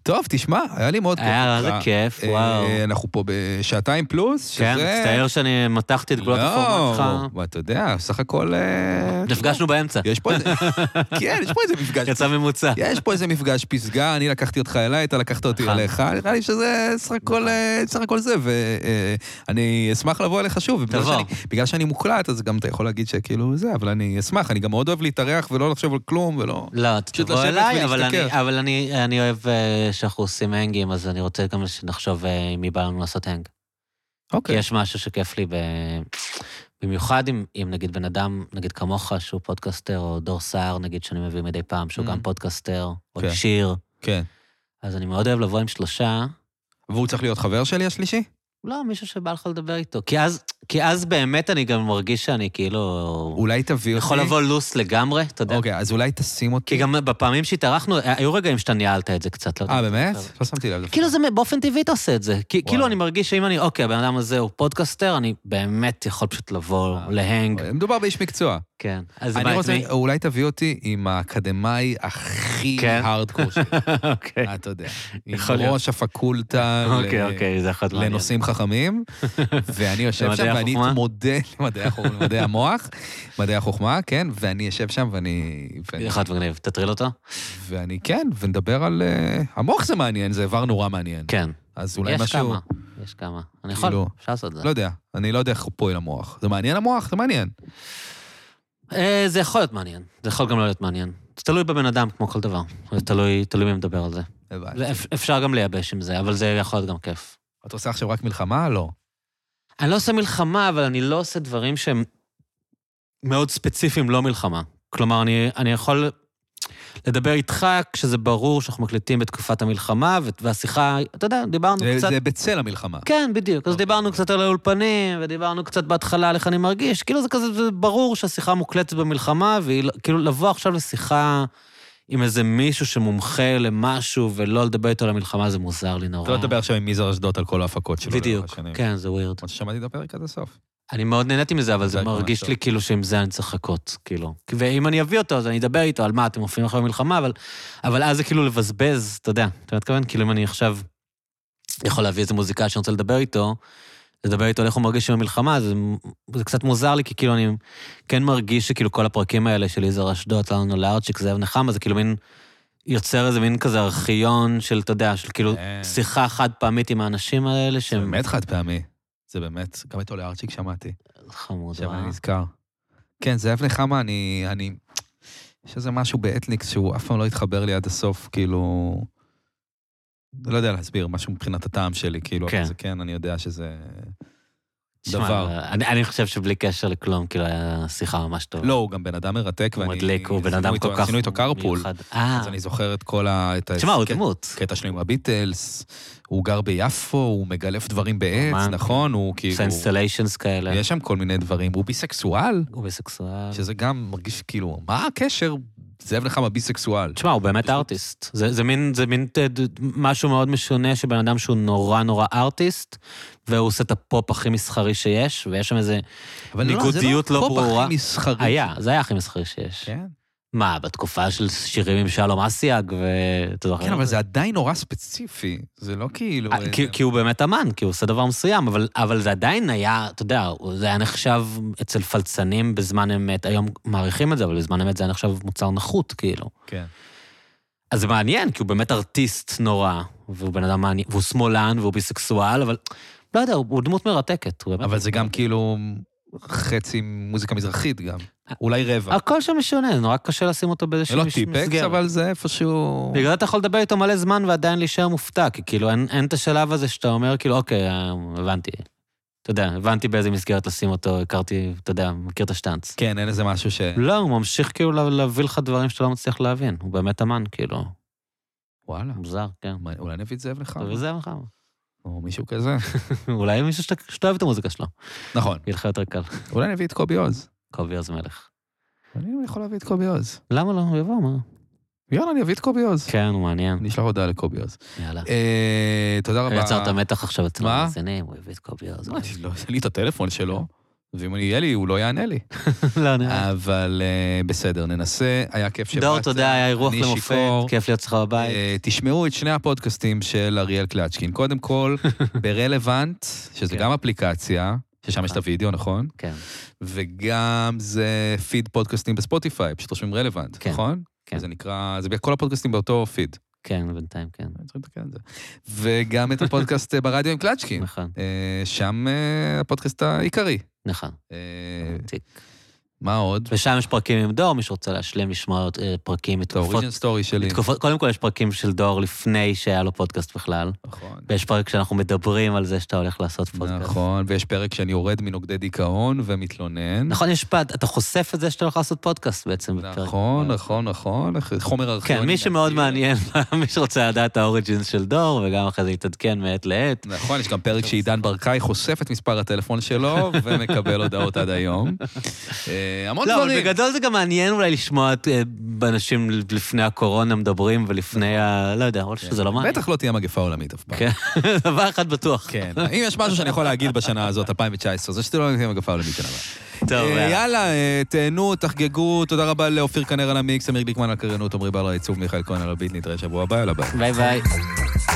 Speaker 2: טוב, תשמע, היה לי מאוד כיף.
Speaker 3: היה
Speaker 2: איתך.
Speaker 3: איזה כיף,
Speaker 2: אה,
Speaker 3: וואו.
Speaker 2: אנחנו פה בשעתיים פלוס, שזה...
Speaker 3: כן, מצטער שאני מתחתי את גבולות הפורמט שלך.
Speaker 2: לא, אבל אתה יודע, סך הכל... אה,
Speaker 3: נפגשנו באמצע,
Speaker 2: יש פה איזה... כן, יש פה איזה מפגש.
Speaker 3: יצא ממוצע.
Speaker 2: יש פה איזה מפגש פסגה, אני לקחתי אותך אליי, אתה לקחת אותי
Speaker 3: נכון.
Speaker 2: אליך, נראה לי שזה סך הכל, אה, סך הכל זה, ואני אשמח לבוא אליך שוב. ובגלל
Speaker 3: תבוא.
Speaker 2: שאני- בגלל שאני מוקלט, אז גם אתה יכול להגיד שכאילו זה, אבל אני אשמח, אני גם מאוד אוהב להתארח ולא לחשוב על כלום, ולא...
Speaker 3: לא, אתה
Speaker 2: פשוט
Speaker 3: תבוא
Speaker 2: לשבת
Speaker 3: אליי, אבל
Speaker 2: ולהסתכל.
Speaker 3: אני- אבל אני אני אוהב אה, שאנחנו עושים הנגים, אז אני רוצה גם שנחשוב אה, עם מי בא לנו לעשות הנג. כי
Speaker 2: אוקיי.
Speaker 3: יש משהו שכיף לי, ב- במיוחד אם אם נגיד בן אדם, נגיד כמוך, שהוא פודקאסטר, או דור סער, נגיד, שאני מביא מדי פעם, שהוא
Speaker 2: Mhm.
Speaker 3: גם פודקאסטר, או
Speaker 2: כן.
Speaker 3: שיר,
Speaker 2: כן.
Speaker 3: אז אני מאוד אוהב לבוא עם שלושה,
Speaker 2: והוא צריך להיות חבר שלי השלישי?
Speaker 3: לא, מישהו שבא לך לדבר איתו. כי אז- כי אז באמת אני גם מרגיש שאני כאילו...
Speaker 2: אולי תביא אותי.
Speaker 3: יכול לבוא לוס לגמרי, אתה יודע.
Speaker 2: אוקיי, אז אולי תשים אותי.
Speaker 3: כי גם בפעמים שהתארחנו, אה, היו רגעים שאתה ניהלת את זה קצת, לא יודע.
Speaker 2: אה, באמת?
Speaker 3: טוב.
Speaker 2: לא שמתי לב. דווקא.
Speaker 3: כאילו זה באופן טבעי אתה עושה את זה. כי, כאילו
Speaker 2: וואו.
Speaker 3: אני מרגיש שאם אני, אוקיי, הבן אדם הזה הוא פודקאסטר, אני באמת יכול פשוט לבוא, להנג.
Speaker 2: מדובר באיש מקצוע.
Speaker 3: כן. אז
Speaker 2: אני
Speaker 3: מה, את
Speaker 2: רוצה,
Speaker 3: מי?
Speaker 2: אולי תביא אותי עם האקדמאי הכי
Speaker 3: כן.
Speaker 2: הארדקור שלי.
Speaker 3: אוקיי.
Speaker 2: אתה יודע. עם
Speaker 3: יכול להיות.
Speaker 2: ראש הפקולטה ל-
Speaker 3: אוקיי, אוקיי, זה יכול להיות מעניין.
Speaker 2: אה, לנושאים חכמים, ואני יושב שם
Speaker 3: למדעי
Speaker 2: ואני
Speaker 3: החוכמה?
Speaker 2: אתמודד למדעי החוכמה, למדעי המוח, מדעי החוכמה, כן, ואני יושב שם ואני... ואני-
Speaker 3: יכול להיות מגניב, תטריל אותו?
Speaker 2: ואני, כן, ונדבר על... אה, המוח זה מעניין, זה איבר נורא מעניין.
Speaker 3: כן.
Speaker 2: אז אולי
Speaker 3: יש
Speaker 2: משהו...
Speaker 3: כמה, יש כמה. אני יכול,
Speaker 2: כאילו,
Speaker 3: אפשר לעשות את זה.
Speaker 2: לא יודע, אני לא יודע איך פועל המוח. זה מעניין המוח? זה מעניין.
Speaker 3: אה, זה יכול להיות מעניין, זה יכול גם לא להיות מעניין. זה תלוי בבן אדם, כמו כל דבר. זה תלוי תלוי מי מדבר על זה.
Speaker 2: הבנתי.
Speaker 3: זה אפ- אפשר גם לייבש עם זה, אבל זה יכול להיות גם כיף.
Speaker 2: את עושה עכשיו רק מלחמה? לא.
Speaker 3: אני לא עושה מלחמה, אבל אני לא עושה דברים שהם מאוד ספציפיים, לא מלחמה. כלומר, אני, אני יכול לדבר איתך כשזה ברור שאנחנו מקליטים בתקופת המלחמה, ו- והשיחה, אתה יודע, דיברנו
Speaker 2: זה-
Speaker 3: קצת...
Speaker 2: זה בצל המלחמה.
Speaker 3: כן, בדיוק. אז
Speaker 2: אוקיי.
Speaker 3: דיברנו קצת על האולפנים, ודיברנו קצת בהתחלה על איך אני מרגיש. כאילו זה כזה, זה ברור שהשיחה מוקלטת במלחמה, והיא לא- כאילו לבוא עכשיו לשיחה עם איזה מישהו שמומחה למשהו ולא לדבר איתו על המלחמה, זה מוזר לי נורא.
Speaker 2: אתה לא תדבר עכשיו עם מזר אשדוד על כל ההפקות שלו. לאורך
Speaker 3: בדיוק,
Speaker 2: השנים.
Speaker 3: כן, זה ווירד.
Speaker 2: למרות ששמעתי את הפרק עד הסוף.
Speaker 3: אני מאוד נהניתי מזה, אבל
Speaker 2: זה
Speaker 3: זה
Speaker 2: ממש
Speaker 3: מרגיש
Speaker 2: טוב.
Speaker 3: לי כאילו שעם זה אני צריך לחכות, כאילו. ואם אני אביא אותו, אז אני אדבר איתו על מה, אתם מופיעים עכשיו במלחמה, אבל, אבל אז זה כאילו לבזבז, אתה יודע, אתה מתכוון? כאילו אם אני עכשיו יכול להביא איזה מוזיקאי שאני רוצה לדבר איתו, לדבר איתו על איך הוא מרגיש עם המלחמה, זה, זה קצת מוזר לי, כי כאילו אני כן מרגיש שכאילו כל הפרקים האלה של יזהר אשדוד, לנו לארצ'יק, זאב נחמה, זה כאילו מין... יוצר איזה מין כזה ארכיון של, אתה יודע, של כאילו
Speaker 2: כן.
Speaker 3: שיחה חד פעמית עם האנשים האלה,
Speaker 2: זה
Speaker 3: שהם...
Speaker 2: באמת חד פעמי. זה באמת, גם את עולה ארצ'יק שמעתי.
Speaker 3: חמוד.
Speaker 2: עכשיו
Speaker 3: וואו.
Speaker 2: אני נזכר. כן, זאב נחמה, אני... אני... יש איזה משהו באתניקס שהוא אף פעם לא התחבר לי עד הסוף, כאילו... לא יודע להסביר, משהו מבחינת הטעם שלי, כאילו,
Speaker 3: כן.
Speaker 2: אבל זה כן, אני יודע שזה...
Speaker 3: תשמע,
Speaker 4: דבר.
Speaker 3: אני, אני חושב שבלי קשר לכלום, כאילו, היה שיחה ממש טובה.
Speaker 2: לא, הוא גם בן אדם מרתק,
Speaker 3: הוא
Speaker 2: ואני...
Speaker 3: מדליק, הוא בן
Speaker 2: עשינו
Speaker 3: אדם
Speaker 2: איתו-
Speaker 3: כל כך
Speaker 2: עשינו איתו קרפול,
Speaker 3: מיוחד. אה,
Speaker 2: אז אני כן, זוכר את כל ה... את
Speaker 3: תשמע, הוא
Speaker 2: הקט-
Speaker 3: דמות.
Speaker 2: קטע שלו עם הביטלס, הוא גר ביפו, הוא מגלף דברים בעץ,
Speaker 3: אמן.
Speaker 2: נכון? הוא כאילו...
Speaker 3: סנסטליישנס כאלה.
Speaker 2: יש שם כל מיני דברים. הוא ביסקסואל,
Speaker 3: הוא ביסקסואל.
Speaker 2: שזה גם מרגיש כאילו, מה הקשר? זאב נחמה ביסקסואל.
Speaker 3: תשמע, הוא באמת
Speaker 2: פשוט-
Speaker 3: ארטיסט. זה, זה מין, זה מין ת- ד- משהו מאוד משונה שבן אדם שהוא נורא נורא ארטיסט, והוא עושה את הפופ הכי מסחרי שיש, ויש שם איזה...
Speaker 2: אבל לא,
Speaker 3: ניגודיות
Speaker 2: זה
Speaker 3: לא
Speaker 2: פופ הכי
Speaker 3: ברורה.
Speaker 2: מסחרי.
Speaker 3: היה, זה היה הכי מסחרי שיש.
Speaker 2: כן,
Speaker 3: מה, בתקופה של שירים עם שלום אסיאג, ואתה זוכר?
Speaker 2: כן, אבל זה עדיין נורא ספציפי. זה לא כאילו...
Speaker 3: אה, כי, כי הוא באמת אמן, כי הוא עושה דבר מסוים, אבל, אבל זה עדיין היה, אתה יודע, הוא- זה היה נחשב אצל פלצנים בזמן אמת, היום מעריכים את זה, אבל בזמן אמת זה היה נחשב מוצר נחות, כאילו.
Speaker 2: כן.
Speaker 3: אז זה מעניין, כי הוא באמת ארטיסט נורא, והוא בן אדם מעניין, והוא שמאלן, והוא ביסקסואל, אבל לא יודע, הוא, הוא דמות מרתקת. הוא באמת
Speaker 2: אבל זה גם כאילו חצי מוזיקה מזרחית גם.
Speaker 3: אה,
Speaker 2: אולי רבע.
Speaker 3: הכל שם משונה, זה נורא קשה לשים אותו
Speaker 2: זה
Speaker 3: באיזושהי
Speaker 2: לא
Speaker 3: מש-
Speaker 2: טיפקס,
Speaker 3: מסגרת.
Speaker 2: אבל זה איפשהו...
Speaker 3: בגלל זה אתה יכול לדבר איתו מלא זמן ועדיין להישאר מופתע, כי כאילו אין, אין את השלב הזה שאתה אומר, כאילו, אוקיי, אה, הבנתי. אתה יודע, הבנתי באיזה מסגרת לשים אותו, הכרתי, אתה יודע, מכיר את השטאנץ.
Speaker 2: כן, אין איזה משהו ש...
Speaker 3: לא, הוא ממשיך כאילו לה- להביא לך דברים שאתה לא מצליח להבין. הוא באמת אמן, כאילו,
Speaker 2: אה. וואלה.
Speaker 3: מוזר, כן.
Speaker 2: מה, אולי נביא את זאב נחמה,
Speaker 3: וזה אמר
Speaker 2: או מישהו כזה.
Speaker 3: אולי מישהו שאתה שאתה אוהב את המוזיקה שלו,
Speaker 2: נכון.
Speaker 3: יהיה לך יותר קל.
Speaker 2: אולי נביא את קובי עוז.
Speaker 3: קובי אז מלך.
Speaker 2: אני יכול להביא את קובי עוז.
Speaker 3: למה לא? הוא יבוא, מה?
Speaker 2: יאללה, אני אביא את קובי עוז.
Speaker 3: כן, הוא מעניין.
Speaker 2: אני אשלח הודעה לקובי עוז.
Speaker 3: יאללה.
Speaker 2: אה, תודה רבה.
Speaker 3: יצרת מתח עכשיו אצל
Speaker 2: מה?
Speaker 3: המאזינים, הוא הביא את קובי אז...
Speaker 2: מה, לא, אין לי את הטלפון שלו, ואם אני- יהיה לי, הוא לא יענה לי.
Speaker 3: לא, נראה.
Speaker 2: אבל אה, בסדר, ננסה. היה כיף שבאת.
Speaker 3: דור, תודה, היה אירוח כן,
Speaker 2: אני
Speaker 3: למופת,
Speaker 2: שיכור.
Speaker 3: כיף להיות אצלך בבית.
Speaker 2: אה, תשמעו את שני הפודקאסטים של אריאל קלצ'קין. קודם כל, ברלוונט, שזה
Speaker 3: כן.
Speaker 2: גם אפליקציה, ששם יש את הוידאו, נכון?
Speaker 3: כן,
Speaker 2: וגם זה פיד פודקאסטים בספוטיפיי, פשוט רושמים רלוונט,
Speaker 3: כן,
Speaker 2: נכון?
Speaker 3: כן.
Speaker 2: זה נקרא, זה כל הפודקאסטים באותו פיד.
Speaker 3: כן, בינתיים כן.
Speaker 2: אני צריך לתקן את זה. וגם את הפודקאסט אה, ברדיו עם קלצ'קין.
Speaker 3: נכון,
Speaker 2: אה, שם אה, הפודקאסט העיקרי.
Speaker 3: נכון.
Speaker 2: אה,
Speaker 3: תיק.
Speaker 2: מה עוד?
Speaker 3: ושם יש פרקים עם דור, מי שרוצה להשלים, לשמוע עוד אה, פרקים
Speaker 2: את
Speaker 3: מתקופות.
Speaker 2: האוריג'ן סטורי שלי.
Speaker 3: מתקופות- קודם כל יש פרקים של דור לפני שהיה לו פודקאסט בכלל,
Speaker 2: נכון.
Speaker 3: ויש פרק שאנחנו מדברים על זה שאתה הולך לעשות פודקאסט.
Speaker 2: נכון, ויש פרק שאני יורד מנוגדי דיכאון ומתלונן.
Speaker 3: נכון, יש פד, אתה חושף את זה שאתה הולך לעשות פודקאסט בעצם. בפרק.
Speaker 2: נכון, אה, נכון, נכון, חומר ארכיוני.
Speaker 3: כן, מי שמאוד
Speaker 2: נדיר.
Speaker 3: מעניין, מי שרוצה לדעת האוריג'ינס של דור, וגם אחרי זה להתעדכן מעת לעת.
Speaker 2: נכון, יש גם פרק שעידן ברקאי חושף את מספר הטלפון שלו ומקבל הודעות עד היום. אה, המון
Speaker 3: לא, אבל
Speaker 2: דברים.
Speaker 3: בגדול זה גם מעניין אולי לשמוע את אה, אנשים לפני הקורונה מדברים, ולפני ה... לא יודע, אבל שזה לא מעניין.
Speaker 2: בטח לא תהיה מגפה עולמית אף פעם.
Speaker 3: כן, דבר אחד בטוח.
Speaker 2: כן. אם יש משהו שאני יכול להגיד בשנה הזאת, 2019, זה שאתה לא תהיה מגפה עולמית שנה הבאה.
Speaker 3: טוב,
Speaker 2: אה,
Speaker 3: יאללה.
Speaker 2: יאללה, אה, תהנו, תחגגו, תודה רבה לאופיר כנר על המיקס, אמיר גליקמן על הקריינות, עמרי בר על העיצוב, מיכאל כהן על הביט, נתראה שבוע הבא, יאללה ביי.
Speaker 3: ביי ביי.